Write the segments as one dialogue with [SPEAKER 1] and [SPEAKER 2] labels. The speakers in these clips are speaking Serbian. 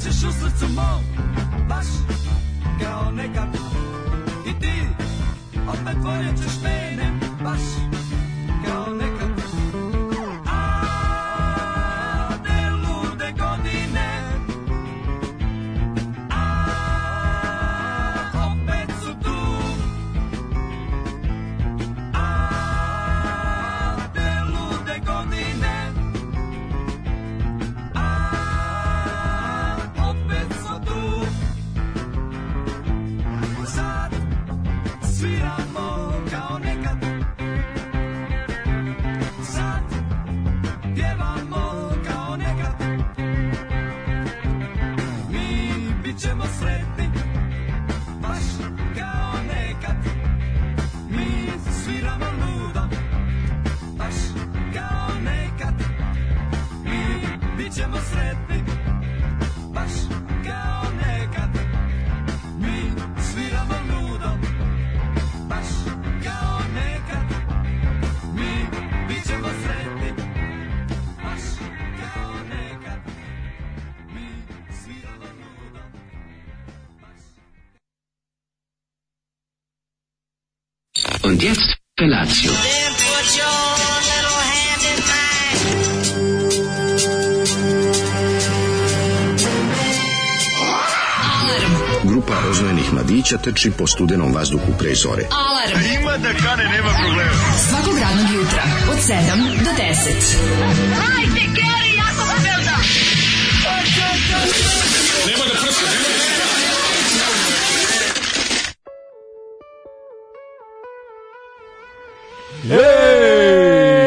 [SPEAKER 1] srcu mom Baš kao nekad I ti opet voljet ćeš mene Baš kao nekad A ne lude godine A opet su tu A ne lude godine A opet su tu Sad sviramo kao nekad Sad pjevamo kao nekad Mi bit ćemo sretni Baš kao nekad Mi sviramo ludo Baš kao nekad Mi bit ćemo sretni Baš kao nekad mi sviramo ludo, baš kao nekad. Mi bit ćemo sretni, baš kao nekad. Mi sviramo ludo, baš
[SPEAKER 2] Und jetzt Felatio.
[SPEAKER 3] Grupa rozvojenih mladića teči po studenom vazduhu pre zore.
[SPEAKER 4] Alarm. Ima da kane, nema problema. Svakog radnog jutra, od 7 do 10. Hajde, Geri, jako se belda.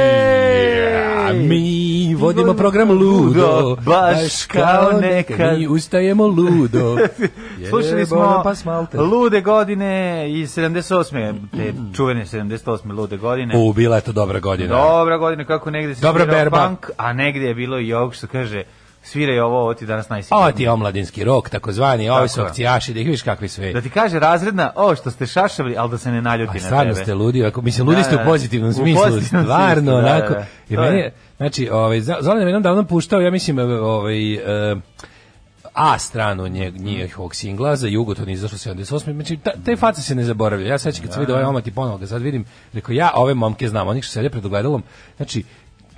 [SPEAKER 5] Ej! Mi vodimo program Ludo,
[SPEAKER 6] baš kao nekad.
[SPEAKER 5] Mi ustajemo Ludo.
[SPEAKER 6] Slušali smo
[SPEAKER 5] Jebona, pa smalte.
[SPEAKER 6] Lude godine i 78. Te čuvene 78. Lude godine.
[SPEAKER 5] U, bila je to dobra godina.
[SPEAKER 6] Dobra godine, kako negde se
[SPEAKER 5] Dobra
[SPEAKER 6] svirao
[SPEAKER 5] berba.
[SPEAKER 6] punk, a negde je bilo i ovog što kaže sviraj ovo, ovo ti je danas najsigurnije.
[SPEAKER 5] Ovo ti je omladinski rok, takozvani, ovi su
[SPEAKER 6] Tako je.
[SPEAKER 5] akcijaši, da ih vidiš kakvi sve.
[SPEAKER 6] Da ti kaže razredna, o što ste šašavili, ali da se ne naljuti
[SPEAKER 5] Pa
[SPEAKER 6] na tebe.
[SPEAKER 5] stvarno ste ludi, ako mislim ludi
[SPEAKER 6] Da,
[SPEAKER 5] ste u
[SPEAKER 6] da.
[SPEAKER 5] pozitivnom
[SPEAKER 6] U
[SPEAKER 5] smislu,
[SPEAKER 6] pozitivnom
[SPEAKER 5] stvarno
[SPEAKER 6] smislu, da,
[SPEAKER 5] onako.
[SPEAKER 6] da, da.
[SPEAKER 5] I
[SPEAKER 6] To
[SPEAKER 5] meni
[SPEAKER 6] je.
[SPEAKER 5] je, znači, ovaj Zo- Zoran je jednom davno puštao, ja mislim, ovaj e, A stranu nje, njihovog singla za Jugo to nije izašlo 78. Znači, ta, te face se ne zaboravlja. Ja sećam kad sam vidio ovaj omat i ponovo ga sad vidim, rekao ja ove momke znam, oni što sede pred ogledalom. Znači,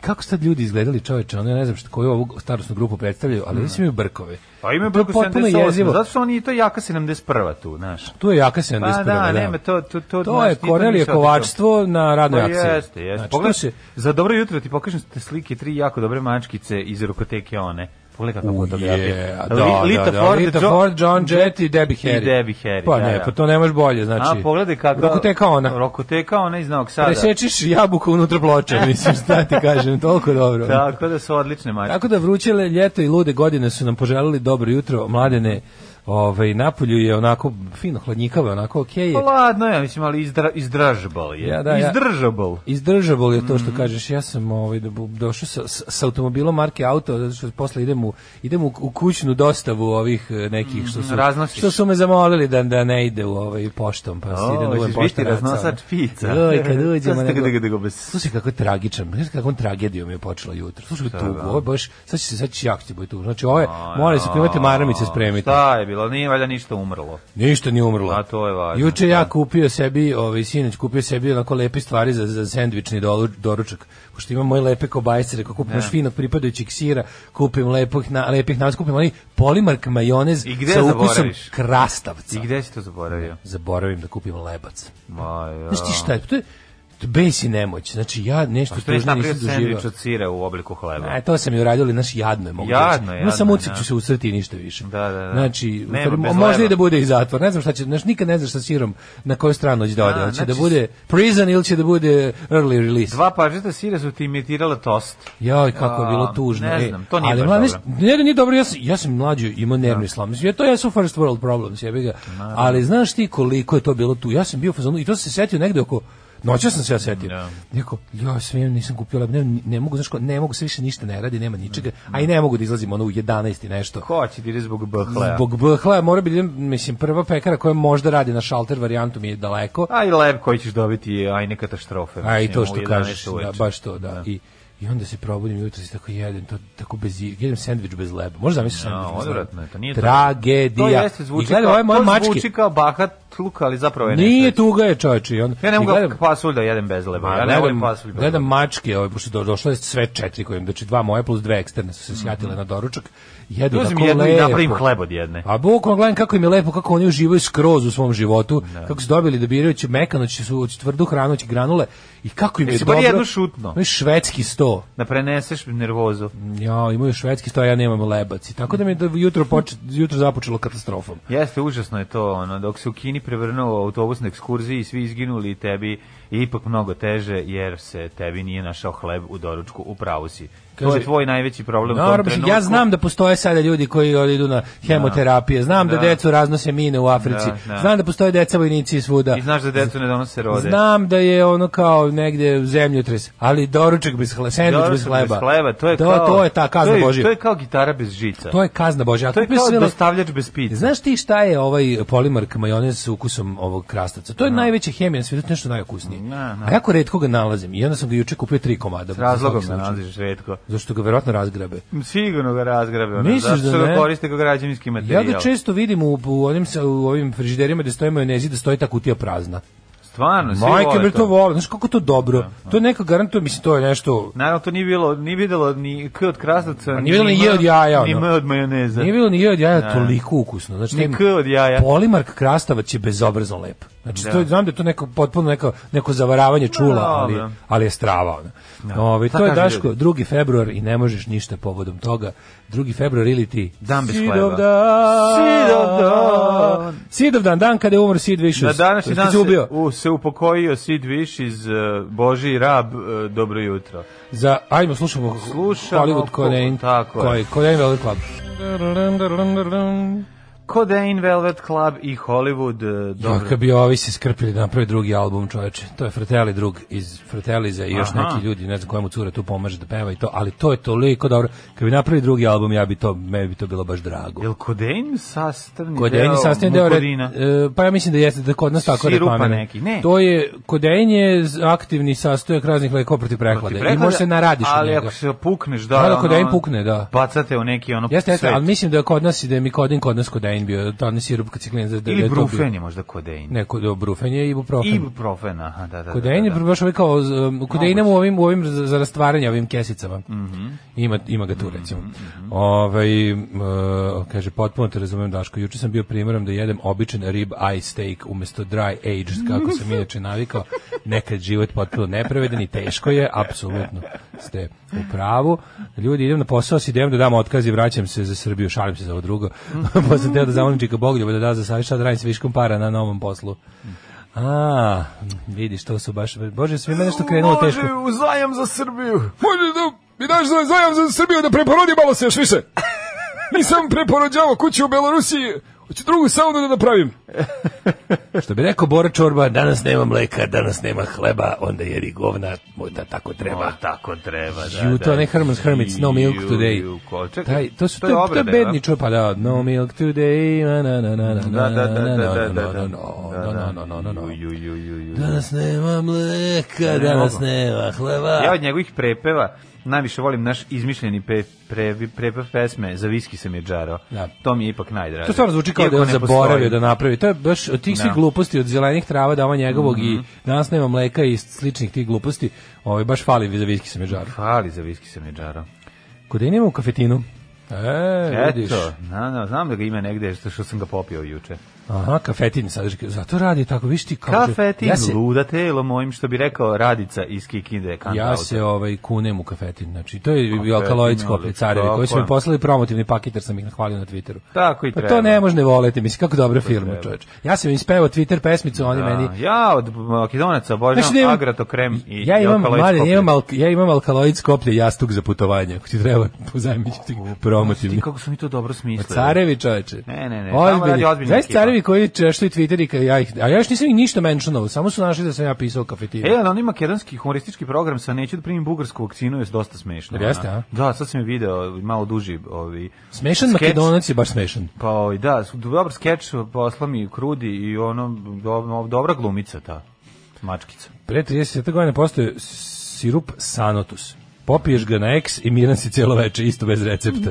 [SPEAKER 5] kako su tad ljudi izgledali čoveče, ono ja ne znam što, koju ovu starosnu grupu predstavljaju, ali oni svi imaju brkove.
[SPEAKER 6] Mm. Pa ima
[SPEAKER 5] To je
[SPEAKER 6] preko
[SPEAKER 5] potpuno
[SPEAKER 6] 78.
[SPEAKER 5] jezivo.
[SPEAKER 6] Zato su oni i to jaka 71. tu, znaš.
[SPEAKER 5] Tu je jaka 71.
[SPEAKER 6] Pa da, nema, to, to,
[SPEAKER 5] To
[SPEAKER 6] to, znaš,
[SPEAKER 5] je
[SPEAKER 6] ti nisi
[SPEAKER 5] Korelije
[SPEAKER 6] otišao.
[SPEAKER 5] kovačstvo na radnoj
[SPEAKER 6] Pa
[SPEAKER 5] akciji.
[SPEAKER 6] jeste, jeste.
[SPEAKER 5] Znači,
[SPEAKER 6] Pogledaj,
[SPEAKER 5] to se,
[SPEAKER 6] za dobro jutro ti pokažem te slike, tri jako dobre mačkice iz rukoteke one. Pogledaj kakva
[SPEAKER 5] U,
[SPEAKER 6] fotografija.
[SPEAKER 5] je, a
[SPEAKER 6] Li-
[SPEAKER 5] da,
[SPEAKER 6] Lita
[SPEAKER 5] da, da,
[SPEAKER 6] Ford,
[SPEAKER 5] Lita
[SPEAKER 6] Jo-
[SPEAKER 5] Ford, John Jett i Debbie Harry.
[SPEAKER 6] I Debbie Harry,
[SPEAKER 5] Pa
[SPEAKER 6] da,
[SPEAKER 5] ne,
[SPEAKER 6] da.
[SPEAKER 5] pa to ne može bolje, znači.
[SPEAKER 6] A pogledaj kako...
[SPEAKER 5] Rokoteka ona.
[SPEAKER 6] Rokoteka ona iz Novog Sada.
[SPEAKER 5] Presječiš jabuku unutra ploče, mislim, šta ti kažem, toliko dobro.
[SPEAKER 6] Tako da su odlične mačke.
[SPEAKER 5] Tako da vruće le- ljeto i lude godine su nam poželili dobro jutro, mladene, ovaj, napolju je onako fino hladnjikave, onako okej
[SPEAKER 6] Pa
[SPEAKER 5] je.
[SPEAKER 6] ladno je, mislim, ali izdra, izdržabal je.
[SPEAKER 5] Ja, da, ja.
[SPEAKER 6] izdržabal.
[SPEAKER 5] Izdržabol je to
[SPEAKER 6] Mm.
[SPEAKER 5] što kažeš. Ja sam ovaj do- došao sa, sa- sa automobilom marke auto zato što posle idem u idem u, u kućnu dostavu ovih eh, nekih što su
[SPEAKER 6] Mhm, raznosiš.
[SPEAKER 5] što su me zamolili da da ne ide u ovaj poštom, pa se
[SPEAKER 6] O,
[SPEAKER 5] ide na ovaj
[SPEAKER 6] hoćeš biti raznosač pica.
[SPEAKER 5] Oj, kad uđemo
[SPEAKER 6] Sad ste
[SPEAKER 5] nego-
[SPEAKER 6] ga- ga- ga- bez-
[SPEAKER 5] Slušaj kako je tragičan, znaš kakvom tragedijom je počelo jutro. Slušaj tu, ovo je baš sad će se sad će jak će biti tugo. Znači ovo je, mora se primati maramice spremiti.
[SPEAKER 6] Šta je bilo? Nije valjda ništa umrlo.
[SPEAKER 5] Ništa nije umrlo.
[SPEAKER 6] A to je važno.
[SPEAKER 5] Juče ja kupio sebi, ovaj sinoć kupio sebi onako lepe stvari za za sendvični dolu- doručak. Pošto imam moje lepe kobajce, rekao kupim još finog pripadajućeg sira, kupim lepih na lepih nas kupim onaj polimark majonez
[SPEAKER 6] I gde
[SPEAKER 5] sa ukusom
[SPEAKER 6] zaboraviš?
[SPEAKER 5] krastavca.
[SPEAKER 6] I gde si to zaboravio?
[SPEAKER 5] Zaboravim da kupim lebac.
[SPEAKER 6] Ma, ja.
[SPEAKER 5] Znaš ti šta je? To je to je bes i nemoć. Znači ja nešto
[SPEAKER 6] Što je
[SPEAKER 5] tužno
[SPEAKER 6] napravio
[SPEAKER 5] nisam doživio.
[SPEAKER 6] sendvič od sira u obliku hleba?
[SPEAKER 5] A, E, to sam i uradio, ali naš jadno je mogu
[SPEAKER 6] Jadno je,
[SPEAKER 5] reći.
[SPEAKER 6] jadno
[SPEAKER 5] No, samo
[SPEAKER 6] je,
[SPEAKER 5] ucit ću
[SPEAKER 6] da.
[SPEAKER 5] se u crti i ništa više.
[SPEAKER 6] Da, da, da.
[SPEAKER 5] Znači, u
[SPEAKER 6] Nema,
[SPEAKER 5] stvari,
[SPEAKER 6] bez
[SPEAKER 5] mo- možda
[SPEAKER 6] leba.
[SPEAKER 5] i da bude i zatvor. Ne znam šta će, znaš, nikad ne znaš sa sirom na koju stranu će da ode.
[SPEAKER 6] Da,
[SPEAKER 5] Hoće da
[SPEAKER 6] znači-
[SPEAKER 5] bude prison ili će da bude early release.
[SPEAKER 6] Dva pažeta sira su ti imitirala tost.
[SPEAKER 5] Joj, kako je bilo
[SPEAKER 6] A,
[SPEAKER 5] tužno.
[SPEAKER 6] ne
[SPEAKER 5] e.
[SPEAKER 6] znam, to nije
[SPEAKER 5] ali,
[SPEAKER 6] baš
[SPEAKER 5] mlad-
[SPEAKER 6] dobro.
[SPEAKER 5] Ne, ne, nije dobro, ja sam, ja sam mlađi imao nervni slom. Mislim, ja, to jesu first world problems, jebi ga. Ali znaš ti koliko je to bilo tu? Ja sam bio u fazonu i to sam se setio negde oko Noća sam se ja setio.
[SPEAKER 6] Da.
[SPEAKER 5] Rekao, ja sve nisam kupio lep, ne, ne mogu, znaš ko, ne mogu, sve više ništa ne radi, nema ničega, a i ne mogu da izlazim ono u 11 i nešto.
[SPEAKER 6] Ko će ti ide zbog bahlea?
[SPEAKER 5] Zbog BHL-a mora biti, mislim, prva pekara koja možda radi na šalter varijantu mi je daleko,
[SPEAKER 6] A i leb koji ćeš dobiti je ajne katastrofe.
[SPEAKER 5] a Pa i
[SPEAKER 6] mislim,
[SPEAKER 5] to
[SPEAKER 6] u
[SPEAKER 5] što
[SPEAKER 6] 11
[SPEAKER 5] kažeš, da,
[SPEAKER 6] uveče.
[SPEAKER 5] baš to, da. I, I onda se probudim jutro i tako jedem, to, tako bez, jedem sandvič bez leba. Možda zamisliš
[SPEAKER 6] Ja,
[SPEAKER 5] sandvič bez leba?
[SPEAKER 6] odvratno je, to nije
[SPEAKER 5] Tragedija.
[SPEAKER 6] To jeste, zvuči,
[SPEAKER 5] I gledam
[SPEAKER 6] kao,
[SPEAKER 5] ove moje
[SPEAKER 6] to
[SPEAKER 5] mačke.
[SPEAKER 6] zvuči kao bahat luka, ali zapravo je nešto.
[SPEAKER 5] Nije tuga je čovječe. i onda-
[SPEAKER 6] Ja ne
[SPEAKER 5] i
[SPEAKER 6] mogu
[SPEAKER 5] gledam- Pa,
[SPEAKER 6] pasulj da jedem bez leba. Ja ne pa volim
[SPEAKER 5] gledam,
[SPEAKER 6] pasulj bez
[SPEAKER 5] gledam
[SPEAKER 6] leba.
[SPEAKER 5] mačke, ove, pošto do, došle sve četiri koje imam, znači dva moje plus dve eksterne su se sjatile na doručak, jedu
[SPEAKER 6] Uzmem
[SPEAKER 5] tako
[SPEAKER 6] Mhm. jednu i
[SPEAKER 5] lepo.
[SPEAKER 6] napravim hleb od jedne.
[SPEAKER 5] A Pa bukvalno gledam kako im je lepo, kako oni uživaju skroz u svom životu, kako su dobili da biraju će mekano, će su hoće tvrdu hranu, će granule i kako im je
[SPEAKER 6] Jesi bar
[SPEAKER 5] dobro.
[SPEAKER 6] jednu šutno?
[SPEAKER 5] Imaju švedski sto.
[SPEAKER 6] Da preneseš nervozu.
[SPEAKER 5] Ja, imaju švedski sto, a ja nemam lebac. I tako da mi je do- jutro, poče, jutro započelo katastrofom.
[SPEAKER 6] Jeste, užasno je to, ono, dok se u Kini prevrnuo autobus na ekskurziji i svi izginuli i tebi je ipak mnogo teže jer se tebi nije našao hleb u doručku, u pravu si. to
[SPEAKER 5] Kaže-
[SPEAKER 6] je tvoj najveći problem u tom
[SPEAKER 5] Naravno, mislim,
[SPEAKER 6] trenutku.
[SPEAKER 5] ja znam da postoje sada ljudi koji oni idu na hemoterapije, znam da,
[SPEAKER 6] Da.
[SPEAKER 5] decu raznose mine u Africi,
[SPEAKER 6] Da, da.
[SPEAKER 5] znam da postoje deca vojnici svuda,
[SPEAKER 6] I znaš da decu ne donose rode.
[SPEAKER 5] znam da je ono kao negde zemljotres, ali doručak bez hleba, sendvič
[SPEAKER 6] Doručak
[SPEAKER 5] bez hleba.
[SPEAKER 6] to je
[SPEAKER 5] to,
[SPEAKER 6] kao...
[SPEAKER 5] to je ta
[SPEAKER 6] to
[SPEAKER 5] kazna
[SPEAKER 6] je-
[SPEAKER 5] Božja.
[SPEAKER 6] To je kao gitara bez žica.
[SPEAKER 5] To je kazna Božja.
[SPEAKER 6] To je
[SPEAKER 5] Ako bi
[SPEAKER 6] kao
[SPEAKER 5] sve-
[SPEAKER 6] dostavljač bez pizze.
[SPEAKER 5] Znaš ti šta je ovaj polimark majonez s ukusom ovog krastavca? To je najveća hemija na svijetu, to je nešto najokusnije.
[SPEAKER 6] Na, na.
[SPEAKER 5] A jako redko ga nalazim i onda sam ga juče kupio tri komada.
[SPEAKER 6] S razlogom
[SPEAKER 5] za
[SPEAKER 6] se
[SPEAKER 5] svaki slučaj.
[SPEAKER 6] nalaziš redko.
[SPEAKER 5] Zašto ga verovatno razgrabe.
[SPEAKER 6] Sigurno ga razgrabe. Ono,
[SPEAKER 5] Misliš
[SPEAKER 6] zato
[SPEAKER 5] da
[SPEAKER 6] što ga
[SPEAKER 5] ne?
[SPEAKER 6] koriste kao građevinski
[SPEAKER 5] Ja
[SPEAKER 6] materijal.
[SPEAKER 5] ga često vidim u, u onim sa- u ovim frižiderima gde stoje majonezi da stoji ta kutija prazna.
[SPEAKER 6] Stvarno, svi
[SPEAKER 5] Majke
[SPEAKER 6] vole
[SPEAKER 5] mi to vole, znaš kako je to dobro. To je neka garantuje, mislim to je nešto
[SPEAKER 6] Naravno, to nije bilo, nije videlo ni K od krastavca,
[SPEAKER 5] nije videlo ni
[SPEAKER 6] M-
[SPEAKER 5] J od jaja,
[SPEAKER 6] ni
[SPEAKER 5] ono.
[SPEAKER 6] M od majoneza.
[SPEAKER 5] Nije bilo ni joj od jaja toliko ukusno. Znači,
[SPEAKER 6] Ni
[SPEAKER 5] taj
[SPEAKER 6] K od jaja.
[SPEAKER 5] Polimark krastavac je bezobrazno lep. Znači,
[SPEAKER 6] Da.
[SPEAKER 5] to, je- znam da je to neko, potpuno neko, neko zavaravanje čula, ali,
[SPEAKER 6] dobro.
[SPEAKER 5] ali je strava. Ono. Ovaj,
[SPEAKER 6] Šta
[SPEAKER 5] to je
[SPEAKER 6] kažu
[SPEAKER 5] Daško,
[SPEAKER 6] ljudi?
[SPEAKER 5] 2. februar i ne možeš ništa povodom toga. 2. februar ili ti...
[SPEAKER 6] Dan bez
[SPEAKER 5] Sidov
[SPEAKER 6] hleba.
[SPEAKER 5] dan.
[SPEAKER 6] Sidov dan.
[SPEAKER 5] Sidov dan, dan kada je umro Sid Vicious.
[SPEAKER 6] Na današnji
[SPEAKER 5] Kad
[SPEAKER 6] dan
[SPEAKER 5] se ubio.
[SPEAKER 6] se, u, se upokojio Sid Viš iz uh, Boži Rab, uh, dobro jutro.
[SPEAKER 5] Za, ajmo, slušamo,
[SPEAKER 6] Slušamo
[SPEAKER 5] Hollywood Codeine,
[SPEAKER 6] ko- tako je.
[SPEAKER 5] koji, Codeine Velvet Club.
[SPEAKER 6] Codeine Velvet Club i Hollywood, uh,
[SPEAKER 5] Dobro.
[SPEAKER 6] dobro.
[SPEAKER 5] Kad bi ovi se skrpili da naprave drugi album, čoveče. To je Fratelli drug iz Fratelliza i još
[SPEAKER 6] Aha.
[SPEAKER 5] neki ljudi, ne znam kojemu cura tu pomaže da peva i to, ali to je toliko dobro. Kad bi napravili drugi album, ja bi to, me bi to bilo baš drago.
[SPEAKER 6] Jel Codeine sastavni
[SPEAKER 5] Kodein
[SPEAKER 6] deo
[SPEAKER 5] je sastavni deo red,
[SPEAKER 6] Mukodina?
[SPEAKER 5] e, pa ja mislim da jeste da kod nas tako
[SPEAKER 6] Sirupa
[SPEAKER 5] reklamirano.
[SPEAKER 6] neki, ne.
[SPEAKER 5] To je kodein je z- aktivni sastojak raznih lekova protiv prehlade. I
[SPEAKER 6] Ti pregleda,
[SPEAKER 5] može se naradiš od
[SPEAKER 6] Ali
[SPEAKER 5] njega.
[SPEAKER 6] ako se pukneš, da.
[SPEAKER 5] Da, da,
[SPEAKER 6] ono,
[SPEAKER 5] Codeine pukne, da.
[SPEAKER 6] Bacate u neki ono
[SPEAKER 5] Jeste, jeste,
[SPEAKER 6] svet.
[SPEAKER 5] ali mislim da je kod nas i da je mi kodin kod nas kodein bio, da ne sirup kad si klinac, da, da, da
[SPEAKER 6] Ili
[SPEAKER 5] je to bio.
[SPEAKER 6] brufen je možda Codeine.
[SPEAKER 5] Ne, kod- brufen je i ibuprofen.
[SPEAKER 6] Ibuprofen, aha, da, da, da.
[SPEAKER 5] Kodein je
[SPEAKER 6] da, da.
[SPEAKER 5] baš ovaj kao, um, kodein ima u ovim, u ovim za, za rastvaranje, ovim kesicama.
[SPEAKER 6] Mhm.
[SPEAKER 5] ima, ima ga tu, recimo. Ovaj, m, e, kaže, potpuno te razumijem, Daško, juče sam bio primjerom da jedem običan rib eye steak umjesto dry aged, kako sam inače navikao. Nekad život potpuno nepravedan i teško je, apsolutno ste u pravu. Ljudi, idem na posao, s idem da dam otkaz i vraćam se za Srbiju, šalim se za ovo drugo. pa sam teo da zamolim Čika Bogljuba da da za savjet šta da radim s viškom para na novom poslu. A, vidiš, to su baš... Bože, svima je nešto krenulo teško.
[SPEAKER 6] Može u zajam za Srbiju.
[SPEAKER 5] Može da mi daš za zajam za Srbiju da preporodim malo se još više. Nisam preporođavao kuću u Belorusiji. Hoću drugu saunu da napravim. Što bi rekao Bora Čorba, danas nema mleka, danas nema hleba, onda jedi govna, možda tako treba.
[SPEAKER 6] Pa tako treba, da.
[SPEAKER 5] Ovaj, Ju, to
[SPEAKER 6] da.
[SPEAKER 5] ne Herman's Hermits, no milk
[SPEAKER 6] Ju,
[SPEAKER 5] today.
[SPEAKER 6] ju, ko- čekaj,
[SPEAKER 5] Taj, to su to,
[SPEAKER 6] je
[SPEAKER 5] to je
[SPEAKER 6] obrada,
[SPEAKER 5] bedni
[SPEAKER 6] da?
[SPEAKER 5] čovjek, pa da, no milk today, na na na na na na
[SPEAKER 6] Da, da,
[SPEAKER 5] na
[SPEAKER 6] da,
[SPEAKER 5] na
[SPEAKER 6] da,
[SPEAKER 5] na
[SPEAKER 6] da, da,
[SPEAKER 5] na na na na
[SPEAKER 6] da.
[SPEAKER 5] na na na na.
[SPEAKER 6] Ju, ju, ju, ju, ju.
[SPEAKER 5] Danas nema mleka, danas
[SPEAKER 6] mogu.
[SPEAKER 5] nema hleba.
[SPEAKER 6] Ja od njegovih prepeva najviše volim naš izmišljeni pe, pre, prepev pesme Za viski sam je džaro.
[SPEAKER 5] Da.
[SPEAKER 6] To mi je ipak najdraže.
[SPEAKER 5] To stvarno zvuči kao
[SPEAKER 6] Iako
[SPEAKER 5] da je on
[SPEAKER 6] ne postoji.
[SPEAKER 5] zaboravio da napravi. To je baš od tih svih
[SPEAKER 6] Da. Mhm.
[SPEAKER 5] gluposti, od zelenih trava, dama njegovog i danas nema mleka i sličnih tih gluposti. Ovaj baš fali za viski sam je žar.
[SPEAKER 6] Hvali za viski sam je džaro.
[SPEAKER 5] Kod ima u kafetinu. E, vidiš.
[SPEAKER 6] Eto, na, na, znam da ga ima negde što, što sam ga popio juče.
[SPEAKER 5] Aha, kafetin sadrži. Zato radi tako, viš ti kao...
[SPEAKER 6] Kafe ti
[SPEAKER 5] ja se,
[SPEAKER 6] luda telo mojim, što bi rekao Radica iz Kikinde.
[SPEAKER 5] ja
[SPEAKER 6] kantautor.
[SPEAKER 5] se ovaj kunem u kafetin. Znači, to je
[SPEAKER 6] Kafetin,
[SPEAKER 5] alkaloid
[SPEAKER 6] ali
[SPEAKER 5] skoplje carevi
[SPEAKER 6] tako
[SPEAKER 5] koji su mi
[SPEAKER 6] je.
[SPEAKER 5] poslali promotivni paket jer sam ih nahvalio na Twitteru.
[SPEAKER 6] Tako i
[SPEAKER 5] Pa
[SPEAKER 6] treba.
[SPEAKER 5] to ne može ne voleti, mislim, kako dobra firma,
[SPEAKER 6] treba.
[SPEAKER 5] čoveč. Ja sam im spevao Twitter pesmicu, oni
[SPEAKER 6] Da,
[SPEAKER 5] meni
[SPEAKER 6] Ja od Makedonaca obožavam
[SPEAKER 5] Znaš da imam-
[SPEAKER 6] Agrato krem i
[SPEAKER 5] ja imam,
[SPEAKER 6] Jokaloid
[SPEAKER 5] mladen,
[SPEAKER 6] koplje.
[SPEAKER 5] ja imam, alk- ja imam alkaloid skoplje jastuk za putovanje, ako ti treba pozajmit ću ti ga promotivni.
[SPEAKER 6] pa Ti kako su mi to dobro smislili.
[SPEAKER 5] Carevi čoveče.
[SPEAKER 6] Ne, ne, ne, tamo radi ozbiljna
[SPEAKER 5] Znaš
[SPEAKER 6] ekipa.
[SPEAKER 5] carevi koji češli Twitter i ka- ja ih, a ja još nisam ih ništa menšanovo, samo su našli da sam ja pisao kafetinu.
[SPEAKER 6] E, ali onaj makedonski humoristički program sa neću da primim bugarsku vakcinu je dosta smešno.
[SPEAKER 5] Jel jeste,
[SPEAKER 6] ono.
[SPEAKER 5] a?
[SPEAKER 6] Da, sad sam je video, malo duži. Ovi,
[SPEAKER 5] smešan
[SPEAKER 6] skeč.
[SPEAKER 5] makedonac je baš smešan.
[SPEAKER 6] Pa, ovi, da, su- dobar skeč, posla mi Krudi i ono, do- dobra glumica ta mačkica.
[SPEAKER 5] Pre 30 godina postoje sirup Sanotus. popiješ ga na eks i miran si cijelo veče, isto bez recepta.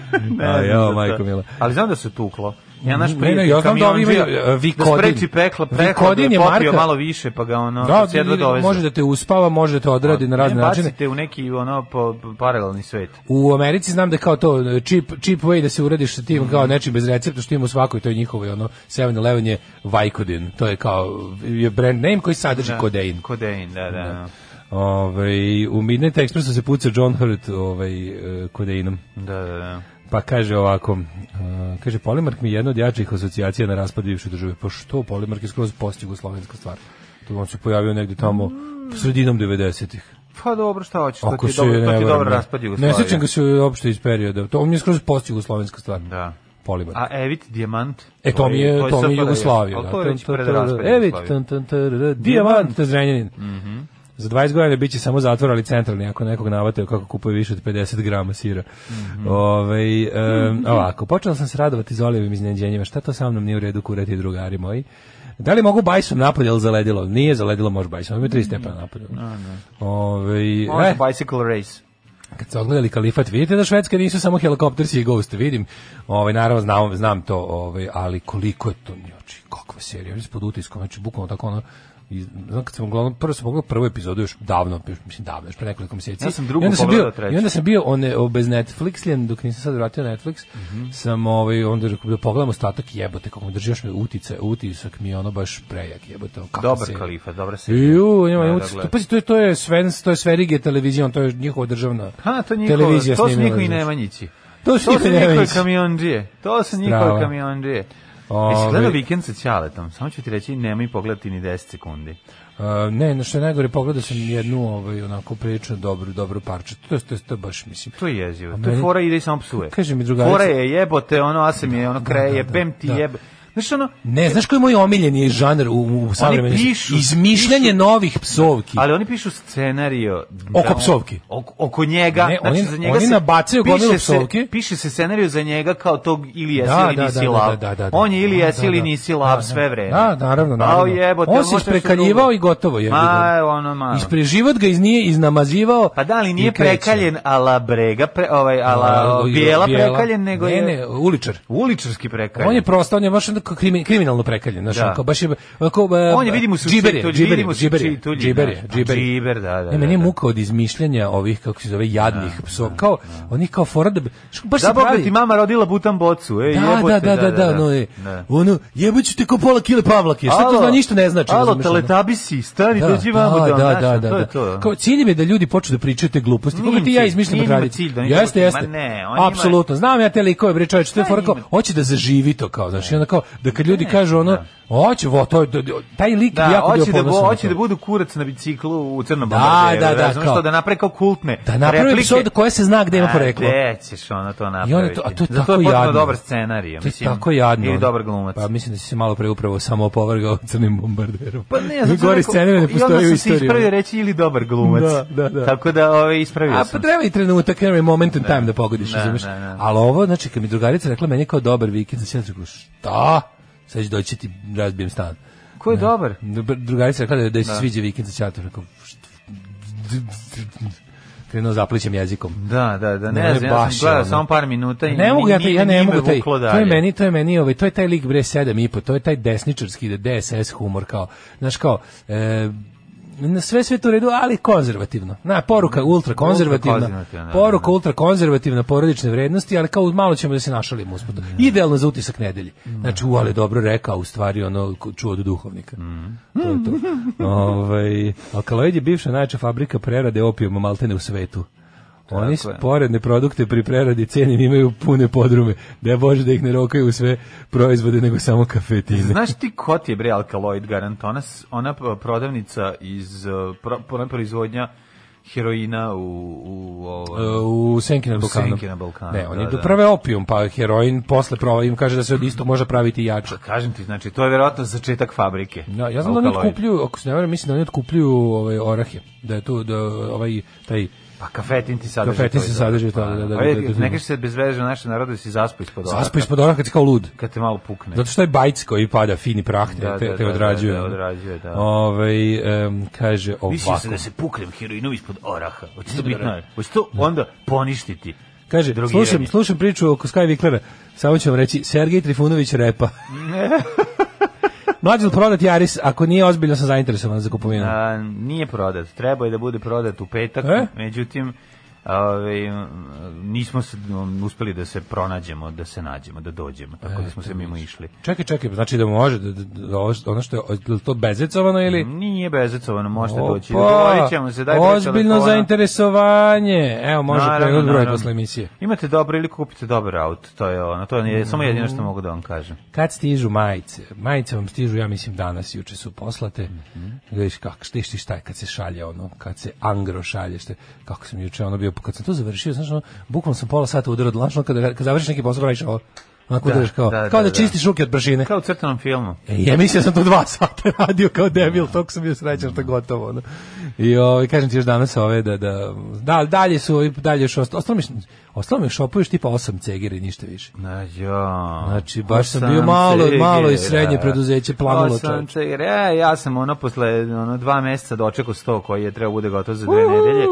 [SPEAKER 5] A,
[SPEAKER 6] znam za
[SPEAKER 5] jo,
[SPEAKER 6] to.
[SPEAKER 5] majko mila.
[SPEAKER 6] Ali znam da se tuklo. Ja naš
[SPEAKER 5] Ne, ne,
[SPEAKER 6] prijatelj
[SPEAKER 5] ja znam da ovi
[SPEAKER 6] kamionđija,
[SPEAKER 5] imaju, e,
[SPEAKER 6] da
[SPEAKER 5] Vikodin.
[SPEAKER 6] spreči pekla, pekla, da
[SPEAKER 5] Vikodin
[SPEAKER 6] je
[SPEAKER 5] je
[SPEAKER 6] popio
[SPEAKER 5] marka-
[SPEAKER 6] malo više, pa ga ono,
[SPEAKER 5] Da,
[SPEAKER 6] da, jedva
[SPEAKER 5] ili
[SPEAKER 6] dovezno.
[SPEAKER 5] može da te uspava, može da te odradi na razne
[SPEAKER 6] ne
[SPEAKER 5] načine.
[SPEAKER 6] bacite u neki ono po, po- paralelni svet.
[SPEAKER 5] U Americi znam da je kao to e, cheap, cheap way da se uradiš sa
[SPEAKER 6] Mhm.
[SPEAKER 5] tim kao nečim bez recepta što ima u svakoj toj njihovoj ono 7-Eleven je Vicodin. To je kao je brand name koji sadrži kodein.
[SPEAKER 6] Kodein, da, da. da.
[SPEAKER 5] Ovaj u Midnight Expressu se puca John Hurt ovaj e, kodeinom.
[SPEAKER 6] Da, da, da.
[SPEAKER 5] Pa kaže ovako, uh, kaže Polimark mi je jedna od jačih asocijacija na raspad bivše države. Pa što Polimark je skroz postjugoslovenska stvar. To on se pojavio negde tamo sredinom 90-ih.
[SPEAKER 6] Pa dobro, šta hoćeš, to ti
[SPEAKER 5] Ako
[SPEAKER 6] Mm. je
[SPEAKER 5] se
[SPEAKER 6] dobro, to
[SPEAKER 5] ne
[SPEAKER 6] ti je
[SPEAKER 5] varam,
[SPEAKER 6] dobro
[SPEAKER 5] ne.
[SPEAKER 6] raspad
[SPEAKER 5] Ne
[SPEAKER 6] Jugoslavije.
[SPEAKER 5] sećam ga se uopšte iz perioda. To mi je skroz postjugoslovenska stvar.
[SPEAKER 6] Da.
[SPEAKER 5] Polimark.
[SPEAKER 6] A Evit Dijamant?
[SPEAKER 5] E to mi je, to mi je
[SPEAKER 6] SFRJ,
[SPEAKER 5] Jugoslavija.
[SPEAKER 6] ali
[SPEAKER 5] da.
[SPEAKER 6] to je već
[SPEAKER 5] Tan, tan,
[SPEAKER 6] pred
[SPEAKER 5] tan,
[SPEAKER 6] raspad
[SPEAKER 5] E, vidi,
[SPEAKER 6] Jugoslavije. Mhm.
[SPEAKER 5] tan, tan, tan, tan, Dijamant, to je Zrenjanin. Za 20 godina biće samo zatvor, ali centralni, ako nekog navate kako kupuje više od 50 grama sira.
[SPEAKER 6] Mhm.
[SPEAKER 5] Ovaj, em, ovako, počela sam se radovati za olivim iznenađenjima. Šta to sa mnom nije u redu kurati drugari moji? Da li mogu bajsom napolje ili zaledilo? Nije zaledilo, može bajsom. Ima 3 stepena napolje. Ovaj,
[SPEAKER 6] Može
[SPEAKER 5] eh,
[SPEAKER 6] bicycle race.
[SPEAKER 5] kad ste odgledali kalifat, vidite da Švedska nisu samo helikoptersi i ghost, vidim. Ovaj naravno znam, znam to, ovaj, ali koliko je to, znači kakva serija, ja sam pod utiskom, znači bukvalno tako ono iz- znam kad sam uglavnom prvo sam pogledao prvu epizodu još davno, još, mislim davno, još pre nekoliko mjeseci.
[SPEAKER 6] Ja sam drugu
[SPEAKER 5] I onda sam
[SPEAKER 6] pogledao
[SPEAKER 5] bio,
[SPEAKER 6] treću.
[SPEAKER 5] I onda sam bio one, o, bez Netflixljen, dok nisam sad vratio Netflix,
[SPEAKER 6] Mhm.
[SPEAKER 5] sam ovaj, onda rekao da pogledam ostatak jebote, kako mi drži još me utice, utisak mi je ono baš prejak jebote. ono, kakva
[SPEAKER 6] Dobar
[SPEAKER 5] serija.
[SPEAKER 6] kalifat, dobra se.
[SPEAKER 5] Ju,
[SPEAKER 6] Da,
[SPEAKER 5] njima
[SPEAKER 6] da,
[SPEAKER 5] je
[SPEAKER 6] gledam.
[SPEAKER 5] Pazi, to je to je Svens, to je Sverige televizija, to je njihova državna.
[SPEAKER 6] Ha, to njihovo,
[SPEAKER 5] televizija
[SPEAKER 6] to su
[SPEAKER 5] snimila,
[SPEAKER 6] njihovi
[SPEAKER 5] znaš.
[SPEAKER 6] Nemanjići.
[SPEAKER 5] To su
[SPEAKER 6] To su
[SPEAKER 5] njihovi
[SPEAKER 6] njihovi
[SPEAKER 5] Nemanjići.
[SPEAKER 6] kamionđije. To su njihovi
[SPEAKER 5] Strava.
[SPEAKER 6] kamionđije. Jesi
[SPEAKER 5] Ove-
[SPEAKER 6] gledao vikend sa Ćaletom? Samo ću ti reći, nemoj pogledati ni 10 sekundi.
[SPEAKER 5] A, ne, no što je najgore, pogledao sam jednu ovaj, onako prilično dobru, dobru parče. To, je- to, je- to je baš, mislim.
[SPEAKER 6] To je jezivo.
[SPEAKER 5] A
[SPEAKER 6] To je
[SPEAKER 5] meni-
[SPEAKER 6] fora ide i samo psuje.
[SPEAKER 5] Kaže mi drugarica-
[SPEAKER 6] Fora je jebote, ono, a sam je, ono, kreje,
[SPEAKER 5] da,
[SPEAKER 6] jebem ti
[SPEAKER 5] da.
[SPEAKER 6] jebe. Znaš ono,
[SPEAKER 5] Ne, znaš koji je moj omiljeni žanr u, u savremenim?
[SPEAKER 6] pišu,
[SPEAKER 5] Izmišljanje novih psovki.
[SPEAKER 6] ali oni pišu scenario.
[SPEAKER 5] Oko psovki.
[SPEAKER 6] Oko, oko njega.
[SPEAKER 5] Ne,
[SPEAKER 6] znači,
[SPEAKER 5] oni-
[SPEAKER 6] za njega
[SPEAKER 5] oni
[SPEAKER 6] se,
[SPEAKER 5] nabacaju
[SPEAKER 6] piše
[SPEAKER 5] gomilu
[SPEAKER 6] se-
[SPEAKER 5] psovki.
[SPEAKER 6] Piše se scenario za njega kao tog ili jesi
[SPEAKER 5] Da,
[SPEAKER 6] ili
[SPEAKER 5] da,
[SPEAKER 6] nisi
[SPEAKER 5] da, da,
[SPEAKER 6] lav.
[SPEAKER 5] da, da, da.
[SPEAKER 6] On je ili
[SPEAKER 5] Da,
[SPEAKER 6] jesi
[SPEAKER 5] da,
[SPEAKER 6] ili
[SPEAKER 5] da.
[SPEAKER 6] nisi lav
[SPEAKER 5] Da,
[SPEAKER 6] sve vreme.
[SPEAKER 5] da, naravno,
[SPEAKER 6] Ao,
[SPEAKER 5] naravno.
[SPEAKER 6] jebote,
[SPEAKER 5] On se
[SPEAKER 6] možda što
[SPEAKER 5] isprekaljivao
[SPEAKER 6] drugo.
[SPEAKER 5] i gotovo je.
[SPEAKER 6] Ma, ono malo.
[SPEAKER 5] Ispred život ga iz nije iznamazivao.
[SPEAKER 6] Pa da li nije
[SPEAKER 5] i kreće.
[SPEAKER 6] prekaljen ala brega, pre, ovaj,
[SPEAKER 5] A,
[SPEAKER 6] ala
[SPEAKER 5] i-
[SPEAKER 6] bijela prekaljen, nego
[SPEAKER 5] ne,
[SPEAKER 6] je...
[SPEAKER 5] Ne, uličar.
[SPEAKER 6] Uličarski prekaljen.
[SPEAKER 5] On je prosto, on je baš onako krimi- kriminalno prekaljen, znaš,
[SPEAKER 6] Da.
[SPEAKER 5] onako, baš je, onako, e,
[SPEAKER 6] On je, vidimo se u
[SPEAKER 5] džiber je,
[SPEAKER 6] čitulji,
[SPEAKER 5] džiber je,
[SPEAKER 6] vidimo se u
[SPEAKER 5] džiber je,
[SPEAKER 6] čitulji,
[SPEAKER 5] džiber je,
[SPEAKER 6] znaš,
[SPEAKER 5] džiber je.
[SPEAKER 6] džiber, da, da,
[SPEAKER 5] E, meni je
[SPEAKER 6] da, da.
[SPEAKER 5] muka od izmišljanja ovih, kako se zove, jadnih psova, kao, oni kao fora da, bi- š- baš
[SPEAKER 6] Da
[SPEAKER 5] se
[SPEAKER 6] Bog da
[SPEAKER 5] pravi,
[SPEAKER 6] ti mama rodila butan bocu, ej,
[SPEAKER 5] da,
[SPEAKER 6] jebote,
[SPEAKER 5] da, da, da, da, ono je, ono, jebaću te ko pola kile pavlake, što to
[SPEAKER 6] Alo,
[SPEAKER 5] zna, ništa ne znači,
[SPEAKER 6] Alo,
[SPEAKER 5] razumeš, ono.
[SPEAKER 6] teletabisi, stani,
[SPEAKER 5] Da,
[SPEAKER 6] dođi vamo
[SPEAKER 5] da, da, da,
[SPEAKER 6] znaš, to
[SPEAKER 5] da,
[SPEAKER 6] je
[SPEAKER 5] da.
[SPEAKER 6] to. ono.
[SPEAKER 5] Kao cilj im je da ljudi počnu da pričaju te gluposti.
[SPEAKER 6] Nije
[SPEAKER 5] Kako
[SPEAKER 6] im
[SPEAKER 5] ti i ja
[SPEAKER 6] cilj,
[SPEAKER 5] izmišljam
[SPEAKER 6] nije njima
[SPEAKER 5] tradiciju?
[SPEAKER 6] cilj da oni
[SPEAKER 5] Jeste,
[SPEAKER 6] gluposti-
[SPEAKER 5] jeste.
[SPEAKER 6] ma ne, oni imaju-
[SPEAKER 5] Apsolutno. Znam ja te likove bre, čovječe, to je
[SPEAKER 6] Šta
[SPEAKER 5] fora kao
[SPEAKER 6] njima?
[SPEAKER 5] hoće da zaživi to kao, znači onda kao da kad ljudi kažu ono, hoće, vo, to je- taj lik bi
[SPEAKER 6] Da,
[SPEAKER 5] jako bio
[SPEAKER 6] hoće da, bo,
[SPEAKER 5] ponosan. na
[SPEAKER 6] hoće
[SPEAKER 5] to.
[SPEAKER 6] da budu kurac na biciklu u crnom
[SPEAKER 5] Da,
[SPEAKER 6] bombarderu,
[SPEAKER 5] da, da,
[SPEAKER 6] razumeš
[SPEAKER 5] kao-
[SPEAKER 6] to, da naprave kao kultne
[SPEAKER 5] Da napravi
[SPEAKER 6] replike.
[SPEAKER 5] epizodu koja se zna gde ima poreklo.
[SPEAKER 6] A, gde ćeš ono to napraviti?
[SPEAKER 5] to- a to je
[SPEAKER 6] Zato
[SPEAKER 5] tako
[SPEAKER 6] je potpuno
[SPEAKER 5] jadno.
[SPEAKER 6] dobar scenarij,
[SPEAKER 5] To je
[SPEAKER 6] mislim.
[SPEAKER 5] tako jadno.
[SPEAKER 6] Ili
[SPEAKER 5] ono.
[SPEAKER 6] dobar glumac.
[SPEAKER 5] Pa mislim da si se malo pre upravo samo opovrgao crnim bombarderom.
[SPEAKER 6] Pa ne, ja sam
[SPEAKER 5] Gori
[SPEAKER 6] rekao-
[SPEAKER 5] scenarij ne
[SPEAKER 6] I onda
[SPEAKER 5] postoji u
[SPEAKER 6] sam se
[SPEAKER 5] istoriji. ono.
[SPEAKER 6] ispravio reći ili dobar glumac.
[SPEAKER 5] Da, da, da.
[SPEAKER 6] Tako da ove, ispravio
[SPEAKER 5] A pa
[SPEAKER 6] sam.
[SPEAKER 5] treba i trenutak, nema i moment in time da pogodiš,
[SPEAKER 6] Ne,
[SPEAKER 5] razumeš?
[SPEAKER 6] ne, ne.
[SPEAKER 5] Ali ovo, znači, kad mi drugarica rekla, meni je kao dobar vikend, znači, ja sam rekao, šta? Sad ću doći ti razbijem stan.
[SPEAKER 6] Ko je dobar?
[SPEAKER 5] Dr- Drugarica je rekla da, da joj se sviđa vikend sa čatom, rekao, šta? krenuo zaplićem jezikom.
[SPEAKER 6] Da, da, da,
[SPEAKER 5] Ne,
[SPEAKER 6] ne znam, ja
[SPEAKER 5] baš
[SPEAKER 6] sam
[SPEAKER 5] je
[SPEAKER 6] gledao
[SPEAKER 5] ono.
[SPEAKER 6] samo par minuta i
[SPEAKER 5] Ne mogu ja,
[SPEAKER 6] ni-
[SPEAKER 5] taj-
[SPEAKER 6] ni-
[SPEAKER 5] ja ne
[SPEAKER 6] nije me
[SPEAKER 5] mogu taj.
[SPEAKER 6] vuklo
[SPEAKER 5] To je
[SPEAKER 6] dalje.
[SPEAKER 5] meni, to je meni, ovaj, to je taj lik bre 7 i po, to je taj desničarski DSS humor kao, znaš kao, e, na sve sve to u redu, ali konzervativno. Na poruka ultra konzervativna.
[SPEAKER 6] Ultrakonzervativna, da,
[SPEAKER 5] Poruka ultra konzervativna porodične vrednosti, ali kao malo ćemo da se našalimo usput. Idealno za utisak nedelje. Znači, u ali dobro rekao, u stvari ono ko- čuo od duhovnika. To je to. Ovaj alkaloid je bivša najjača fabrika prerade opijuma maltene u svetu. Oni
[SPEAKER 6] Tako je.
[SPEAKER 5] sporedne produkte pri preradi cenim imaju pune podrume. Da je Bože da ih ne rokaju u sve proizvode, nego samo kafetine.
[SPEAKER 6] Znaš ti ko ti je bre alkaloid garant? Ona, s- ona p- prodavnica iz uh, pro, pro- ona proizvodnja heroina u, u, ovaj,
[SPEAKER 5] E,
[SPEAKER 6] ovo-
[SPEAKER 5] u Senki na
[SPEAKER 6] U
[SPEAKER 5] Balkanu.
[SPEAKER 6] Senki na Balkanu,
[SPEAKER 5] Ne, oni
[SPEAKER 6] da,
[SPEAKER 5] da,
[SPEAKER 6] da.
[SPEAKER 5] prve opijum, pa heroin posle prova im kaže da se od isto može praviti i jače.
[SPEAKER 6] Kažem ti, znači, to je verovatno začetak fabrike.
[SPEAKER 5] Ja, ja znam E, da oni
[SPEAKER 6] Alkaloid.
[SPEAKER 5] otkupljuju, ako se ne varam, mislim da oni otkupljuju ovaj orahe. Da je tu da ovaj taj
[SPEAKER 6] Pa kafetin ti sadrži.
[SPEAKER 5] Kafetin
[SPEAKER 6] to
[SPEAKER 5] se
[SPEAKER 6] i to.
[SPEAKER 5] sadrži to, da, da, da, da, da, da.
[SPEAKER 6] Ne kažeš se bez veze naše narode si zaspo ispod oraka.
[SPEAKER 5] Zaspo ispod oraka kad si kao lud.
[SPEAKER 6] Kad te malo pukne.
[SPEAKER 5] Zato što je bajc koji pada fini prah te,
[SPEAKER 6] Da,
[SPEAKER 5] te,
[SPEAKER 6] da,
[SPEAKER 5] te
[SPEAKER 6] da,
[SPEAKER 5] odrađuje. ono.
[SPEAKER 6] da, da, odrađuje, da.
[SPEAKER 5] Ovaj, em, kaže
[SPEAKER 6] Mislio
[SPEAKER 5] ovako.
[SPEAKER 6] sam da se puknem heroinom ispod oraha. Hoće to bitno. Hoće to onda poništiti.
[SPEAKER 5] Kaže,
[SPEAKER 6] Drogirani.
[SPEAKER 5] slušam, slušam priču oko Sky Viklera. Samo ću vam reći, Sergej Trifunović repa. Mlađel prodat Jaris, ako nije ozbiljno sam zainteresovan za kupovinu.
[SPEAKER 6] A, nije prodat. Trebao je da bude prodat u petak,
[SPEAKER 5] E?
[SPEAKER 6] međutim ovaj, m, nismo se, m, uspeli da se pronađemo, da se nađemo, da dođemo. Tako da smo se mimo išli.
[SPEAKER 5] Čekaj, čekaj, znači da može, da, da, da ovo- ono što je, je li to bezecovano ili...
[SPEAKER 6] Nije bezecovano, možete Mhm, doći.
[SPEAKER 5] Opa,
[SPEAKER 6] Dogovorit ćemo se, daj broj
[SPEAKER 5] ozbiljno
[SPEAKER 6] telefona.
[SPEAKER 5] zainteresovanje. Evo, može
[SPEAKER 6] Naravno,
[SPEAKER 5] pregled broj
[SPEAKER 6] naravno.
[SPEAKER 5] posle emisije.
[SPEAKER 6] Imate dobro ili kupite dobar auto, to je ono, to je samo jedino što mogu da vam kažem.
[SPEAKER 5] Kad stižu majice? Majice vam stižu, ja mislim, danas, juče su poslate. Mm
[SPEAKER 6] Mhm.
[SPEAKER 5] kako, šta, šta, šta je kad se šalje ono, kad se angro šalje, šta, kako sam juče ono bio, kad sam to završio, znaš, ono, bukvalno sam pola sata udarao od lančnog, kada, kada završiš neki posao, praviš ovo, onako
[SPEAKER 6] Da,
[SPEAKER 5] udaraš kao,
[SPEAKER 6] da,
[SPEAKER 5] kao da,
[SPEAKER 6] da, da.
[SPEAKER 5] čistiš ruke od bršine.
[SPEAKER 6] Kao u crtanom filmu.
[SPEAKER 5] E, ja mislim da sam to dva sata radio kao debil, toliko sam bio srećan što je gotovo. Ono. I ovaj, kažem ti još danas ove da, da, da dalje su, ovi, dalje još, osta- ostalo mi, š- ostalo mi u šopu još tipa osam cegera i ništa više.
[SPEAKER 6] Na jo.
[SPEAKER 5] Znači, baš sam
[SPEAKER 6] Osam
[SPEAKER 5] bio malo-
[SPEAKER 6] cegera.
[SPEAKER 5] malo i srednje preduzeće planulo,
[SPEAKER 6] Osam
[SPEAKER 5] čovječe.
[SPEAKER 6] cegera. E, ja sam ono posle ono, dva meseca dočekao sto koji je trebao bude gotov za dve nedelje.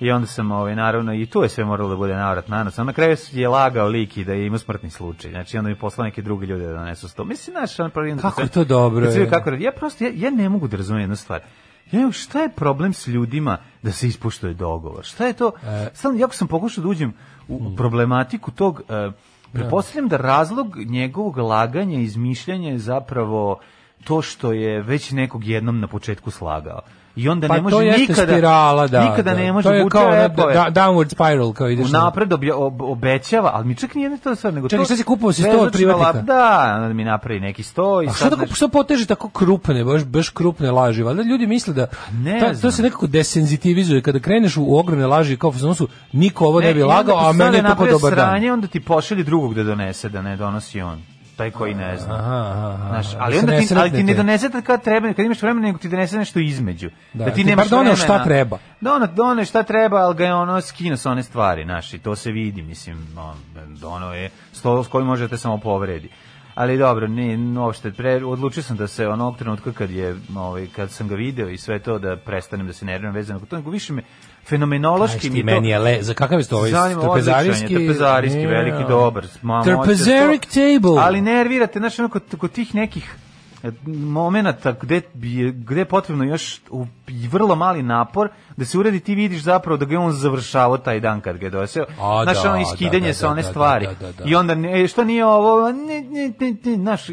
[SPEAKER 6] I onda sam, ovaj, naravno, i tu je sve moralo da bude navrat na nos. A na kraju je lagao lik i da je imao smrtni slučaj. Znači, onda mi poslao neke druge ljude da donesu sto. Mislim, znaš, ono, on pravi...
[SPEAKER 5] Kako je to dobro,
[SPEAKER 6] Kad se vidi
[SPEAKER 5] je.
[SPEAKER 6] kako radi. Ja prosto, ja, ja ne mogu da razumem jednu stvar. Ja, ne znam šta je problem s ljudima da se ispoštuje dogovor? Šta je to?
[SPEAKER 5] E,
[SPEAKER 6] Stalno, jako sam pokušao da uđem u,
[SPEAKER 5] mm.
[SPEAKER 6] u problematiku tog... e, pretpostavljam da razlog njegovog laganja, izmišljanja je zapravo to što je već nekog jednom na početku slagao. I onda
[SPEAKER 5] Pa
[SPEAKER 6] ne može
[SPEAKER 5] to jeste
[SPEAKER 6] nikada,
[SPEAKER 5] spirala, da.
[SPEAKER 6] nikada
[SPEAKER 5] da.
[SPEAKER 6] ne može
[SPEAKER 5] To je
[SPEAKER 6] vuče
[SPEAKER 5] kao ona
[SPEAKER 6] repove.
[SPEAKER 5] da, downward spiral, kao ideš. na-
[SPEAKER 6] Unapred obja- ob- obećava, ali mi čak nije ne to stvar, nego
[SPEAKER 5] Čekaj,
[SPEAKER 6] to...
[SPEAKER 5] šta si kupovao, si sto od
[SPEAKER 6] Bezlična
[SPEAKER 5] privatnika?
[SPEAKER 6] lap- Da, onda mi napravi neki sto i
[SPEAKER 5] A
[SPEAKER 6] sad...
[SPEAKER 5] što, tako,
[SPEAKER 6] nešto-
[SPEAKER 5] što poteže tako krupne, baš, baš krupne laži? Valjda ljudi misle da
[SPEAKER 6] Pa ne
[SPEAKER 5] ta- to
[SPEAKER 6] znam.
[SPEAKER 5] se nekako desenzitivizuje. Kada kreneš u ogromne laži, kao u zanosu, niko ovo ne, bi
[SPEAKER 6] E, i onda
[SPEAKER 5] lagao, a
[SPEAKER 6] kad
[SPEAKER 5] meni je
[SPEAKER 6] stane
[SPEAKER 5] tako
[SPEAKER 6] napravi
[SPEAKER 5] dobar dan.
[SPEAKER 6] sranje, onda ti pošalje drugog da donese, da ne donosi on. Taj koji ne zna.
[SPEAKER 5] Aha, aha, aha.
[SPEAKER 6] Znaš,
[SPEAKER 5] Da
[SPEAKER 6] ali
[SPEAKER 5] se
[SPEAKER 6] onda ti, ali ti
[SPEAKER 5] sretnete.
[SPEAKER 6] ne donese tad kad treba, kad imaš vremena, nego ti donese nešto između.
[SPEAKER 5] Da,
[SPEAKER 6] Da,
[SPEAKER 5] ti
[SPEAKER 6] ti nemaš
[SPEAKER 5] bar doneo
[SPEAKER 6] vremena.
[SPEAKER 5] šta treba.
[SPEAKER 6] Dono, dono šta treba, ali ga je ono skino sa one stvari, znaš, i to se vidi, mislim, no, dono je sto s kojim možete samo povredi. Ali dobro, ne, uopšte, pre, odlučio sam da se onog trenutka kad je, ovaj, kad sam ga video i sve to, da prestanem da se nerviram vezano. To nego više me
[SPEAKER 5] Znaš
[SPEAKER 6] fenomenološki
[SPEAKER 5] ti,
[SPEAKER 6] mi je to...
[SPEAKER 5] meni je le, za kakav je to ovaj
[SPEAKER 6] Zanima,
[SPEAKER 5] trpezarijski?
[SPEAKER 6] odličan je, trpezarijski,
[SPEAKER 5] Ja.
[SPEAKER 6] veliki, dobar. Mamo,
[SPEAKER 5] Trpezaric table.
[SPEAKER 6] Ali nervirate, znaš, ono, kod, kod tih nekih e, momenata gde, bi je- gde je potrebno još u, i vrlo mali napor da se uredi ti vidiš zapravo da ga je on završavao taj dan kad ga je doseo.
[SPEAKER 5] A,
[SPEAKER 6] Znaš,
[SPEAKER 5] da,
[SPEAKER 6] ono
[SPEAKER 5] da,
[SPEAKER 6] iskidanje
[SPEAKER 5] da,
[SPEAKER 6] sa one
[SPEAKER 5] da, da,
[SPEAKER 6] stvari.
[SPEAKER 5] da, da, da.
[SPEAKER 6] I onda, ne, e, što nije ovo, ne, ne, ne, ne, znaš,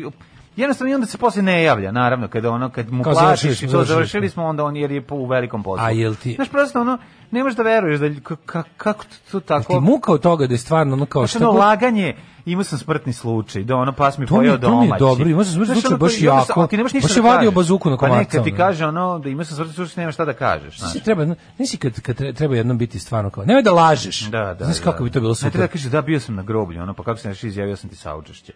[SPEAKER 6] jednostavno i onda se posle ne javlja, naravno, kada ono, kad mu
[SPEAKER 5] Kao završili
[SPEAKER 6] platiš
[SPEAKER 5] smo,
[SPEAKER 6] i to
[SPEAKER 5] završili
[SPEAKER 6] završili smo, onda on jer je po- u velikom poslu.
[SPEAKER 5] A jel ti-
[SPEAKER 6] Znaš, prosto ono, ne možeš da veruješ da lj- ka- ka- kako to, to tako...
[SPEAKER 5] Ti muka od toga da je stvarno ono kao
[SPEAKER 6] Znaš,
[SPEAKER 5] šta
[SPEAKER 6] ono
[SPEAKER 5] god-
[SPEAKER 6] laganje, imao sam smrtni slučaj, da ono pas mi
[SPEAKER 5] To mi je-
[SPEAKER 6] pojeo
[SPEAKER 5] to mi je
[SPEAKER 6] domaći.
[SPEAKER 5] dobro, imao sam smrtni
[SPEAKER 6] Znaš, ono,
[SPEAKER 5] slučaj,
[SPEAKER 6] to-
[SPEAKER 5] baš
[SPEAKER 6] i onda sam-
[SPEAKER 5] jako.
[SPEAKER 6] ali ti nemaš ništa
[SPEAKER 5] Baš je
[SPEAKER 6] da
[SPEAKER 5] vadio
[SPEAKER 6] kažeš.
[SPEAKER 5] bazuku na
[SPEAKER 6] Pa
[SPEAKER 5] komarca,
[SPEAKER 6] ne, kad ti
[SPEAKER 5] ono.
[SPEAKER 6] kaže ono da imao sam smrtni slučaj, nema šta da kažeš. Znaš.
[SPEAKER 5] Znaš, treba, nisi kad, kad tre- treba jednom biti stvarno kao, nemoj da lažeš.
[SPEAKER 6] Da, da.
[SPEAKER 5] Znaš
[SPEAKER 6] da.
[SPEAKER 5] kako bi to bilo
[SPEAKER 6] Ne treba
[SPEAKER 5] super.
[SPEAKER 6] da kaže, da, bio sam na groblju, ono, pa kako se nešto izjavio sam ti saučešće.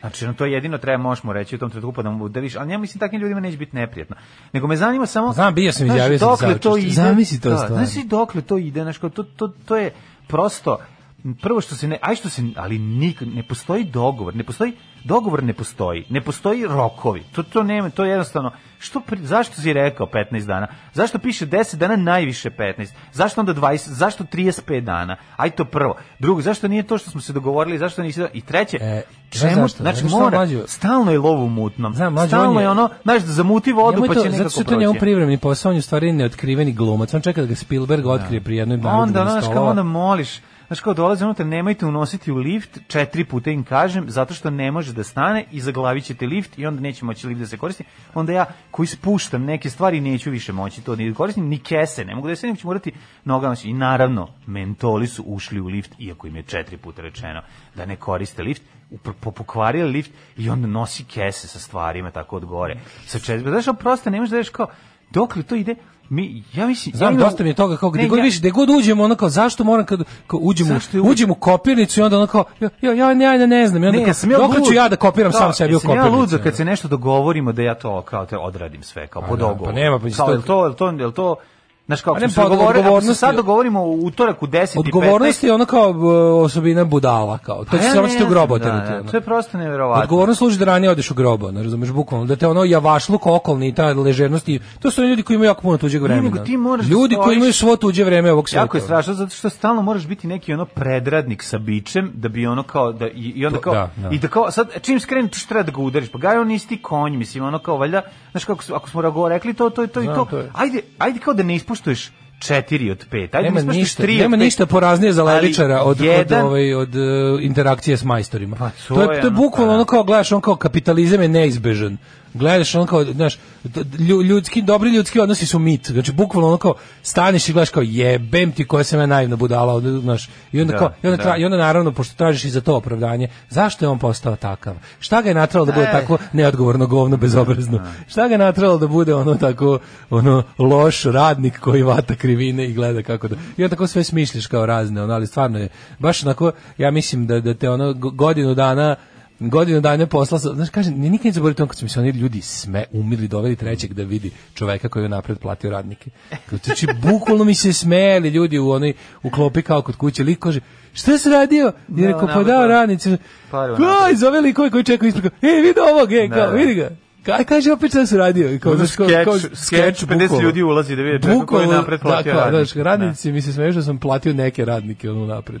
[SPEAKER 6] Znači, ono, to jedino treba, možeš mu reći u tom trenutku pa da mu da viš, ali ja mislim takvim ljudima neće biti neprijatno. Nego me zanima samo...
[SPEAKER 5] Znam, bio sam,
[SPEAKER 6] Znaš,
[SPEAKER 5] izjavio sam ti
[SPEAKER 6] dokle to
[SPEAKER 5] saučešće.
[SPEAKER 6] ide.
[SPEAKER 5] Zamisli to
[SPEAKER 6] da,
[SPEAKER 5] stvarno.
[SPEAKER 6] Znaš i dokle to ide, znaš, kao to, to, to je prosto, m, prvo što se ne, aj što se, ali nik, ne postoji dogovor, ne postoji, dogovor ne postoji, ne postoji rokovi, to, to nema, to je jednostavno, što, pri- zašto si rekao 15 dana, zašto piše 10 dana, najviše 15, zašto onda 20, zašto 35 dana, aj to prvo, drugo, zašto nije to što smo se dogovorili, zašto nisi, i treće,
[SPEAKER 5] E, znaš
[SPEAKER 6] čemu,
[SPEAKER 5] zašto?
[SPEAKER 6] znači
[SPEAKER 5] Znaš šta,
[SPEAKER 6] mora,
[SPEAKER 5] mlađo?
[SPEAKER 6] stalno je lov u mutnom,
[SPEAKER 5] Znam, mlađo, on
[SPEAKER 6] stalno
[SPEAKER 5] je-
[SPEAKER 6] je ono, znaš, da zamuti vodu,
[SPEAKER 5] Nemoj
[SPEAKER 6] pa
[SPEAKER 5] to-
[SPEAKER 6] će nekako
[SPEAKER 5] zato što to
[SPEAKER 6] proći.
[SPEAKER 5] njemu privremeni posao, on je u stvari neotkriveni glumac. On čeka da ga Spielberg otkrije pri jednoj
[SPEAKER 6] Pa onda, ono,
[SPEAKER 5] narudžbini
[SPEAKER 6] znaš, kao
[SPEAKER 5] stolova.
[SPEAKER 6] onda moliš, znaš, kao dolaze unutra, nemojte unositi u lift, četiri puta im kažem, zato što ne može da stane i zaglavit ćete lift i onda neće moći lift da se koristi. Onda ja, koji spuštam neke stvari, neću više moći to ni da koristim, ni kese, ne mogu da se nego ću morati nogama. I naravno, mentoli su ušli u lift, iako im je četiri puta rečeno da ne koriste lift, upr- po- pokvarili lift i onda nosi kese sa stvarima tako od gore. Sa četiri, znaš, ono, prosto ne možeš da veš kao, dokle to ide, mi, ja mislim... ja
[SPEAKER 5] Znam,
[SPEAKER 6] imam-
[SPEAKER 5] dosta mi je toga, kao gde
[SPEAKER 6] Ne,
[SPEAKER 5] god,
[SPEAKER 6] ja-
[SPEAKER 5] više, gde god uđemo, ono kao, zašto moram kad kao uđem,
[SPEAKER 6] Zašto
[SPEAKER 5] u,
[SPEAKER 6] je uvijek-
[SPEAKER 5] uđem u kopirnicu i onda ono kao, ja, ja, ja, ne, ja ne znam, i onda
[SPEAKER 6] Ne,
[SPEAKER 5] kao,
[SPEAKER 6] ja sam ja
[SPEAKER 5] dokle
[SPEAKER 6] lud.
[SPEAKER 5] ću ja da kopiram
[SPEAKER 6] Da,
[SPEAKER 5] sam sebi u
[SPEAKER 6] jesam
[SPEAKER 5] kopirnicu.
[SPEAKER 6] Ja lud za kad se nešto dogovorimo da ja to kao te odradim sve kao po
[SPEAKER 5] da,
[SPEAKER 6] dogovoru.
[SPEAKER 5] pa nema, pa
[SPEAKER 6] Kao,
[SPEAKER 5] isto-
[SPEAKER 6] jel to, jel to, jel to Znaš kako,
[SPEAKER 5] A ne,
[SPEAKER 6] smo se
[SPEAKER 5] pa
[SPEAKER 6] dogovorili- ako se
[SPEAKER 5] odgovornost
[SPEAKER 6] sad
[SPEAKER 5] je-
[SPEAKER 6] dogovorimo u utorak u 10 i 15.
[SPEAKER 5] Odgovornost je ono kao e, osobina budala kao. To
[SPEAKER 6] Pa
[SPEAKER 5] će
[SPEAKER 6] ja
[SPEAKER 5] se
[SPEAKER 6] ne
[SPEAKER 5] očito u
[SPEAKER 6] znam,
[SPEAKER 5] grobu
[SPEAKER 6] da,
[SPEAKER 5] oterati,
[SPEAKER 6] da,
[SPEAKER 5] ono.
[SPEAKER 6] To je prosto nevjerovatno.
[SPEAKER 5] Odgovornost služi da ranije odeš u grobo, ne razumeš bukvalno, da te ono javašluk okolni i ta ležernost i to su oni ljudi koji imaju jako puno tuđeg vremena.
[SPEAKER 6] nego ti moraš da
[SPEAKER 5] ljudi koji
[SPEAKER 6] stojiš-
[SPEAKER 5] imaju svo tuđe vreme ovog sveta.
[SPEAKER 6] Jako je strašno zato što stalno moraš biti neki ono predradnik sa bičem da bi ono kao da i, i onda
[SPEAKER 5] To-
[SPEAKER 6] kao
[SPEAKER 5] da, da.
[SPEAKER 6] i da kao sad čim skrenuš treba da ga udariš pa ga on isti konj mislim ono kao valjda znaš kako su- ako smo rago rekli to to i to i
[SPEAKER 5] Znam,
[SPEAKER 6] to
[SPEAKER 5] to je.
[SPEAKER 6] ajde ajde kao da ne ispoštuješ četiri od pet. Ajde,
[SPEAKER 5] Nema
[SPEAKER 6] ne ispoštuješ
[SPEAKER 5] ništa,
[SPEAKER 6] tri od
[SPEAKER 5] nema
[SPEAKER 6] pet,
[SPEAKER 5] ništa poraznije za
[SPEAKER 6] ali
[SPEAKER 5] levičara od,
[SPEAKER 6] jedan,
[SPEAKER 5] od, ovaj, od e, interakcije s majstorima.
[SPEAKER 6] Pa, to
[SPEAKER 5] to, je,
[SPEAKER 6] je
[SPEAKER 5] to je
[SPEAKER 6] ono,
[SPEAKER 5] bukvalno
[SPEAKER 6] pa,
[SPEAKER 5] ono
[SPEAKER 6] da.
[SPEAKER 5] kao gledaš, on kao kapitalizam je neizbežan. Gledaš on kao, znaš, d- d- lju- ljudski, dobri ljudski odnosi su mit. Znači, bukvalno ono kao, staniš i gledaš kao, jebem ti koja sam ja naivna budala, od- znaš, i onda,
[SPEAKER 6] Da,
[SPEAKER 5] kao, i, onda
[SPEAKER 6] da.
[SPEAKER 5] tra- i onda naravno, pošto tražiš i za to opravdanje, zašto je on postao takav? Šta ga je natralo da bude
[SPEAKER 6] E.
[SPEAKER 5] tako neodgovorno, govno, bezobrazno? Šta ga je natralo da bude ono tako, ono, loš radnik koji vata krivine i gleda kako da... I onda tako sve smišljaš kao razne, ono, ali stvarno je, baš onako, ja mislim da, da te ono go- godinu dana godinu dana posla, sa- znaš, kažem, ni- nikad ne zaboravim to kad su mi se oni ljudi sme umili, doveli trećeg da vidi čoveka koji je napred platio radnike. Znači, bukvalno mi se smeli ljudi u onoj, u klopi kao kod kuće, lik kaže, šta si radio? I
[SPEAKER 6] Da,
[SPEAKER 5] rekao, pa
[SPEAKER 6] napred,
[SPEAKER 5] dao
[SPEAKER 6] da.
[SPEAKER 5] radnici.
[SPEAKER 6] Pare unapred.
[SPEAKER 5] Aj, zove likove koji čekaju ispreka. E, vidi ovog, e,
[SPEAKER 6] Da,
[SPEAKER 5] kao,
[SPEAKER 6] da.
[SPEAKER 5] vidi ga. Kaj kaže opet šta se radio? I Kao,
[SPEAKER 6] Ono
[SPEAKER 5] znaš, kao,
[SPEAKER 6] skeč-
[SPEAKER 5] kao,
[SPEAKER 6] skeč,
[SPEAKER 5] skeč,
[SPEAKER 6] 50
[SPEAKER 5] bukvalno.
[SPEAKER 6] ljudi ulazi da vide čovjeka koji je
[SPEAKER 5] Bukvalno,
[SPEAKER 6] napred platio
[SPEAKER 5] da, kao,
[SPEAKER 6] radnike.
[SPEAKER 5] znaš, radnici mi se smeju što sam platio neke radnike ono napred.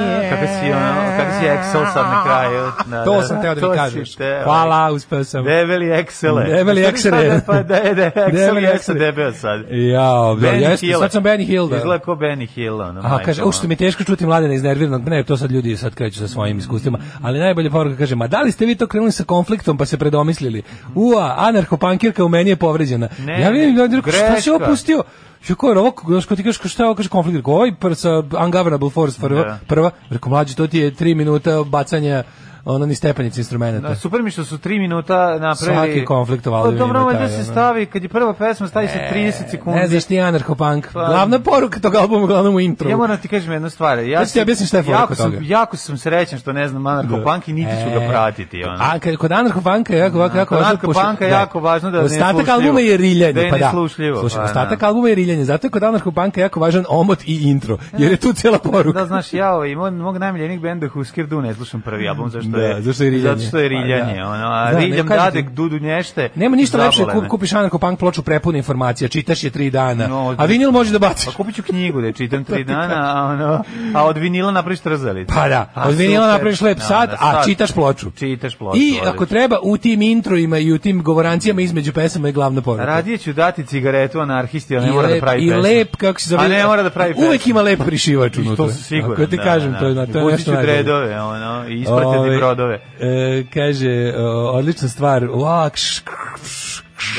[SPEAKER 6] Kako si, ono, kako si Excel sad na kraju. Da,
[SPEAKER 5] To
[SPEAKER 6] da,
[SPEAKER 5] sam
[SPEAKER 6] da,
[SPEAKER 5] teo da mi
[SPEAKER 6] to si
[SPEAKER 5] kažeš.
[SPEAKER 6] teo.
[SPEAKER 5] Hvala, uspeo sam.
[SPEAKER 6] Debeli Excel.
[SPEAKER 5] Debeli Excel-e.
[SPEAKER 6] Pa da, da, Excel
[SPEAKER 5] Debeli
[SPEAKER 6] je sa
[SPEAKER 5] Excel-e.
[SPEAKER 6] debeo sad.
[SPEAKER 5] Jao, da,
[SPEAKER 6] Benny
[SPEAKER 5] jeste,
[SPEAKER 6] Hill.
[SPEAKER 5] sad sam Benny Hill, da.
[SPEAKER 6] Izgleda ko Benny Hill, ono.
[SPEAKER 5] A,
[SPEAKER 6] majko
[SPEAKER 5] kaže,
[SPEAKER 6] moja.
[SPEAKER 5] uopšte mi je teško čuti mladena iznerviranog, ne, to sad ljudi sad kreću sa svojim iskustvima, ali najbolje poruka kaže, ma da li ste vi to krenuli sa konfliktom pa se predomislili? Ua, anarchopankirka u meni je povređena.
[SPEAKER 6] Ne,
[SPEAKER 5] ja vidim,
[SPEAKER 6] ne,
[SPEAKER 5] ljudi rekao, šta si
[SPEAKER 6] greška.
[SPEAKER 5] opustio? Jo, ko je ovo, znaš, ko ti kažeš, ko šta je ovo, kaže konflikt, rekao, ovaj pr, sa Ungovernable Force prva,
[SPEAKER 6] Da.
[SPEAKER 5] prva, rekao, mlađi, to ti je tri minuta bacanja ono ni stepenice instrumenta.
[SPEAKER 6] Da, super mi je što su 3 minuta napravili.
[SPEAKER 5] Svaki konflikt u
[SPEAKER 6] Pa
[SPEAKER 5] Alvinu
[SPEAKER 6] dobro,
[SPEAKER 5] ima
[SPEAKER 6] ovaj da
[SPEAKER 5] taj,
[SPEAKER 6] se
[SPEAKER 5] ono.
[SPEAKER 6] stavi, kad je prva pesma, stavi se 30 sekundi.
[SPEAKER 5] ne znaš ti anarchopunk.
[SPEAKER 6] Pa-
[SPEAKER 5] Glavna poruka tog albuma, uglavnom u intro.
[SPEAKER 6] Ja moram ti kažem jednu stvar. Ja
[SPEAKER 5] Sad ću ti objasniti šta je fora
[SPEAKER 6] jako
[SPEAKER 5] kod
[SPEAKER 6] sam,
[SPEAKER 5] toga. E,
[SPEAKER 6] jako sam srećan što ne znam anarcho-punk i niti ću ga pratiti. Ono.
[SPEAKER 5] A kad- kod anarchopanka je jako jako jako
[SPEAKER 6] kod
[SPEAKER 5] važno,
[SPEAKER 6] anarchopunka
[SPEAKER 5] pošto-
[SPEAKER 6] je jako važno da je
[SPEAKER 5] ostatak
[SPEAKER 6] neslušljivo.
[SPEAKER 5] albuma je riljanje,
[SPEAKER 6] Da je
[SPEAKER 5] pa da.
[SPEAKER 6] neslušljivo,
[SPEAKER 5] Slušaj,
[SPEAKER 6] pa
[SPEAKER 5] ostatak
[SPEAKER 6] da.
[SPEAKER 5] albuma je riljanje, zato je kod anarchopanka jako važan omot i intro, jer je tu cijela poruka.
[SPEAKER 6] Da, znaš, ja ovaj, moj, mog najmiljenik benda Husker Du ne slušam prvi album, zašto
[SPEAKER 5] Da,
[SPEAKER 6] je,
[SPEAKER 5] zašto je riljanje.
[SPEAKER 6] Zato što je riljanje,
[SPEAKER 5] Pa, da.
[SPEAKER 6] ono, a
[SPEAKER 5] Da, ne,
[SPEAKER 6] riljam
[SPEAKER 5] kažem ti-
[SPEAKER 6] dadek, dudu nješte.
[SPEAKER 5] Nema ništa lepše,
[SPEAKER 6] zabole
[SPEAKER 5] ku-
[SPEAKER 6] me.
[SPEAKER 5] kupiš anarchopunk ploču prepuna informacija, čitaš je tri dana,
[SPEAKER 6] No,
[SPEAKER 5] a vinil može da baciš.
[SPEAKER 6] Pa kupit ću knjigu da je čitam tri dana, a, ono, a od vinila napraviš trzalicu.
[SPEAKER 5] Pa da,
[SPEAKER 6] A
[SPEAKER 5] od vinila
[SPEAKER 6] super.
[SPEAKER 5] napraviš lep
[SPEAKER 6] Da,
[SPEAKER 5] sad,
[SPEAKER 6] da,
[SPEAKER 5] a čitaš ploču.
[SPEAKER 6] Čitaš ploču.
[SPEAKER 5] I ako
[SPEAKER 6] odlično.
[SPEAKER 5] treba u tim introima i u tim govorancijama između pesama je glavna poruka.
[SPEAKER 6] Radije ću dati cigaretu anarhisti, ali Pa ne mora da
[SPEAKER 5] lep-
[SPEAKER 6] pravi
[SPEAKER 5] I
[SPEAKER 6] pesmu.
[SPEAKER 5] lep, kako se zove.
[SPEAKER 6] A ne mora da pravi pesmu.
[SPEAKER 5] Uvek ima lep prišivač unutra.
[SPEAKER 6] To su sigurno.
[SPEAKER 5] Ako ti
[SPEAKER 6] da,
[SPEAKER 5] kažem,
[SPEAKER 6] da,
[SPEAKER 5] to je, na- to je
[SPEAKER 6] Pustit
[SPEAKER 5] nešto
[SPEAKER 6] ću
[SPEAKER 5] najbolje.
[SPEAKER 6] dredove, ono, i ispratiti
[SPEAKER 5] Ove,
[SPEAKER 6] brodove.
[SPEAKER 5] E, kaže, o, odlična stvar, uak, šk,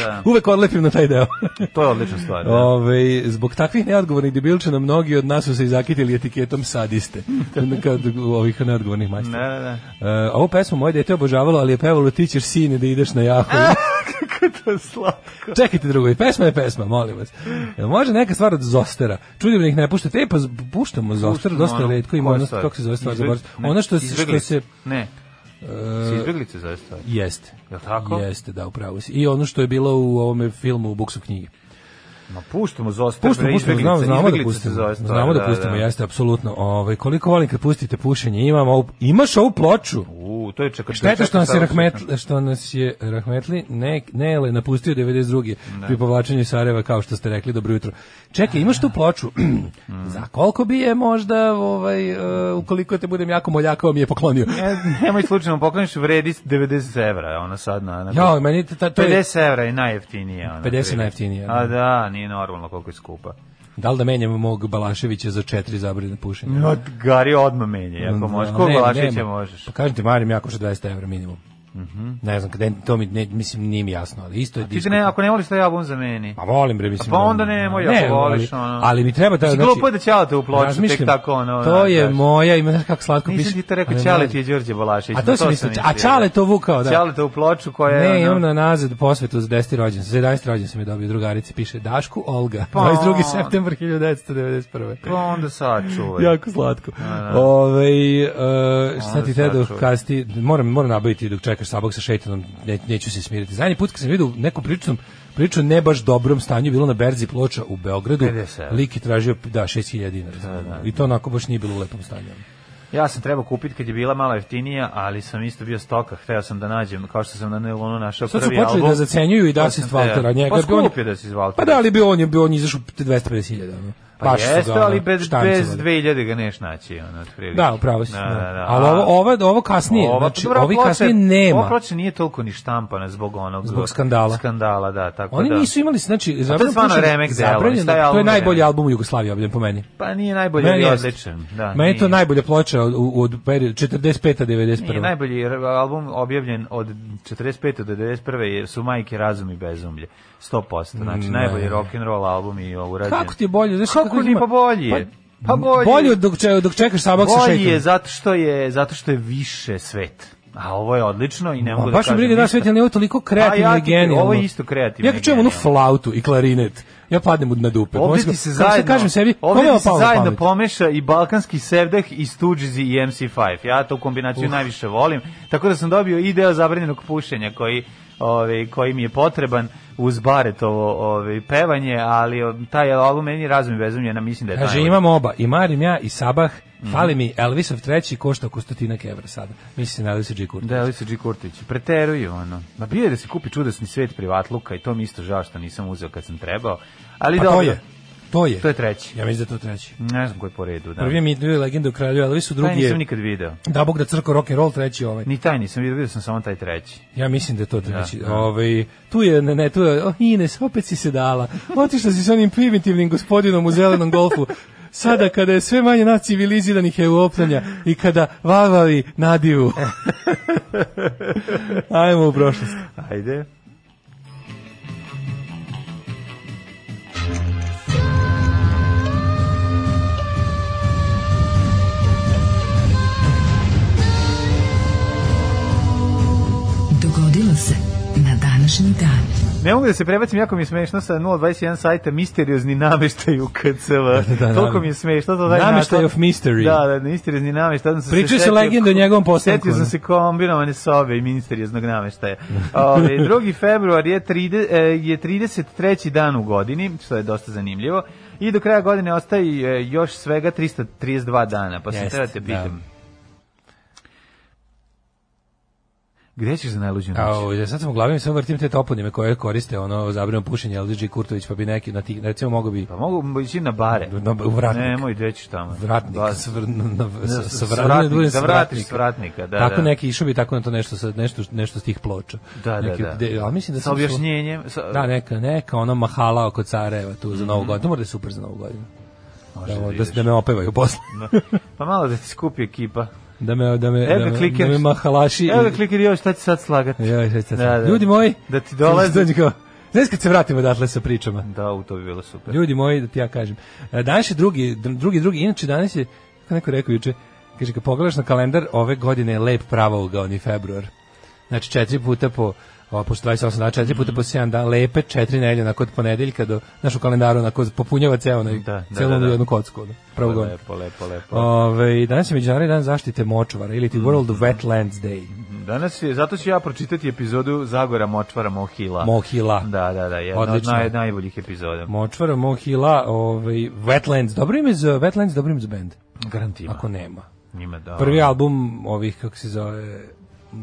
[SPEAKER 6] Da,
[SPEAKER 5] uvek odlepim na taj deo.
[SPEAKER 6] to je odlična stvar. Da.
[SPEAKER 5] Ove, zbog takvih neodgovornih debilčana mnogi od nas su se izakitili etiketom sadiste. Kad ovih neodgovornih
[SPEAKER 6] Da,
[SPEAKER 5] majstora.
[SPEAKER 6] da, da.
[SPEAKER 5] E, ovu pesmu moje dete obožavalo, ali je pevalo ti ćeš sine da ideš na jahu.
[SPEAKER 6] Kako to je slatko.
[SPEAKER 5] Čekajte drugo, i pesma je pesma, molim vas. Jel može neka stvar od Zostera? Čudim da ih ne puštate. E, pa z- puštamo Zoster,
[SPEAKER 6] Puštamo
[SPEAKER 5] dosta
[SPEAKER 6] ono,
[SPEAKER 5] retko ima
[SPEAKER 6] koja
[SPEAKER 5] ono,
[SPEAKER 6] stvar?
[SPEAKER 5] kako se zove stvar,
[SPEAKER 6] Izbeg-
[SPEAKER 5] zaboravim.
[SPEAKER 6] ne,
[SPEAKER 5] Ono što, se- što
[SPEAKER 6] izbeglice.
[SPEAKER 5] se...
[SPEAKER 6] Ne, se izbeglice zove stvar.
[SPEAKER 5] Jeste.
[SPEAKER 6] Jel tako?
[SPEAKER 5] Jeste, da, upravo si. I ono što je bilo u ovome filmu u buksu knjige.
[SPEAKER 6] Ma puštamo Zoster,
[SPEAKER 5] Puštamo,
[SPEAKER 6] bre,
[SPEAKER 5] puštamo, znamo,
[SPEAKER 6] izbeglice,
[SPEAKER 5] znamo da
[SPEAKER 6] izbeglice se
[SPEAKER 5] pustimo.
[SPEAKER 6] zove stvar,
[SPEAKER 5] Znamo da pustimo, jeste, apsolutno. Ovaj, koliko volim kad pustite pušenje, imam ovu, imaš ovu ploču?
[SPEAKER 6] U, to je čekaj.
[SPEAKER 5] Šteta
[SPEAKER 6] čekaj,
[SPEAKER 5] što nas je
[SPEAKER 6] sad
[SPEAKER 5] rahmetli, što nas je rahmetli ne, Nele napustio 92. pri povlačenju iz Sarajeva kao što ste rekli dobro jutro. Čekaj, imaš tu ploču.
[SPEAKER 6] Mm.
[SPEAKER 5] Za koliko bi je možda ovaj e, ukoliko te budem jako moljakao mi je poklonio.
[SPEAKER 6] Ne, E, nemoj slučajno pokloniš vredi 90 evra, ona sad na... na
[SPEAKER 5] Ja, meni ta, to je
[SPEAKER 6] 50 evra je najjeftinija. Ona,
[SPEAKER 5] 50
[SPEAKER 6] otprilike.
[SPEAKER 5] najjeftinija, da.
[SPEAKER 6] A da, nije normalno koliko je skupa.
[SPEAKER 5] da li da menjam mog Balaševića za četiri zabrine pušenja.
[SPEAKER 6] Od, gari odmah menje, ako možeš. Ko
[SPEAKER 5] Ne,
[SPEAKER 6] Balašića
[SPEAKER 5] nema.
[SPEAKER 6] možeš? Mhm.
[SPEAKER 5] Pa kažem ti, marim jako što 20 evra minimum. Ne znam, kada, to mi, ne, mislim, nije mi jasno, ali isto je
[SPEAKER 6] Ti
[SPEAKER 5] disko.
[SPEAKER 6] te ne, ako ne voliš taj album za meni.
[SPEAKER 5] Pa volim, bre, mislim.
[SPEAKER 6] Pa onda nemoj, ako
[SPEAKER 5] ne,
[SPEAKER 6] voliš,
[SPEAKER 5] ali-
[SPEAKER 6] ono.
[SPEAKER 5] Ali mi treba znači- da,
[SPEAKER 6] Mislim, glupo je da ćala te u ploču, tek
[SPEAKER 5] razmišljam,
[SPEAKER 6] tako, ono.
[SPEAKER 5] To je
[SPEAKER 6] znaš.
[SPEAKER 5] moja, ima, znaš kako slatko piše.
[SPEAKER 6] Nisam ti to rekao,
[SPEAKER 5] ali
[SPEAKER 6] Ćale
[SPEAKER 5] mlađe.
[SPEAKER 6] ti je Đorđe Balašić.
[SPEAKER 5] A to sam mislio, a Ćale to vukao, da.
[SPEAKER 6] Ćale te u ploču koja je...
[SPEAKER 5] Ne,
[SPEAKER 6] ono-
[SPEAKER 5] imam na nazad posvetu za 10. rođen. Za 11. rođen sam je dobio drugarici, piše Dašku Olga,
[SPEAKER 6] Pa.
[SPEAKER 5] 22. september 1991.
[SPEAKER 6] Pa onda sad čuvaj.
[SPEAKER 5] Jako slatko. Ovaj e, šta
[SPEAKER 6] Onda
[SPEAKER 5] ti te
[SPEAKER 6] sad
[SPEAKER 5] dok
[SPEAKER 6] čuj.
[SPEAKER 5] kasti, moram, moram nabaviti dok čekaš sabog sa šeitanom, ne, neću se smiriti. Zadnji put kad sam vidio neku priču, sam- priču o ne baš dobrom stanju, bilo na Berzi ploča u Beogradu,
[SPEAKER 6] 57.
[SPEAKER 5] lik je tražio da, 6000 dinara. I to onako baš nije bilo u lepom stanju.
[SPEAKER 6] Ja sam trebao kupiti kad je bila malo jeftinija, ali sam isto bio stoka, hteo sam da nađem, kao što sam na Nelonu našao
[SPEAKER 5] Sad su
[SPEAKER 6] prvi album.
[SPEAKER 5] počeli da zacenjuju i
[SPEAKER 6] Pa
[SPEAKER 5] da se
[SPEAKER 6] sam
[SPEAKER 5] Valtera
[SPEAKER 6] teo.
[SPEAKER 5] njega.
[SPEAKER 6] Pa
[SPEAKER 5] bi on-
[SPEAKER 6] skup je da se izvaltera.
[SPEAKER 5] Pa da, ali bio on je bio on je izašao 250.000. ono.
[SPEAKER 6] Pa
[SPEAKER 5] Baš su ga,
[SPEAKER 6] jeste,
[SPEAKER 5] ono,
[SPEAKER 6] ali bez,
[SPEAKER 5] štancovali.
[SPEAKER 6] bez 2000 ga neš naći. Ono, otprilike.
[SPEAKER 5] Da, upravo si.
[SPEAKER 6] Da,
[SPEAKER 5] Da,
[SPEAKER 6] da, da.
[SPEAKER 5] Ali ovo, ovo, ovo kasnije,
[SPEAKER 6] Ova-
[SPEAKER 5] znači,
[SPEAKER 6] Dobro,
[SPEAKER 5] ovi
[SPEAKER 6] ploča-
[SPEAKER 5] kasnije
[SPEAKER 6] Ova
[SPEAKER 5] nema.
[SPEAKER 6] ploča nije toliko ni štampana zbog onog...
[SPEAKER 5] Zbog skandala.
[SPEAKER 6] Skandala, da, tako
[SPEAKER 5] Oni
[SPEAKER 6] da.
[SPEAKER 5] nisu imali, znači,
[SPEAKER 6] to je
[SPEAKER 5] zabranjeno
[SPEAKER 6] stvarno remek delo, mislim, taj
[SPEAKER 5] to je
[SPEAKER 6] album je
[SPEAKER 5] najbolji
[SPEAKER 6] remek.
[SPEAKER 5] album u Jugoslaviji, ovdje po meni.
[SPEAKER 6] Pa nije najbolje,
[SPEAKER 5] Meni
[SPEAKER 6] ali je
[SPEAKER 5] jeste.
[SPEAKER 6] odličan. Da,
[SPEAKER 5] Meni je to
[SPEAKER 6] Pa nije.
[SPEAKER 5] najbolja ploča od, u- od perioda 45. 91.
[SPEAKER 6] Nije najbolji r- album objavljen od 45. do 91. je- su Majke razum i bezumlje. 100%. Znači, najbolji rock and roll album i ovo urađen.
[SPEAKER 5] Kako ti je bolje? Znaš,
[SPEAKER 6] Kako ni,
[SPEAKER 5] ima-
[SPEAKER 6] pa bolji je. Pa bolji
[SPEAKER 5] bolje
[SPEAKER 6] je.
[SPEAKER 5] od dok, če- dok čekaš sabak sa
[SPEAKER 6] Bolji je
[SPEAKER 5] šeitom.
[SPEAKER 6] zato što je, zato što je više svet. A ovo je odlično i ne mogu
[SPEAKER 5] Ma,
[SPEAKER 6] da
[SPEAKER 5] Baš mi
[SPEAKER 6] kažem.
[SPEAKER 5] briga da
[SPEAKER 6] ništa.
[SPEAKER 5] svet, ali ovo je toliko kreativno
[SPEAKER 6] A ja
[SPEAKER 5] i
[SPEAKER 6] ti- Ovo
[SPEAKER 5] genijalno.
[SPEAKER 6] je isto kreativno.
[SPEAKER 5] Ja kad čujem
[SPEAKER 6] i
[SPEAKER 5] onu
[SPEAKER 6] genijalno.
[SPEAKER 5] flautu i klarinet, ja padnem na dupe.
[SPEAKER 6] Ovdje
[SPEAKER 5] Možda-
[SPEAKER 6] ti se
[SPEAKER 5] kako
[SPEAKER 6] zajedno,
[SPEAKER 5] kažem sebi,
[SPEAKER 6] ovdje
[SPEAKER 5] kome
[SPEAKER 6] ti se
[SPEAKER 5] je opalo na
[SPEAKER 6] zajedno
[SPEAKER 5] pamet?
[SPEAKER 6] pomeša i balkanski sevdah i Stooges i MC5. Ja tu kombinaciju najviše volim. Tako da sam dobio i deo zabranjenog pušenja koji, ovaj, koji mi je potreban uz baretovo ovaj, pevanje, ali o, taj album meni razum i bezum je, na- mislim da je
[SPEAKER 5] Kaže,
[SPEAKER 6] najbolji.
[SPEAKER 5] imam oba, i Marim ja i Sabah,
[SPEAKER 6] Mhm.
[SPEAKER 5] fali mi Elvisov treći, košta oko stotinak evra sada. Mislim na Elvisa G. Kurta.
[SPEAKER 6] Da, Elisa G. Kurtić, preteruju ono. Ma bio je da se kupi čudesni svet privatluka i to mi isto žao što nisam uzeo kad sam trebao. Ali
[SPEAKER 5] pa
[SPEAKER 6] dobro,
[SPEAKER 5] to je, to je.
[SPEAKER 6] to je treći.
[SPEAKER 5] Ja mislim da je to treći.
[SPEAKER 6] Ne znam koji je po redu. Da.
[SPEAKER 5] Prvi je mi dvije legende u kralju Elvisu,
[SPEAKER 6] Taj
[SPEAKER 5] drugi
[SPEAKER 6] nisam
[SPEAKER 5] je
[SPEAKER 6] nikad video.
[SPEAKER 5] da bog da crko rock and roll, treći je ovaj.
[SPEAKER 6] Ni taj nisam vidio, vidio sam samo taj treći.
[SPEAKER 5] Ja mislim da je to treći. Ovaj tu je ne ne tu je oh, Ines opet si se dala. Otišla si s onim primitivnim gospodinom u zelenom golfu. Sada kada je sve manje nas civiliziranih europljanja i kada vavali nadivu. Ajmo u prošlost.
[SPEAKER 6] Ajde.
[SPEAKER 4] Dogodilo se na današnji dan.
[SPEAKER 6] Ne mogu da se prebacim, jako mi je smešno sa 021 sajta misteriozni nameštaj u KCV.
[SPEAKER 5] da,
[SPEAKER 6] Toliko
[SPEAKER 5] da.
[SPEAKER 6] mi je smešno. To taj
[SPEAKER 5] Nameštaj
[SPEAKER 6] naslov-
[SPEAKER 5] of mystery.
[SPEAKER 6] Da, da, misteriozni nameštaj. Onda sam se
[SPEAKER 5] Pričaju se
[SPEAKER 6] setio-
[SPEAKER 5] legende o njegovom ono. postanku,
[SPEAKER 6] Setio sam
[SPEAKER 5] ne?
[SPEAKER 6] se kombinovane sobe i misterioznog nameštaja. Ove, 2. februar je, 30, e, je 33. dan u godini, što je dosta zanimljivo. I do kraja godine ostaje e, još svega 332 dana. Pa sam
[SPEAKER 5] Jeste,
[SPEAKER 6] treba te
[SPEAKER 5] da.
[SPEAKER 6] pitam. Gde ćeš za najluđu noć?
[SPEAKER 5] Kao, ja ovaj, sad sam u glavi mi samo vrtim te toponime koje koriste ono zabrano pušenje LDG Kurtović pa bi neki na tih recimo mogu bi
[SPEAKER 6] Pa mogu ići na bare.
[SPEAKER 5] na u vratnik.
[SPEAKER 6] Nemoj deći tamo.
[SPEAKER 5] vratnik
[SPEAKER 6] Da,
[SPEAKER 5] svr- na- na- sa- sa
[SPEAKER 6] sa
[SPEAKER 5] vrat-
[SPEAKER 6] vratnik,
[SPEAKER 5] ne budem
[SPEAKER 6] da
[SPEAKER 5] sa
[SPEAKER 6] vratiš
[SPEAKER 5] vratnika.
[SPEAKER 6] s vratnika, da,
[SPEAKER 5] tako
[SPEAKER 6] da.
[SPEAKER 5] neki išao bi tako na to nešto sa nešto nešto s tih ploča.
[SPEAKER 6] Da, da,
[SPEAKER 5] Neki-
[SPEAKER 6] da.
[SPEAKER 5] de- ali mislim da
[SPEAKER 6] sa
[SPEAKER 5] sam čuo-
[SPEAKER 6] objašnjenjem. Sa,
[SPEAKER 5] Da, neka, neka, ono mahala oko Careva tu za Novu godinu. To mora da je super za Novu godinu.
[SPEAKER 6] Mhm. može
[SPEAKER 5] Da,
[SPEAKER 6] da
[SPEAKER 5] da,
[SPEAKER 6] ideš.
[SPEAKER 5] se- da me opevaju posle.
[SPEAKER 6] pa malo da ti skupi ekipa.
[SPEAKER 5] Da me, da me,
[SPEAKER 6] Evo
[SPEAKER 5] da
[SPEAKER 6] ga
[SPEAKER 5] me,
[SPEAKER 6] kliker.
[SPEAKER 5] da me mahalaši.
[SPEAKER 6] Evo ga kliker, joj, šta će sad slagati?
[SPEAKER 5] Joj, sad, sad,
[SPEAKER 6] Da, da.
[SPEAKER 5] Ljudi moji,
[SPEAKER 6] Da ti dolazi.
[SPEAKER 5] dođi kao- Znaš kad se vratimo odatle sa pričama?
[SPEAKER 6] Da, u to bi bilo super.
[SPEAKER 5] Ljudi moji, da ti ja kažem. E, Danas je drugi, dr- drugi, drugi, inače danas je, kako neko rekao juče, kaže, kad pogledaš na kalendar, ove godine je lep pravougaoni februar. Znači, četiri puta po o, pošto 28 dana, četiri puta po
[SPEAKER 6] Mhm.
[SPEAKER 5] 7 dana, lepe četiri nedelje, onako od ponedeljka do našu kalendaru, onako popunjava ceo, onaj,
[SPEAKER 6] Da, da,
[SPEAKER 5] celu
[SPEAKER 6] da, da.
[SPEAKER 5] jednu kocku, ono, pravougaoni.
[SPEAKER 6] Lepo, pa. lepo, lepo.
[SPEAKER 5] Ove, danas je Međunarodni dan zaštite močvara ili ti
[SPEAKER 6] Mhm.
[SPEAKER 5] World Wetlands Day.
[SPEAKER 6] Danas je, zato ću ja pročitati epizodu Zagora Močvara Mohila.
[SPEAKER 5] Mohila.
[SPEAKER 6] Da, da, da, jedna od
[SPEAKER 5] Odlično.
[SPEAKER 6] naj, najboljih epizoda.
[SPEAKER 5] Močvara, Mohila, ovaj, Wetlands. Dobro ime za Wetlands, dobro ime za band.
[SPEAKER 6] Garantima.
[SPEAKER 5] Ako nema.
[SPEAKER 6] Njima da. ono-
[SPEAKER 5] Prvi album ovih, kako se zove,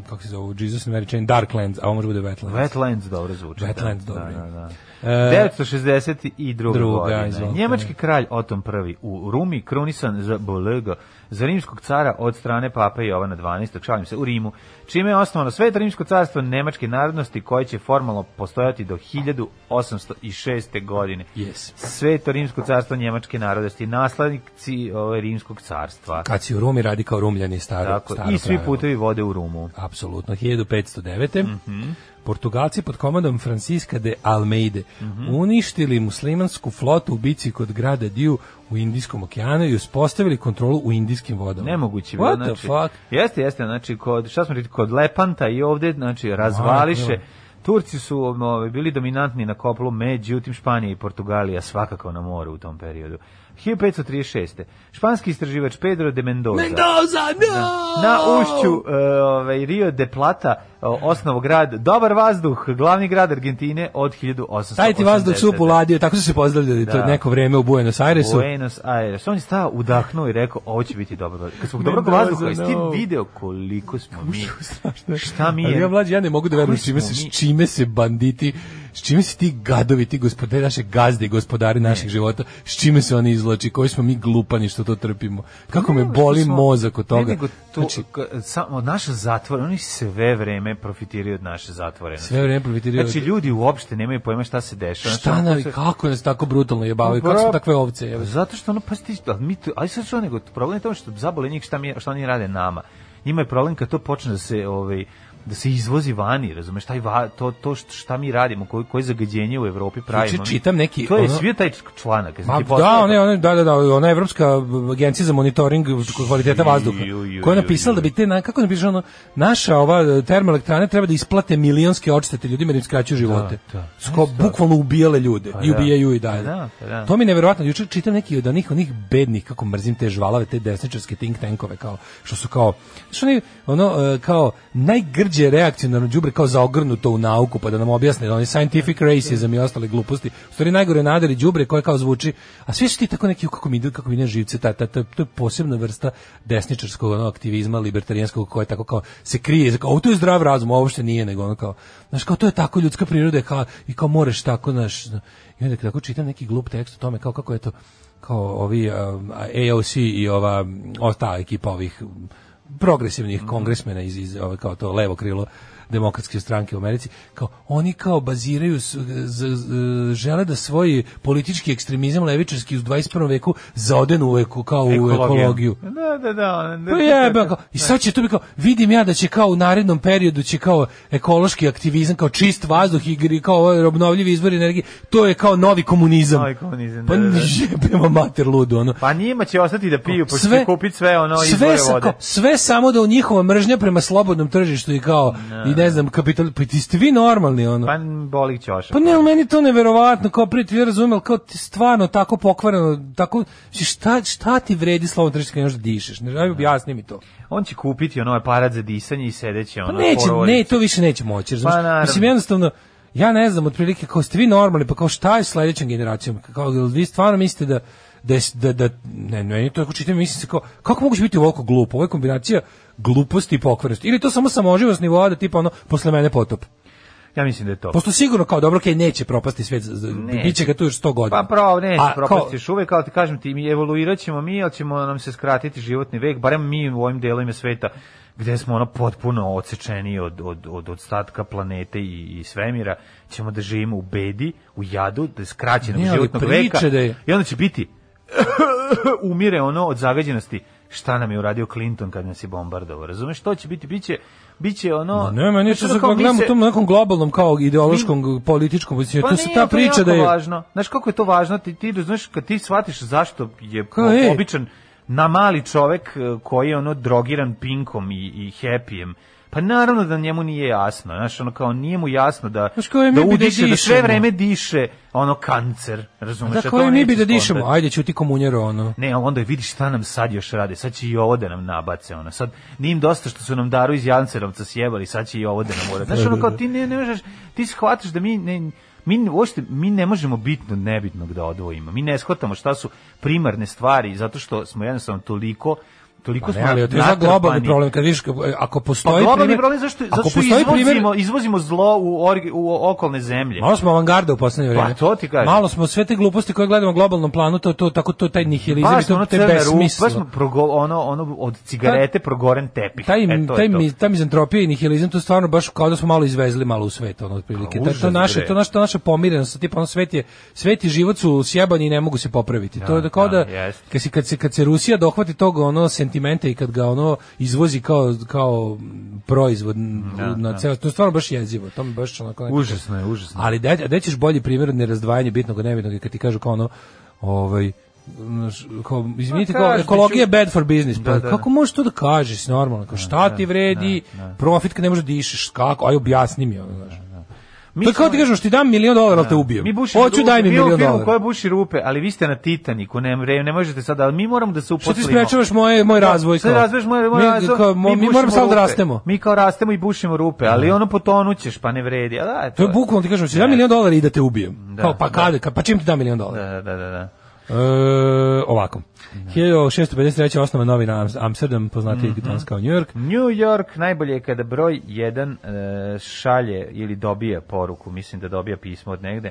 [SPEAKER 5] kako se zove, Jesus and Mary Chain, Darklands, a ovo može bude Wetlands.
[SPEAKER 6] Wetlands dobro zvuči.
[SPEAKER 5] Wetlands,
[SPEAKER 6] da,
[SPEAKER 5] dobro.
[SPEAKER 6] Da, da, da.
[SPEAKER 5] E,
[SPEAKER 6] 962.
[SPEAKER 5] Druga,
[SPEAKER 6] godine.
[SPEAKER 5] izvolite.
[SPEAKER 6] Njemački kralj Otom I u Rumi krunisan za Bolego, za rimskog cara od strane pape Jovana 12. šalim se, u Rimu, čime je osnovano sveto rimsko carstvo nemačke narodnosti koje će formalno postojati do 1806. godine.
[SPEAKER 5] Yes.
[SPEAKER 6] Sveto rimsko carstvo njemačke narodnosti, naslednici ovaj, rimskog carstva.
[SPEAKER 5] kad si u Rumi, radi kao rumljani staro,
[SPEAKER 6] Tako,
[SPEAKER 5] staro
[SPEAKER 6] I svi
[SPEAKER 5] pravilo.
[SPEAKER 6] putevi Mhm. vode u Rumu.
[SPEAKER 5] apsolutno, 1509. Mm -hmm. Portugalci pod komandom Francisca de Almeide
[SPEAKER 6] Mhm.
[SPEAKER 5] uništili muslimansku flotu u bici kod grada Diu u Indijskom okeanu i uspostavili kontrolu u indijskim vodama.
[SPEAKER 6] Nemoguće. bilo,
[SPEAKER 5] What the
[SPEAKER 6] znači,
[SPEAKER 5] fuck?
[SPEAKER 6] Jeste, jeste, znači, kod, šta smo rekli, kod Lepanta i ovde, znači, razvališe.
[SPEAKER 5] bilo.
[SPEAKER 6] Turci su um, ovaj, bili dominantni na koplu, međutim Španija i Portugalija svakako na moru u tom periodu. 1536. Španski istraživač Pedro de Mendoza
[SPEAKER 5] Mendoza, no!
[SPEAKER 6] na ušću e, ovaj, Rio de Plata e, osnovo grad Dobar vazduh, glavni grad Argentine od 1880.
[SPEAKER 5] Taj ti vazduh su poladio, tako su se pozdravljali to
[SPEAKER 6] Da.
[SPEAKER 5] neko vreme u Buenos Airesu.
[SPEAKER 6] Buenos Aires. On je stao, udahnuo i rekao, ovo će biti dobro. Kad smo dobro
[SPEAKER 5] Mendoza,
[SPEAKER 6] vazduha, jesi ti
[SPEAKER 5] no.
[SPEAKER 6] video koliko smo mi... Šta mi
[SPEAKER 5] Ali ja
[SPEAKER 6] je?
[SPEAKER 5] mlađi, ja ne mogu da verujem s
[SPEAKER 6] Koji
[SPEAKER 5] čime
[SPEAKER 6] smo
[SPEAKER 5] se,
[SPEAKER 6] mi?
[SPEAKER 5] s čime se banditi, s čime se ti gadovi, ti gospodari, naše gazde i gospodari naših života, s čime se oni izloči, koji smo mi glupani što to trpimo. Kako me boli
[SPEAKER 6] Pa Smo-
[SPEAKER 5] mozak od
[SPEAKER 6] Ne,
[SPEAKER 5] toga.
[SPEAKER 6] nego to,
[SPEAKER 5] Znači,
[SPEAKER 6] ka- samo naša zatvor, oni sve vreme profitiraju od naše zatvorenosti.
[SPEAKER 5] sve vreme profitiraju.
[SPEAKER 6] Znači, ljudi uopšte nemaju pojma šta se dešava.
[SPEAKER 5] šta
[SPEAKER 6] Znači,
[SPEAKER 5] nam,
[SPEAKER 6] ono se-
[SPEAKER 5] kako nas tako brutalno jebavaju, kako smo
[SPEAKER 6] Bra-
[SPEAKER 5] takve ovce, jebe.
[SPEAKER 6] Zato što ono, pa ti, ali mi to, ali sad što nego, problem je to što zabole njih šta, mi, šta oni rade nama. Njima je problem kad to počne da se, ovaj, da se izvozi vani, razumeš, taj va, to, to što- šta mi radimo, koje, koje zagađenje u Evropi pravimo.
[SPEAKER 5] Juče čitam neki,
[SPEAKER 6] To je
[SPEAKER 5] ono-
[SPEAKER 6] svi taj članak. jesam
[SPEAKER 5] Ma,
[SPEAKER 6] ti
[SPEAKER 5] da,
[SPEAKER 6] poslao
[SPEAKER 5] ona,
[SPEAKER 6] to?
[SPEAKER 5] ona, da, da, da, ona Evropska agencija za monitoring kvaliteta vazduha,
[SPEAKER 6] ju, ju,
[SPEAKER 5] koja je
[SPEAKER 6] ju,
[SPEAKER 5] napisala
[SPEAKER 6] ju.
[SPEAKER 5] da bi te, na, kako napiše ono, naša ova e, termoelektrana treba da isplate milionske odštete ljudima da im skraćuju živote.
[SPEAKER 6] Da, da.
[SPEAKER 5] Sko, bukvalno ubijale ljude i
[SPEAKER 6] da.
[SPEAKER 5] ubijaju i dalje.
[SPEAKER 6] Pa da, pa da.
[SPEAKER 5] To mi je nevjerojatno. Juče čitam neki od onih, onih bednih, kako mrzim te žvalave, te desničarske think tankove, kao, što su kao, što oni, ono, e, kao, najgrđe reakcionarno đubre kao zaogrnuto u nauku, pa da nam objasne, oni scientific racism i ostale gluposti. U stvari najgore nadari đubre koje kao zvuči, a svi su ti tako neki, kako mi idu, kako mi ne živce, ta, ta, ta, to je posebna vrsta desničarskog ono, aktivizma, libertarijanskog, koja je tako kao, se krije, kao, "O, to je zdrav razum, a uopšte nije, nego ono kao, znaš, kao, to je tako ljudska priroda, je kao, i kao moreš tako, znaš, i onda tako čitam neki glup tekst o tome kao kako je to kao ovi um, AOC i ova mm, o, ta ekipa ovih mm, progresivnih kongresmena iz, iz ove, kao to levo krilo demokratske stranke u Americi, kao oni kao baziraju, s- z- z- žele da svoj politički ekstremizam levičarski u 21. veku zaodenu u, eko- kao u ekologiju.
[SPEAKER 6] Da, da, da. ona- da,
[SPEAKER 5] Pa jebe, kao, I sad će to biti kao, vidim ja da će kao u narednom periodu će kao ekološki aktivizam, kao čist vazduh i gri- kao ovaj obnovljivi izvori energije, to je kao novi komunizam.
[SPEAKER 6] Novi komunizam,
[SPEAKER 5] Pa
[SPEAKER 6] da, da, da.
[SPEAKER 5] jebemo mater ludu, ono.
[SPEAKER 6] Pa njima će ostati da piju, pošto će kupiti sve ono izvore
[SPEAKER 5] sve, sa-
[SPEAKER 6] vode.
[SPEAKER 5] kao, sve samo da u njihova mržnja prema slobodnom tržištu i kao, i ne znam, kapital, pa ti ste vi normalni, ono.
[SPEAKER 6] Pa boli ćošak.
[SPEAKER 5] Pa ne, ali meni je to neverovatno, kao prije ti ja razumem, ali kao ti stvarno tako pokvareno, tako, šta, šta ti vredi slobodno tržište kad ne možeš da dišeš? Ne, ajde, objasni mi to.
[SPEAKER 6] On će kupiti ono aparat za disanje i sedeće
[SPEAKER 5] Pa
[SPEAKER 6] ono.
[SPEAKER 5] neće,
[SPEAKER 6] porodice.
[SPEAKER 5] ne, to više neće moći, razumiješ?
[SPEAKER 6] Pa naravno.
[SPEAKER 5] Mislim, jednostavno, ja ne znam, otprilike, kao ste vi normalni, pa kao šta je s sledećom generacijom? Kao, jel vi stvarno mislite da, da, je s- da, da ne, ne, to ako čitam, mislim se kao, kako moguće biti ovoliko glupo? Ovo je kombinacija gluposti i pokvarenosti. Ili je to samo samoživost nivoa da tipa ono, posle mene potop.
[SPEAKER 6] Ja mislim da je to.
[SPEAKER 5] Pošto sigurno kao, dobro, okej, neće propasti svet, z- z-
[SPEAKER 6] Neće.
[SPEAKER 5] bit će ga tu još 100 godina.
[SPEAKER 6] Pa pravo, ne,
[SPEAKER 5] A,
[SPEAKER 6] propastiš uvek, kao ti kažem ti, mi evoluirat ćemo mi, ali ćemo nam se skratiti životni vek, barem mi u ovim delovima sveta gde smo ono potpuno odsečeni od, od, od ostatka planete i, i svemira, ćemo da živimo u bedi, u jadu, da je skraćenog
[SPEAKER 5] Ne, ali
[SPEAKER 6] životnog
[SPEAKER 5] priče
[SPEAKER 6] veka.
[SPEAKER 5] da je-
[SPEAKER 6] I onda će biti, umire ono od zagađenosti, šta nam je uradio Clinton kad nas je bombardovao, razumeš, to će biti, biće, biće ono...
[SPEAKER 5] Pa ne, meni
[SPEAKER 6] Znaš,
[SPEAKER 5] se
[SPEAKER 6] ono
[SPEAKER 5] sad
[SPEAKER 6] kao mi
[SPEAKER 5] gledamo u
[SPEAKER 6] se- Pa
[SPEAKER 5] tom nekom globalnom kao ideološkom političkom poziciju. Znači, to se
[SPEAKER 6] nije,
[SPEAKER 5] ta
[SPEAKER 6] ali je
[SPEAKER 5] priča
[SPEAKER 6] jako
[SPEAKER 5] da je
[SPEAKER 6] važno. Znaš kako je to važno? Ti ti znaš kad ti shvatiš zašto je
[SPEAKER 5] Kao,
[SPEAKER 6] o-
[SPEAKER 5] ej.
[SPEAKER 6] običan na mali čovek e, koji je ono drogiran pinkom i i happyem. Pa naravno da njemu nije jasno, znaš, ono kao nije mu jasno da
[SPEAKER 5] Znaš, kao, e, mi
[SPEAKER 6] da
[SPEAKER 5] bi da
[SPEAKER 6] udiše, da sve
[SPEAKER 5] dišemo.
[SPEAKER 6] vreme diše ono kancer, razumeš?
[SPEAKER 5] Da
[SPEAKER 6] a Znači, to
[SPEAKER 5] koji mi
[SPEAKER 6] neće
[SPEAKER 5] bi da dišemo,
[SPEAKER 6] skontati.
[SPEAKER 5] ajde ćuti komunjero ono.
[SPEAKER 6] Ne, ali onda vidiš šta nam sad još rade, sad će i ovo da nam nabace, ono, sad nije im dosta što su nam daru iz Jancerovca sjebali, sad će i ovo da nam urade. Znaš, ono kao ti ne, ne možeš, ti shvataš da mi ne, mi, uopšte, mi ne možemo bitno od nebitnog da odvojimo, mi ne shvatamo šta su primarne stvari, zato što smo jednostavno toliko toliko
[SPEAKER 5] Pa
[SPEAKER 6] smo
[SPEAKER 5] ne, ali to je za
[SPEAKER 6] natrpani.
[SPEAKER 5] globalni problem, kad vidiš, kako- ako
[SPEAKER 6] Pa
[SPEAKER 5] postoji
[SPEAKER 6] globalni
[SPEAKER 5] primer-
[SPEAKER 6] problem zašto,
[SPEAKER 5] ako
[SPEAKER 6] zato što
[SPEAKER 5] postoji
[SPEAKER 6] izvozimo,
[SPEAKER 5] primer-
[SPEAKER 6] izvozimo zlo u, orgi, u okolne zemlje.
[SPEAKER 5] Malo smo avangarda u poslednje
[SPEAKER 6] Pa,
[SPEAKER 5] vrijeme.
[SPEAKER 6] to ti kažem.
[SPEAKER 5] Malo smo sve te gluposti koje gledamo na globalnom planu, to to tako to taj nihilizam i
[SPEAKER 6] Baš
[SPEAKER 5] to
[SPEAKER 6] smo ono
[SPEAKER 5] te
[SPEAKER 6] crne rupe,
[SPEAKER 5] besmisla.
[SPEAKER 6] baš smo progo, ono, ono od cigarete progoren tepih.
[SPEAKER 5] Taj,
[SPEAKER 6] E, to je
[SPEAKER 5] taj,
[SPEAKER 6] to.
[SPEAKER 5] mi, taj mizantropija i nihilizam, to stvarno baš kao da smo malo izvezli malo u svet, ono, otprilike.
[SPEAKER 6] Pa,
[SPEAKER 5] Ta- to,
[SPEAKER 6] užas,
[SPEAKER 5] naše,
[SPEAKER 6] bre.
[SPEAKER 5] to naša, to naša pomirenost, tipa, ono, svet je, svet i život su sjebani i ne mogu se popraviti. to je da kao
[SPEAKER 6] da,
[SPEAKER 5] da,
[SPEAKER 6] jest.
[SPEAKER 5] kad, se, kad, se, kad se Rusija dohvati tog, ono, sen, sentimente i kad ga ono izvozi kao, kao proizvod
[SPEAKER 6] Da,
[SPEAKER 5] na
[SPEAKER 6] da.
[SPEAKER 5] ceo, to je stvarno baš jezivo, to mi baš onako... nekako-
[SPEAKER 6] Užasno je, užasno.
[SPEAKER 5] ali da, da ćeš bolji primjer od nerazdvajanja bitnog od nebitnog, je kad ti kažu kao ono, ovaj, znaš, kao, izvinite,
[SPEAKER 6] Ma
[SPEAKER 5] kao,
[SPEAKER 6] kažete
[SPEAKER 5] ekologija je
[SPEAKER 6] ću-
[SPEAKER 5] bad for business. Pa
[SPEAKER 6] Pa Da, da, da.
[SPEAKER 5] kako možeš to da kažeš normalno? Kao, šta ti vredi? Profit kad ne možeš da dišeš, kako? Aj, objasni mi ono, znaš.
[SPEAKER 6] Mi
[SPEAKER 5] to je kao
[SPEAKER 6] smo-
[SPEAKER 5] ti kažeš, ti dam milion dolara, ali te ubijem.
[SPEAKER 6] Mi bušimo
[SPEAKER 5] Hoću, daj mi
[SPEAKER 6] rupe, mi
[SPEAKER 5] milion
[SPEAKER 6] u filmu koja
[SPEAKER 5] dolara.
[SPEAKER 6] buši rupe, ali vi ste na Titaniku, ne, mre- ne možete sad, ali mi moramo da se
[SPEAKER 5] Što ti
[SPEAKER 6] uposlimo.
[SPEAKER 5] sprečavaš moje, moj razvoj?
[SPEAKER 6] Sad
[SPEAKER 5] kao?
[SPEAKER 6] razviješ moj, moj
[SPEAKER 5] Mi-
[SPEAKER 6] razvoj,
[SPEAKER 5] kao, mo- mi
[SPEAKER 6] bušimo
[SPEAKER 5] moramo samo da
[SPEAKER 6] rupe.
[SPEAKER 5] rastemo.
[SPEAKER 6] Mi kao rastemo i bušimo rupe, ali ono potonućeš, pa ne vredi. A da, je
[SPEAKER 5] To je bukvalno ti kažem, ti dam milion dolara i da te ubijem.
[SPEAKER 6] Da,
[SPEAKER 5] Kao, pa kada, ka- pa čim ti dam milion dolara?
[SPEAKER 6] Da, da, da, da.
[SPEAKER 5] E, ovako. 1653. osnova novi na Amsterdam, poznati
[SPEAKER 6] Mhm.
[SPEAKER 5] mm kao New York.
[SPEAKER 6] New York najbolje je kada broj 1 šalje ili dobije poruku, mislim da dobija pismo od negde,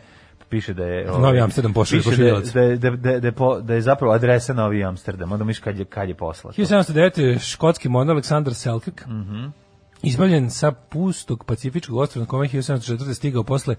[SPEAKER 6] piše da je ovaj,
[SPEAKER 5] Novi Amsterdam pošalje
[SPEAKER 6] piše
[SPEAKER 5] pošiljac.
[SPEAKER 6] da, je- da, je- da, je- da, je po- da je zapravo adresa Novi Amsterdam, onda miš kad je, kad je poslat.
[SPEAKER 5] 1709. škotski monar Aleksandar Selkirk
[SPEAKER 6] Mhm.
[SPEAKER 5] izbavljen sa pustog pacifičkog ostrva na kome je 1704. stigao posle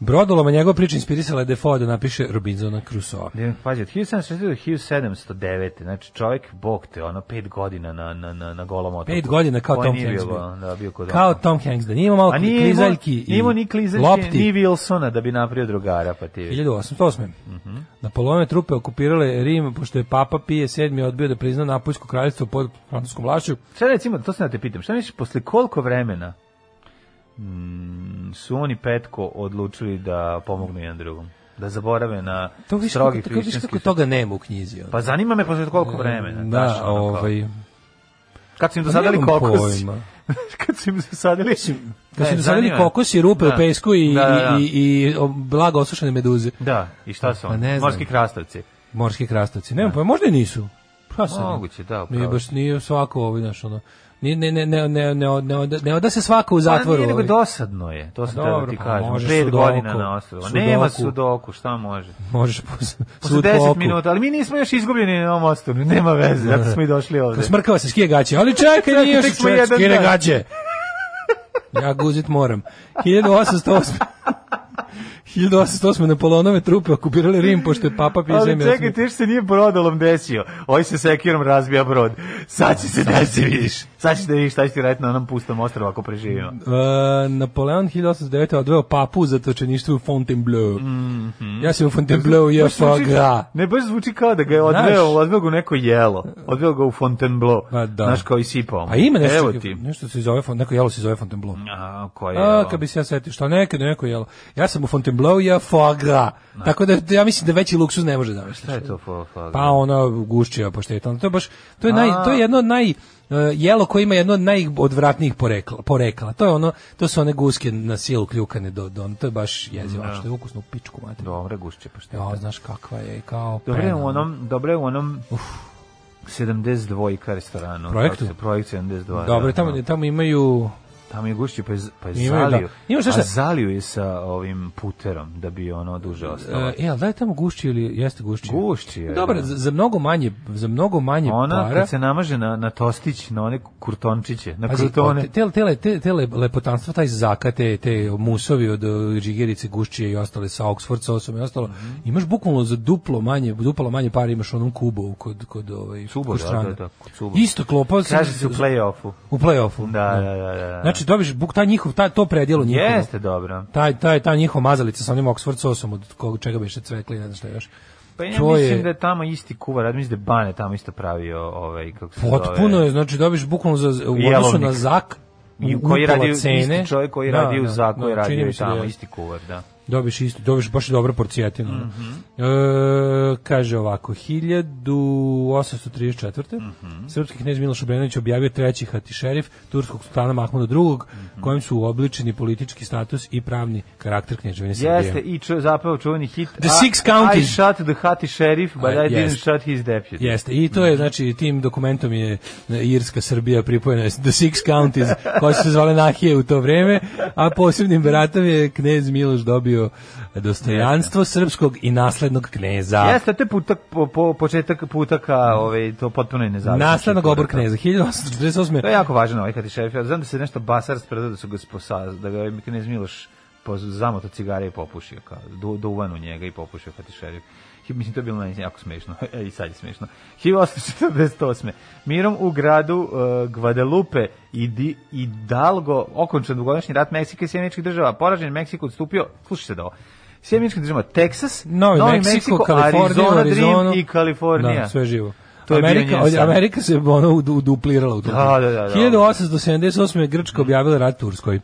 [SPEAKER 5] brodoloma. Njegova priča inspirisala je Defoe da napiše Robinsona Crusoe.
[SPEAKER 6] Ne, Pazi, od 1760 do 1709, znači čovjek, bog te, ono, pet godina na, na, na, na golom otoku.
[SPEAKER 5] Pet godina kao
[SPEAKER 6] Koji
[SPEAKER 5] Tom
[SPEAKER 6] nije
[SPEAKER 5] Hanks
[SPEAKER 6] bio
[SPEAKER 5] bio.
[SPEAKER 6] golan, Da, bio kod
[SPEAKER 5] Kao
[SPEAKER 6] otoka.
[SPEAKER 5] Tom Hanks, da nije imao malo
[SPEAKER 6] A nije imao,
[SPEAKER 5] klizaljki
[SPEAKER 6] nije imao ni klizaljki,
[SPEAKER 5] lopti.
[SPEAKER 6] ni Wilsona da bi napravio drugara, pa ti vidi.
[SPEAKER 5] 1808.
[SPEAKER 6] Mhm.
[SPEAKER 5] Napoleone trupe okupirale Rim, pošto je Papa Pije VII odbio da prizna Napoljsko kraljevstvo pod francuskom vlašću.
[SPEAKER 6] Šta recimo, to sam da te pitam, šta misliš, posle koliko vremena mm, su oni petko odlučili da pomognu jedan drugom? Da zaborave na
[SPEAKER 5] To više kako,
[SPEAKER 6] strogi
[SPEAKER 5] kako, viš kako
[SPEAKER 6] hrišćanski...
[SPEAKER 5] toga nema u knjizi. ono.
[SPEAKER 6] Pa zanima me posle koliko vremena. znaš,
[SPEAKER 5] da,
[SPEAKER 6] ono, kao-
[SPEAKER 5] ovaj...
[SPEAKER 6] Kad su im
[SPEAKER 5] pa
[SPEAKER 6] dosadili
[SPEAKER 5] nemam
[SPEAKER 6] kokos.
[SPEAKER 5] pojma.
[SPEAKER 6] Kad su im dosadili...
[SPEAKER 5] Kad su
[SPEAKER 6] Ne,
[SPEAKER 5] dosadili
[SPEAKER 6] zanima me.
[SPEAKER 5] kokos i rupe
[SPEAKER 6] Da.
[SPEAKER 5] u pesku i,
[SPEAKER 6] Da, da, da.
[SPEAKER 5] i, i, i o- blago osušene meduze,
[SPEAKER 6] Da, i šta su
[SPEAKER 5] Pa
[SPEAKER 6] oni?
[SPEAKER 5] ne znam.
[SPEAKER 6] Morski krastavci.
[SPEAKER 5] morski krastavci. Nemam pojma, možda i nisu. Pa sad.
[SPEAKER 6] Moguće, da,
[SPEAKER 5] Nije
[SPEAKER 6] upravo.
[SPEAKER 5] baš nije svako ovaj, znaš, ono, nije- ne, ne, ne, ne, ne, ne, oda- ne oda se svako u
[SPEAKER 6] Pa
[SPEAKER 5] zatvoru.
[SPEAKER 6] nije nego
[SPEAKER 5] ovaj.
[SPEAKER 6] dosadno je, to sam
[SPEAKER 5] Pa
[SPEAKER 6] teo da
[SPEAKER 5] dobro,
[SPEAKER 6] ti
[SPEAKER 5] pa
[SPEAKER 6] kažem.
[SPEAKER 5] može
[SPEAKER 6] Pet
[SPEAKER 5] sudoku,
[SPEAKER 6] godina na osnovu. Pa Nema
[SPEAKER 5] sudoku.
[SPEAKER 6] sudoku, šta može?
[SPEAKER 5] Možeš pos,
[SPEAKER 6] Posle 10 minuta, ali mi nismo još izgubljeni na ovom ostavu, nema veze, zato smo i došli ovde.
[SPEAKER 5] Smrkava se skije gaće, ali čekaj, nije
[SPEAKER 6] Tek
[SPEAKER 5] još
[SPEAKER 6] smo
[SPEAKER 5] čovjek
[SPEAKER 6] jedan
[SPEAKER 5] skine
[SPEAKER 6] dan.
[SPEAKER 5] gaće. Ja guzit moram. 1808. 1808. Napoleonove trupe okupirale Rim, pošto je papa pije
[SPEAKER 6] Ali
[SPEAKER 5] zemlje.
[SPEAKER 6] čekaj, ti još se nije brodolom desio. Ovaj se sekirom razbija brod. Sad će se desiti, vidiš. Sad ćeš da vidiš šta će ti raditi na onom pustom ostrovu ako preživimo.
[SPEAKER 5] Uh, Napoleon 1809. odveo papu u zatočeništvu u Fontainebleau.
[SPEAKER 6] Mhm.
[SPEAKER 5] Ja sam u Fontainebleau, ja
[SPEAKER 6] Baš zvuči-
[SPEAKER 5] faga.
[SPEAKER 6] Ne, baš zvuči kao da ga je
[SPEAKER 5] Znaš-
[SPEAKER 6] odveo, odveo ga u neko jelo. Odveo ga u Fontainebleau.
[SPEAKER 5] Pa da.
[SPEAKER 6] Znaš, kao i sipao. mu.
[SPEAKER 5] A ima nešto,
[SPEAKER 6] Evo
[SPEAKER 5] čekaj,
[SPEAKER 6] ti. Mm,
[SPEAKER 5] nešto se zove, Fon- neko jelo se zove Fontainebleau.
[SPEAKER 6] A, koje je?
[SPEAKER 5] A, kad bi se ja setio, šta nekad je neko jelo. Ja sam u Fontainebleau, ja faga. Tako da ja mislim da veći luksuz ne može zamisliti.
[SPEAKER 6] Šta je to fo- fo-
[SPEAKER 5] Pa ona guščija pašteta. ali To je baš to je naj
[SPEAKER 6] A.
[SPEAKER 5] to je jedno od naj e, jelo koje ima jedno od najodvratnijih porekla, porekla. To je ono to su one guske na silu kljukane do do to je baš jezivo, a što je ukusno u pičku mater.
[SPEAKER 6] Dobre gušće pa paštete.
[SPEAKER 5] Ja, znaš kakva je kao
[SPEAKER 6] Dobre je
[SPEAKER 5] pena.
[SPEAKER 6] u onom, dobre je u onom 72 restoranu.
[SPEAKER 5] Projektu?
[SPEAKER 6] Kako se- Projekt 72.
[SPEAKER 5] Dobro,
[SPEAKER 6] da,
[SPEAKER 5] tamo
[SPEAKER 6] da.
[SPEAKER 5] tamo imaju
[SPEAKER 6] Tamo je gušće, pa je, z- pa je
[SPEAKER 5] Imaju, da.
[SPEAKER 6] zalio.
[SPEAKER 5] Ima šta
[SPEAKER 6] A
[SPEAKER 5] šta-
[SPEAKER 6] zalio je sa ovim puterom, da bi ono duže ostalo.
[SPEAKER 5] e, jel da je tamo gušći ili jeste gušći?
[SPEAKER 6] Gušći je,
[SPEAKER 5] Dobro,
[SPEAKER 6] da.
[SPEAKER 5] za, za mnogo manje, za mnogo manje
[SPEAKER 6] Ona
[SPEAKER 5] para.
[SPEAKER 6] kad se namaže na, na tostić, na one kurtončiće, na
[SPEAKER 5] Pazi,
[SPEAKER 6] krutone.
[SPEAKER 5] Te, te, le- te, te le- lepotanstva, taj zakat, te, te musovi od e, Žigerice, Guščije i ostale sa Oxford sosom i ostalo,
[SPEAKER 6] Mhm.
[SPEAKER 5] imaš bukvalno za duplo manje, duplo manje para imaš u onom Kubovu kod, kod, ovaj,
[SPEAKER 6] Cubo,
[SPEAKER 5] kod
[SPEAKER 6] da,
[SPEAKER 5] strane.
[SPEAKER 6] da, da, kod Cubo.
[SPEAKER 5] Isto klopao se
[SPEAKER 6] Kaže se u play-offu.
[SPEAKER 5] u play-offu.
[SPEAKER 6] Da, da, da. da.
[SPEAKER 5] Znači, dobiš buk, taj njihov, taj, to predjelo njihovo.
[SPEAKER 6] Jeste dobro.
[SPEAKER 5] Taj, taj, ta njihova mazalica sa onim Oxford sosom, od kog, čega beše cvekli, ne znam šta još.
[SPEAKER 6] Pa ja
[SPEAKER 5] To je-
[SPEAKER 6] mislim da je tamo isti kuvar, ja mislim da je Bane tamo isto pravio ovaj, kako se zove.
[SPEAKER 5] Potpuno je, znači dobiš bukvalno za, u odnosu
[SPEAKER 6] Jelovnik.
[SPEAKER 5] na zak,
[SPEAKER 6] I
[SPEAKER 5] u
[SPEAKER 6] koji
[SPEAKER 5] upola
[SPEAKER 6] radi
[SPEAKER 5] Ono, cene.
[SPEAKER 6] isti čovjek koji
[SPEAKER 5] Da,
[SPEAKER 6] radi u
[SPEAKER 5] da,
[SPEAKER 6] Zaku, koji
[SPEAKER 5] da,
[SPEAKER 6] radi
[SPEAKER 5] čini mi
[SPEAKER 6] i
[SPEAKER 5] se da
[SPEAKER 6] tamo
[SPEAKER 5] jeste.
[SPEAKER 6] isti kuvar, da.
[SPEAKER 5] Dobiš isto, dobiš baš dobro porcijatinu. ono. e, kaže ovako, 1834. Srpski knjez Miloš Obrenović objavio treći hatišerif turskog sultana Mahmuda II, kojim su uobličeni politički status i pravni karakter knježevine Srbije.
[SPEAKER 6] Jeste i čo, zapravo čuveni hit
[SPEAKER 5] The
[SPEAKER 6] I-
[SPEAKER 5] Six Counties.
[SPEAKER 6] I shot the Hati sheriff, but
[SPEAKER 5] A,
[SPEAKER 6] I didn't
[SPEAKER 5] jest.
[SPEAKER 6] shot his deputy.
[SPEAKER 5] Jeste, i to je, znači, tim dokumentom je e, Irska Srbija pripojena The Six Counties, koji su se zvale Nahije u to vreme, a posebnim beratom je knez Miloš dobio dostojanstvo srpskog i naslednog kneza.
[SPEAKER 6] Jeste, to je putak, po, po, početak puta ka ovaj, to potpuno je nezavisno.
[SPEAKER 5] Naslednog obor kneza, 1848.
[SPEAKER 6] ovaj, To je jako važno, ovaj Hati sheriff. Ja znam da se nešto basar spredao da su ga sposa, da ga je knez Miloš po, zamoto cigare i popušio, kao, du, duvan u njega i popušio Hatišeriju. Mislim, to je bilo meni jako smešno, e, i sad je smešno. 1848. Mirom u gradu uh, Guadalupe i Di, Hidalgo okončan dugogodišnji rat Meksika i Sjemeničkih država. Poražen Meksiko odstupio, slušaj sad ovo, Sjemenička država, Texas,
[SPEAKER 5] Novi, Novi Meksiko, Kalifornija,
[SPEAKER 6] Arizona,
[SPEAKER 5] Arizona
[SPEAKER 6] Dream i Kalifornija.
[SPEAKER 5] Da, sve je živo.
[SPEAKER 6] To je bio
[SPEAKER 5] Amerika,
[SPEAKER 6] njen san.
[SPEAKER 5] Amerika se ono ud- uduplirala u to.
[SPEAKER 6] Da, da, da, Mm. da.
[SPEAKER 5] 1878. je Grčka objavila rat Turskoj.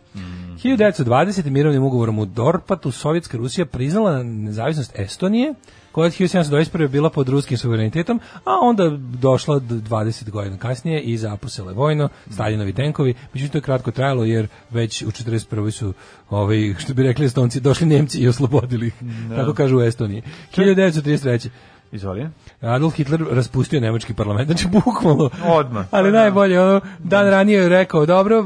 [SPEAKER 5] 1920. mirovnim ugovorom u Dorpatu Sovjetska Rusija priznala nezavisnost Estonije, koja je 1721. bila pod ruskim suverenitetom, a onda došla d- 20 godina kasnije i zapusele vojno, Staljinovi tenkovi. Međutim, to je kratko trajalo jer već u 41. su, ovaj, što bi rekli Estonci, došli Nemci i oslobodili ih. Tako kažu u Estoniji. 1933.
[SPEAKER 6] Izvoli.
[SPEAKER 5] Adolf Hitler raspustio nemački parlament, znači bukvalno.
[SPEAKER 6] Odmah.
[SPEAKER 5] Ali najbolje, ono, dan ranije je rekao, dobro,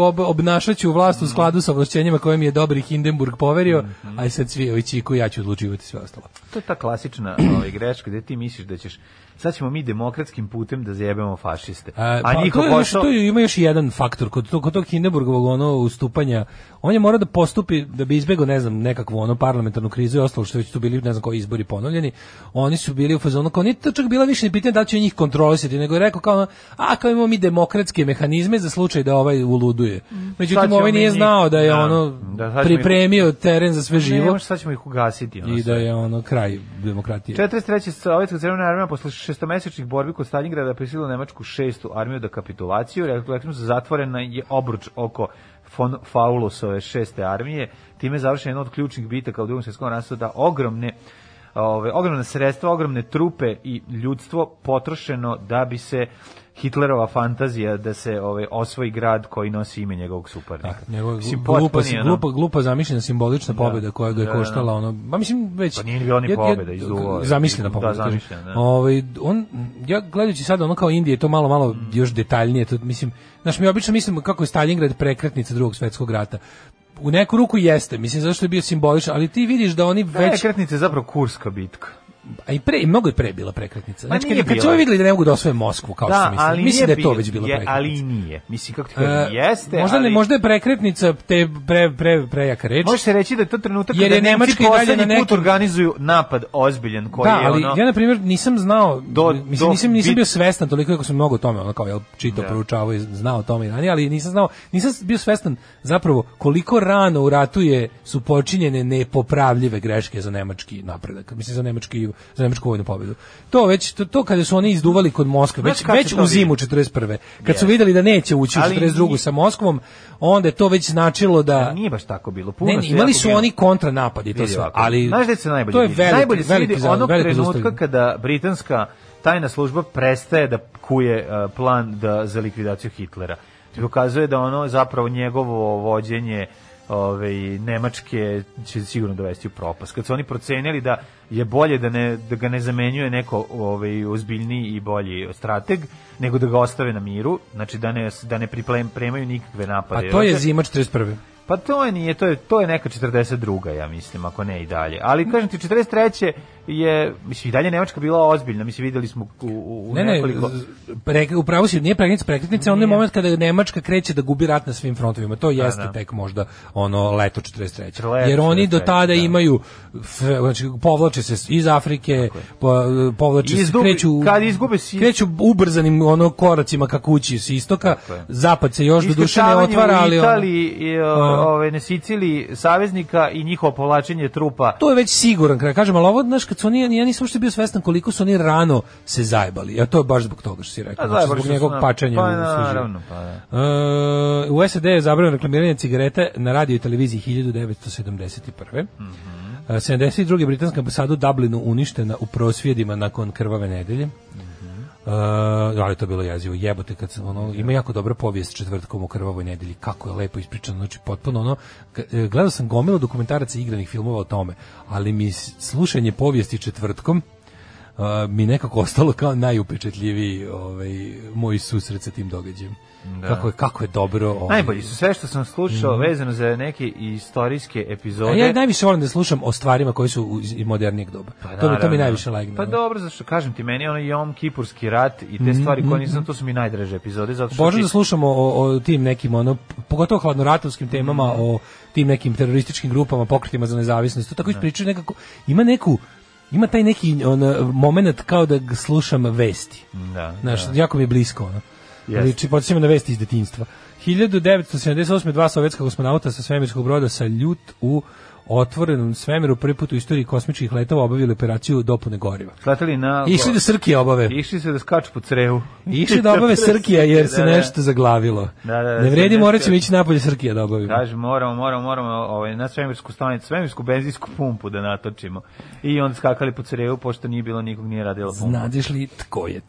[SPEAKER 5] ob, obnašat ću vlast u skladu sa ovlašćenjima koje mi je dobri Hindenburg poverio, a sad svi ovi čiku, ja ću odlučivati sve ostalo.
[SPEAKER 6] To je ta klasična ovaj, greška gde ti misliš da ćeš sad ćemo mi demokratskim putem da zjebemo fašiste. A,
[SPEAKER 5] pa,
[SPEAKER 6] njihov
[SPEAKER 5] to je,
[SPEAKER 6] posao-
[SPEAKER 5] to je- ima još jedan faktor kod tog, kod tog Hindenburgovog ono ustupanja. On je morao da postupi da bi izbegao ne znam nekakvu ono parlamentarnu krizu i ostalo što već tu bili ne znam koji izbori ponovljeni. Oni su bili u fazonu kao nije to čak bila više ni pitanje da li će njih kontrolisati, nego je rekao kao ono, a kao imamo mi demokratske mehanizme za slučaj da ovaj uluduje. Međutim
[SPEAKER 6] ćemo
[SPEAKER 5] ovaj
[SPEAKER 6] mi
[SPEAKER 5] nije
[SPEAKER 6] njih-
[SPEAKER 5] znao da je
[SPEAKER 6] da,
[SPEAKER 5] ono
[SPEAKER 6] da, sad ćemo ih-
[SPEAKER 5] pripremio teren za sve
[SPEAKER 6] Ne,
[SPEAKER 5] živo
[SPEAKER 6] možeš, sad ćemo ih ugasiti. Ono,
[SPEAKER 5] i da
[SPEAKER 6] sve.
[SPEAKER 5] je ono kraj demokratije.
[SPEAKER 6] 43. Sovjetska crvena armija posle šestomesečnih borbi kod Stalingrada prisilila Nemačku šestu armiju da kapitulaciju. Rekli su zatvorena je obruč oko von Faulosove šeste armije. Time je završena jedna od ključnih bitaka u drugom svjetskom ratu da ogromne ove, ogromne sredstva, ogromne trupe i ljudstvo potrošeno da bi se Hitlerova fantazija da se ove, osvoji grad koji nosi ime njegovog suparnika.
[SPEAKER 5] Njegova
[SPEAKER 6] Mislim,
[SPEAKER 5] glu- glupa,
[SPEAKER 6] potpuni, ono-
[SPEAKER 5] glupa, glupa zamišljena simbolična pobjeda koja ga je
[SPEAKER 6] Da, da, da.
[SPEAKER 5] koštala ono, ma mislim već
[SPEAKER 6] Pa nije ni bila ni
[SPEAKER 5] ja- ja-
[SPEAKER 6] pobjeda, izduvao je.
[SPEAKER 5] Zamišljena
[SPEAKER 6] Da,
[SPEAKER 5] pobjeda. kažem.
[SPEAKER 6] zamišljena, da.
[SPEAKER 5] Ovaj on ja gledajući sad ono kao Indije to malo malo
[SPEAKER 6] Mm.
[SPEAKER 5] još detaljnije, to mislim, znaš mi obično mislimo kako je Stalingrad prekretnica Drugog svetskog rata. U neku ruku jeste, mislim zašto je bio simboličan, ali ti vidiš da oni
[SPEAKER 6] Već...
[SPEAKER 5] već
[SPEAKER 6] Kretnica E, je zapravo kurska bitka.
[SPEAKER 5] a i pre i mnogo je pre bila prekretnica.
[SPEAKER 6] Ma
[SPEAKER 5] Znači kad,
[SPEAKER 6] nije
[SPEAKER 5] kad su
[SPEAKER 6] bila.
[SPEAKER 5] ovi videli da ne mogu da osvoje Moskvu kao Pa što su mislili. mislim da je to
[SPEAKER 6] bio-
[SPEAKER 5] već bila
[SPEAKER 6] je,
[SPEAKER 5] prekretnica.
[SPEAKER 6] Ali i nije. Mislim, kako ti
[SPEAKER 5] E,
[SPEAKER 6] kažem, jeste,
[SPEAKER 5] možda ne,
[SPEAKER 6] ali-
[SPEAKER 5] možda je prekretnica te pre pre prejaka reč.
[SPEAKER 6] Može se reći da je to trenutak
[SPEAKER 5] Jer
[SPEAKER 6] kada
[SPEAKER 5] je Nemačka i
[SPEAKER 6] Nemci
[SPEAKER 5] dalje
[SPEAKER 6] poslednji
[SPEAKER 5] na nekim-
[SPEAKER 6] put organizuju napad ozbiljan koji
[SPEAKER 5] da,
[SPEAKER 6] je
[SPEAKER 5] ali
[SPEAKER 6] ono...
[SPEAKER 5] ja na primjer nisam znao,
[SPEAKER 6] Do-
[SPEAKER 5] mislim,
[SPEAKER 6] do-
[SPEAKER 5] nisam, nisam
[SPEAKER 6] bit-
[SPEAKER 5] bio svestan toliko kako sam mnogo o tome, ono kao jel čitao, proučavao i znao o tome i ranije, ali nisam znao, nisam bio svestan zapravo koliko rano u ratu je su počinjene nepopravljive greške za nemački napredak, mislim za nemački za nemačku vojnu pobedu. To već to, to kada su oni izduvali kod Moskve,
[SPEAKER 6] Znaš
[SPEAKER 5] već
[SPEAKER 6] kad
[SPEAKER 5] već
[SPEAKER 6] se to
[SPEAKER 5] u
[SPEAKER 6] vidi?
[SPEAKER 5] zimu 41. Kad su videli da neće ući u
[SPEAKER 6] Ali
[SPEAKER 5] 42.
[SPEAKER 6] nije-
[SPEAKER 5] sa Moskvom, onda je to već značilo da
[SPEAKER 6] Nije baš tako bilo. Puno
[SPEAKER 5] Ne, ne,
[SPEAKER 6] se
[SPEAKER 5] imali
[SPEAKER 6] jako
[SPEAKER 5] su
[SPEAKER 6] bilo.
[SPEAKER 5] oni kontranapadi to
[SPEAKER 6] Vidi
[SPEAKER 5] sve,
[SPEAKER 6] ovako.
[SPEAKER 5] ali
[SPEAKER 6] Znaš gde se najbolje
[SPEAKER 5] to je
[SPEAKER 6] vidi?
[SPEAKER 5] veliki,
[SPEAKER 6] najbolje se
[SPEAKER 5] veliki
[SPEAKER 6] vidi
[SPEAKER 5] za-
[SPEAKER 6] onog
[SPEAKER 5] veliko
[SPEAKER 6] trenutka
[SPEAKER 5] zaustavljanje.
[SPEAKER 6] kada britanska tajna služba prestaje da kuje uh, plan da, za likvidaciju Hitlera. Ti pokazuje da ono zapravo njegovo vođenje ove, Nemačke će sigurno dovesti u propast. Kad su oni procenili da je bolje da, ne, da ga ne zamenjuje neko ove, ozbiljniji i bolji strateg, nego da ga ostave na miru, znači da ne, da ne pripremaju nikakve
[SPEAKER 5] Pa
[SPEAKER 6] napade.
[SPEAKER 5] to je
[SPEAKER 6] Znači,
[SPEAKER 5] zima 41.
[SPEAKER 6] Pa to je nije, to je, to je neka 42. ja mislim, ako ne i dalje. Ali kažem ti, 43. je, mislim, i dalje Nemačka bila ozbiljna, mislim, videli smo u, u, u
[SPEAKER 5] Ne, ne,
[SPEAKER 6] nekoliko...
[SPEAKER 5] z- pre, upravo si, nije prekretnica, prekretnica je onaj moment kada Nemačka kreće da gubi rat na svim frontovima. To jeste
[SPEAKER 6] da.
[SPEAKER 5] tek možda ono leto 43.
[SPEAKER 6] Leto
[SPEAKER 5] Jer oni do
[SPEAKER 6] 43.,
[SPEAKER 5] tada
[SPEAKER 6] da.
[SPEAKER 5] imaju, f- znači, povlače se iz Afrike, po, povlače se,
[SPEAKER 6] Izgubi-
[SPEAKER 5] kreću,
[SPEAKER 6] kad izgube si-
[SPEAKER 5] kreću ubrzanim ono koracima ka kući s istoka,
[SPEAKER 6] je.
[SPEAKER 5] zapad se još do duše ne
[SPEAKER 6] Iskrcavanje
[SPEAKER 5] otvara, ali
[SPEAKER 6] u
[SPEAKER 5] ono-
[SPEAKER 6] Italiji, i, o,
[SPEAKER 5] Aha.
[SPEAKER 6] ove, na Siciliji, saveznika i njihovo povlačenje trupa.
[SPEAKER 5] to je već siguran kraj. Kažem, ali ovo, znaš, kad su oni, ja nisam uopšte bio svestan koliko su oni rano se zajbali. Ja to je baš zbog toga što si rekao.
[SPEAKER 6] A
[SPEAKER 5] Znači,
[SPEAKER 6] Pa zajebali
[SPEAKER 5] zbog
[SPEAKER 6] su
[SPEAKER 5] njegovog
[SPEAKER 6] se na-
[SPEAKER 5] pačanja.
[SPEAKER 6] Pa
[SPEAKER 5] u suživu.
[SPEAKER 6] naravno, pa da.
[SPEAKER 5] E, u SAD je zabranjeno reklamiranje cigarete na radio i televiziji 1971.
[SPEAKER 6] Mhm.
[SPEAKER 5] Mm 72. britanska ambasada u Dublinu uništena u prosvjedima nakon krvave nedelje. Uh, ali to je bilo jezivo jebote kad se ono ima jako dobra povijest četvrtkom u krvavoj nedelji kako je lepo ispričano znači potpuno ono k- e, gledao sam gomilu dokumentaraca i igranih filmova o tome ali mi s- slušanje povijesti četvrtkom a, mi nekako ostalo kao najupečetljiviji ovaj, moj susret sa tim događajem. Kako, je, kako je dobro... Ovaj,
[SPEAKER 6] Najbolji su sve što sam slušao vezano za neke istorijske epizode.
[SPEAKER 5] Mhm. A ja najviše volim da slušam o stvarima koje su iz iz modernijeg doba. to, mi, to mi
[SPEAKER 6] Pa naravno.
[SPEAKER 5] najviše legne.
[SPEAKER 6] Pa
[SPEAKER 5] ono.
[SPEAKER 6] dobro, zašto kažem ti, meni je ono Jom Kipurski rat i te stvari koje nisam, to su mi najdraže epizode, zato što
[SPEAKER 5] Mhm, Bože
[SPEAKER 6] ti-
[SPEAKER 5] da slušamo o, o tim nekim, ono, pogotovo hladnoratovskim temama,
[SPEAKER 6] Mhm.
[SPEAKER 5] o tim nekim terorističkim grupama, pokretima za nezavisnost, to tako ispričaju nekako, ima neku, ima taj neki on, moment kao da g- slušam vesti.
[SPEAKER 6] Da,
[SPEAKER 5] Znaš, jako mi je blisko, ono.
[SPEAKER 6] Jeste.
[SPEAKER 5] Liči, podsjećamo na vesti iz detinjstva. 1978. dva sovjetska kosmonauta sa svemirskog broda sa ljut u otvorenom svemiru prvi put u istoriji kosmičkih letova obavili operaciju dopune goriva.
[SPEAKER 6] Sletali na...
[SPEAKER 5] Išli da srkije obave.
[SPEAKER 6] Išli se da skaču po crevu.
[SPEAKER 5] Pa Išli da obave Srkija jer se
[SPEAKER 6] Da, da.
[SPEAKER 5] nešto zaglavilo.
[SPEAKER 6] Da, da, da,
[SPEAKER 5] ne vredi,
[SPEAKER 6] sve
[SPEAKER 5] morat
[SPEAKER 6] nešto-
[SPEAKER 5] ćemo ići napolje Srkija da obavimo.
[SPEAKER 6] Kaže, moramo, moramo, moramo ovaj, na svemirsku stanicu, svemirsku benzinsku pumpu da natočimo. I onda skakali po crevu, pošto nije bilo nikog, nije radila pumpa.
[SPEAKER 2] Znadeš li tko je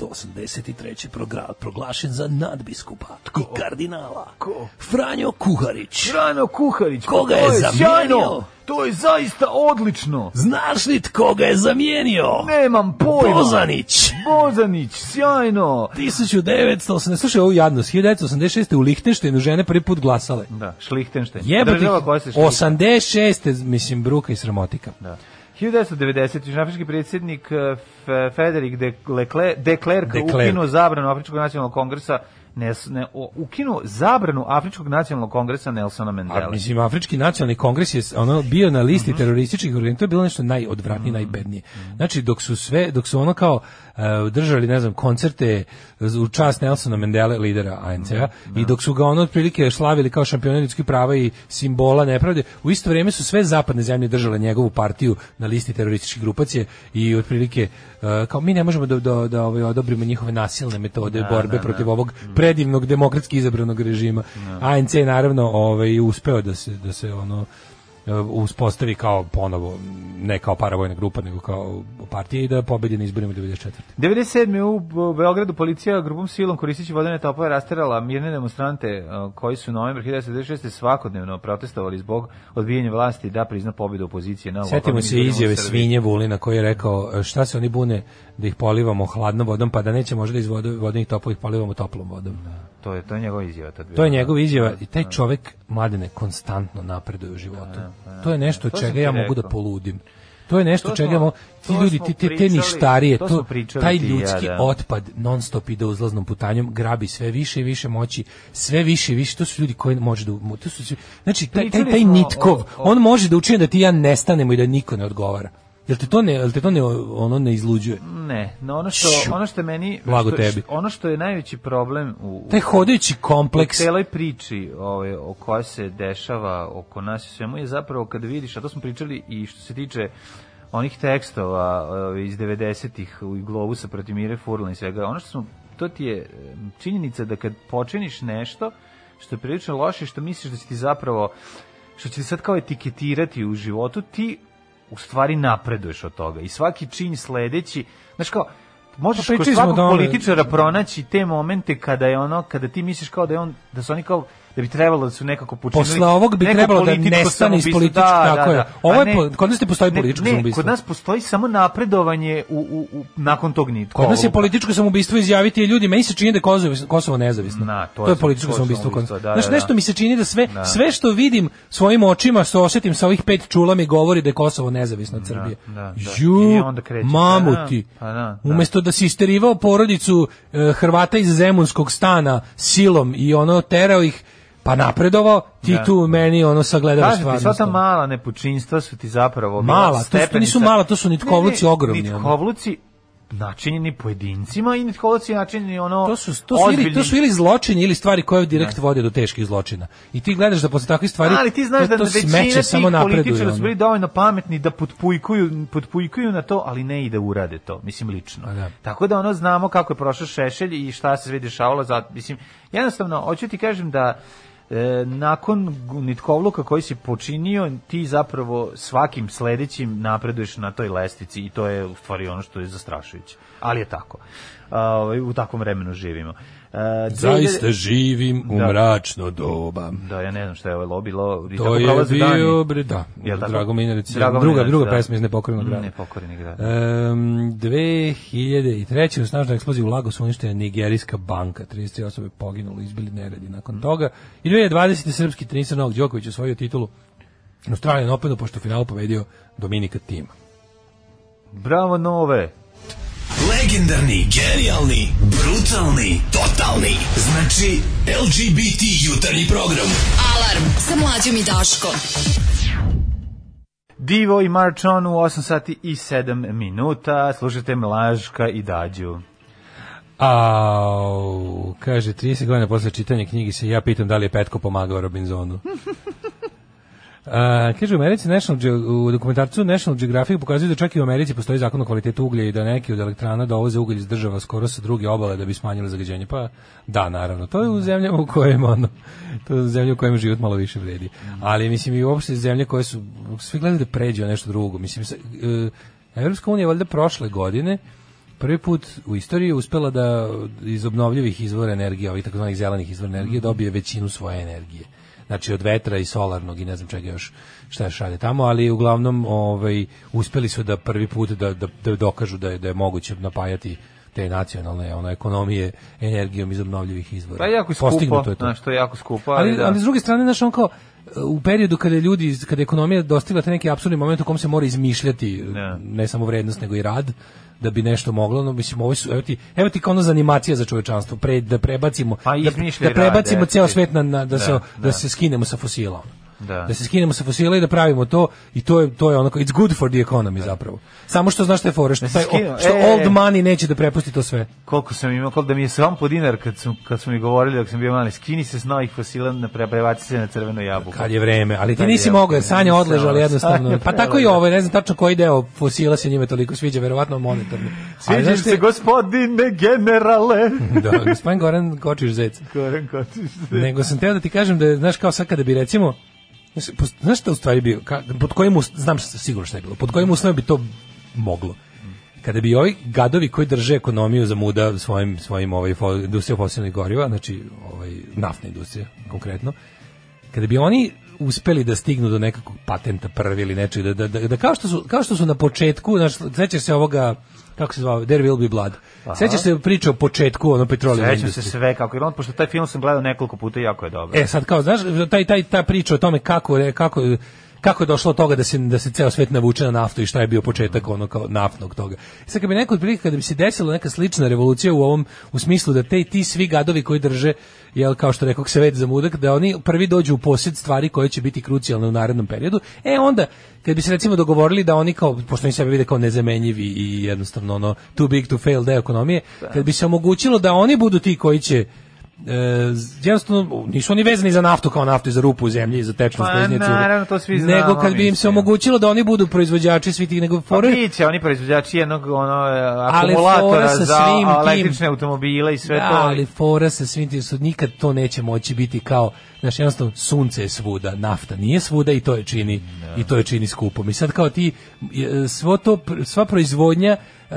[SPEAKER 2] 1983. Progra proglašen za nadbiskupa i kardinala? Ko? Franjo Kuharić.
[SPEAKER 6] Rano Kuharić, pa
[SPEAKER 2] Koga
[SPEAKER 6] to
[SPEAKER 2] je zamijenio?
[SPEAKER 6] sjajno! To je zaista odlično!
[SPEAKER 2] Znaš li tko ga je zamijenio?
[SPEAKER 6] Nemam pojma!
[SPEAKER 2] Bozanić.
[SPEAKER 6] Bozanić, sjajno!
[SPEAKER 5] 1980, slušaj ovu jadnost, 1986. u Lihtenštajnu žene prvi put glasale.
[SPEAKER 6] Da, Šlihtenštajn.
[SPEAKER 5] Jebote,
[SPEAKER 6] Država koja se šlihtenštajn.
[SPEAKER 5] 86. mislim, bruka i sramotika.
[SPEAKER 6] Da. 1990. južnoafrički predsjednik eh, F- Federik de Lecler, de Klerk
[SPEAKER 5] De Klerk.
[SPEAKER 6] ukinuo zabranu Afričkog nacionalnog kongresa ne, ne, o- ukinuo zabranu Afričkog nacionalnog kongresa Nelsona
[SPEAKER 5] A,
[SPEAKER 6] Mandela.
[SPEAKER 5] mislim, Afrički nacionalni kongres je ono, bio na listi terorističkih organizacija, to je bilo nešto najodvratnije, najbednije. Znači, dok su sve, dok su ono kao e, držali, ne znam, koncerte u čast Nelsona Mendele, lidera ANC-a, i dok su ga ono otprilike slavili kao šampiona ljudskih prava i simbola nepravde, u isto vrijeme su sve zapadne zemlje držale njegovu partiju na listi terorističkih grupacije i otprilike e, kao mi ne možemo da, da, da ovaj, odobrimo njihove nasilne metode borbe protiv ovog
[SPEAKER 6] Mm.
[SPEAKER 5] predivnog demokratski izabranog režima. ANC je naravno ovaj, uspeo da se, da se ono e, uspostavi kao ponovo ne kao paravojna grupa nego kao partija i da pobedi na izborima 94.
[SPEAKER 6] 97. u B- Beogradu policija grupom silom koristeći vodene topove rasterala mirne demonstrante eh, koji su novembra 1996. svakodnevno protestovali zbog odbijanja vlasti da prizna pobjedu opozicije na
[SPEAKER 5] Sjetimo
[SPEAKER 6] lokalnim
[SPEAKER 5] se
[SPEAKER 6] izborima u
[SPEAKER 5] izjave
[SPEAKER 6] Srbiji.
[SPEAKER 5] svinje Vulina koji je rekao e, šta se oni bune da ih polivamo hladnom vodom pa da neće možda iz vode, vodenih topova ih polivamo toplom vodom.
[SPEAKER 6] To je, to je njegova izjava. tad
[SPEAKER 5] To je
[SPEAKER 6] bila.
[SPEAKER 5] njegova izjava i taj čovek mladene konstantno napreduje u životu. To je nešto od
[SPEAKER 6] E, To sam
[SPEAKER 5] čega
[SPEAKER 6] ti
[SPEAKER 5] ja mogu da
[SPEAKER 6] rekao.
[SPEAKER 5] poludim. To je nešto
[SPEAKER 6] To
[SPEAKER 5] čega
[SPEAKER 6] smo-
[SPEAKER 5] mo- ti
[SPEAKER 6] to
[SPEAKER 5] ljudi
[SPEAKER 6] smo
[SPEAKER 5] ti te, te
[SPEAKER 6] pričali-
[SPEAKER 5] ništarije,
[SPEAKER 6] to
[SPEAKER 5] to
[SPEAKER 6] smo pričali
[SPEAKER 5] taj
[SPEAKER 6] ti i ja,
[SPEAKER 5] ljudski
[SPEAKER 6] da.
[SPEAKER 5] otpad non stop ide uzlaznom putanjom, grabi sve više i više moći, sve više i više, to su ljudi koji može da mu- to su svi- znači taj taj,
[SPEAKER 6] Pričali
[SPEAKER 5] taj
[SPEAKER 6] smo
[SPEAKER 5] nitkov,
[SPEAKER 6] o- o-
[SPEAKER 5] on može da učini da ti i ja nestanemo i da niko ne odgovara. Jel te to ne, jel te to ne ono ne izluđuje?
[SPEAKER 6] Ne, no ono što,
[SPEAKER 5] Ću.
[SPEAKER 6] ono što je meni...
[SPEAKER 5] Blago
[SPEAKER 6] što-
[SPEAKER 5] tebi.
[SPEAKER 6] Ono što je najveći problem u,
[SPEAKER 5] Taj hodajući kompleks
[SPEAKER 6] u celoj priči ovaj, o kojoj se dešava oko nas i svemu je zapravo kad vidiš, a to smo pričali i što se tiče onih tekstova ovaj, iz 90-ih u Globusa protiv Mire Furlan i svega, ono što smo, to ti je em, činjenica da kad počiniš nešto što je prilično loše i što misliš da si ti zapravo što će ti sad kao etiketirati u životu, ti u stvari napreduješ od toga. I svaki čin sledeći, znaš kao, možeš
[SPEAKER 5] Pa
[SPEAKER 6] kod
[SPEAKER 5] pričali smo
[SPEAKER 6] svakog
[SPEAKER 5] o tome.
[SPEAKER 6] političara pronaći te momente kada je ono, kada ti misliš kao da je on, da su oni kao, da bi trebalo da su nekako počinili.
[SPEAKER 5] Posle ovog bi
[SPEAKER 6] neko
[SPEAKER 5] trebalo da
[SPEAKER 6] političko
[SPEAKER 5] nestane iz
[SPEAKER 6] samoubistvo.
[SPEAKER 5] političkog- tako je.
[SPEAKER 6] A
[SPEAKER 5] Ovo je po- kod nas ne postoji političko
[SPEAKER 6] Pa ne,
[SPEAKER 5] samoubistvo.
[SPEAKER 6] Kod nas postoji samo napredovanje u, u, u, nakon tog nitka. pa,
[SPEAKER 5] Kod nas je
[SPEAKER 6] ovog.
[SPEAKER 5] političko samoubistvo izjaviti je ljudi, meni se čini da je Kosovo, Kosovo nezavisno.
[SPEAKER 6] Na, to
[SPEAKER 5] to,
[SPEAKER 6] je-
[SPEAKER 5] je političko
[SPEAKER 6] to je
[SPEAKER 5] samoubistvo. kod nas.
[SPEAKER 6] samoubistvo, da,
[SPEAKER 5] Znaš,
[SPEAKER 6] da,
[SPEAKER 5] nešto
[SPEAKER 6] da.
[SPEAKER 5] mi se čini da sve,
[SPEAKER 6] Da.
[SPEAKER 5] sve što vidim svojim očima, što osetim sa ovih pet čula mi govori da je Kosovo nezavisno od Srbije.
[SPEAKER 6] da, da. I
[SPEAKER 5] Ju,
[SPEAKER 6] onda kreće.
[SPEAKER 5] mamu ti.
[SPEAKER 6] Pa da, pa da, da.
[SPEAKER 5] Umesto da si isterivao porodicu e, Hrvata iz Zemunskog stana silom i ono terao ih, pa napredovao, ti
[SPEAKER 6] Da.
[SPEAKER 5] tu meni ono sagledavaš
[SPEAKER 6] Kažete, sva
[SPEAKER 5] stvarnost. ono.
[SPEAKER 6] ta mala nepočinstva su ti zapravo bila
[SPEAKER 5] Mala, to su- to
[SPEAKER 6] stepenica-
[SPEAKER 5] nisu mala, to su nitkovluci
[SPEAKER 6] Ne, ne,
[SPEAKER 5] ogromni, ono.
[SPEAKER 6] Nitkovluci načinjeni pojedincima i nitkovluci načinjeni ono
[SPEAKER 5] To su, to su, ili, to
[SPEAKER 6] ozbiljni-
[SPEAKER 5] su ili zločini ili stvari koje direkt vode do teških zločina. I ti gledaš da posle takvih stvari
[SPEAKER 6] ali ti znaš da
[SPEAKER 5] to, to
[SPEAKER 6] većina
[SPEAKER 5] smeće
[SPEAKER 6] tih
[SPEAKER 5] samo napreduje.
[SPEAKER 6] političara su
[SPEAKER 5] ono.
[SPEAKER 6] bili dovoljno pametni da potpujkuju, potpujkuju na to, ali ne i da urade to, mislim lično.
[SPEAKER 5] A da.
[SPEAKER 6] Tako da ono znamo kako je prošao Šešelj i šta se sve dešavalo, za, mislim, jednostavno, hoću ti kažem da e, nakon gu- nitkovluka koji si počinio, ti zapravo svakim sledećim napreduješ na toj lestici i to je u stvari ono što je zastrašujuće. Ali je tako. A, ovaj, u takvom vremenu živimo. E,
[SPEAKER 5] Zaista živim u
[SPEAKER 6] Da.
[SPEAKER 5] mračno doba.
[SPEAKER 6] Da, ja ne znam šta je ovo lobilo. i
[SPEAKER 5] To
[SPEAKER 6] tako
[SPEAKER 5] je
[SPEAKER 6] prolaze
[SPEAKER 5] bio,
[SPEAKER 6] dani.
[SPEAKER 5] bre, da,
[SPEAKER 6] Jel tako?
[SPEAKER 5] Drago Minarić,
[SPEAKER 6] Drago
[SPEAKER 5] druga-
[SPEAKER 6] Minarić,
[SPEAKER 5] druga
[SPEAKER 6] da.
[SPEAKER 5] pesma iz Nepokorenog
[SPEAKER 6] Mm,
[SPEAKER 5] grada.
[SPEAKER 6] Nepokorenog grada.
[SPEAKER 5] Um, 2003. u snažnoj eksploziji u Lagosu uništena je nigerijska banka. 33 osobe poginulo, izbili neredi
[SPEAKER 6] Mm.
[SPEAKER 5] nakon toga. I 2020. srpski tenisar Novak Đoković osvojio titulu na Australijan Openu, pošto u finalu pobedio Dominika Tima.
[SPEAKER 6] Bravo nove.
[SPEAKER 7] Legendarni, genijalni, brutalni, totalni. Znači, LGBT jutarnji program.
[SPEAKER 4] Alarm sa mlađom i Daškom.
[SPEAKER 6] Divo i March on u 8 sati i 7 minuta. Slušajte Mlažka i Dađu.
[SPEAKER 5] Au, kaže, 30 godina posle čitanja knjige se ja pitam da li je Petko pomagao Robinzonu. A, kaže, u Americi National Ge u dokumentarcu National Geographic pokazuju da čak i u Americi postoji zakon o kvalitetu uglja i da neki od elektrana dovoze ugalj iz država skoro sa druge obale da bi smanjili zagađenje. Pa da, naravno. To je u zemljama u kojima ono, to je zemlja u kojima život malo više vredi. Ali mislim i uopšte zemlje koje su svi gledaju da pređu na nešto drugo. Mislim, sa- e, Evropska unija je valjda prošle godine prvi put u istoriji uspela da iz obnovljivih izvora energije, ovih takozvanih zelenih izvora
[SPEAKER 6] Mhm.
[SPEAKER 5] energije, dobije većinu svoje energije. Znači od vetra i solarnog i ne znam čega još šta još rade tamo, ali uglavnom ovaj, uspeli su da prvi put da, da, da dokažu da je, da je moguće napajati te nacionalne ono, ekonomije energijom iz obnovljivih izvora.
[SPEAKER 6] Pa jako je skupo,
[SPEAKER 5] Postignuto je to.
[SPEAKER 6] znaš, to je jako skupo, ali,
[SPEAKER 5] Ali, ali,
[SPEAKER 6] da.
[SPEAKER 5] s druge strane, znaš, on kao, u periodu kada ljudi, kada je ekonomija dostigla taj neki apsurdni moment u kom se mora izmišljati
[SPEAKER 6] Da.
[SPEAKER 5] ne samo vrednost, nego i rad, da bi nešto moglo, no mislim, ovo su, evo ti, evo ti kao ono zanimacija za čovečanstvo, pre, da prebacimo,
[SPEAKER 6] Pa
[SPEAKER 5] da,
[SPEAKER 6] izmišljaj
[SPEAKER 5] da prebacimo
[SPEAKER 6] rad,
[SPEAKER 5] ceo
[SPEAKER 6] eto.
[SPEAKER 5] svet na, na- da, se,
[SPEAKER 6] Da,
[SPEAKER 5] da,
[SPEAKER 6] da.
[SPEAKER 5] se skinemo sa fosila. ono.
[SPEAKER 6] Da.
[SPEAKER 5] Da se skinemo sa fosila i da pravimo to i to je to je onako it's good for the economy zapravo. Samo što znaš šta je fora što,
[SPEAKER 6] Da se
[SPEAKER 5] taj o-
[SPEAKER 6] skinu,
[SPEAKER 5] što
[SPEAKER 6] e, e.
[SPEAKER 5] old money neće da prepusti to sve.
[SPEAKER 6] Koliko sam imao, koliko da mi je sam po dinar kad su, kad su mi govorili dok sam bio mali, skini se s novih fosila, na prebaci se na crveno jabuku.
[SPEAKER 5] Kad je vreme, ali ti
[SPEAKER 6] Kad je
[SPEAKER 5] nisi
[SPEAKER 6] vreme,
[SPEAKER 5] mogao, jer Sanja
[SPEAKER 6] nisam,
[SPEAKER 5] odležao, ali
[SPEAKER 6] ali
[SPEAKER 5] jednostavno.
[SPEAKER 6] Sanja
[SPEAKER 5] Pa tako i
[SPEAKER 6] preležao.
[SPEAKER 5] ovo, ne znam tačno koji deo fosila se njime toliko sviđa, verovatno monetarni. Ali
[SPEAKER 6] Sviđa
[SPEAKER 5] znaš
[SPEAKER 6] se
[SPEAKER 5] ti-
[SPEAKER 6] gospodine generale.
[SPEAKER 5] Da, gospodin Goran Kočiš Zec.
[SPEAKER 6] Goran Kotić.
[SPEAKER 5] Nego sam teo da ti kažem da, je, znaš, kao sad kada bi recimo, znaš, pos- znaš šta u stvari bio, ka, pod kojim, us- znam šta, sigurno šta je bilo, pod kojim uslovima bi to moglo. Kada bi ovi gadovi koji drže ekonomiju za muda svojim, svojim ovaj, fo- industrijom fosilnih goriva, znači ovaj, naftna industrija konkretno, kada bi oni uspeli da stignu do nekakvog patenta prvi ili nečeg, da, da, da, da kao, što su, kao što su na početku, znaš, sećaš se ovoga, kako se zvao, There Will Be Blood, sećaš se priče o početku, ono, petroleum
[SPEAKER 6] Sećam se
[SPEAKER 5] industrije.
[SPEAKER 6] sve kako je on, pošto taj film sam gledao nekoliko puta i jako je dobar.
[SPEAKER 5] E sad kao znaš taj taj ta priča o tome kako re- kako kako je došlo do toga da se da se ceo svet navuče na naftu i šta je bio početak ono kao naftnog toga. I sad kad bi neko otprilike kada bi se desila neka slična revolucija u ovom u smislu da te ti svi gadovi koji drže jel kao što rekao se za mudak da oni prvi dođu u posjed stvari koje će biti krucijalne u narednom periodu. E onda kad bi se recimo dogovorili da oni kao pošto oni sebe vide kao nezamenjivi i jednostavno ono too big to fail deo ekonomije, kad bi se omogućilo da oni budu ti koji će e, jednostavno nisu oni vezani za naftu kao naftu i za rupu u zemlji i za tečnu
[SPEAKER 6] Pa,
[SPEAKER 5] zvezdnicu.
[SPEAKER 6] naravno, to svi znamo,
[SPEAKER 5] Nego kad bi im se
[SPEAKER 6] mislim.
[SPEAKER 5] omogućilo da oni budu proizvođači svih tih nego
[SPEAKER 6] Pa
[SPEAKER 5] fore-
[SPEAKER 6] biće, oni proizvođači jednog ono, e,
[SPEAKER 5] Ali
[SPEAKER 6] akumulatora
[SPEAKER 5] fora sa
[SPEAKER 6] za
[SPEAKER 5] svim tim.
[SPEAKER 6] električne automobile i sve
[SPEAKER 5] Da,
[SPEAKER 6] to.
[SPEAKER 5] ali fora sa svim tim su nikad to neće moći biti kao znaš jednostavno sunce je svuda nafta nije svuda i to je čini i to je čini skupom i sad kao ti e, svo to pr- sva proizvodnja e,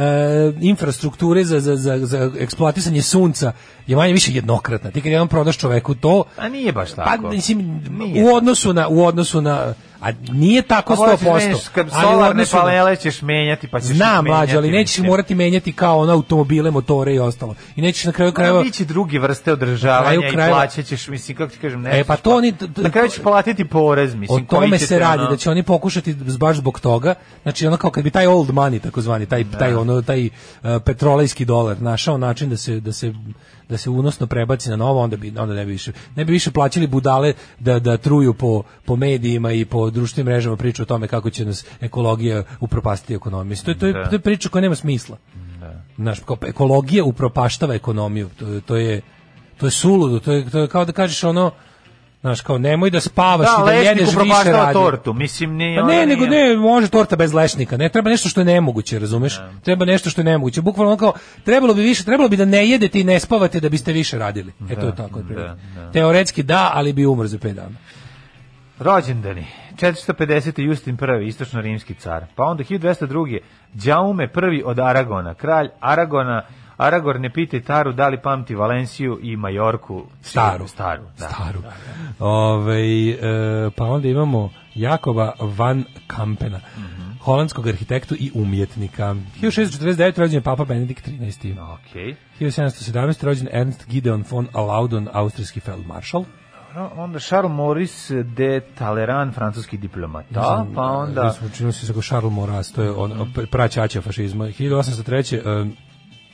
[SPEAKER 5] infrastrukture za, za, za, za eksploatisanje sunca je manje više jednokratna ti kad jednom prodaš čoveku to
[SPEAKER 6] A nije baš tako.
[SPEAKER 5] pa mislim
[SPEAKER 6] Nije.
[SPEAKER 5] u odnosu na u odnosu na a nije tako
[SPEAKER 6] Pa moraš
[SPEAKER 5] 100%.
[SPEAKER 6] menjaš, Kad
[SPEAKER 5] ali u
[SPEAKER 6] solarne
[SPEAKER 5] odnosu na-
[SPEAKER 6] panele ćeš menjati, pa ćeš
[SPEAKER 5] Znam,
[SPEAKER 6] menjati,
[SPEAKER 5] mlađe, ali nećeš
[SPEAKER 6] mislim.
[SPEAKER 5] morati menjati kao ono automobile, motore i ostalo. I nećeš na kraju
[SPEAKER 6] Krajeva,
[SPEAKER 5] krajeva...
[SPEAKER 6] biće drugi vrste
[SPEAKER 5] Na
[SPEAKER 6] održavanja
[SPEAKER 5] kraju
[SPEAKER 6] i
[SPEAKER 5] krajeva-
[SPEAKER 6] plaćat ćeš, mislim, kako ti kažem, ne.
[SPEAKER 5] E, pa
[SPEAKER 6] znaš,
[SPEAKER 5] to oni- t- t-
[SPEAKER 6] Na kraju ćeš platiti porez,
[SPEAKER 5] O
[SPEAKER 6] mislim, koji
[SPEAKER 5] tome
[SPEAKER 6] će
[SPEAKER 5] se
[SPEAKER 6] te,
[SPEAKER 5] radi,
[SPEAKER 6] ono-
[SPEAKER 5] da će oni pokušati baš zbog toga, znači ono kao kad bi taj old money, takozvani, taj, taj, ono, taj e, petrolejski dolar našao način da se, da se da se unosno prebaci na novo, onda bi onda ne bi više ne bi više plaćali budale da da truju po po medijima i po društvenim mrežama priču o tome kako će nas ekologija upropastiti ekonomiju. Mislim, To je to je,
[SPEAKER 6] Da.
[SPEAKER 5] to je priča koja nema smisla. Znaš, kao ekologija upropaštava ekonomiju. To, je- to je to je suludo, to je to je kao da kažeš ono Znaš, kao nemoj da spavaš
[SPEAKER 6] Da,
[SPEAKER 5] i da
[SPEAKER 6] lesnik
[SPEAKER 5] jedeš više
[SPEAKER 6] upropaštava
[SPEAKER 5] radi.
[SPEAKER 6] tortu, mislim, nije...
[SPEAKER 5] Pa
[SPEAKER 6] ono,
[SPEAKER 5] ne, nego
[SPEAKER 6] nije-
[SPEAKER 5] ne, može torta bez lešnika. Ne, treba nešto što je nemoguće, razumeš? Treba nešto što je nemoguće. Bukvalno ono kao trebalo bi više, trebalo bi da ne jedete i ne spavate da biste više radili. E to je tako otprilike.
[SPEAKER 6] da, da.
[SPEAKER 5] Teoretski da, ali bi umr za 5 dana.
[SPEAKER 6] Rođendani. 450. Justin I, istočno-rimski car. Pa onda 1202. Đaume I od Aragona, kralj Aragona, Aragor ne piti Taru da li pamti Valenciju i Majorku.
[SPEAKER 5] Staru.
[SPEAKER 6] Staru, da.
[SPEAKER 5] staru. Ovaj, e, pa onda imamo Jakoba van Kampena,
[SPEAKER 6] Mhm.
[SPEAKER 5] holandskog arhitektu i umjetnika. 1649. rođen je Papa Benedikt XIII.
[SPEAKER 6] Okej.
[SPEAKER 5] 1717. rođen Ernst Gideon von Laudon, austrijski feldmaršal.
[SPEAKER 6] Dobro, Pa onda Charles Maurice de Talleyrand, francuski diplomata, pa onda... Mhm.
[SPEAKER 5] Mislim, e, čini se kao Charles Maurras, to je on, mm. praćača fašizma. 1803. Um,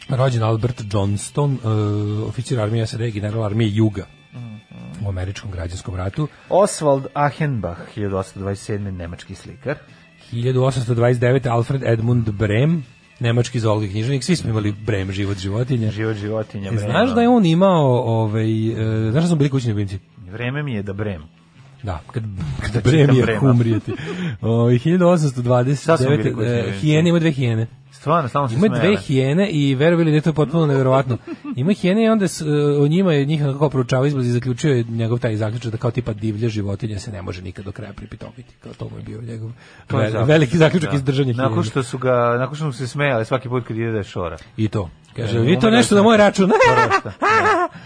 [SPEAKER 5] rođen Albert Johnston, uh, oficir armije SAD, general armije Juga
[SPEAKER 6] Mhm.
[SPEAKER 5] u američkom građanskom ratu.
[SPEAKER 6] Oswald Achenbach, 1827. nemački slikar.
[SPEAKER 5] 1829. Alfred Edmund Brem, nemački zoolog i književnik, svi smo imali Brem, život životinja.
[SPEAKER 6] Život životinja.
[SPEAKER 5] E,
[SPEAKER 6] Brema.
[SPEAKER 5] Znaš da je on imao, ovaj, e, znaš da smo bili kućni ljubimci?
[SPEAKER 6] Vreme mi je da brem.
[SPEAKER 5] Da, kad, kad
[SPEAKER 6] Da čitam
[SPEAKER 5] Brem je
[SPEAKER 6] Brema.
[SPEAKER 5] umrijeti. Ovaj,
[SPEAKER 6] Sad smo bili
[SPEAKER 5] 1829.
[SPEAKER 6] kućni ljubimci.
[SPEAKER 5] e, Hijene ima dve hijene.
[SPEAKER 6] Stvarno, samo se
[SPEAKER 5] Ima
[SPEAKER 6] smejale.
[SPEAKER 5] dve hijene i verovali da je to potpuno neverovatno. Ima hijene i onda s, e, o njima je njih kako proučavao izblaz i zaključio je njegov taj zaključak da kao tipa divlje životinje se ne može nikad do kraja pripitomiti. Kao to mu je bio njegov
[SPEAKER 6] To je
[SPEAKER 5] ve-
[SPEAKER 6] zaključak,
[SPEAKER 5] veliki zaključak
[SPEAKER 6] da.
[SPEAKER 5] iz držanja
[SPEAKER 6] Nakon
[SPEAKER 5] hijene.
[SPEAKER 6] što su ga, nakon što mu se smejali svaki put kad ide da je šora.
[SPEAKER 5] I to. Kaže,
[SPEAKER 6] E,
[SPEAKER 5] vi to
[SPEAKER 6] umre
[SPEAKER 5] nešto
[SPEAKER 6] da
[SPEAKER 5] na
[SPEAKER 6] se-
[SPEAKER 5] moj račun.
[SPEAKER 6] Prosta.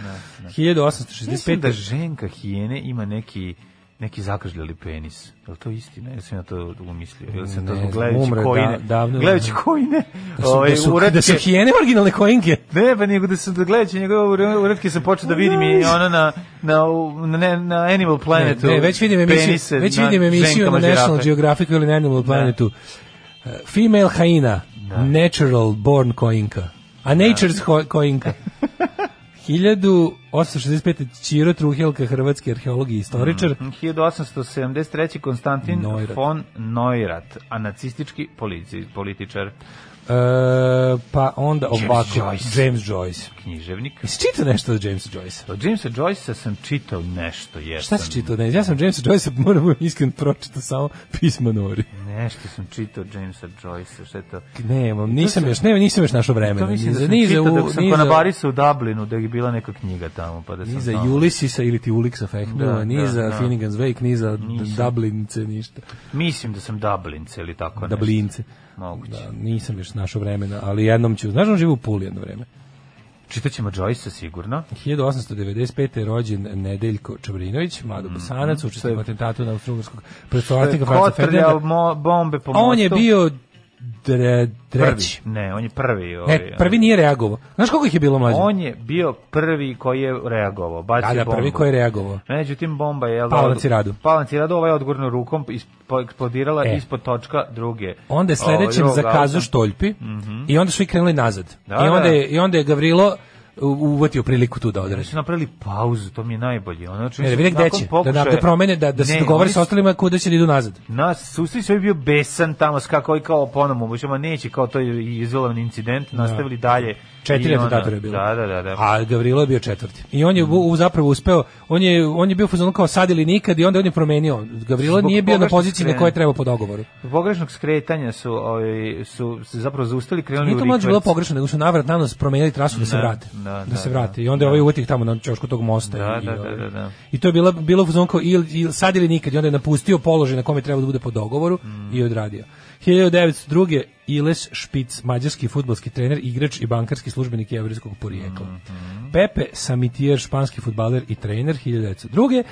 [SPEAKER 6] Da. Mislim
[SPEAKER 5] 1865.
[SPEAKER 6] da ženka hijene ima neki neki zakržljali penis. Je li to istina? Jel sam ja to umislio? Jel sam to
[SPEAKER 5] Ne znam,
[SPEAKER 6] zbog gledajući
[SPEAKER 5] umre
[SPEAKER 6] kojine?
[SPEAKER 5] da- davno.
[SPEAKER 6] gledajući kojine?
[SPEAKER 5] Da su,
[SPEAKER 6] ovaj,
[SPEAKER 5] da su, da su hijene originalne kojinke.
[SPEAKER 6] Ne, pa nego da sam da gledajući njegove ure- uretke sam počeo da vidim i ono na, na, u- na, Pa ne- na Animal
[SPEAKER 5] Pa Ne,
[SPEAKER 6] Planetu.
[SPEAKER 5] ne, već vidim emisiju,
[SPEAKER 6] penise
[SPEAKER 5] već
[SPEAKER 6] na
[SPEAKER 5] vidim emisiju
[SPEAKER 6] ženkama
[SPEAKER 5] na National
[SPEAKER 6] žirafe.
[SPEAKER 5] Geographic ili na Animal Planetu. Uh, Female hyena, natural born kojinka, a nature's ko- kojinka. 1865. Ćiro Truhelka, hrvatski arheolog i istoričar.
[SPEAKER 6] Mhm. 1873. Konstantin
[SPEAKER 5] Neurath.
[SPEAKER 6] von Neurath, a nacistički polici, političar,
[SPEAKER 5] Uh, pa onda ovako,
[SPEAKER 6] Joyce.
[SPEAKER 5] James Joyce.
[SPEAKER 6] književnik.
[SPEAKER 5] Jesi čitao nešto od Jamesa Joyce?
[SPEAKER 6] Od Jamesa Joyce-a sam čitao nešto, jesam.
[SPEAKER 5] Šta si čitao? Ne, ja sam Jamesa Joyce, moram biti iskren pročitao samo pisma Nori.
[SPEAKER 6] Nešto sam čitao od Jamesa Joyce-a, šta je to?
[SPEAKER 5] Nemam, nisam još, ne, nisam još našao vremena.
[SPEAKER 6] To mislim da
[SPEAKER 5] Ni za-
[SPEAKER 6] sam
[SPEAKER 5] ni za
[SPEAKER 6] čitao
[SPEAKER 5] u-
[SPEAKER 6] dok sam
[SPEAKER 5] ni za-
[SPEAKER 6] konabarisa u Dublinu, da je bila neka knjiga tamo, pa da sam
[SPEAKER 5] Ni za
[SPEAKER 6] tamo-
[SPEAKER 5] Ulyssesa ili ti Uliksa Fehmila,
[SPEAKER 6] Da,
[SPEAKER 5] ni
[SPEAKER 6] da,
[SPEAKER 5] za
[SPEAKER 6] da.
[SPEAKER 5] Finnegan's Wake, ni za Dublince, ništa.
[SPEAKER 6] Mislim da sam Dublince ili tako nešto.
[SPEAKER 5] Dublince.
[SPEAKER 6] Moguće.
[SPEAKER 5] Da, nisam još našao vremena, ali jednom ću. Znaš, da on živi u Puli jedno vreme.
[SPEAKER 6] Čitat ćemo Joyce-a sigurno.
[SPEAKER 5] 1895. je rođen Nedeljko Čabrinović,
[SPEAKER 6] Mm,
[SPEAKER 5] mlado bosanac, učestvovao u atentatu na austrougarskog predstavnika Franca
[SPEAKER 6] Kotrljao
[SPEAKER 5] Ferdinanda.
[SPEAKER 6] mo- bombe po
[SPEAKER 5] A on je
[SPEAKER 6] mostu.
[SPEAKER 5] bio dre,
[SPEAKER 6] prvi.
[SPEAKER 5] treći.
[SPEAKER 6] Ne, on je prvi. Ovaj,
[SPEAKER 5] Ne, prvi nije reagovao. Znaš koliko ih je bilo mlađe?
[SPEAKER 6] On je bio prvi koji je reagovao. Bacio
[SPEAKER 5] da, da,
[SPEAKER 6] bombu.
[SPEAKER 5] prvi koji je reagovao.
[SPEAKER 6] Međutim, bomba je... jel da,
[SPEAKER 5] Pala na
[SPEAKER 6] od-
[SPEAKER 5] Ciradu.
[SPEAKER 6] Pala na Ciradu, ovaj je odgurno rukom ispo- eksplodirala
[SPEAKER 5] E.
[SPEAKER 6] ispod točka druge.
[SPEAKER 5] Onda je
[SPEAKER 6] ovaj,
[SPEAKER 5] sledećem
[SPEAKER 6] drugog
[SPEAKER 5] zakazao
[SPEAKER 6] auta.
[SPEAKER 5] Štoljpi i onda su i krenuli nazad.
[SPEAKER 6] Mhm. Da,
[SPEAKER 5] I, onda
[SPEAKER 6] da.
[SPEAKER 5] je, I onda je Gavrilo u- uvatio priliku tu da odredi.
[SPEAKER 6] Oni su napravili pauzu, to mi je najbolje. Ono, znači,
[SPEAKER 5] Ne,
[SPEAKER 6] oni
[SPEAKER 5] da
[SPEAKER 6] su
[SPEAKER 5] vide E, gde
[SPEAKER 6] nakon
[SPEAKER 5] će, da,
[SPEAKER 6] pokušaja-
[SPEAKER 5] da, da promene, da, da se
[SPEAKER 6] Ne,
[SPEAKER 5] dogovore
[SPEAKER 6] oni
[SPEAKER 5] sa
[SPEAKER 6] su-
[SPEAKER 5] ostalima kuda će da idu nazad.
[SPEAKER 6] Nas susreć je bio besan tamo, skakao i kao ponovno, možemo neće, kao to je izolovan incident, nastavili dalje.
[SPEAKER 5] Četiri
[SPEAKER 6] I ono-
[SPEAKER 5] atentatora je bilo.
[SPEAKER 6] Da, da, da. da.
[SPEAKER 5] A Gavrilo je bio četvrti. I on je u- u, zapravo uspeo, on je, on je bio u fazonu kao sad ili nikad i onda on je promenio. Gavrilo
[SPEAKER 6] Zbog
[SPEAKER 5] nije bio na
[SPEAKER 6] pogrešnog
[SPEAKER 5] poziciji na
[SPEAKER 6] skretanja.
[SPEAKER 5] kojoj je trebao po dogovoru.
[SPEAKER 6] Zbog pogrešnog skretanja su, ovaj, su se zapravo zaustali, krenuli
[SPEAKER 5] Nije
[SPEAKER 6] u
[SPEAKER 5] to mlađe bilo
[SPEAKER 6] rikverc.
[SPEAKER 5] pogrešno, nego su navrat na nos promenili trasu da se
[SPEAKER 6] Da,
[SPEAKER 5] vrate.
[SPEAKER 6] da,
[SPEAKER 5] Da,
[SPEAKER 6] da,
[SPEAKER 5] se
[SPEAKER 6] da.
[SPEAKER 5] vrate. I onda je ovaj uvatih tamo na čošku tog mosta.
[SPEAKER 6] Da,
[SPEAKER 5] i,
[SPEAKER 6] da,
[SPEAKER 5] i,
[SPEAKER 6] da,
[SPEAKER 5] ovaj,
[SPEAKER 6] da, da.
[SPEAKER 5] I to je bilo, bilo u fazonu kao ili, ili sad ili nikad. I onda je napustio položaj na kome treba da bude po dogovoru
[SPEAKER 6] Mm.
[SPEAKER 5] i odradio. 1902. Iles Špic, mađarski futbalski trener, igrač i bankarski službenik jevrijskog porijekla.
[SPEAKER 6] Mhm.
[SPEAKER 5] Pepe Samitier, španski futbaler i trener, 1902.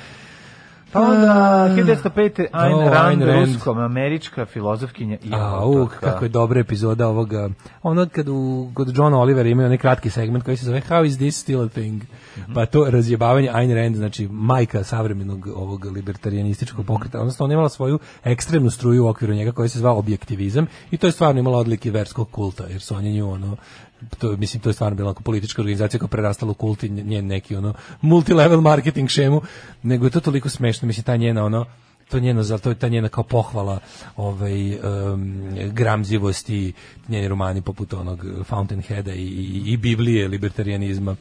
[SPEAKER 6] Pa onda, 1905. Ayn
[SPEAKER 5] O,
[SPEAKER 6] Rand,
[SPEAKER 5] Ayn Rand.
[SPEAKER 6] ruskom, američka filozofkinja i
[SPEAKER 5] Au,
[SPEAKER 6] autorka.
[SPEAKER 5] kako je dobra epizoda ovoga. Ono kad u, kod John Olivera imaju onaj kratki segment koji se zove How is this still a thing? Pa to razjebavanje Ayn Rand, znači majka savremenog ovog libertarijanističkog pokreta. Odnosno, ona je imala svoju ekstremnu struju u okviru njega koja se zvao objektivizam i to je stvarno imala odlike verskog kulta, jer su oni nju ono to je, mislim to je stvarno bila onako politička organizacija koja je prerastala u kult i njen neki ono multilevel marketing šemu nego je to toliko smešno mislim ta njena ono to njeno za to je ta njena kao pohvala ovaj em, gramzivosti njeni romani poput onog Fountainheada i, i, i Biblije libertarijanizma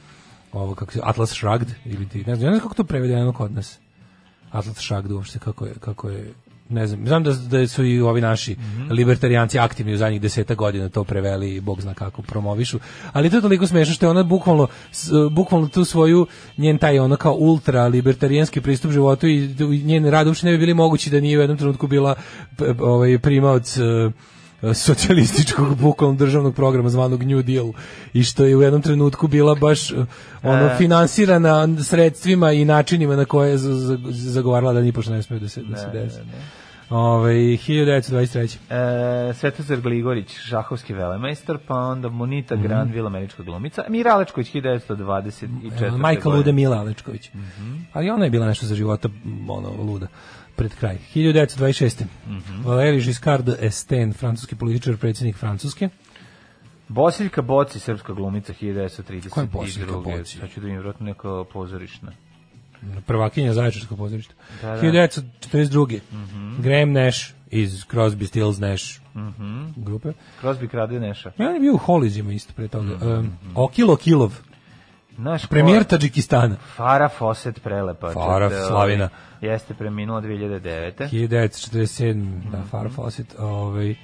[SPEAKER 5] ovo kako se Atlas Shrugged ili ti ne znam, ja ne znam kako to prevedeno kod nas Atlas Shrugged uopšte kako je kako je ne znam, znam da, da su i ovi naši libertarijanci aktivni u zadnjih deseta godina to preveli i bog zna kako promovišu, ali to je toliko smešno što je ona bukvalno, s- bukvalno tu svoju, njen taj ono kao ultra libertarijanski pristup životu i, i njen rad uopšte ne bi bili mogući da nije u jednom trenutku bila p- ovaj, primaoc e, e, e, socijalističkog bukvalno državnog programa zvanog New Deal i što je u jednom trenutku bila baš e, ono finansirana sredstvima i načinima na koje je za- za- zagovarala da nipošto ne smije da se, da se desi. Ovaj, Ove, 1923.
[SPEAKER 6] E, Svetozar Gligorić, šahovski velemajstor, pa onda Monita
[SPEAKER 5] Mhm.
[SPEAKER 6] Granville, američka glumica, Mira Alečković, 1924.
[SPEAKER 5] Ona E, Majka
[SPEAKER 6] godine.
[SPEAKER 5] Luda Mila Alečković. Mhm. Ali ona je bila nešto za života m, ono luda pred kraj. 1926. Valéry Giscard d'Estaing, francuski političar, predsjednik Francuske.
[SPEAKER 6] Bosiljka Boci, srpska glumica, 1932.
[SPEAKER 5] Koja je Bosiljka Boci?
[SPEAKER 6] Sad Pa ću da im vjerojatno neka pozorišna.
[SPEAKER 5] Ono, prvakinja Zaječarskog pozorišta.
[SPEAKER 6] Da, Mhm. da.
[SPEAKER 5] 1942. Graham Nash iz Crosby, Stills, Nash
[SPEAKER 6] Mhm.
[SPEAKER 5] grupe.
[SPEAKER 6] Crosby krade neša.
[SPEAKER 5] Ja on je bio u Holizima isto pre toga. Um, Okilo Kilov,
[SPEAKER 6] Naš
[SPEAKER 5] premijer
[SPEAKER 6] Mhm. ko-
[SPEAKER 5] Tadžikistana.
[SPEAKER 6] Farah Fawcett prelepa.
[SPEAKER 5] Farah,
[SPEAKER 6] čete, ovaj,
[SPEAKER 5] slavina.
[SPEAKER 6] Jeste preminula 2009.
[SPEAKER 5] 1947. Da, Farah Fawcett. Ovaj, e,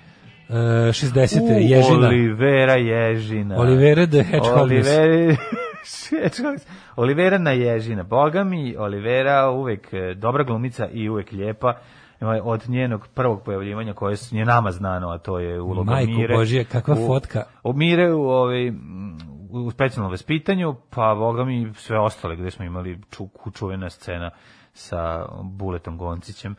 [SPEAKER 5] 60.
[SPEAKER 6] mhm. U,
[SPEAKER 5] Ježina.
[SPEAKER 6] Olivera Ježina.
[SPEAKER 5] Olivera the Hedgehog.
[SPEAKER 6] Olivera... Hedgehogs. Olivera na Ježina. Boga mi, Olivera uvek e, dobra glumica i uvek lijepa. Ovaj, Od njenog prvog pojavljivanja koje s- je nama znano, a to je uloga
[SPEAKER 5] Majko
[SPEAKER 6] Mire.
[SPEAKER 5] Božija, kakva
[SPEAKER 6] u-
[SPEAKER 5] fotka.
[SPEAKER 6] u Mire u, ovaj, mm, u specijalnom vaspitanju, pa boga mi sve ostale gde smo imali ču, čuvena scena sa Buletom Goncićem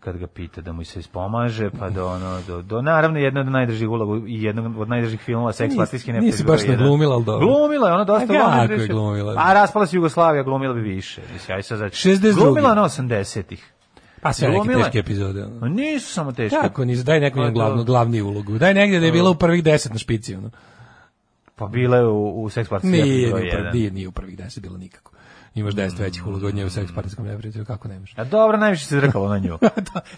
[SPEAKER 6] kad ga pita da mu se ispomaže, pa do, ono, do, do naravno jedna od najdržih uloga i jednog od najdržih filmova Seks
[SPEAKER 5] Nisi-
[SPEAKER 6] latinski
[SPEAKER 5] nisi
[SPEAKER 6] neprijatelj.
[SPEAKER 5] baš
[SPEAKER 6] broj jedan.
[SPEAKER 5] naglumila, ali dobro.
[SPEAKER 6] Glumila je, ona dosta
[SPEAKER 5] A
[SPEAKER 6] ona
[SPEAKER 5] kako je glumila?
[SPEAKER 6] A raspala se Jugoslavija, glumila bi više. Mislim, aj sad, znači,
[SPEAKER 5] 62..
[SPEAKER 6] Glumila na 80-ih.
[SPEAKER 5] Pa sve neke
[SPEAKER 6] Glumila je.
[SPEAKER 5] teške epizode. ono.
[SPEAKER 6] Ma Nisu samo teške.
[SPEAKER 5] Kako, nisu, daj neku
[SPEAKER 6] Pa
[SPEAKER 5] njen glavnu,
[SPEAKER 6] dobro.
[SPEAKER 5] glavni ulogu. Daj negdje da je bila u prvih deset na špici. Ono.
[SPEAKER 6] Pa bila je u, u Seks latinski
[SPEAKER 5] Nije,
[SPEAKER 6] broj
[SPEAKER 5] nije, u prvi-
[SPEAKER 6] jedan. Mm.
[SPEAKER 5] nije, nije u prvih deset bilo nikako. Imaš deset većih uloga od nje u seks partijskom neprijatelju, kako ne možeš?
[SPEAKER 6] A dobro, najviše se zrkalo na nju.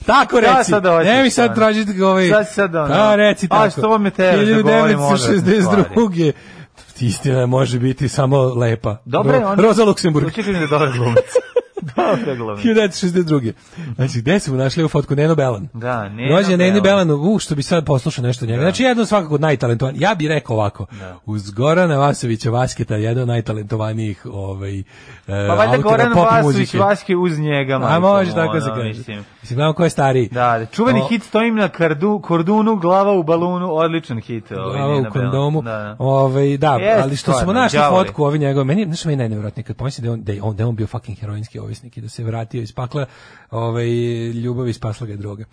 [SPEAKER 5] Tako
[SPEAKER 6] Šta
[SPEAKER 5] reci,
[SPEAKER 6] sad hoćeš,
[SPEAKER 5] ne mi sad
[SPEAKER 6] ono?
[SPEAKER 5] tražiti ga ovaj...
[SPEAKER 6] Sad sad ono.
[SPEAKER 5] Da, reci
[SPEAKER 6] A,
[SPEAKER 5] tako.
[SPEAKER 6] što vam je teraš da govorim odvratne
[SPEAKER 5] 1962. Istina može biti samo lepa.
[SPEAKER 6] Dobro je
[SPEAKER 5] Ro-
[SPEAKER 6] ona.
[SPEAKER 5] Roza Luksemburg.
[SPEAKER 6] Učekaj da je dobra glumica. dobra glumica.
[SPEAKER 5] 1962. Znači, gde smo našli ovu fotku? Neno Belan.
[SPEAKER 6] Da, Neno
[SPEAKER 5] Rođen Neno
[SPEAKER 6] Belan.
[SPEAKER 5] Belan, u, što bi sad poslušao nešto njega. Znači, jedno od svakako od najtalentovanijih. Ja bih rekao ovako, uz Gorana Vasovića Vasketa, jedan od najtalentovanijih ovaj,
[SPEAKER 6] Pa valjda Goran Vasović Vaske uz njega.
[SPEAKER 5] A
[SPEAKER 6] majko
[SPEAKER 5] može
[SPEAKER 6] moja,
[SPEAKER 5] tako se
[SPEAKER 6] ono,
[SPEAKER 5] kaže.
[SPEAKER 6] mislim.
[SPEAKER 5] Mislim, gledamo ko je stariji.
[SPEAKER 6] Da, da, čuveni
[SPEAKER 5] O,
[SPEAKER 6] hit stojim na kardu, kordunu, glava u balunu, odličan hit. Ovaj,
[SPEAKER 5] glava
[SPEAKER 6] Nina
[SPEAKER 5] u kondomu.
[SPEAKER 6] Belan. Da, da.
[SPEAKER 5] Ovaj da,
[SPEAKER 6] Jeste,
[SPEAKER 5] ali što smo
[SPEAKER 6] stvarno,
[SPEAKER 5] našli
[SPEAKER 6] đavoli.
[SPEAKER 5] fotku ovi njegov, meni znaš što mi je najneverovatnije kad pomislim da je on da je on da je on bio fucking heroinski ovisnik i da se vratio iz pakla, ovaj ljubav i spasla ga je droga.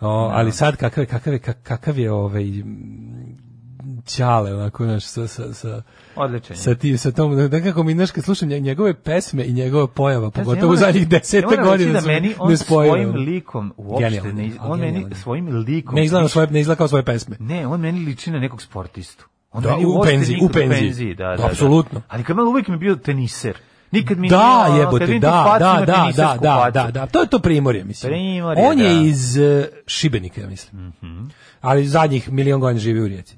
[SPEAKER 5] O, ali sad kakav je kakav je kak- kakav je ovaj mm, ćale onako znaš sa sa sa
[SPEAKER 6] Odličan je.
[SPEAKER 5] sa tim sa tom nekako mi znaš kad slušam nje- njegove pesme i njegova pojava
[SPEAKER 6] Ja sam-
[SPEAKER 5] pogotovo u
[SPEAKER 6] ja moram-
[SPEAKER 5] zadnjih
[SPEAKER 6] ja
[SPEAKER 5] 10
[SPEAKER 6] moram reći
[SPEAKER 5] godina
[SPEAKER 6] da
[SPEAKER 5] su
[SPEAKER 6] meni on
[SPEAKER 5] nespojive,
[SPEAKER 6] svojim
[SPEAKER 5] ono.
[SPEAKER 6] likom uopšte
[SPEAKER 5] Genijalan
[SPEAKER 6] ne,
[SPEAKER 5] je,
[SPEAKER 6] iz- on
[SPEAKER 5] genijalan
[SPEAKER 6] meni
[SPEAKER 5] je.
[SPEAKER 6] svojim likom
[SPEAKER 5] ne izgleda na svoje ne izgleda kao svoje pesme
[SPEAKER 6] Ne, on meni liči na nekog sportistu. On
[SPEAKER 5] Da,
[SPEAKER 6] meni
[SPEAKER 5] u
[SPEAKER 6] uopšte
[SPEAKER 5] penziji,
[SPEAKER 6] nikad
[SPEAKER 5] u penziji.
[SPEAKER 6] da, da,
[SPEAKER 5] Da,
[SPEAKER 6] da.
[SPEAKER 5] apsolutno.
[SPEAKER 6] Ali Kamal uvijek mi je bio teniser. Nikad mi nije,
[SPEAKER 5] Da,
[SPEAKER 6] ono, kad
[SPEAKER 5] jebote,
[SPEAKER 6] vidim tu
[SPEAKER 5] da,
[SPEAKER 6] facu,
[SPEAKER 5] da,
[SPEAKER 6] ima
[SPEAKER 5] da, da,
[SPEAKER 6] tenisersku
[SPEAKER 5] da,
[SPEAKER 6] facu.
[SPEAKER 5] da, da, to je to primorje, mislim.
[SPEAKER 6] Primorje,
[SPEAKER 5] On je
[SPEAKER 6] da. Mhm.
[SPEAKER 5] iz e, Šibenika, ja mislim. Ali zadnjih milion godina živi u Rijeci.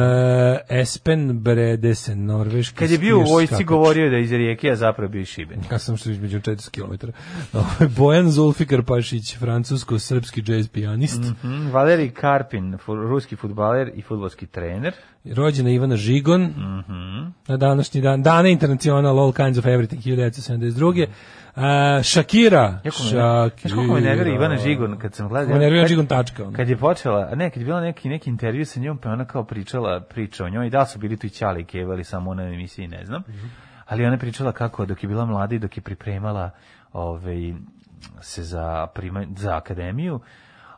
[SPEAKER 5] E, Espen Bredesen, norveški
[SPEAKER 6] Kad je bio u
[SPEAKER 5] skijaš
[SPEAKER 6] vojci
[SPEAKER 5] skakač.
[SPEAKER 6] govorio je da je iz Rijeke, a zapravo je bio iz Šibenika.
[SPEAKER 5] Ja sam što između 400 km. Ovaj, Bojan Zulfikar Pašić, francusko-srpski jazz pijanist.
[SPEAKER 6] Mm, Valerij Karpin, fu- ruski futbaler i futbolski trener.
[SPEAKER 5] Rođena Ivana Žigon.
[SPEAKER 6] Mhm.
[SPEAKER 5] Na današnji dan. Dana internacional All Kinds of Everything 1972. Uh, Shakira.
[SPEAKER 6] Mhm. Jako me, znaš koliko me nervira Ivana Žigon kad sam gledao.
[SPEAKER 5] Kako me nervira Žigon tačka, ono.
[SPEAKER 6] Kad je počela, a ne, kad je bila neki, neki intervju sa njom, pa je ona kao pričala priča o njoj, i da li su bili tu i Ćali i Keva ili samo ona u emisiji, ne znam.
[SPEAKER 5] Mhm.
[SPEAKER 6] Ali ona je pričala kako dok je bila mlada i dok je pripremala ovaj, se za, prima, za akademiju,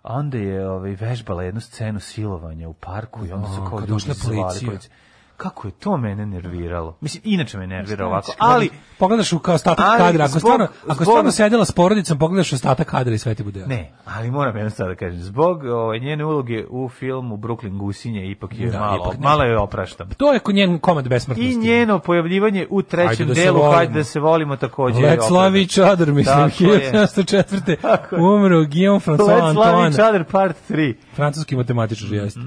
[SPEAKER 6] a onda je ovaj, vežbala jednu scenu silovanja u parku i onda su
[SPEAKER 5] A,
[SPEAKER 6] kao
[SPEAKER 5] kad
[SPEAKER 6] ljudi
[SPEAKER 5] došla
[SPEAKER 6] zvali
[SPEAKER 5] policija.
[SPEAKER 6] policiju. Kako je to mene nerviralo? Mislim, inače me nervira ovako,
[SPEAKER 5] ali
[SPEAKER 6] ali...
[SPEAKER 5] Znači, ono, pogledaš u kao ostatak
[SPEAKER 6] ali
[SPEAKER 5] kadra, ako
[SPEAKER 6] zbog-
[SPEAKER 5] stvarno, ako
[SPEAKER 6] zbog-
[SPEAKER 5] stvarno sedela s porodicom, pogledaš ostatak kadra i sve ti bude. jasno.
[SPEAKER 6] Ne, ali moram jednostavno da kažem, zbog ovaj, njene uloge u filmu Brooklyn Gusinje ipak je
[SPEAKER 5] Da,
[SPEAKER 6] malo,
[SPEAKER 5] ipak ne.
[SPEAKER 6] malo je opraštam.
[SPEAKER 5] To je ko njen komad besmrtnosti.
[SPEAKER 6] I njeno pojavljivanje u trećem
[SPEAKER 5] Ajde da se
[SPEAKER 6] delu,
[SPEAKER 5] volimo.
[SPEAKER 6] hajde da se volimo također.
[SPEAKER 5] Let's love each other, mislim,
[SPEAKER 6] Tako je.
[SPEAKER 5] 1704.
[SPEAKER 6] Tako je.
[SPEAKER 5] Umro Guillaume François
[SPEAKER 6] Let's love
[SPEAKER 5] Antoine.
[SPEAKER 6] each other part 3.
[SPEAKER 5] Francuski matematičar
[SPEAKER 6] Mhm,
[SPEAKER 5] jeste.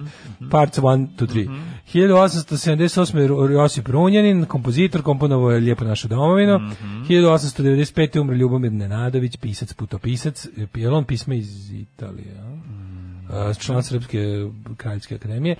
[SPEAKER 5] Parts 1 to 3. 1878. je Ro- Josip Runjanin, kompozitor, komponovao je Lijepo našu domovinu.
[SPEAKER 6] Mhm.
[SPEAKER 5] 1895. umre Ljubomir Nenadović, pisac, putopisac. e, Je li on pisma iz Italije? a?
[SPEAKER 6] Mhm.
[SPEAKER 5] A, član Srpske kraljevske akademije.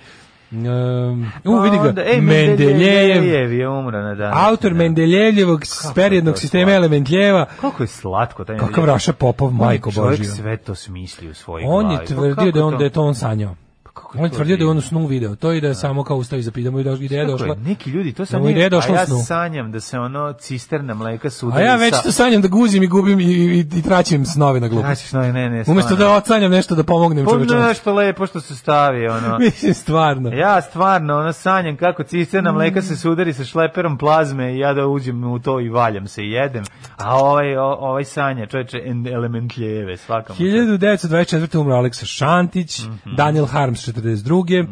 [SPEAKER 5] Um, u, vidi ga,
[SPEAKER 6] Pa ej,
[SPEAKER 5] Mendeljejev,
[SPEAKER 6] e, Mendeljejev je umro na dan.
[SPEAKER 5] autor Mendeljevljevog perijednog
[SPEAKER 6] to
[SPEAKER 5] sistema
[SPEAKER 6] slatko.
[SPEAKER 5] elementljeva,
[SPEAKER 6] Kako je slatko taj
[SPEAKER 5] kakav
[SPEAKER 6] Mendeljejev.
[SPEAKER 5] Raša Popov, majko
[SPEAKER 6] Čovjek
[SPEAKER 5] Božija.
[SPEAKER 6] sve to smisli u svojoj
[SPEAKER 5] On
[SPEAKER 6] glavi.
[SPEAKER 5] je
[SPEAKER 6] Pa kako
[SPEAKER 5] tvrdio da, je on, da je to on sanjao.
[SPEAKER 6] Pa kako je
[SPEAKER 5] On je
[SPEAKER 6] to
[SPEAKER 5] tvrdio da je
[SPEAKER 6] divno.
[SPEAKER 5] on u snu video to i da je samo kao ustao iza pidama i da ideja
[SPEAKER 6] Kako je,
[SPEAKER 5] došla.
[SPEAKER 6] Neki ljudi, to sam
[SPEAKER 5] Nego
[SPEAKER 6] nije,
[SPEAKER 5] ideja došla
[SPEAKER 6] a
[SPEAKER 5] u
[SPEAKER 6] ja
[SPEAKER 5] snu.
[SPEAKER 6] sanjam da se ono cisterna mleka
[SPEAKER 5] A
[SPEAKER 6] sudari
[SPEAKER 5] ja već to sanjam da guzim i gubim i, i, i traćim snove na glupost.
[SPEAKER 6] Značiš, no, ne, ne,
[SPEAKER 5] Umesto da
[SPEAKER 6] stvarno.
[SPEAKER 5] odsanjam nešto da pomognem
[SPEAKER 6] Pa
[SPEAKER 5] čovečanstvu.
[SPEAKER 6] nešto lepo što se stavi, ono.
[SPEAKER 5] Mislim, stvarno.
[SPEAKER 6] Ja stvarno, ono, sanjam kako cisterna mleka se sudari sa šleperom plazme i ja da uđem u to i valjam se i jedem. A ovaj, o- ovaj sanja, čoveče, en- element ljeve, svakam.
[SPEAKER 5] 1924. umro Aleksa Šantić,
[SPEAKER 6] Mhm.
[SPEAKER 5] Daniel Harms 42.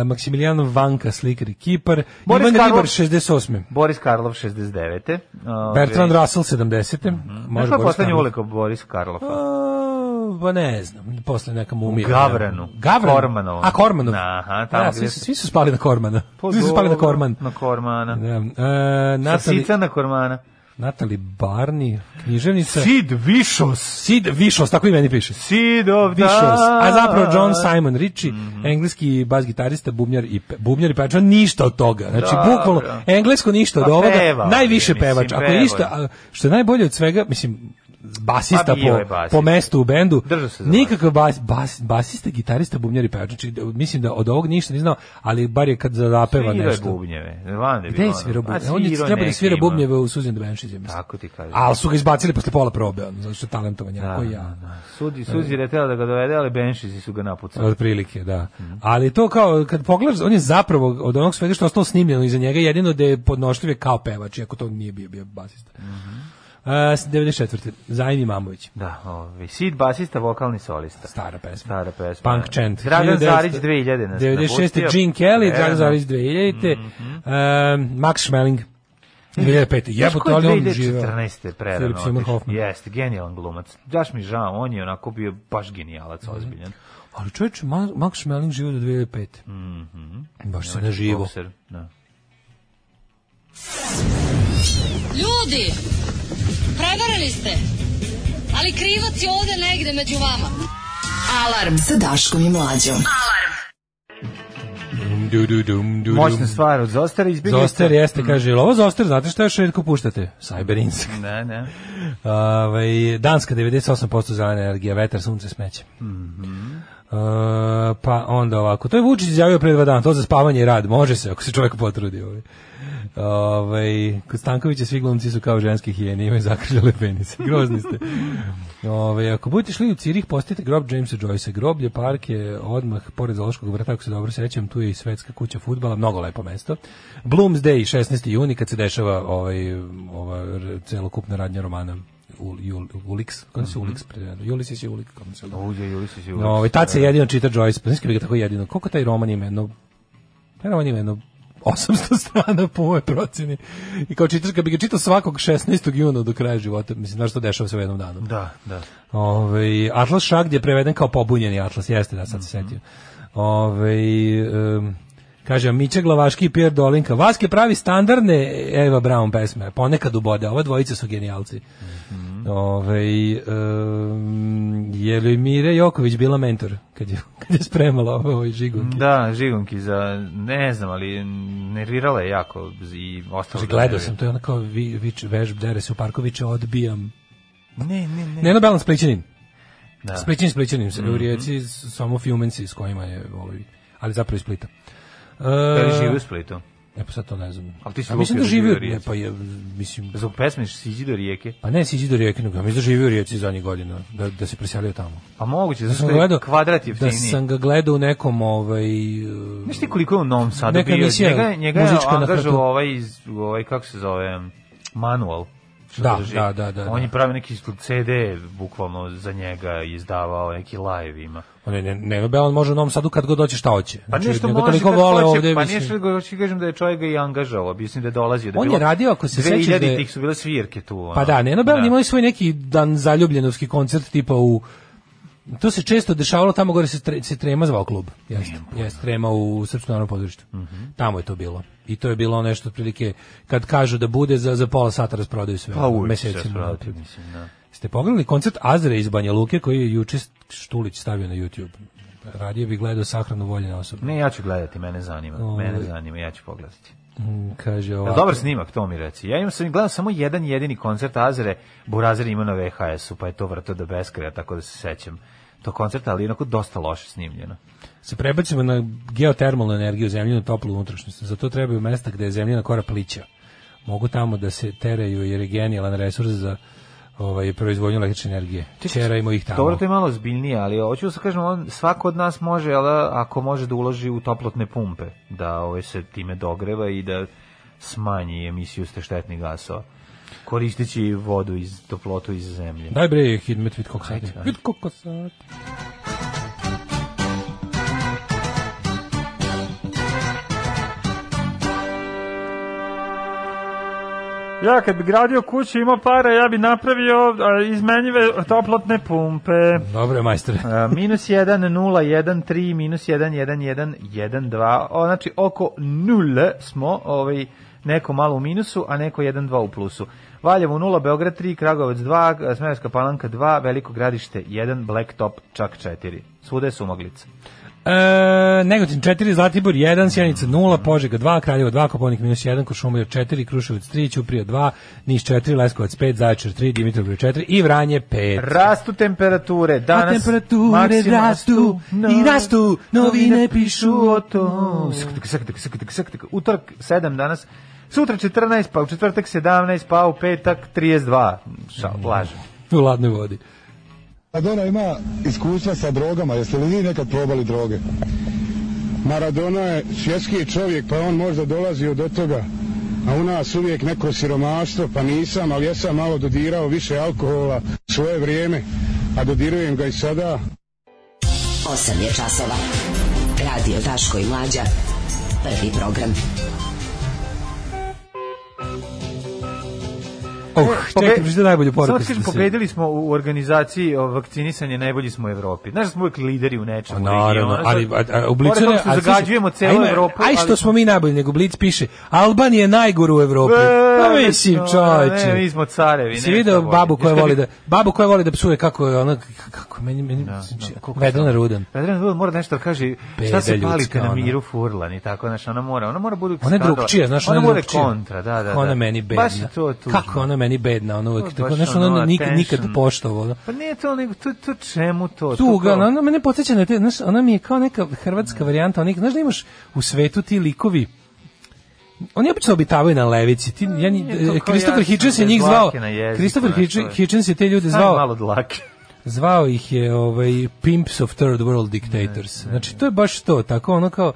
[SPEAKER 5] e, Maksimilijan Vanka, slikar i kipar,
[SPEAKER 6] Boris
[SPEAKER 5] Ivan
[SPEAKER 6] Karlov.
[SPEAKER 5] Ribar 68.
[SPEAKER 6] Boris Karlov, 69. Ove,
[SPEAKER 5] Bertrand Russell 70. Mm.
[SPEAKER 6] Mhm. Znaš ko je poslednje uliko Boris Karlov?
[SPEAKER 5] Pa ne znam, posle nekam umira.
[SPEAKER 6] Gavranu.
[SPEAKER 5] Gavranu?
[SPEAKER 6] Kormanovu.
[SPEAKER 5] A, Kormanov.
[SPEAKER 6] Aha, tamo Pa
[SPEAKER 5] da,
[SPEAKER 6] gde
[SPEAKER 5] svi,
[SPEAKER 6] su-
[SPEAKER 5] su- svi su spali na Kormana. svi su spali na Korman.
[SPEAKER 6] Na Kormana.
[SPEAKER 5] Da. E, Natali,
[SPEAKER 6] Sasica na Kormana.
[SPEAKER 5] Natali Barni, književnica.
[SPEAKER 6] Sid Vicious.
[SPEAKER 5] Sid Višos, tako i meni piše.
[SPEAKER 6] Sid of
[SPEAKER 5] Vicious, a zapravo John
[SPEAKER 6] Simon.
[SPEAKER 5] Simon Ritchie,
[SPEAKER 6] Mhm.
[SPEAKER 5] engleski bas gitarista, bubnjar i pe, bubnjar i pevač, on ništa od toga. Znači
[SPEAKER 6] Dobro.
[SPEAKER 5] bukvalno englesko ništa od
[SPEAKER 6] Pa
[SPEAKER 5] ovoga,
[SPEAKER 6] pevao je,
[SPEAKER 5] najviše
[SPEAKER 6] mislim,
[SPEAKER 5] pevač. Ako
[SPEAKER 6] pevao je.
[SPEAKER 5] je išta, a, što je najbolje od svega, mislim basista
[SPEAKER 6] Pa bio je
[SPEAKER 5] po,
[SPEAKER 6] basista.
[SPEAKER 5] po mestu u bendu.
[SPEAKER 6] Držao se za
[SPEAKER 5] Nikakav bas, bas, basista, gitarista, bubnjar i pevač. Znači, da- mislim da od ovog ništa ne znao, ali bar je kad zapeva
[SPEAKER 6] Svirao je
[SPEAKER 5] nešto.
[SPEAKER 6] bubnjeve. Znam da je
[SPEAKER 5] Gde
[SPEAKER 6] bilo
[SPEAKER 5] je
[SPEAKER 6] ono.
[SPEAKER 5] svirao
[SPEAKER 6] A,
[SPEAKER 5] bubnjeve? On je
[SPEAKER 6] svirao
[SPEAKER 5] trebao da
[SPEAKER 6] neki
[SPEAKER 5] svira
[SPEAKER 6] ima.
[SPEAKER 5] bubnjeve u Susan the Banshees, ja mislim.
[SPEAKER 6] Tako ti kažem.
[SPEAKER 5] Ali su ga izbacili posle pola probe, ono, zato što je talentovan, jako
[SPEAKER 6] Pa Da,
[SPEAKER 5] i
[SPEAKER 6] da,
[SPEAKER 5] ja. E.
[SPEAKER 6] da. Sudi, Suzi je teo da ga dovede, ali Benšizi su ga napucali.
[SPEAKER 5] otprilike, da. Ali to kao kad pogledaš, on je zapravo od onog svega što je ostalo snimljeno iza njega jedino da je podnošljiv je kao pevač, iako to nije bio bio basista.
[SPEAKER 6] Mhm.
[SPEAKER 5] Uh, 94. Zajmi Imamović.
[SPEAKER 6] Da, ovaj. Sid basista, vokalni solista.
[SPEAKER 5] Stara pesma.
[SPEAKER 6] Stara pesma.
[SPEAKER 5] Punk Chant.
[SPEAKER 6] Dragan
[SPEAKER 5] 1900
[SPEAKER 6] Zarić 2000 nas
[SPEAKER 5] 96.
[SPEAKER 6] napustio.
[SPEAKER 5] Gene Kelly,
[SPEAKER 6] Evo. Mhm.
[SPEAKER 5] Dragan Zarić 2000. Uh, Max Schmeling. 2005.
[SPEAKER 6] Jebote,
[SPEAKER 5] Jebote, ali on živeo.
[SPEAKER 6] 2014.
[SPEAKER 5] Philip
[SPEAKER 6] predano.
[SPEAKER 5] Seymour
[SPEAKER 6] otišao.
[SPEAKER 5] Hoffman.
[SPEAKER 6] Jeste, genijalan glumac. Daš mi žao, on je onako bio baš genijalac, ozbiljan.
[SPEAKER 5] Ali čovječ, Ma- Max Schmeling živeo do 2005.
[SPEAKER 6] Mhm.
[SPEAKER 5] Baš
[SPEAKER 6] Znači,
[SPEAKER 5] se ne živo.
[SPEAKER 6] Bokser, da.
[SPEAKER 8] Ljudi, prevarili ste. Ali krivac je ovde negde među vama.
[SPEAKER 4] Alarm sa Daškom i Mlađom.
[SPEAKER 5] Dum, du, dum, du,
[SPEAKER 6] Moćna
[SPEAKER 5] dum.
[SPEAKER 6] stvar od Zostara izbjeglica.
[SPEAKER 5] Zoster jeste, kaže, jel ovo Zoster, znate šta još redko puštate? Cyber Insect.
[SPEAKER 6] Ne, ne.
[SPEAKER 5] Ovaj, Danska 98% zelena energija, vetar, sunce, smeće. E, pa onda ovako, to je Vučić izjavio pre dva dana, to za spavanje i rad, može se ako se čovjek potrudi. Ovaj. Ovaj, kod Stankovića svi glumci su kao ženske hijene, imaju zakržale penice, grozni ste. Ovaj, ako budete šli u Cirih, postavite grob Jamesa Joyce, groblje, park je odmah pored Zološkog vrta, ako se dobro sećam, tu je i svetska kuća futbala, mnogo lepo mesto. Bloomsday, 16. juni, kad se dešava ovaj, ova r- celokupna radnja romana Ul, Jul, Ulix, kako se Ulix prevedeno? Ulysses je Ulix, kako se
[SPEAKER 6] Uđe Julisić i
[SPEAKER 5] no, ovaj, tad se jedino čita Joyce, pa nisam ga tako jedino. Koliko taj roman ima jedno... Taj roman ima jedno 800 strana po moje proceni. I kao čitaš, kad bi ga čitao svakog 16. juna do kraja života, mislim, znaš što dešava se u jednom danu.
[SPEAKER 6] Da, da.
[SPEAKER 5] Ove, Atlas Shrugged je preveden kao pobunjeni Atlas, jeste da sad se setio. Ove, um, kaže, Mića Glavaški i Pierre Dolinka, Vaske pravi standardne Eva Brown pesme, ponekad ubode, ova dvojica su genijalci. Ove, um, je li Mire Joković bila mentor kad je, kad je spremala ove, ove žigunke?
[SPEAKER 6] Da, žigunki za, ne znam, ali m, nervirala je jako i ostalo.
[SPEAKER 5] Kaže,
[SPEAKER 6] da
[SPEAKER 5] Znači, gledao
[SPEAKER 6] nervira.
[SPEAKER 5] sam, to je onako vi, vič, vežb, dere se u parkoviće, odbijam.
[SPEAKER 6] Ne, ne, ne.
[SPEAKER 5] Neno Belan Splićanin.
[SPEAKER 6] Da. Mhm.
[SPEAKER 5] Da. Splićanin, Splićanin se u rijeci, s- samo Fiumenci s kojima je, ovaj, ali zapravo iz Splita. E,
[SPEAKER 6] Da li živi u Splitu?
[SPEAKER 5] E pa sad to ne znam.
[SPEAKER 6] Ali ti si
[SPEAKER 5] A mislim da
[SPEAKER 6] lupio da živi
[SPEAKER 5] živi
[SPEAKER 6] u
[SPEAKER 5] u Ne,
[SPEAKER 6] Rijeci.
[SPEAKER 5] pa je, mislim,
[SPEAKER 6] Zbog pesme Siđi do rijeke.
[SPEAKER 5] pa ne siđi do rijeke, nego ja mislim da živi u rijeci zadnjih godina, da, da se preselio tamo.
[SPEAKER 6] Pa moguće,
[SPEAKER 5] Da
[SPEAKER 6] zato
[SPEAKER 5] sam
[SPEAKER 6] što
[SPEAKER 5] ga
[SPEAKER 6] je
[SPEAKER 5] gledao,
[SPEAKER 6] kvadrat
[SPEAKER 5] da
[SPEAKER 6] jeftiniji.
[SPEAKER 5] sam ga gledao u nekom, ovaj, e,
[SPEAKER 6] Znaš ti koliko je u Novom Sadu
[SPEAKER 5] Neka
[SPEAKER 6] bio?
[SPEAKER 5] emisija
[SPEAKER 6] njega, njega je
[SPEAKER 5] muzička na
[SPEAKER 6] angažao
[SPEAKER 5] hrtu.
[SPEAKER 6] ovaj, iz, ovaj, kako se zove, manual. što
[SPEAKER 5] Da,
[SPEAKER 6] drži.
[SPEAKER 5] da, da, da,
[SPEAKER 6] On
[SPEAKER 5] da.
[SPEAKER 6] je pravi neki CD, bukvalno, za njega izdavao, neki live ima.
[SPEAKER 5] ne, e, ne, ne, ne, on može u Novom Sadu kad god hoće šta hoće.
[SPEAKER 6] Pa nešto
[SPEAKER 5] Znači, njega
[SPEAKER 6] može
[SPEAKER 5] toliko
[SPEAKER 6] kad
[SPEAKER 5] vole
[SPEAKER 6] hoće,
[SPEAKER 5] ovde,
[SPEAKER 6] pa
[SPEAKER 5] mislim.
[SPEAKER 6] nešto hoću kažem da je čovjek ga i angažao, objasni da je dolazio. Da
[SPEAKER 5] On je
[SPEAKER 6] bilo-
[SPEAKER 5] radio, ako se sećaš da je-
[SPEAKER 6] 2000 tih su bile svirke tu. ono.
[SPEAKER 5] Pa da, Neno Bell da. imali svoj neki dan zaljubljenovski koncert tipa u To se često dešavalo tamo gore se, tre, se Trema zvao klub. Jeste. Jeste Trema u Srpskom narodnom pozorištu.
[SPEAKER 6] Mhm.
[SPEAKER 5] Tamo je to bilo. I to je bilo nešto otprilike kad kažu da bude za za pola sata rasprodaju sve.
[SPEAKER 6] Pa uvijek se
[SPEAKER 5] mesecima
[SPEAKER 6] svrati,
[SPEAKER 5] unapred.
[SPEAKER 6] mislim, da.
[SPEAKER 5] Ste pogledali koncert Azre iz Banja Luke koji je juče Štulić stavio na YouTube. Radio bi gledao sahranu voljene osobe.
[SPEAKER 6] Ne, ja ću gledati, mene zanima. Mene
[SPEAKER 5] Ovaj.
[SPEAKER 6] zanima, ja ću pogledati.
[SPEAKER 5] Mm, Kaže
[SPEAKER 6] Mhm. Jel
[SPEAKER 5] ovako.
[SPEAKER 6] Pa dobar snimak, to mi reci. Ja imam sam gledao samo jedan jedini koncert Azere, Burazer ima na VHS-u, pa je to vrto do beskraja, tako da se sećam to koncerta, ali onako dosta loše snimljeno.
[SPEAKER 5] se prebacimo na geotermalnu energiju zemljinu toplu unutrašnjost. Za to trebaju mesta gde je zemljina kora plića. Mogu tamo da se teraju jer je genijalan resurs za ovaj, proizvodnju električne energije. Čerajmo ih tamo.
[SPEAKER 6] Dobro, to je malo zbiljnije, ali hoću da se kažem, on, svako od nas može, ali ako može da uloži u toplotne pumpe, da ovaj, se time dogreva i da smanji emisiju ste štetnih gasova, koristeći vodu iz toplotu iz zemlje.
[SPEAKER 5] Daj bre, hidmet vid kokosat.
[SPEAKER 6] Ajde, ajde.
[SPEAKER 5] Vid kokosat.
[SPEAKER 6] Ja kad bi gradio kuću imao pare, ja bi napravio izmenjive toplotne pumpe.
[SPEAKER 5] Dobro je, majstore.
[SPEAKER 6] A, E, minus 1, 0, 1, 3, minus 1, 1, 1, 1, 2. O, znači, oko 0 smo, ovaj, neko malo u minusu, a neko 1, 2 u plusu. Valjevo 0, Beograd 3, Kragovac 2, Smerovska palanka 2, Veliko gradište 1, Blacktop čak 4. Svuda je sumaglica.
[SPEAKER 5] E, Negotin 4, Zlatibor 1, Sjenica 0, Požega 2, Kraljevo 2, Koponik minus 1, Košumlija 4, Kruševac 3, Ćuprija 2, Niš 4, Leskovac 5, Zaječar 3, Dimitrovgrad 4 i Vranje 5.
[SPEAKER 6] Rastu temperature,
[SPEAKER 5] A
[SPEAKER 6] danas...
[SPEAKER 5] temperature
[SPEAKER 6] maksimum-
[SPEAKER 5] rastu i rastu, novine pišu o
[SPEAKER 6] to.
[SPEAKER 5] tom.
[SPEAKER 6] Sk, sk, sk, sk, sk, sk. Utorak 7 danas, sutra 14, pa u četvrtak 17, pa u petak 32.
[SPEAKER 5] Mm.
[SPEAKER 6] Šal, lažem.
[SPEAKER 5] U ladnoj vodi.
[SPEAKER 9] Maradona Pa ima iskustva sa drogama, jeste li vi nekad probali droge? Maradona je svjetski čovjek, pa on možda dolazi do toga. A u nas uvijek neko siromaštvo, pa nisam, ali ja sam malo dodirao više alkohola u svoje vrijeme, a dodirujem ga i sada.
[SPEAKER 4] 8 je časova. Radio Daško i Mlađa. Prvi program.
[SPEAKER 5] Oh, čekaj,
[SPEAKER 6] Pobe-
[SPEAKER 5] pročitaj najbolju
[SPEAKER 6] E, Samo
[SPEAKER 5] poruku.
[SPEAKER 6] ti kažem, pobedili smo u organizaciji o vakcinisanja, najbolji smo u Evropi. Znaš da smo uvijek lideri u nečemu. u regionu,
[SPEAKER 5] Pa Naravno,
[SPEAKER 6] znaš,
[SPEAKER 5] ali a, a, u Blicu
[SPEAKER 6] Pored toga
[SPEAKER 5] ne...
[SPEAKER 6] što
[SPEAKER 5] ali slušaj,
[SPEAKER 6] zagađujemo celu
[SPEAKER 5] a ima-
[SPEAKER 6] Evropu,
[SPEAKER 5] Aj što
[SPEAKER 6] ali-
[SPEAKER 5] smo mi najbolji, nego Blic piše Albanija je najgora u Evropi.
[SPEAKER 6] E,
[SPEAKER 5] Pa mislim,
[SPEAKER 6] no,
[SPEAKER 5] čoveče.
[SPEAKER 6] ne, mi smo carevi,
[SPEAKER 5] Si
[SPEAKER 6] ne,
[SPEAKER 5] video
[SPEAKER 6] šta
[SPEAKER 5] babu
[SPEAKER 6] voli.
[SPEAKER 5] koja
[SPEAKER 6] Jesi
[SPEAKER 5] voli
[SPEAKER 6] kad
[SPEAKER 5] da babu koja voli da psuje kako je ona kako meni meni znači, Vedrana Rudan.
[SPEAKER 6] Vedrana Rudan mora nešto da kaže, šta
[SPEAKER 5] Beda
[SPEAKER 6] se palite
[SPEAKER 5] ljudska,
[SPEAKER 6] na
[SPEAKER 5] ona.
[SPEAKER 6] miru Furlan i tako, znaš, ona mora, ona mora budu
[SPEAKER 5] Ona je
[SPEAKER 6] skandala.
[SPEAKER 5] drugčija, znaš, ona
[SPEAKER 6] ona
[SPEAKER 5] je
[SPEAKER 6] mora
[SPEAKER 5] drugčija.
[SPEAKER 6] kontra, da, da, da.
[SPEAKER 5] Kako ona meni bedna.
[SPEAKER 6] Baš je to tužno.
[SPEAKER 5] Kako ona meni bedna, ona
[SPEAKER 6] To
[SPEAKER 5] uvek
[SPEAKER 6] je
[SPEAKER 5] tako,
[SPEAKER 6] baš
[SPEAKER 5] znaš, ona
[SPEAKER 6] ono,
[SPEAKER 5] nik, nikad
[SPEAKER 6] attention.
[SPEAKER 5] poštovo. Ono.
[SPEAKER 6] Pa nije to, nego to, to čemu to?
[SPEAKER 5] Tuga,
[SPEAKER 6] to, kao-
[SPEAKER 5] ona, ona mene podsjeća na te, znaš, ona mi je kao neka hrvatska varijanta, onih, znaš da imaš u svetu ti likovi, oni obično obitavaju na levici. Ti, ja, ni-
[SPEAKER 6] Nije to kao
[SPEAKER 5] Kristofer
[SPEAKER 6] jasno,
[SPEAKER 5] Hitchens je
[SPEAKER 6] bez
[SPEAKER 5] njih zvao.
[SPEAKER 6] dlake na jeziku,
[SPEAKER 5] Kristofer
[SPEAKER 6] znaš, to je.
[SPEAKER 5] Hitchens je te ljude
[SPEAKER 6] Stani
[SPEAKER 5] zvao.
[SPEAKER 6] malo dlake.
[SPEAKER 5] Zvao ih je ovaj Pimps of Third World Dictators. Znači to je baš to, tako ono kao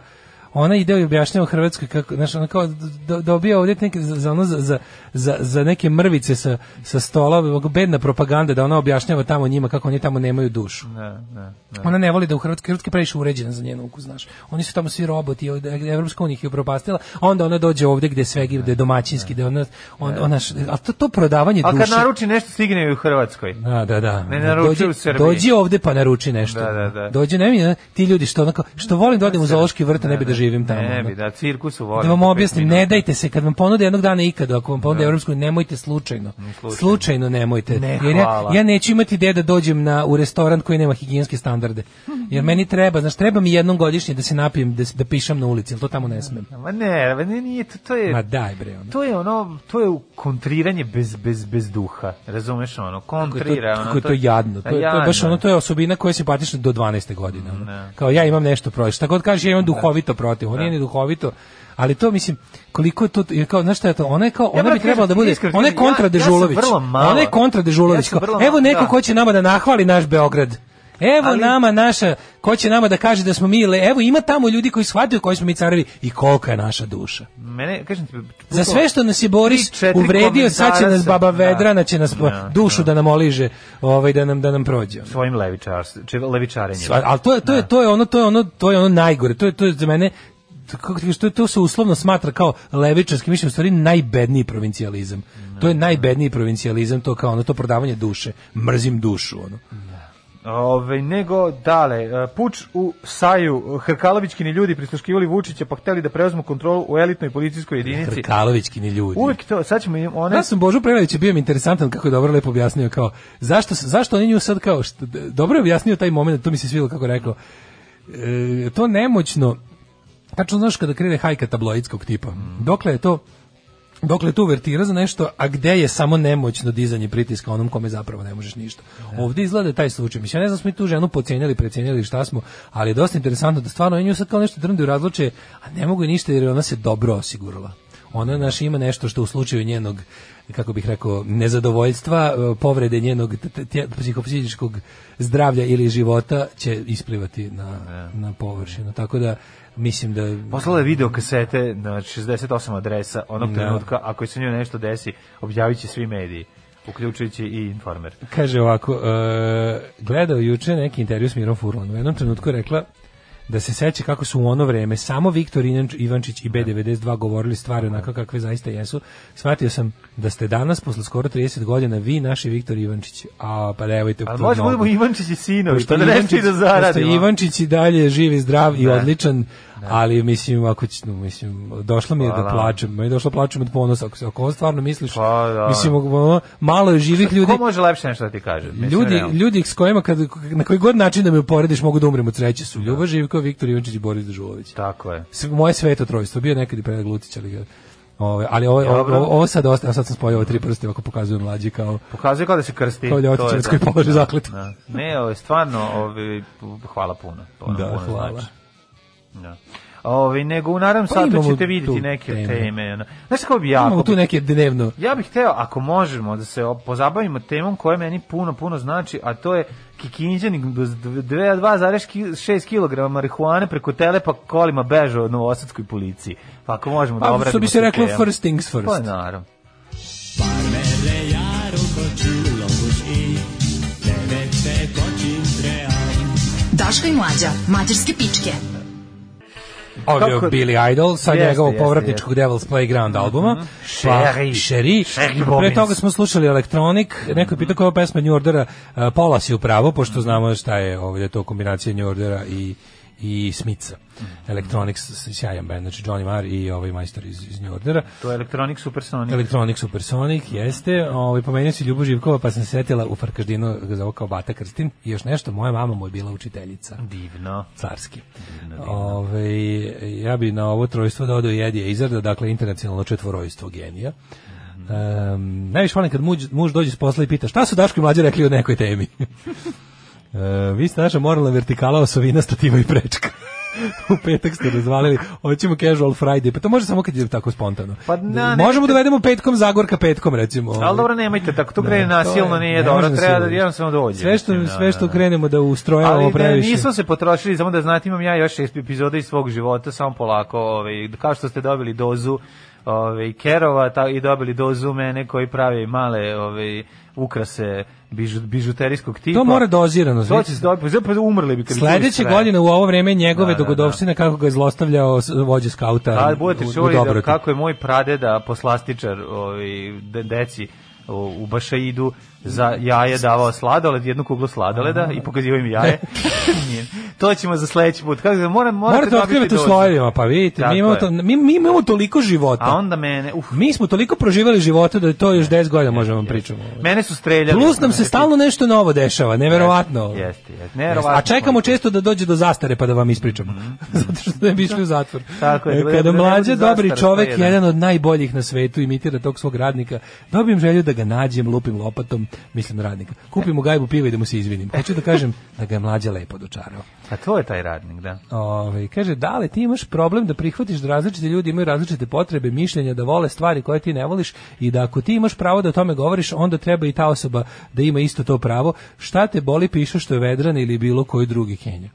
[SPEAKER 5] ona ide i objašnjava Hrvatskoj kako, znaš, ona kao do- dobija ovdje neke, za, za, ono, za- za, za, za neke mrvice sa, sa stola, ovako bedna propaganda da ona objašnjava tamo njima kako oni tamo nemaju dušu.
[SPEAKER 6] Da, da, da.
[SPEAKER 5] Ona ne voli da u Hrvatskoj, Hrvatska je previše uređena za njen ukus, znaš. Oni su tamo svi roboti, ovde- Evropska unija ih je upropastila, a onda ona dođe ovdje gde svegi, gde je domaćinski, gde ona, on, ona, a to, to prodavanje
[SPEAKER 6] A kad
[SPEAKER 5] duše.
[SPEAKER 6] naruči nešto stigne joj u Hrvatskoj.
[SPEAKER 5] Da, da, da.
[SPEAKER 6] Ne naruči u Srbiji.
[SPEAKER 5] Dođi ovde pa naruči nešto.
[SPEAKER 6] Da, da, da.
[SPEAKER 5] Dođi, ne mi, ne, ti ljudi što onako, što volim da odem u zoološki vrt, a ne bi da živim tamo.
[SPEAKER 6] Ne
[SPEAKER 5] ono.
[SPEAKER 6] bi, da, cirkus u volim.
[SPEAKER 5] Da vam
[SPEAKER 6] Pet
[SPEAKER 5] objasnim,
[SPEAKER 6] minuta.
[SPEAKER 5] ne dajte se, kad vam ponude jednog dana ikada, ako vam ponude evropsku, nemojte slučajno.
[SPEAKER 6] slučajno.
[SPEAKER 5] Slučajno, nemojte.
[SPEAKER 6] Ne,
[SPEAKER 5] jer ja,
[SPEAKER 6] hvala.
[SPEAKER 5] ja neću imati gde da dođem na, u restoran koji nema higijenske standarde. Jer meni treba, znaš, treba mi jednom godišnje da se napijem, da, se- da pišem na ulici, ali to tamo ne smem.
[SPEAKER 6] Ma ne, ma ne, nije, to, to je...
[SPEAKER 5] Ma daj bre, ono.
[SPEAKER 6] E, To je ono, to je kontriranje bez, bez, bez duha, razumeš ono,
[SPEAKER 5] Kako je
[SPEAKER 6] kontrira
[SPEAKER 5] to,
[SPEAKER 6] ono.
[SPEAKER 5] kako je to jadno. To, je- to je baš ono, to je osobina koja je simpatična do 12. godine. ono. Kao ja imam nešto protiv. Šta god kaže, ja imam duhovito protiv. Ona nije ni duhovito, ali to mislim koliko je to jer kao znaš šta je to ona je kao
[SPEAKER 6] Ja,
[SPEAKER 5] ona
[SPEAKER 6] brate,
[SPEAKER 5] bi trebala da
[SPEAKER 6] kažem ti
[SPEAKER 5] bude
[SPEAKER 6] iskreno,
[SPEAKER 5] ona
[SPEAKER 6] ja-
[SPEAKER 5] je kontra
[SPEAKER 6] ja sam
[SPEAKER 5] Dežulović
[SPEAKER 6] vrlo malo.
[SPEAKER 5] ona je kontra Dežulović
[SPEAKER 6] Ja sam
[SPEAKER 5] kao,
[SPEAKER 6] vrlo malo,
[SPEAKER 5] evo neko
[SPEAKER 6] da.
[SPEAKER 5] ko će nama da nahvali naš Beograd Evo
[SPEAKER 6] Ali-
[SPEAKER 5] nama naša, ko će nama da kaže da smo mi, le- evo ima tamo ljudi koji shvataju koji smo mi carevi i kolika je naša duša.
[SPEAKER 6] Mene, kažem ti,
[SPEAKER 5] Za sve što nas je Boris
[SPEAKER 6] Tri, četiri
[SPEAKER 5] uvredio, sad će
[SPEAKER 6] komentara
[SPEAKER 5] nas
[SPEAKER 6] sam-
[SPEAKER 5] baba
[SPEAKER 6] da.
[SPEAKER 5] Vedrana će nas
[SPEAKER 6] Da,
[SPEAKER 5] dušu da nam oliže, ovaj da nam da nam prođe. ono.
[SPEAKER 6] svojim levičars, či, levičarenjem.
[SPEAKER 5] Sva- Ali to je to je to je ono to je ono to je ono najgore. To je to je za mene to- kako ti kažeš, to, je- to se uslovno smatra kao levičarski, mislim u stvari najbedniji provincijalizam. To je najbedniji provincijalizam, to kao ono to prodavanje duše. Mrzim dušu ono.
[SPEAKER 6] Ove, nego, dale, e, puč u Saju, Hrkalovićkini ljudi prisluškivali Vučića pa hteli da preuzmu kontrolu u elitnoj policijskoj jedinici.
[SPEAKER 5] Krkalovićkini ljudi.
[SPEAKER 6] Uvek to, sad ćemo im one...
[SPEAKER 5] Ja sam Božu Prelević je bio mi interesantan kako je dobro lepo objasnio kao zašto zašto oni nju sad kao što, dobro je objasnio taj moment, to mi se svidelo kako je rekao. E, to nemoćno Tačno znaš kada krene hajka tabloidskog tipa. Dokle je to Dokle je tu vertira za nešto, a gde je samo nemoćno dizanje pritiska onom kome zapravo ne možeš ništa. Ovdje izgleda taj slučaj. Mislim, ja ne znam, smo mi tu ženu pocijenjali, precijenjali šta smo, ali je dosta interesantno da stvarno nju sad kao nešto drndi u razloče, a ne mogu je ništa jer je ona se dobro osigurala. Ona naš ima nešto što u slučaju njenog kako bih rekao, nezadovoljstva, e, povrede njenog t- t- psihofizičkog zdravlja ili života će isplivati na, na površinu. Tako da mislim da...
[SPEAKER 6] Poslala je video kasete na 68 adresa onog trenutka, ako se nju nešto desi, objavit će svi mediji, uključujući i informer.
[SPEAKER 5] Kaže ovako, e, gledao juče neki intervju s Mirom Furlanom. U jednom trenutku je rekla da se seća kako su u ono vreme samo Viktor Inan- Ivančić i B92 govorili stvari onako kakve zaista jesu. Shvatio sam da ste danas, posle skoro 30 godina, vi naši Viktor Ivančić. A, pa nemojte
[SPEAKER 6] Ali
[SPEAKER 5] tu
[SPEAKER 6] možda
[SPEAKER 5] mnogo.
[SPEAKER 6] budemo Ivančić i sinovi,
[SPEAKER 5] Pošto
[SPEAKER 6] pa da nešto i
[SPEAKER 5] Ivančić-
[SPEAKER 6] da zaradimo.
[SPEAKER 5] pošto Ivančić i dalje živi, zdrav i
[SPEAKER 6] Da.
[SPEAKER 5] odličan, ali mislim, ako će, no, mislim, došlo mi je da
[SPEAKER 6] Hvala.
[SPEAKER 5] plačem, meni je došlo da plačem od ponosa, ako, se- ako on stvarno misliš,
[SPEAKER 6] Pa da.
[SPEAKER 5] mislim, ono, malo je živih ljudi,
[SPEAKER 6] Ko može lepše nešto da ti kaže? Mislim,
[SPEAKER 5] ljudi,
[SPEAKER 6] realno.
[SPEAKER 5] ljudi s kojima, kad, na koji god način da me uporediš, mogu da umrem od sreće su, Ljubo Živko, Viktor Ivančić i Boris Dežulović.
[SPEAKER 6] Tako je.
[SPEAKER 5] Sve- moje sveto trojstvo, bio je nekad i Predrag Lucić, ali ga, Ove, ali ovo, ovo,
[SPEAKER 6] Dobro.
[SPEAKER 5] ovo sad ostaje, sad sam spojio ove tri prste, ovako pokazuju mlađi kao,
[SPEAKER 6] Pokazuje kao da se krsti.
[SPEAKER 5] kao
[SPEAKER 6] to je
[SPEAKER 5] ljotićevac koji
[SPEAKER 6] da.
[SPEAKER 5] položi zakletu.
[SPEAKER 6] Da. Ne, ovo je stvarno, ovi, hvala puno. To nam
[SPEAKER 5] Da,
[SPEAKER 6] puno
[SPEAKER 5] hvala.
[SPEAKER 6] znači. Da. Ovi, nego u naravnom
[SPEAKER 5] Pa
[SPEAKER 6] satu
[SPEAKER 5] imamo
[SPEAKER 6] ćete vidjeti
[SPEAKER 5] tu
[SPEAKER 6] neke
[SPEAKER 5] teme.
[SPEAKER 6] teme. ono. Znaš kako bi jako...
[SPEAKER 5] Imamo tu neke dnevno
[SPEAKER 6] Ja bih hteo, ako možemo, da se o- pozabavimo temom koja meni puno, puno znači, a to je Kikinđanik bez dv- dve- 2,6 kg marihuane preko tele pa kolima bežao od Novosadskoj policiji. Pa ako možemo da
[SPEAKER 5] Pa,
[SPEAKER 6] obradimo
[SPEAKER 5] što bi se
[SPEAKER 6] tu
[SPEAKER 5] reklo,
[SPEAKER 6] temu.
[SPEAKER 5] first things first.
[SPEAKER 6] Pa naravno.
[SPEAKER 4] Daško i mlađa, mađarske pičke.
[SPEAKER 5] Ovo je
[SPEAKER 6] Kako-
[SPEAKER 5] Billy Idol sa
[SPEAKER 6] Jeste,
[SPEAKER 5] njegovog
[SPEAKER 6] jeste, Mhm.
[SPEAKER 5] povratničkog Devil's Playground albuma. Pa,
[SPEAKER 6] Sherry.
[SPEAKER 5] Sherry.
[SPEAKER 6] Sherry
[SPEAKER 5] Pre
[SPEAKER 6] Bobbins.
[SPEAKER 5] toga smo slušali Electronic. Neko je pitao koja je pesma New Ordera. Uh, Paula si upravo, pošto znamo šta je ovdje to kombinacija New Ordera i i Smica.
[SPEAKER 6] Mhm.
[SPEAKER 5] Electronics, s- sjajan band, znači Johnny Marr i ovaj majstor iz, iz New Ordera.
[SPEAKER 6] To je Electronic Supersonic.
[SPEAKER 5] Electronic Supersonic, jeste. Ovaj, pomenuo si Ljubu Živkova, pa sam se setila u Farkaždinu za ovo kao Bata Krstin. I još nešto, moja mama mu je bila učiteljica
[SPEAKER 6] Divno.
[SPEAKER 5] carski. Ove, ja bi na ovo trojstvo dodao i Eddie Izarda, dakle internacionalno četvorojstvo genija.
[SPEAKER 6] Mhm.
[SPEAKER 5] Um, najviše volim kad muž, muž dođe s posla i pita šta su Daško i mlađe rekli o nekoj temi. E, vi ste naša moralna vertikala osovina stativa i prečka. u petak ste razvalili, hoćemo casual Friday, pa to može samo kad je tako spontano.
[SPEAKER 6] Pa na, ne-
[SPEAKER 5] Možemo dovedemo petkom Zagorka petkom, recimo. E,
[SPEAKER 6] Ali dobro, nemojte tako, to krene nasilno,
[SPEAKER 5] To je-
[SPEAKER 6] nije
[SPEAKER 5] ne
[SPEAKER 6] dobro,
[SPEAKER 5] može
[SPEAKER 6] treba da
[SPEAKER 5] nasilno.
[SPEAKER 6] jednostavno dođe.
[SPEAKER 5] Sve što,
[SPEAKER 6] mislim, da,
[SPEAKER 5] sve što
[SPEAKER 6] da.
[SPEAKER 5] krenemo da ustrojavamo
[SPEAKER 6] Ali ne,
[SPEAKER 5] previše.
[SPEAKER 6] nismo se potrošili, samo da znate, imam ja još šest epizoda iz svog života, samo polako, ovaj, kao što ste dobili dozu ovaj, kerova ta, i dobili dozu mene koji pravi male ovaj, ukrase bižu, bižuterijskog tipa.
[SPEAKER 5] To mora dozirano.
[SPEAKER 6] To
[SPEAKER 5] znači.
[SPEAKER 6] će se dobiti, pa zapravo umrli bi. kad bi čuli
[SPEAKER 5] Sledeće
[SPEAKER 6] sve.
[SPEAKER 5] godine u ovo vreme njegove
[SPEAKER 6] Da, da, da.
[SPEAKER 5] dogodovštine kako ga je zlostavljao s- vođa skauta
[SPEAKER 6] Da, budete
[SPEAKER 5] Pa, u- u
[SPEAKER 6] čuli da
[SPEAKER 5] Dobroti.
[SPEAKER 6] kako je moj pradeda poslastičar ovaj, de, deci u, u Bašaidu za jaje davao sladoled, jednu kuglu sladoleda i pokazivao im jaje. Nije. to ćemo za sledeći put. Kako, da- moram, morate
[SPEAKER 5] Morate
[SPEAKER 6] dobiti
[SPEAKER 5] otkrivati u
[SPEAKER 6] dozu.
[SPEAKER 5] slojevima, pa vidite,
[SPEAKER 6] Tako
[SPEAKER 5] mi imamo,
[SPEAKER 6] je.
[SPEAKER 5] to, mi, mi imamo toliko života.
[SPEAKER 6] A onda mene, uf,
[SPEAKER 5] Mi smo toliko proživali života da to još 10 godina možemo vam pričamo.
[SPEAKER 6] mene su streljali.
[SPEAKER 5] Plus nam se stalno nešto novo dešava, neverovatno.
[SPEAKER 6] Jeste, jeste.
[SPEAKER 5] Jeste.
[SPEAKER 6] Neverovatno. Mhm.
[SPEAKER 5] A čekamo često da dođe do zastare pa da vam ispričamo. Zato što ne bi išli u zatvor.
[SPEAKER 6] Tako je,
[SPEAKER 5] E,
[SPEAKER 6] da- da
[SPEAKER 5] Kada
[SPEAKER 6] ne
[SPEAKER 5] mlađe
[SPEAKER 6] bude
[SPEAKER 5] dobri
[SPEAKER 6] zastare,
[SPEAKER 5] čovek,
[SPEAKER 6] to je
[SPEAKER 5] jedan.
[SPEAKER 6] jedan.
[SPEAKER 5] od najboljih na svetu, imitira tog svog radnika, dobijem želju da ga nađem, lupim lopatom, mislim na radnika. Kupim mu gajbu piva i da mu se izvinim. Hoću da kažem da ga je mlađe lepo dočarao.
[SPEAKER 6] A to je taj radnik, da.
[SPEAKER 5] Ove, Ovaj, kaže, da li ti imaš problem da prihvatiš da različiti ljudi imaju različite potrebe, mišljenja, da vole stvari koje ti ne voliš i da ako ti imaš pravo da o tome govoriš, onda treba i ta osoba da ima isto to pravo. Šta te boli piše što je Vedran ili bilo koji drugi Kenja?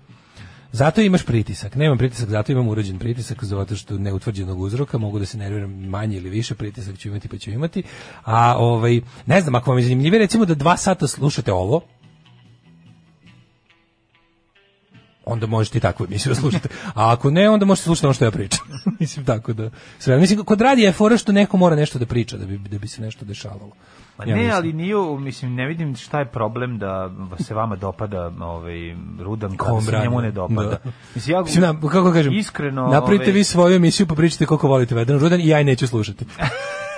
[SPEAKER 5] Zato imaš pritisak. Nemam pritisak, zato imam urođen pritisak, zato što neutvrđenog uzroka mogu da se nerviram manje ili više, pritisak ću imati pa ću imati. A ovaj, ne znam, ako vam je zanimljivije, recimo da dva sata slušate ovo, onda možete i takvu emisiju da slušate. A ako ne, onda možete slušati ono što ja pričam. mislim, tako da... Sve. Mislim, kod radija je fora što neko mora nešto da priča da bi, da bi se nešto dešavalo.
[SPEAKER 6] Pa
[SPEAKER 5] Ja
[SPEAKER 6] ne,
[SPEAKER 5] mislim.
[SPEAKER 6] ali nije, mislim, ne vidim šta je problem da se vama dopada ovaj, rudan, kada se
[SPEAKER 5] Komrad.
[SPEAKER 6] njemu ne dopada.
[SPEAKER 5] Da.
[SPEAKER 6] Mislim, ja,
[SPEAKER 5] Mislim, na, kako kažem,
[SPEAKER 6] iskreno,
[SPEAKER 5] napravite
[SPEAKER 6] ovaj,
[SPEAKER 5] vi svoju emisiju pa pričajte koliko volite Vedran Rudan i ja je neću slušati.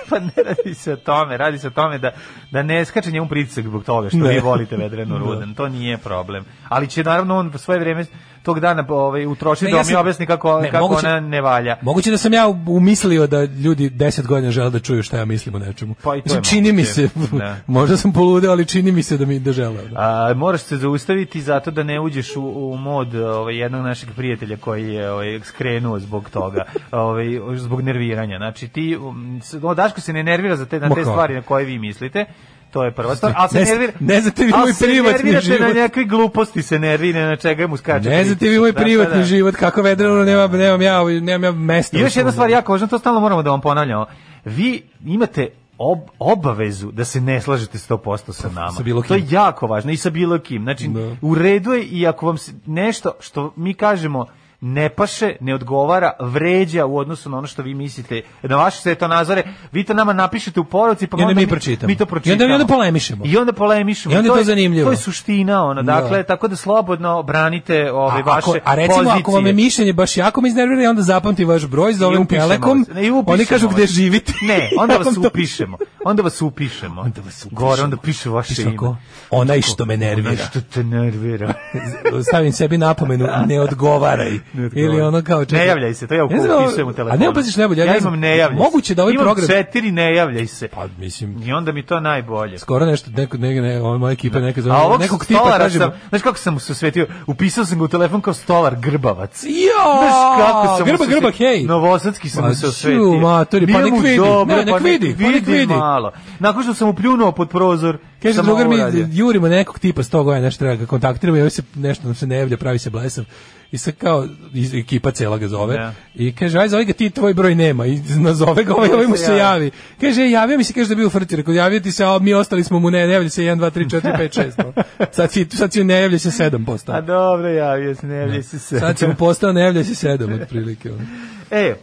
[SPEAKER 6] pa ne radi se o tome, radi se o tome da, da ne skače njemu pritisak zbog toga što
[SPEAKER 5] Ne.
[SPEAKER 6] vi volite Vedranu Rudan, to nije problem. Ali će naravno on svoje vreme tog dana ovaj, utrošiti
[SPEAKER 5] Ne,
[SPEAKER 6] da
[SPEAKER 5] Pa ja
[SPEAKER 6] mi
[SPEAKER 5] sam-
[SPEAKER 6] objasni kako,
[SPEAKER 5] ne,
[SPEAKER 6] kako
[SPEAKER 5] moguće-
[SPEAKER 6] ona ne valja.
[SPEAKER 5] Moguće da sam ja umislio da ljudi 10 godina žele da čuju šta ja mislim o nečemu.
[SPEAKER 6] Pa i to
[SPEAKER 5] Mislim,
[SPEAKER 6] je
[SPEAKER 5] čini mi
[SPEAKER 6] moguće,
[SPEAKER 5] se,
[SPEAKER 6] da.
[SPEAKER 5] možda sam poludeo, ali čini mi se da mi da žele. Da.
[SPEAKER 6] A, moraš se zaustaviti zato da ne uđeš u, u mod ovaj, jednog našeg prijatelja koji je ovaj, skrenuo zbog toga, ovaj, zbog nerviranja. Znači, ti, um, s- no, Daško se ne nervira za te, na
[SPEAKER 5] Ma
[SPEAKER 6] te
[SPEAKER 5] kako? Znači,
[SPEAKER 6] stvari na koje vi mislite, to je prva stvar, ali se
[SPEAKER 5] Ne z-
[SPEAKER 6] nervira...
[SPEAKER 5] ne znate vi
[SPEAKER 6] ali
[SPEAKER 5] moj
[SPEAKER 6] se
[SPEAKER 5] privatni
[SPEAKER 6] nervirate
[SPEAKER 5] život.
[SPEAKER 6] na nekakve gluposti se nervira, na čega mu skače.
[SPEAKER 5] Ne znate vi
[SPEAKER 6] pritisak.
[SPEAKER 5] moj
[SPEAKER 6] Da, da,
[SPEAKER 5] privatni
[SPEAKER 6] da.
[SPEAKER 5] život, kako vedreno, nemam, nemam ja, nemam ja mesta.
[SPEAKER 6] I još
[SPEAKER 5] u svom-
[SPEAKER 6] jedna stvar jako važna, to stalno moramo da vam ponavljamo. Vi imate ob, obavezu da se ne slažete 100% sa nama.
[SPEAKER 5] Sa bilo kim.
[SPEAKER 6] To je jako važno i sa bilo kim. Znači,
[SPEAKER 5] Da.
[SPEAKER 6] u redu je i ako vam se nešto što mi kažemo ne paše, ne odgovara, vređa u odnosu na ono što vi mislite, na vaše svetonazore, vi to nama napišete u poruci, pa
[SPEAKER 5] I onda
[SPEAKER 6] onda
[SPEAKER 5] mi pročitamo.
[SPEAKER 6] Mi
[SPEAKER 5] I
[SPEAKER 6] to
[SPEAKER 5] onda- i
[SPEAKER 6] pročitamo.
[SPEAKER 5] onda polemišemo.
[SPEAKER 6] I onda polemišemo.
[SPEAKER 5] I onda je to
[SPEAKER 6] je-
[SPEAKER 5] zanimljivo.
[SPEAKER 6] To je suština, ono,
[SPEAKER 5] Da.
[SPEAKER 6] dakle, tako da slobodno branite
[SPEAKER 5] A,
[SPEAKER 6] ove vaše
[SPEAKER 5] ako, a recimo,
[SPEAKER 6] pozicije.
[SPEAKER 5] ako vam je mišljenje baš jako me iznervira i onda zapamti vaš broj, zovem
[SPEAKER 6] upišemo
[SPEAKER 5] Telekom,
[SPEAKER 6] vas. I upišemo
[SPEAKER 5] oni kažu
[SPEAKER 6] vas.
[SPEAKER 5] gde živite.
[SPEAKER 6] Ne, onda vas
[SPEAKER 5] Nakon toga-
[SPEAKER 6] upišemo. Onda vas upišemo.
[SPEAKER 5] Onda vas upišemo.
[SPEAKER 6] Gore, onda piše vaše
[SPEAKER 5] Piše
[SPEAKER 6] ime.
[SPEAKER 5] ako, onaj što me
[SPEAKER 6] Onaj
[SPEAKER 5] nervira.
[SPEAKER 6] što te nervira.
[SPEAKER 5] stavim sebi napomenu, ne odgovaraj. Ili ono kao čekaj.
[SPEAKER 6] Ne javljaj se, to ja
[SPEAKER 5] Ne znam,
[SPEAKER 6] upisujem u telefonu.
[SPEAKER 5] A ne opaziš najbolje,
[SPEAKER 6] ja,
[SPEAKER 5] ne znam,
[SPEAKER 6] imam ne javljaj se.
[SPEAKER 5] Moguće da ovaj
[SPEAKER 6] imam
[SPEAKER 5] program...
[SPEAKER 6] četiri ne javljaj se.
[SPEAKER 5] Pa mislim,
[SPEAKER 6] I onda mi to najbolje.
[SPEAKER 5] skoro nešto, neko, ne, ne, ova moja ekipa neka zove,
[SPEAKER 6] A ovog
[SPEAKER 5] nekog tipa
[SPEAKER 6] stolara
[SPEAKER 5] kažemo,
[SPEAKER 6] sam, znaš kako sam mu se osvetio? Upisao sam ga u telefon kao stolar grbavac.
[SPEAKER 5] Jo!
[SPEAKER 6] Znaš kako sam mu
[SPEAKER 5] grba,
[SPEAKER 6] se
[SPEAKER 5] grba,
[SPEAKER 6] osvetio?
[SPEAKER 5] hej.
[SPEAKER 6] Novosadski sam
[SPEAKER 5] Ma
[SPEAKER 6] mu se
[SPEAKER 5] ću,
[SPEAKER 6] osvetio.
[SPEAKER 5] matori, pa
[SPEAKER 6] Nije
[SPEAKER 5] nek
[SPEAKER 6] mu
[SPEAKER 5] vidi.
[SPEAKER 6] dobro,
[SPEAKER 5] Ne, nek
[SPEAKER 6] pa
[SPEAKER 5] vidi, pa nek vidi.
[SPEAKER 6] malo. Nakon što sam mu pljunuo pod prozor,
[SPEAKER 5] Kaže
[SPEAKER 6] sam
[SPEAKER 5] drugar
[SPEAKER 6] ovo
[SPEAKER 5] mi
[SPEAKER 6] uradio.
[SPEAKER 5] jurimo nekog tipa 100 godina nešto treba ga kontaktiramo i ovaj se nešto nam se ne javlja, pravi se blesav. I sad kao iz- ekipa cela ga zove
[SPEAKER 6] Da.
[SPEAKER 5] i kaže aj zove ga ti tvoj broj nema i nazove ga ovaj, ovaj mu se javi. Kaže "E, javio mi se kaže da je bio u frti, rekao javio ti se, a mi ostali smo mu ne, ne javlja se 1 2 3 4 5 6. Sad si sad si ne javlja se 7%.
[SPEAKER 6] A dobro, javio se, ne javio se se.
[SPEAKER 5] Sad si mu postao ne javlja se 7 otprilike. ono.
[SPEAKER 6] E,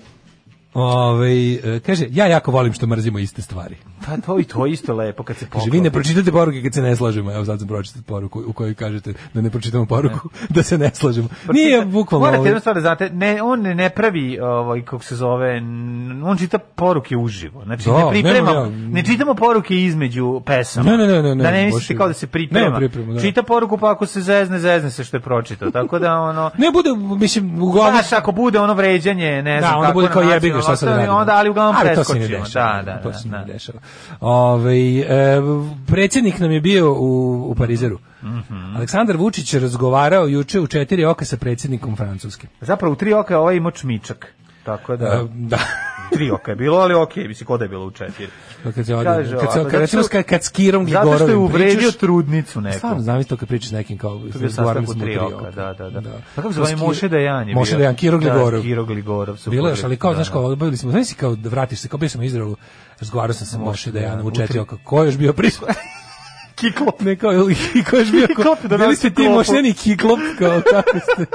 [SPEAKER 5] Ovaj e, kaže ja jako volim što mrzimo iste stvari.
[SPEAKER 6] pa to i to je isto lepo kad se
[SPEAKER 5] Kaže,
[SPEAKER 6] poklopi.
[SPEAKER 5] vi ne pročitate poruke kad se ne slažemo. Evo sad sam pročitao poruku u kojoj kažete da ne pročitamo poruku, da se ne slažemo. Nije bukvalno ovaj-
[SPEAKER 6] Morate
[SPEAKER 5] ovo.
[SPEAKER 6] jednu stvar da znate, ne, on ne, ne pravi, ovaj, kako se zove, n- on čita poruke uživo. Znači,
[SPEAKER 5] Da,
[SPEAKER 6] ne pripremamo,
[SPEAKER 5] nemam ja-
[SPEAKER 6] ne čitamo poruke između pesama.
[SPEAKER 5] Ne, ne, ne, ne, ne,
[SPEAKER 6] da ne
[SPEAKER 5] baš
[SPEAKER 6] mislite
[SPEAKER 5] je-
[SPEAKER 6] kao da se priprema.
[SPEAKER 5] Nema pripremu, da.
[SPEAKER 6] Čita poruku, pa ako se zezne, zezne se što je pročitao. Tako da, ono,
[SPEAKER 5] Ne bude, mislim, uglavnom...
[SPEAKER 6] Znaš, ako bude ono vređanje, ne
[SPEAKER 5] Da,
[SPEAKER 6] znam
[SPEAKER 5] onda
[SPEAKER 6] kako
[SPEAKER 5] bude kao
[SPEAKER 6] na
[SPEAKER 5] jebi ga šta sad
[SPEAKER 6] nacionalno,
[SPEAKER 5] radimo.
[SPEAKER 6] Onda, ali uglavnom
[SPEAKER 5] Ali to se ne
[SPEAKER 6] preskočimo.
[SPEAKER 5] dešava.
[SPEAKER 6] da, da,
[SPEAKER 5] to
[SPEAKER 6] da,
[SPEAKER 5] se
[SPEAKER 6] da.
[SPEAKER 5] ne dešava. Ovaj, e, predsjednik nam je bio u, u Parizeru.
[SPEAKER 6] Mhm.
[SPEAKER 5] Aleksandar Vučić je razgovarao juče u četiri oka sa predsjednikom Francuske.
[SPEAKER 6] Zapravo, u tri oka je ovaj imao čmičak. Tako da...
[SPEAKER 5] E, da.
[SPEAKER 6] tri oka je bilo, ali okej, mislim, kod je bilo u četiri.
[SPEAKER 5] kad se ode,
[SPEAKER 6] Kaže
[SPEAKER 5] Pa kad se
[SPEAKER 6] ovako,
[SPEAKER 5] kad, recimo,
[SPEAKER 6] zato što-
[SPEAKER 5] kad, kad s Kirom
[SPEAKER 6] Zato što je
[SPEAKER 5] Gligorovim
[SPEAKER 6] uvredio
[SPEAKER 5] pričaš- Pa
[SPEAKER 6] trudnicu neku.
[SPEAKER 5] Stvarno, znam to kad pričaš s nekim kao...
[SPEAKER 6] To je bio
[SPEAKER 5] razgovarali
[SPEAKER 6] sastanak
[SPEAKER 5] smo
[SPEAKER 6] u
[SPEAKER 5] u
[SPEAKER 6] tri oka, da, da, da. Pa kako se zove,
[SPEAKER 5] Skir-
[SPEAKER 6] Moše Dejan je
[SPEAKER 5] Moše
[SPEAKER 6] bio.
[SPEAKER 5] Dejan, Kiro Gligorov.
[SPEAKER 6] Da, Kiro Gligorov. super.
[SPEAKER 5] Bilo je, ali kao,
[SPEAKER 6] Da,
[SPEAKER 5] znaš,
[SPEAKER 6] da.
[SPEAKER 5] kao, odbavili smo, znaš si kao, da vratiš se, kao bio sam u Izraelu, razgovarao sam sa Moše Dejanom u četiri oka, ko je još bio prisutan?
[SPEAKER 6] Kiklop.
[SPEAKER 5] Ne, kao, ili, ko je još bio,
[SPEAKER 6] Kiklop
[SPEAKER 5] ko,
[SPEAKER 6] da
[SPEAKER 5] bili
[SPEAKER 6] nosi
[SPEAKER 5] ste ti
[SPEAKER 6] klopu.
[SPEAKER 5] Mošeni Kiklop, kao, tako ste,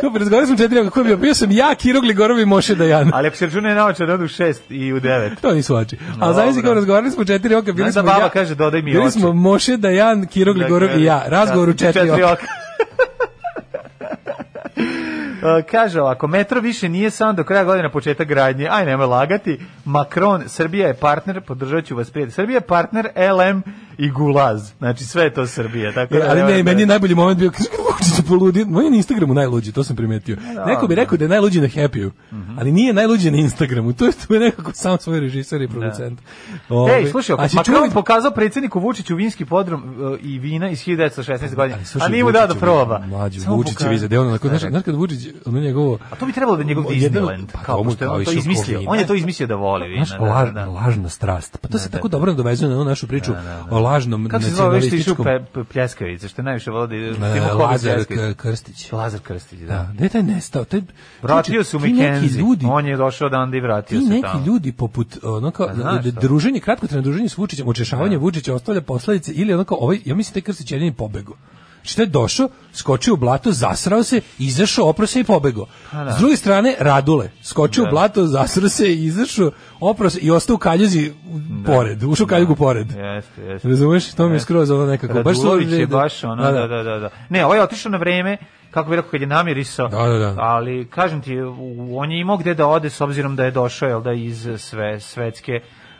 [SPEAKER 5] kao, razgovarali smo u četiri oka, ko je bio, bio sam ja, Kiro Gligorov i Moše Dejan.
[SPEAKER 6] Ali ako se račune naoče, da odu u šest i u devet.
[SPEAKER 5] To nisu oči. A
[SPEAKER 6] Dobro.
[SPEAKER 5] zamisli kao razgovarali smo u četiri oka, bili
[SPEAKER 6] Znaš da
[SPEAKER 5] smo
[SPEAKER 6] baba
[SPEAKER 5] ja.
[SPEAKER 6] kaže, dodaj mi
[SPEAKER 5] Bili
[SPEAKER 6] oči. Dakle,
[SPEAKER 5] smo Moše Dejan, Kiro Gligorov i ja. Razgovor u četiri oka.
[SPEAKER 6] E, Kaže ovako, metro više nije samo do kraja godine početak gradnje, aj nemoj lagati, Macron, Srbija je partner, podržat ću vas prijatelj, Srbija je partner LM i Gulaz, znači sve je to Srbija. Tako
[SPEAKER 5] E,
[SPEAKER 6] da
[SPEAKER 5] ali ne,
[SPEAKER 6] nemojte-
[SPEAKER 5] meni je najbolji moment bio kad Vučić je poludio. On je na Instagramu najluđi, to sam primetio. Neko bi rekao da je najluđi na Happy-u,
[SPEAKER 6] Mhm.
[SPEAKER 5] ali nije najluđi na Instagramu. To je to je nekako sam svoj režiser i producent. Ovaj,
[SPEAKER 6] Ej, slušaj,
[SPEAKER 5] a
[SPEAKER 6] ako
[SPEAKER 5] si
[SPEAKER 6] Macron
[SPEAKER 5] čuo-
[SPEAKER 6] je pokazao predsjedniku Vučiću vinski podrum e, i vina iz 1916. godine,
[SPEAKER 5] Ali slušaj,
[SPEAKER 6] a nije mu dao da
[SPEAKER 5] Vučićevi-
[SPEAKER 6] proba.
[SPEAKER 5] Mlađi
[SPEAKER 6] Samo
[SPEAKER 5] Vučićevi
[SPEAKER 6] pokazao.
[SPEAKER 5] za deo, onako, znaš,
[SPEAKER 6] Da, Pa da.
[SPEAKER 5] znaš kad Vučić, ono njegovo...
[SPEAKER 6] A to bi trebalo da je njegov
[SPEAKER 5] Jedan-
[SPEAKER 6] Disneyland,
[SPEAKER 5] pa
[SPEAKER 6] kao
[SPEAKER 5] to mu
[SPEAKER 6] pošto je
[SPEAKER 5] kao
[SPEAKER 6] on to
[SPEAKER 5] išao
[SPEAKER 6] izmislio.
[SPEAKER 5] kovina.
[SPEAKER 6] On je to izmislio da voli vina.
[SPEAKER 5] Znaš,
[SPEAKER 6] da,
[SPEAKER 5] laž,
[SPEAKER 6] da, da.
[SPEAKER 5] lažna strast. Pa to se tako dobro nadovezuje na onu našu priču o lažnom
[SPEAKER 6] Kako se zove ovaj što je išao
[SPEAKER 5] nacionalističkom...
[SPEAKER 6] pe- pe- pljeskavice, što je najviše volao da ide-
[SPEAKER 5] E,
[SPEAKER 6] da ima hobi
[SPEAKER 5] Lazar
[SPEAKER 6] pljeskavice?
[SPEAKER 5] K- Krstić.
[SPEAKER 6] Lazar Krstić, da.
[SPEAKER 5] Da, gde je taj nestao? Taj,
[SPEAKER 6] Vratio su
[SPEAKER 5] ti neki
[SPEAKER 6] McKenzie,
[SPEAKER 5] ljudi-
[SPEAKER 6] on je došao odande i vratio
[SPEAKER 5] ti
[SPEAKER 6] se
[SPEAKER 5] neki
[SPEAKER 6] tamo.
[SPEAKER 5] ljudi poput ono kao
[SPEAKER 6] Pa znaš
[SPEAKER 5] d-
[SPEAKER 6] šta?
[SPEAKER 5] druženje kratko druženje s Vučićem, učešavanje Vučića ostavlja posledice ili onako ovaj ja mislim taj Krstić je jedini pobegao. Šta je došao, skočio u blato, zasrao se, izašao, oprao se i pobegao.
[SPEAKER 6] Pa
[SPEAKER 5] S druge strane, Radule, skočio u blato, zasrao se, izašao, oprao se i ostao u kaljuzi u- pored, ušao u kaljugu pored.
[SPEAKER 6] Jeste, jeste.
[SPEAKER 5] Razumeš? To mi je skroz ono nekako. baš
[SPEAKER 6] Radulović
[SPEAKER 5] to-
[SPEAKER 6] je baš ono, da, da, da, da. Ne, ovaj je otišao na vreme, kako bi rekao, kad je namirisao,
[SPEAKER 5] Da, da, da.
[SPEAKER 6] ali kažem ti, u- on je imao gde da ode s obzirom da je došao, jel da, iz sve, svetske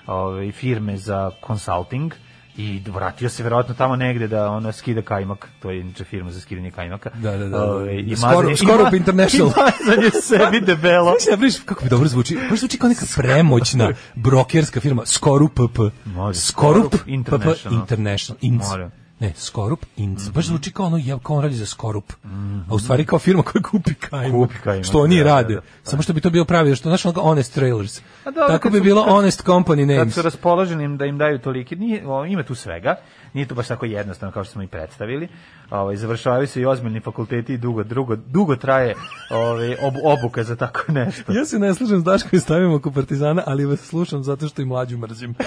[SPEAKER 6] ovaj, firme za consulting i vratio se verovatno tamo negde da ona skida kajmak, to je inače firma za skidanje kajmaka.
[SPEAKER 5] Da, da, da.
[SPEAKER 6] Ovaj, i
[SPEAKER 5] Skoro-
[SPEAKER 6] mazanje-
[SPEAKER 5] skoro
[SPEAKER 6] i ma-
[SPEAKER 5] bi International.
[SPEAKER 6] I mazanje sebi debelo.
[SPEAKER 5] Znaš, ja pričam kako bi dobro zvuči. Baš zvuči kao neka premoćna brokerska firma Skorup PP.
[SPEAKER 6] Može.
[SPEAKER 5] Skorup
[SPEAKER 6] Skorup
[SPEAKER 5] PP
[SPEAKER 6] International.
[SPEAKER 5] International. Inc.
[SPEAKER 6] Može.
[SPEAKER 5] Ne, Skorup Inc. Baš zvuči kao ono, je, kao on radi za Skorup. A u stvari kao firma koja kupi kajmak.
[SPEAKER 6] Kupi kajmak,
[SPEAKER 5] Što oni
[SPEAKER 6] da, da,
[SPEAKER 5] rade.
[SPEAKER 6] da, da.
[SPEAKER 5] Samo što bi to bio pravi, što znaš ono kao Honest Trailers.
[SPEAKER 6] A dobro,
[SPEAKER 5] Tako
[SPEAKER 6] kad
[SPEAKER 5] bi
[SPEAKER 6] su-
[SPEAKER 5] bilo
[SPEAKER 6] kad-
[SPEAKER 5] Honest Company
[SPEAKER 6] Kad
[SPEAKER 5] Names.
[SPEAKER 6] su raspoloženi im da im daju toliki, nije, o, ima tu svega, nije to baš tako jednostavno kao što smo i predstavili. Ovaj, završavaju se i ozbiljni fakulteti i dugo, drugo, dugo traje ovaj, ob, obuka za tako nešto.
[SPEAKER 5] Ja se ne slažem s Daškom i stavim oko Partizana, ali vas slušam zato što i mlađu mrzim.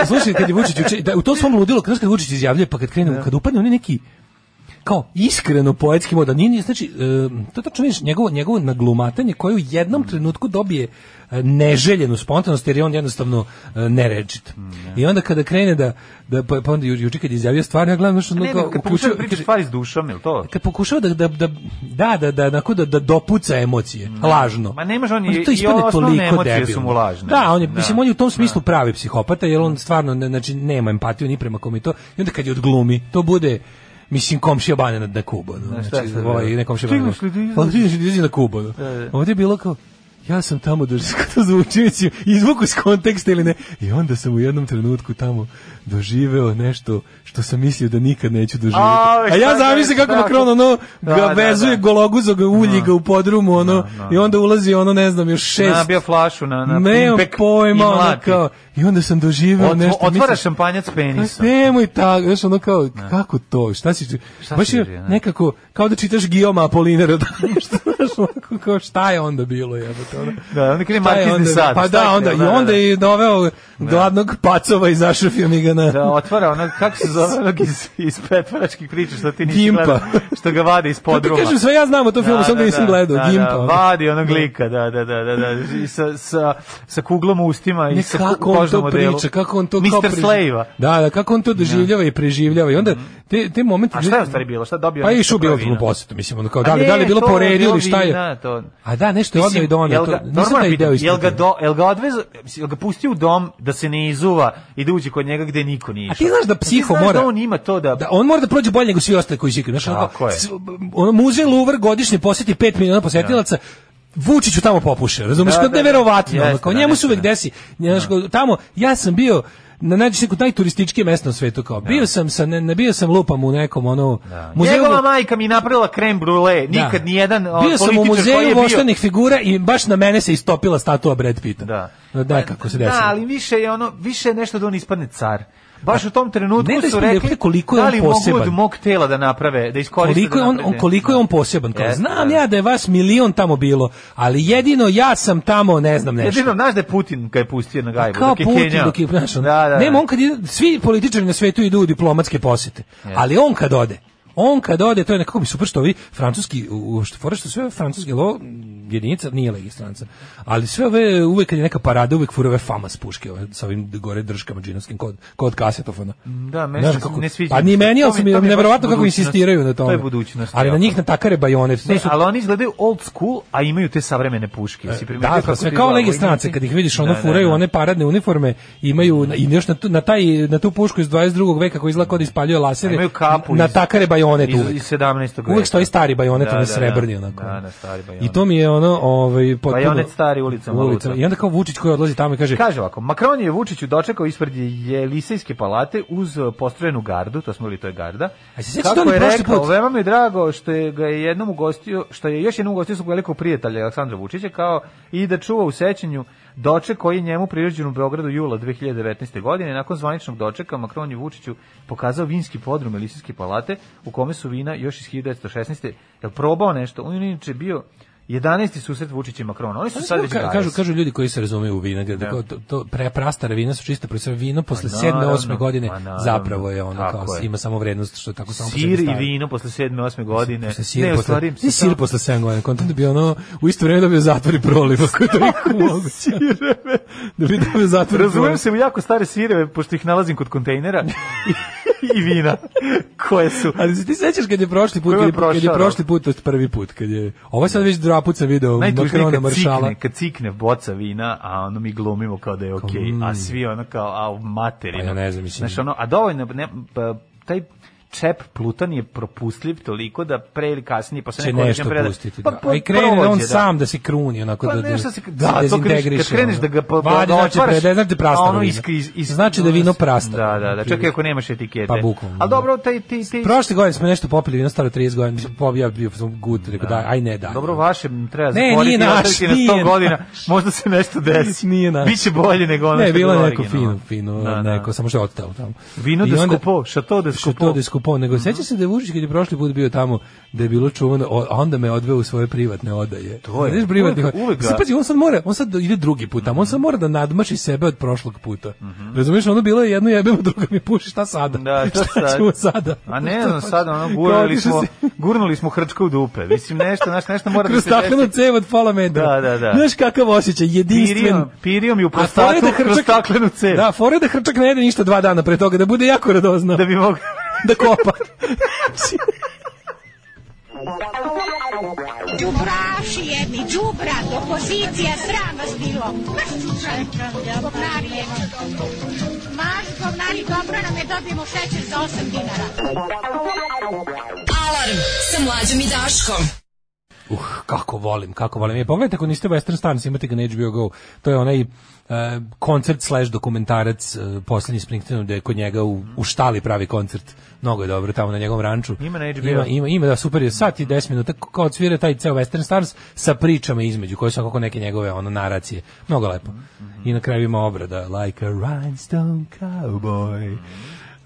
[SPEAKER 5] A, slušaj, kad je Vučić uče, da, u tom svom ludilu, kad, znaš kad Vučić izjavljuje, pa kad krenu, kad upadne oni neki kao iskreno poetski mod, a nije, nije, znači, e, to tačno vidiš, njegovo, njegovo naglumatanje koje u jednom trenutku dobije e, neželjenu spontanost, jer je on jednostavno e, nerečit.
[SPEAKER 6] Mm,
[SPEAKER 5] I onda kada krene da, da pa, pa onda ju, juče kad je izjavio stvar, ja gledam što ono
[SPEAKER 6] Ne, ne,
[SPEAKER 5] kao
[SPEAKER 6] kad
[SPEAKER 5] uključio-
[SPEAKER 6] pokušaju pričati
[SPEAKER 5] kaže-
[SPEAKER 6] stvari s dušom, jel to?
[SPEAKER 5] kad pokušava da da da da da da onako da, da dopuca emocije lažno
[SPEAKER 6] Ma ne može on
[SPEAKER 5] Onda
[SPEAKER 6] i-
[SPEAKER 5] to
[SPEAKER 6] i
[SPEAKER 5] ispadne
[SPEAKER 6] osnovne
[SPEAKER 5] toliko
[SPEAKER 6] emocije
[SPEAKER 5] debilno.
[SPEAKER 6] su mu lažne.
[SPEAKER 5] da on je
[SPEAKER 6] Da.
[SPEAKER 5] mislim on je u tom smislu pravi psihopata jer on stvarno ne, znači nema empatiju ni prema kome i to i onda kad je odglumi to bude Mislim, komšija bane na, na Kubu. No.
[SPEAKER 6] šta
[SPEAKER 5] Znači,
[SPEAKER 6] sad,
[SPEAKER 5] ovaj,
[SPEAKER 6] da?
[SPEAKER 5] ne komšija bane.
[SPEAKER 6] Stignuš li da
[SPEAKER 5] Pa, stignuš li da izađe na Kubu. No. Ovdje je bilo kao, ja sam tamo doživio, to zvuči, mislim, izvuku iz konteksta ili ne. I onda sam u jednom trenutku tamo doživeo nešto što sam mislio da nikad neću doživjeti.
[SPEAKER 6] A,
[SPEAKER 5] A ja
[SPEAKER 6] šta
[SPEAKER 5] zamislim
[SPEAKER 6] je,
[SPEAKER 5] kako na
[SPEAKER 6] tako.
[SPEAKER 5] kron ono
[SPEAKER 6] Da,
[SPEAKER 5] ga
[SPEAKER 6] da,
[SPEAKER 5] vezuje
[SPEAKER 6] da.
[SPEAKER 5] gologuzo ga ulji ga u podrumu ono i onda ulazi ono ne znam još šest.
[SPEAKER 6] Nabija flašu na, na
[SPEAKER 5] Nemam
[SPEAKER 6] pimpek i
[SPEAKER 5] pojma, ono
[SPEAKER 6] mlati.
[SPEAKER 5] kao, i onda sam doživeo
[SPEAKER 6] Otvo-
[SPEAKER 5] nešto. Pa
[SPEAKER 6] otvara
[SPEAKER 5] mislim,
[SPEAKER 6] šampanjac penisom.
[SPEAKER 5] Nemoj tako, znaš, ono kao, kako to, šta si,
[SPEAKER 6] Šta
[SPEAKER 5] baš
[SPEAKER 6] si
[SPEAKER 5] je
[SPEAKER 6] živio, ne?
[SPEAKER 5] nekako, kao da čitaš Guillaume Apolinera, da, nešto, znaš, onako, kao, šta je onda bilo, jebate, ono.
[SPEAKER 6] Da, onda krene
[SPEAKER 5] Šta je
[SPEAKER 6] Markiz de
[SPEAKER 5] onda-
[SPEAKER 6] Sade,
[SPEAKER 5] Pa
[SPEAKER 6] šta je
[SPEAKER 5] da, onda, i
[SPEAKER 6] krenuo, da,
[SPEAKER 5] onda
[SPEAKER 6] da.
[SPEAKER 5] je doveo gladnog pacova i zašrfio mi ga na...
[SPEAKER 6] Da, otvara ono, kako se zove onog iz, iz pretvaračkih priča što ti nisi
[SPEAKER 5] Gimpa.
[SPEAKER 6] gledao, što ga vade
[SPEAKER 5] Pa
[SPEAKER 6] iz
[SPEAKER 5] ti
[SPEAKER 6] podruma.
[SPEAKER 5] kažem, sve ja znam o tom filmu, sam ga nisam gledao,
[SPEAKER 6] da,
[SPEAKER 5] Gimpa.
[SPEAKER 6] Da,
[SPEAKER 5] ono.
[SPEAKER 6] vadi onog lika, da, da, da, da, da, i sa, sa, sa kuglom u ustima i
[SPEAKER 5] Ne,
[SPEAKER 6] sa
[SPEAKER 5] kako
[SPEAKER 6] ku-
[SPEAKER 5] on to
[SPEAKER 6] kožnom odelu.
[SPEAKER 5] priča, kako on to kao
[SPEAKER 6] Mr.
[SPEAKER 5] preži-
[SPEAKER 6] Slave-a.
[SPEAKER 5] Da, da, kako on to doživljava i preživljava. I onda te, te momente...
[SPEAKER 6] Mhm. A šta je u stvari bilo? Šta je dobio?
[SPEAKER 5] Pa je
[SPEAKER 6] nešto
[SPEAKER 5] išao bilo
[SPEAKER 6] kao vino?
[SPEAKER 5] u posetu, mislim, ono kao,
[SPEAKER 6] A
[SPEAKER 5] da li, da li je
[SPEAKER 6] ne,
[SPEAKER 5] bilo
[SPEAKER 6] to je
[SPEAKER 5] poredio
[SPEAKER 6] bilo
[SPEAKER 5] ili šta
[SPEAKER 6] vina,
[SPEAKER 5] je?
[SPEAKER 6] to-
[SPEAKER 5] A da, nešto je odneo i doneo.
[SPEAKER 6] jel
[SPEAKER 5] to-
[SPEAKER 6] ga-
[SPEAKER 5] Nisam
[SPEAKER 6] normalno
[SPEAKER 5] taj
[SPEAKER 6] pitam,
[SPEAKER 5] deo
[SPEAKER 6] jel ga,
[SPEAKER 5] ispratio.
[SPEAKER 6] do, jel ga odvezo, mislim, jel ga pusti u dom da se ne izuva i da uđe kod njega gde niko nije
[SPEAKER 5] A
[SPEAKER 6] išao?
[SPEAKER 5] ti znaš da
[SPEAKER 6] Pa ti
[SPEAKER 5] psiho
[SPEAKER 6] znaš
[SPEAKER 5] mora-
[SPEAKER 6] da on ima to da...
[SPEAKER 5] Da, on mora da prođe bolje nego svi ostali koji sikaju. Znaš, ono,
[SPEAKER 6] Tako
[SPEAKER 5] kao,
[SPEAKER 6] je.
[SPEAKER 5] s- ono, muzej Louvre godišnje posjeti 5 miliona posjetilaca, Vučiću tamo popuše, razumeš,
[SPEAKER 6] Da,
[SPEAKER 5] kao
[SPEAKER 6] da,
[SPEAKER 5] neverovatno,
[SPEAKER 6] jeste,
[SPEAKER 5] ono, kao
[SPEAKER 6] da,
[SPEAKER 5] njemu
[SPEAKER 6] jeste,
[SPEAKER 5] se uvek
[SPEAKER 6] da.
[SPEAKER 5] desi, znaš, kao, tamo, ja sam bio, na nađeš neko najturističkije mesto na svetu, kao, bio sam, sa, ne, ne, bio sam lupam u nekom, ono, muzeju-
[SPEAKER 6] Njegova majka mi je napravila krem brule, nikad nijedan o,
[SPEAKER 5] Bio sam u
[SPEAKER 6] političar koji je
[SPEAKER 5] muzeju
[SPEAKER 6] bio-
[SPEAKER 5] voštanih figura i baš na mene se istopila statua Brad Pitta.
[SPEAKER 6] Da. Pa
[SPEAKER 5] Da, kako se desilo.
[SPEAKER 6] Da, ali više je ono, više je nešto da on ispadne car. Baš u tom trenutku
[SPEAKER 5] Ne da
[SPEAKER 6] su
[SPEAKER 5] ispadne,
[SPEAKER 6] rekli
[SPEAKER 5] koliko je
[SPEAKER 6] da
[SPEAKER 5] on
[SPEAKER 6] li mogu
[SPEAKER 5] poseban.
[SPEAKER 6] od mog tela da naprave, da iskoriste.
[SPEAKER 5] koliko je
[SPEAKER 6] da
[SPEAKER 5] on,
[SPEAKER 6] naprave-
[SPEAKER 5] on- koliko je on poseban kao,
[SPEAKER 6] Jeste,
[SPEAKER 5] znam
[SPEAKER 6] da.
[SPEAKER 5] ja da je vas milion tamo bilo ali jedino ja sam tamo ne znam nešto
[SPEAKER 6] Jedino, znaš da je Putin kad je pustio na gajbu,
[SPEAKER 5] kao
[SPEAKER 6] dok je
[SPEAKER 5] Putin
[SPEAKER 6] Kenjao.
[SPEAKER 5] dok je znaš, ono,
[SPEAKER 6] da, da, da.
[SPEAKER 5] nema on kad ide- svi političari na svetu idu u diplomatske posete ali on kad ode on kad ode to je nekako mi super što ovi francuski u- u- što fora što sve francuski lo jedinica nije legistranca ali sve ove uvek kad je neka parada uvek furove fama s puške ove, sa ovim gore držkama džinovskim kod kod kasetofona
[SPEAKER 6] Da, meni
[SPEAKER 5] Znaš
[SPEAKER 6] se ne sviđa
[SPEAKER 5] pa
[SPEAKER 6] mi
[SPEAKER 5] ni
[SPEAKER 6] se.
[SPEAKER 5] meni
[SPEAKER 6] To
[SPEAKER 5] ali
[SPEAKER 6] mi-
[SPEAKER 5] sam
[SPEAKER 6] to mi je baš
[SPEAKER 5] neverovatno kako
[SPEAKER 6] budućnost.
[SPEAKER 5] insistiraju na
[SPEAKER 6] To
[SPEAKER 5] tome
[SPEAKER 6] je budućnost,
[SPEAKER 5] ali na
[SPEAKER 6] jako.
[SPEAKER 5] njih natakare bajonet to
[SPEAKER 6] Ne,
[SPEAKER 5] su
[SPEAKER 6] ali oni izgledaju old school, a imaju te savremene puške. Si primetio
[SPEAKER 5] Da,
[SPEAKER 6] kako
[SPEAKER 5] pa sve
[SPEAKER 6] ti
[SPEAKER 5] kao
[SPEAKER 6] glava
[SPEAKER 5] legi strance,
[SPEAKER 6] ide?
[SPEAKER 5] kad ih vidiš, ono
[SPEAKER 6] Da, da,
[SPEAKER 5] furaju
[SPEAKER 6] da. Mm.
[SPEAKER 5] one paradne uniforme, imaju, i još na, tu, na, taj, na tu pušku iz 22. veka koji izgleda kod ispaljuje lasere,
[SPEAKER 6] Imaju kapu
[SPEAKER 5] na
[SPEAKER 6] iz-
[SPEAKER 5] takare bajonet
[SPEAKER 6] iz-
[SPEAKER 5] uvek.
[SPEAKER 6] iz 17.
[SPEAKER 5] Uvek
[SPEAKER 6] veka.
[SPEAKER 5] stoji stari bajonet,
[SPEAKER 6] Da,
[SPEAKER 5] onaj
[SPEAKER 6] da, da.
[SPEAKER 5] pa srebrni, onako. ono.
[SPEAKER 6] Da, da, stari pa bajonet.
[SPEAKER 5] I to mi je ono, ovaj, potpuno...
[SPEAKER 6] Bajonet stari ulicama luta.
[SPEAKER 5] I onda kao Vučić koji odlazi tamo i kaže,
[SPEAKER 6] Kaže ovako, Makron je Vučiću dočekao ispred Jelisejske palate uz e, postrojenu gardu, to smo bili, to je garda.
[SPEAKER 5] A se sjećaš
[SPEAKER 6] Kako
[SPEAKER 5] da
[SPEAKER 6] je
[SPEAKER 5] oni prošli
[SPEAKER 6] rekao,
[SPEAKER 5] put-
[SPEAKER 6] veoma mi je drago što je ga je jednom ugostio, što je još jednom ugostio svog velikog prijatelja Aleksandra Vučića, kao i da čuva u sećanju doček koji je njemu priređen u Beogradu jula 2019. godine. Nakon zvaničnog dočeka Makron je Vučiću pokazao vinski podrum Jelisejske palate u kome su vina još iz 1916. Jel probao nešto? On je inače bio 11. susret Vučića i Makrona. Oni su Pa sad već
[SPEAKER 5] Ka- kažu,
[SPEAKER 6] 11.
[SPEAKER 5] kažu ljudi koji se razumeju u vina, da. kao to, to pre, prastara vina su čista prostora vina posle sedme,
[SPEAKER 6] Pa naravno,
[SPEAKER 5] osme godine
[SPEAKER 6] pa naravno.
[SPEAKER 5] zapravo je ono
[SPEAKER 6] Tako
[SPEAKER 5] kao,
[SPEAKER 6] je.
[SPEAKER 5] ima samo vrednost što je tako samo po sebi
[SPEAKER 6] sir i
[SPEAKER 5] staro.
[SPEAKER 6] vino posle 7. 8. godine.
[SPEAKER 5] Posle sir,
[SPEAKER 6] ne,
[SPEAKER 5] posle,
[SPEAKER 6] ostvarim
[SPEAKER 5] ne sir posle 7 godina, kontam da bi ono, u isto vreme dobio zatvor i proliv, ako je toliko moguće. da bi dobio zatvor i proliv.
[SPEAKER 6] Razumem se u jako stare sireve, pošto ih nalazim kod kontejnera. i vina koje su
[SPEAKER 5] Ali se ti sećaš kad je prošli put,
[SPEAKER 6] Ko je
[SPEAKER 5] kad je,
[SPEAKER 6] prošao,
[SPEAKER 5] kad je
[SPEAKER 6] da?
[SPEAKER 5] prošli put, to je prvi put, kad je, ovo je sad već dva put sam video
[SPEAKER 6] Najtužnije
[SPEAKER 5] Makrona
[SPEAKER 6] kad
[SPEAKER 5] maršala.
[SPEAKER 6] cikne, kad cikne boca vina, a ono mi glumimo kao da je okej, a svi ono kao, a u materinu.
[SPEAKER 5] Pa ja ne znam, mislim.
[SPEAKER 6] Znaš, ono, a dovoljno, ne, pa, taj čep plutan je propustljiv toliko da pre ili kasnije, pa se
[SPEAKER 5] će
[SPEAKER 6] neko
[SPEAKER 5] nešto
[SPEAKER 6] određen preda-
[SPEAKER 5] pustiti.
[SPEAKER 6] Pa,
[SPEAKER 5] Da.
[SPEAKER 6] pa,
[SPEAKER 5] A i krene da
[SPEAKER 6] prođe,
[SPEAKER 5] on
[SPEAKER 6] da.
[SPEAKER 5] sam da se kruni onako
[SPEAKER 6] Pa
[SPEAKER 5] da
[SPEAKER 6] nešto se- da, to kreneš- kad
[SPEAKER 5] dezintegriše,
[SPEAKER 6] kreneš
[SPEAKER 5] ono.
[SPEAKER 6] da ga po- po-
[SPEAKER 5] Vadi,
[SPEAKER 6] da
[SPEAKER 5] znači
[SPEAKER 6] otvaraš,
[SPEAKER 5] pre, znači prastaro
[SPEAKER 6] a ono
[SPEAKER 5] vino.
[SPEAKER 6] iskri- is- is-
[SPEAKER 5] znači da je vino prastaro.
[SPEAKER 6] ono Da, da, da, čekaj ako nemaš etikete.
[SPEAKER 5] Pa bukvalno,
[SPEAKER 6] Ali
[SPEAKER 5] da.
[SPEAKER 6] dobro, taj, ti, ti,
[SPEAKER 5] Prošle godine smo nešto popili vino staro 30 godina, mislim pobija bio sam gut, rekao da, aj ne ono." da.
[SPEAKER 6] Dobro, vaše
[SPEAKER 5] Ne,
[SPEAKER 6] treba zatvoriti
[SPEAKER 5] nije
[SPEAKER 6] i
[SPEAKER 5] naš,
[SPEAKER 6] ostaviti na 100
[SPEAKER 5] nije
[SPEAKER 6] godina.
[SPEAKER 5] naš.
[SPEAKER 6] Možda se nešto desi.
[SPEAKER 5] Nije naš.
[SPEAKER 6] Biće bolje nego ono
[SPEAKER 5] Ne,
[SPEAKER 6] što
[SPEAKER 5] bilo je
[SPEAKER 6] bilo
[SPEAKER 5] neko
[SPEAKER 6] originalno.
[SPEAKER 5] fino, fino,
[SPEAKER 6] Da, da.
[SPEAKER 5] neko, samo što je otelo tamo.
[SPEAKER 6] Vino
[SPEAKER 5] I
[SPEAKER 6] da
[SPEAKER 5] onda-
[SPEAKER 6] skupo, šato da skupo.
[SPEAKER 5] Što to da je skupo,
[SPEAKER 6] Mhm.
[SPEAKER 5] nego seća se da je Vučić kad je prošli put bio tamo, da je bilo čuvano, o- a onda me odveo u svoje privatne odaje. To
[SPEAKER 6] je,
[SPEAKER 5] Znaš, privatne
[SPEAKER 6] uvek-
[SPEAKER 5] odaje.
[SPEAKER 6] uvek
[SPEAKER 5] Sad,
[SPEAKER 6] ga-
[SPEAKER 5] pazi, on sad mora, on sad ide drugi put tamo, on sad mora da nadmaši sebe od prošlog puta. Razumiješ, ono bilo je jedno jebemo, drugo mi puši, šta sada?
[SPEAKER 6] Mhm. Da, šta
[SPEAKER 5] šta
[SPEAKER 6] sad?
[SPEAKER 5] ćemo sada?
[SPEAKER 6] A ne znam,
[SPEAKER 5] Šta-
[SPEAKER 6] sad ono,
[SPEAKER 5] Kao
[SPEAKER 6] gurnuli
[SPEAKER 5] otišao
[SPEAKER 6] smo,
[SPEAKER 5] si-
[SPEAKER 6] gurnuli smo hrčka u dupe. Mislim, nešto, znaš, nešto mora da
[SPEAKER 5] kroz
[SPEAKER 6] se desi.
[SPEAKER 5] staklenu cev od pola metra.
[SPEAKER 6] Da, da, da.
[SPEAKER 5] Znaš kakav osjećaj, jedinstven.
[SPEAKER 6] Pirijom, pirijom i u
[SPEAKER 5] A fora je
[SPEAKER 6] prostatu, kroz staklenu cev.
[SPEAKER 5] Da, fora je da hrčak ne jede ništa dva dana pre toga, da bude jako radozno.
[SPEAKER 6] Da bi mogu...
[SPEAKER 5] da kopa.
[SPEAKER 10] Đubraši jedni, đubrat, opozicija, sram vas bilo. Maš čučaj, govnari jedni. Maš govnari, dobro nam je dobijemo šećer za 8 dinara.
[SPEAKER 4] Alarm sa mlađom i Daškom.
[SPEAKER 5] Uh, kako volim, kako volim. Je, pogledajte ako niste Western Stars, imate ga na HBO Go. To je onaj e, koncert slash dokumentarac e, poslednji Springsteenu gde je kod njega u, u štali pravi koncert. Mnogo je dobro tamo na njegovom ranču.
[SPEAKER 6] Ima na HBO.
[SPEAKER 5] Ima, ima, ima, da, super je. Sat i 10 minuta k- kao odsvira taj ceo Western Stars sa pričama između, koje su kako neke njegove ono, naracije. Mnogo lepo. I na kraju ima obrada. Like a rhinestone cowboy.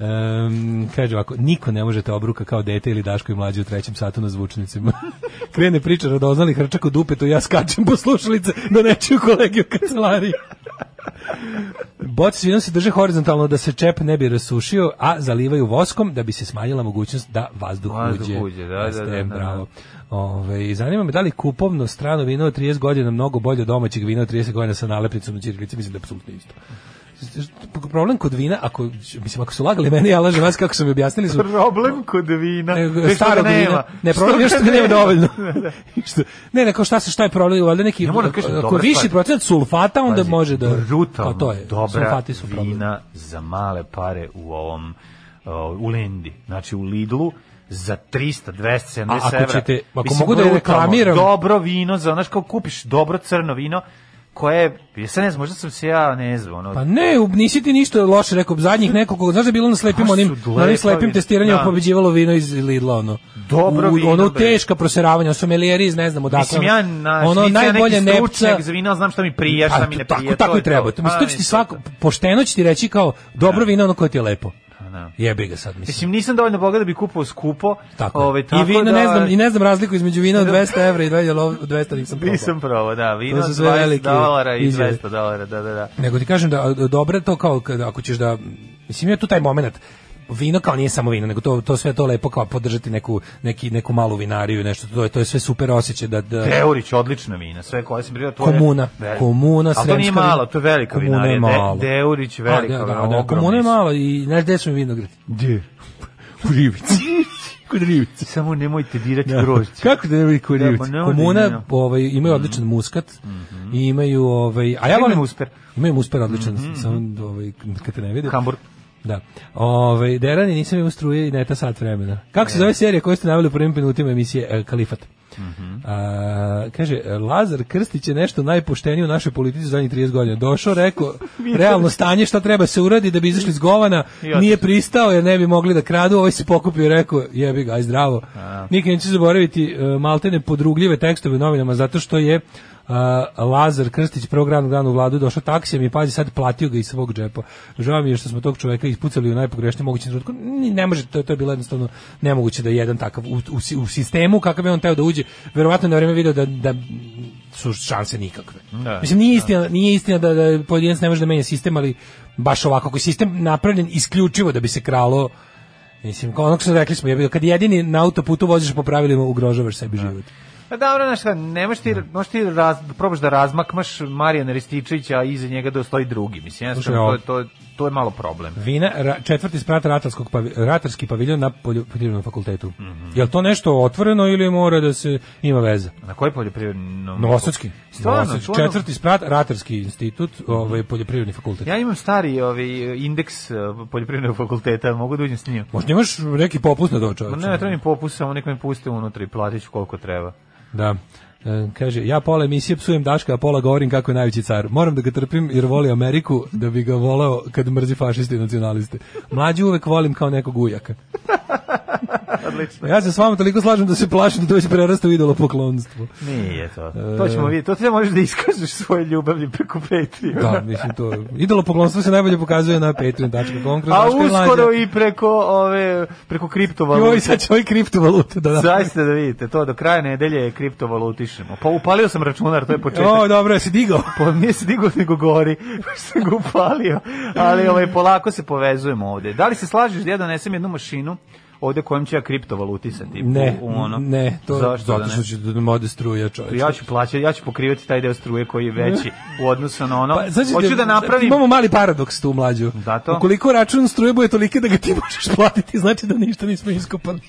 [SPEAKER 5] Em, kaže ovako, niko ne može te obruka kao dete ili Daško i mlađe u trećem satu na zvučnicima. Krene priča radoznali hrčak u dupetu, ja skačem po slušalice da ne čuju kolege u kancelariji. Boce s vinom se drže horizontalno da se čep ne bi rasušio, a zalivaju voskom da bi se smanjila mogućnost da vazduh,
[SPEAKER 6] Vazduh
[SPEAKER 5] uđe.
[SPEAKER 6] uđe, da, da,
[SPEAKER 5] Jeste,
[SPEAKER 6] da, da, da.
[SPEAKER 5] bravo. Ove, i zanima me da li kupovno strano vino od 30 godina mnogo bolje od domaćeg vina od 30 godina sa nalepnicom na ćirilici, mislim da je apsolutno isto. Problem kod vina, ako, mislim, ako su lagali meni, ja lažem vas kako su mi objasnili, su
[SPEAKER 6] Problem kod vina.
[SPEAKER 5] nego
[SPEAKER 6] Što
[SPEAKER 5] E, starog
[SPEAKER 6] ga nema.
[SPEAKER 5] vina. Ne, problem je što ga nema dovoljno. Što- ne, ne, kao šta se šta je problem, valjda neki
[SPEAKER 6] Ja moram da kažem,
[SPEAKER 5] ako
[SPEAKER 6] dobra
[SPEAKER 5] viši
[SPEAKER 6] stvar.
[SPEAKER 5] procenat sulfata onda
[SPEAKER 6] Pazi,
[SPEAKER 5] može da
[SPEAKER 6] brutalno
[SPEAKER 5] kao to je.
[SPEAKER 6] dobra
[SPEAKER 5] sulfati su problem.
[SPEAKER 6] vina za male pare u ovom uh, u Lendi, znači u Lidlu za 300, 270 evra.
[SPEAKER 5] A ako ćete- ako
[SPEAKER 6] Mislim,
[SPEAKER 5] mogu da
[SPEAKER 6] brutalno,
[SPEAKER 5] reklamiram-
[SPEAKER 6] Dobro vino, za ono kao kupiš dobro crno vino, koje, ja se ne znam, možda sam se ja ne znam, ono,
[SPEAKER 5] Pa ne, u- nisi ti ništa loše rekao, zadnjih nekoliko, znaš da je bilo na slepim
[SPEAKER 6] Pa
[SPEAKER 5] onim,
[SPEAKER 6] su
[SPEAKER 5] na onim
[SPEAKER 6] lepa
[SPEAKER 5] slepim
[SPEAKER 6] vina.
[SPEAKER 5] testiranjima
[SPEAKER 6] Da.
[SPEAKER 5] pobeđivalo vino iz Lidla, ono.
[SPEAKER 6] Dobro
[SPEAKER 5] U-
[SPEAKER 6] vino,
[SPEAKER 5] Ono
[SPEAKER 6] bre.
[SPEAKER 5] teška proseravanja, ono sommelieri iz ne znam odakle.
[SPEAKER 6] mislim ja, na,
[SPEAKER 5] ono
[SPEAKER 6] nisam ja
[SPEAKER 5] najbolje
[SPEAKER 6] neki
[SPEAKER 5] nepca,
[SPEAKER 6] stručnjak za vino, ali znam šta mi prija, šta
[SPEAKER 5] Pa,
[SPEAKER 6] mi ne
[SPEAKER 5] tako,
[SPEAKER 6] prija.
[SPEAKER 5] tako
[SPEAKER 6] je Pa,
[SPEAKER 5] i treba. To, mislim, to će ti
[SPEAKER 6] mislim,
[SPEAKER 5] svako, pošteno će ti reći kao, dobro vino ono koje ti je lepo. Jebi ga sad, mislim.
[SPEAKER 6] Mislim, nisam dovoljno boga da bi kupao skupo.
[SPEAKER 5] Tako. je.
[SPEAKER 6] Ove, tako
[SPEAKER 5] I vino
[SPEAKER 6] da,
[SPEAKER 5] ne znam, i ne znam razliku između vina od 200 evra i 200 lov- 200 nisam probao.
[SPEAKER 6] Nisam probao, da, vino
[SPEAKER 5] To su sve
[SPEAKER 6] 20
[SPEAKER 5] velike
[SPEAKER 6] dolara i
[SPEAKER 5] izjave.
[SPEAKER 6] 200 dolara, da, da, da.
[SPEAKER 5] Nego ti kažem da a, dobro je to kao kada, ako ćeš da mislim ima tu taj momenat vino kao nije samo vino, nego to, to sve to lepo kao podržati neku, neki, neku malu vinariju, nešto, to je, to je sve super osjećaj da, da
[SPEAKER 6] Teorić, odlična vina, sve koje sam prijao, to
[SPEAKER 5] Komuna,
[SPEAKER 6] je... Veli-
[SPEAKER 5] komuna,
[SPEAKER 6] Ali to nije
[SPEAKER 5] sremska
[SPEAKER 6] malo,
[SPEAKER 5] vina.
[SPEAKER 6] to je velika
[SPEAKER 5] Komuna
[SPEAKER 6] vinarija.
[SPEAKER 5] je
[SPEAKER 6] De-
[SPEAKER 5] malo.
[SPEAKER 6] Deurić, velika
[SPEAKER 5] A, da, da,
[SPEAKER 6] vina,
[SPEAKER 5] da,
[SPEAKER 6] ogromna
[SPEAKER 5] komuna je
[SPEAKER 6] isto.
[SPEAKER 5] malo i znaš gde su mi vinogradi? Gdje? U Rivici. Kod Rivici.
[SPEAKER 6] Samo nemojte dirati grožđe.
[SPEAKER 5] Kako da ne vidi kod
[SPEAKER 6] Da,
[SPEAKER 5] Rivici?
[SPEAKER 6] pa ne vodi, ne.
[SPEAKER 5] Komuna ovaj, imaju odličan muskat i imaju... Ovaj, a ja
[SPEAKER 6] Mhm. Imaju
[SPEAKER 5] volim...
[SPEAKER 6] musper. Mhm,
[SPEAKER 5] Imaju musper odličan, samo ovaj, kad te ne vidi.
[SPEAKER 6] Hamburg.
[SPEAKER 5] Da. Ove, Derani nisam imao struje i neta sat vremena. Kako se zove serija koju ste naveli u prvim minutima emisije e, Kalifat? A, kaže, Lazar Krstić je nešto najpoštenije u našoj politici zadnjih 30 godina. Došao, rekao, realno stanje šta treba se uradi da bi izašli iz govana,
[SPEAKER 6] otišao.
[SPEAKER 5] nije pristao jer ne bi mogli da kradu, ovaj se pokupio i rekao, jebi ga, aj zdravo. Nikad neće zaboraviti e, maltene podrugljive tekstove u novinama zato što je Uh, Lazar Krstić prvog radnog dana u vladu došao taksijem i pazi sad platio ga iz svog džepa. Žao mi je što smo tog čoveka ispucali u najpogrešnijem mogućem trenutku. Ni- Ne može, to, to je bilo jednostavno nemoguće da je jedan takav u, u, si- u sistemu kakav je on teo da uđe. Verovatno je na vreme video da, da su šanse nikakve. Mislim, nije istina, nije istina da, da pojedinac ne može da menja sistem, ali baš ovako, ako je sistem napravljen isključivo da bi se kralo Mislim, kao ono što rekli smo, jebi ga, kad jedini na autoputu voziš po pravilima, ugrožavaš sebi život.
[SPEAKER 6] Pa dobro, znaš šta, ne možeš ti, možeš ti raz, probaš da razmakmaš Marijana Rističića, a iza njega da stoji drugi. Mislim, ja
[SPEAKER 5] Slušaj,
[SPEAKER 6] sam, to,
[SPEAKER 5] ovo.
[SPEAKER 6] je- to, je- to je malo problem.
[SPEAKER 5] Vina, ra, četvrti sprat ratarskog pavi, ratarski paviljon na polju- poljoprivrednom fakultetu.
[SPEAKER 6] Mhm.
[SPEAKER 5] Je li to nešto otvoreno ili mora da se ima veza?
[SPEAKER 6] Na koji poljoprivrednom?
[SPEAKER 5] Novosadski.
[SPEAKER 6] Ono Stvarno,
[SPEAKER 5] Novosadski.
[SPEAKER 6] stvarno? Mhm.
[SPEAKER 5] Četvrti sprat, Ratarski institut, ovaj, poljoprivredni fakultet.
[SPEAKER 6] Ja imam stari ovaj, indeks eh, poljoprivrednog fakulteta, mogu da uđem s njim.
[SPEAKER 5] Možda imaš neki popust na to
[SPEAKER 6] Ma
[SPEAKER 5] čoveče?
[SPEAKER 6] Ne, ne treba mi popust, samo nek me puste unutra i platit ću koliko treba.
[SPEAKER 5] Da. E, kaže, ja pola emisije psujem Daška, a pola govorim kako je najveći car. Moram da ga trpim jer voli Ameriku, da bi ga voleo kad mrzi fašiste i nacionaliste. Mlađi uvek volim kao nekog ujaka.
[SPEAKER 6] Odlično.
[SPEAKER 5] Ja se s vama toliko slažem da se plašim da to već prerasta u idolo poklonstvo.
[SPEAKER 6] Nije to. To ćemo vidjeti. To ti ne možeš da iskažeš svoje ljubavlje preko Patreon.
[SPEAKER 5] Da, mislim to. Idolo poklonstvo se najbolje pokazuje na patreon.com. kroz
[SPEAKER 6] A
[SPEAKER 5] Daško i Mlađa.
[SPEAKER 6] uskoro i preko ove preko
[SPEAKER 5] Joj,
[SPEAKER 6] kriptovalute.
[SPEAKER 5] sad će ovaj kriptovalute da da.
[SPEAKER 6] Zaista da vidite, to do kraja nedelje je kriptovalutišemo. Pa upalio sam računar, to je početak.
[SPEAKER 5] O, dobro, jesi digao.
[SPEAKER 6] Pa nije se digao nego gori, sam ga upalio, ali ovaj, polako se povezujemo ovde. Da li se slažeš da ja donesem jednu mašinu ovde kojom ću ja kriptovalutisati?
[SPEAKER 5] Ne,
[SPEAKER 6] u, u ono?
[SPEAKER 5] ne, to
[SPEAKER 6] Zašto
[SPEAKER 5] zato
[SPEAKER 6] da ne?
[SPEAKER 5] što će da mode struja čovječe.
[SPEAKER 6] Ja ću plaćati, ja ću pokrivati taj deo struje koji je veći u odnosu na ono.
[SPEAKER 5] Pa, sad ćete-
[SPEAKER 6] Hoću da napravim...
[SPEAKER 5] Imamo mali paradoks tu mlađu.
[SPEAKER 6] Zato?
[SPEAKER 5] Ukoliko račun struje bude tolike da ga ti možeš platiti, znači da ništa nismo iskopali.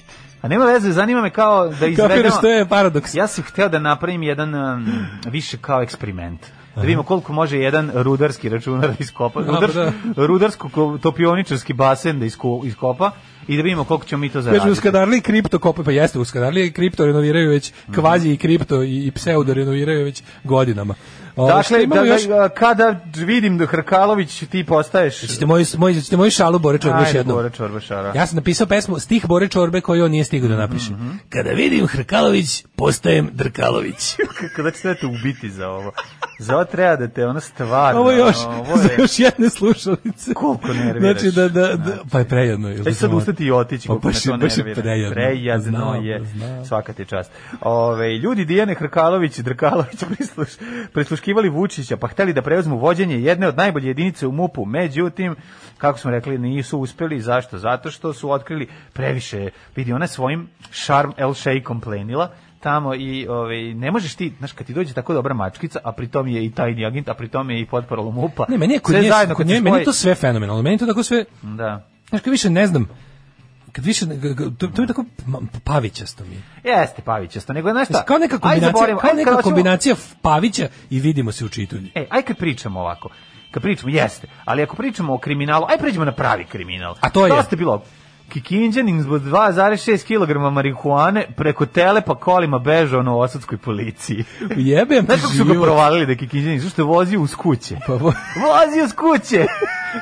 [SPEAKER 6] A nema veze, zanima me kao da
[SPEAKER 5] Kapiraš,
[SPEAKER 6] izvedemo...
[SPEAKER 5] to je paradoks.
[SPEAKER 6] ono, Ja sam hteo da napravim jedan um, više kao eksperiment. Da vidimo koliko može jedan rudarski računar da iskopa,
[SPEAKER 5] pa
[SPEAKER 6] rudar,
[SPEAKER 5] da.
[SPEAKER 6] rudarsko ko- topioničarski basen da isko- iskopa i da vidimo koliko ćemo mi to
[SPEAKER 5] Kaže
[SPEAKER 6] zaraditi.
[SPEAKER 5] Uskadarli i kripto kope, pa jeste Uskadarli i kripto renoviraju već,
[SPEAKER 6] Mhm.
[SPEAKER 5] kvazi i kripto i, i pseudo renoviraju već godinama. Ovo, šta
[SPEAKER 6] Dakle,
[SPEAKER 5] imamo
[SPEAKER 6] da,
[SPEAKER 5] još?
[SPEAKER 6] da, kada vidim da Hrkalović ti postaješ...
[SPEAKER 5] Ćete moju, moju, ćete moju šalu Bore Čorbe još
[SPEAKER 6] Ajde,
[SPEAKER 5] jednom.
[SPEAKER 6] Bore Čorbašara.
[SPEAKER 5] Ja sam napisao pesmu stih Bore Čorbe koji on nije stigao da napiše.
[SPEAKER 6] Mhm.
[SPEAKER 5] Kada vidim Hrkalović, postajem Drkalović.
[SPEAKER 6] Kada ćete da te ubiti za ovo? Za ovo treba da te ono stvarno...
[SPEAKER 5] Ovo je još,
[SPEAKER 6] ovo je-
[SPEAKER 5] za još jedne slušalice.
[SPEAKER 6] Koliko nerviraš.
[SPEAKER 5] Znači da, da, da pa je prejedno. jel
[SPEAKER 6] Ja
[SPEAKER 5] da
[SPEAKER 6] ću sad
[SPEAKER 5] sam-
[SPEAKER 6] ustati i otići
[SPEAKER 5] Pa
[SPEAKER 6] kako me
[SPEAKER 5] baš,
[SPEAKER 6] to
[SPEAKER 5] je- baš je
[SPEAKER 6] nervira.
[SPEAKER 5] prejedno.
[SPEAKER 6] Prejedno
[SPEAKER 5] Znam,
[SPEAKER 6] je,
[SPEAKER 5] znam.
[SPEAKER 6] svaka ti čast. Ove, ljudi Dijane Hrkalović i Drkalović prisluš, prisluškivali Vučića pa hteli da preuzmu vođenje jedne od najbolje jedinice u MUP-u. Međutim, kako smo rekli, nisu uspeli. Zašto? Zato što su otkrili previše. Vidi, ona je svojim Charm El Sheikom plenila tamo i ovaj ne možeš ti znaš kad ti dođe tako dobra mačkica a pritom je i tajni agent a pritom je i potporalo MUP-a
[SPEAKER 5] Ne, meni je kod
[SPEAKER 6] sve
[SPEAKER 5] nje,
[SPEAKER 6] zajedno
[SPEAKER 5] kod
[SPEAKER 6] kad
[SPEAKER 5] nje,
[SPEAKER 6] si
[SPEAKER 5] meni je
[SPEAKER 6] svoj-
[SPEAKER 5] to sve fenomenalno. Meni je to tako sve,
[SPEAKER 6] da
[SPEAKER 5] znaš, kad više ne znam, kad više, ne- g- g- to, to je tako ma- pavićasto mi. je.
[SPEAKER 6] Jeste Pavićasto, nego znaš šta?
[SPEAKER 5] Kao neka
[SPEAKER 6] ajde
[SPEAKER 5] kombinacija,
[SPEAKER 6] zaboravimo,
[SPEAKER 5] kao
[SPEAKER 6] ajde kad
[SPEAKER 5] neka
[SPEAKER 6] hoćemo-
[SPEAKER 5] kombinacija pavića i vidimo se u čitulji.
[SPEAKER 6] E, aj kad pričamo ovako. Kad pričamo, jeste, ali ako pričamo o kriminalu, aj pređemo na pravi kriminal.
[SPEAKER 5] A to je?
[SPEAKER 6] Dosta je bilo Kikinđanin zbog 2,6 kg marihuane preko tele pa kolima bežao na osadskoj policiji.
[SPEAKER 5] Jebem ti
[SPEAKER 6] Znaš kako su ga
[SPEAKER 5] život.
[SPEAKER 6] provalili da je Kikinđanin? Zašto je vozio uz kuće?
[SPEAKER 5] Pa, bo-
[SPEAKER 6] Vozio uz kuće!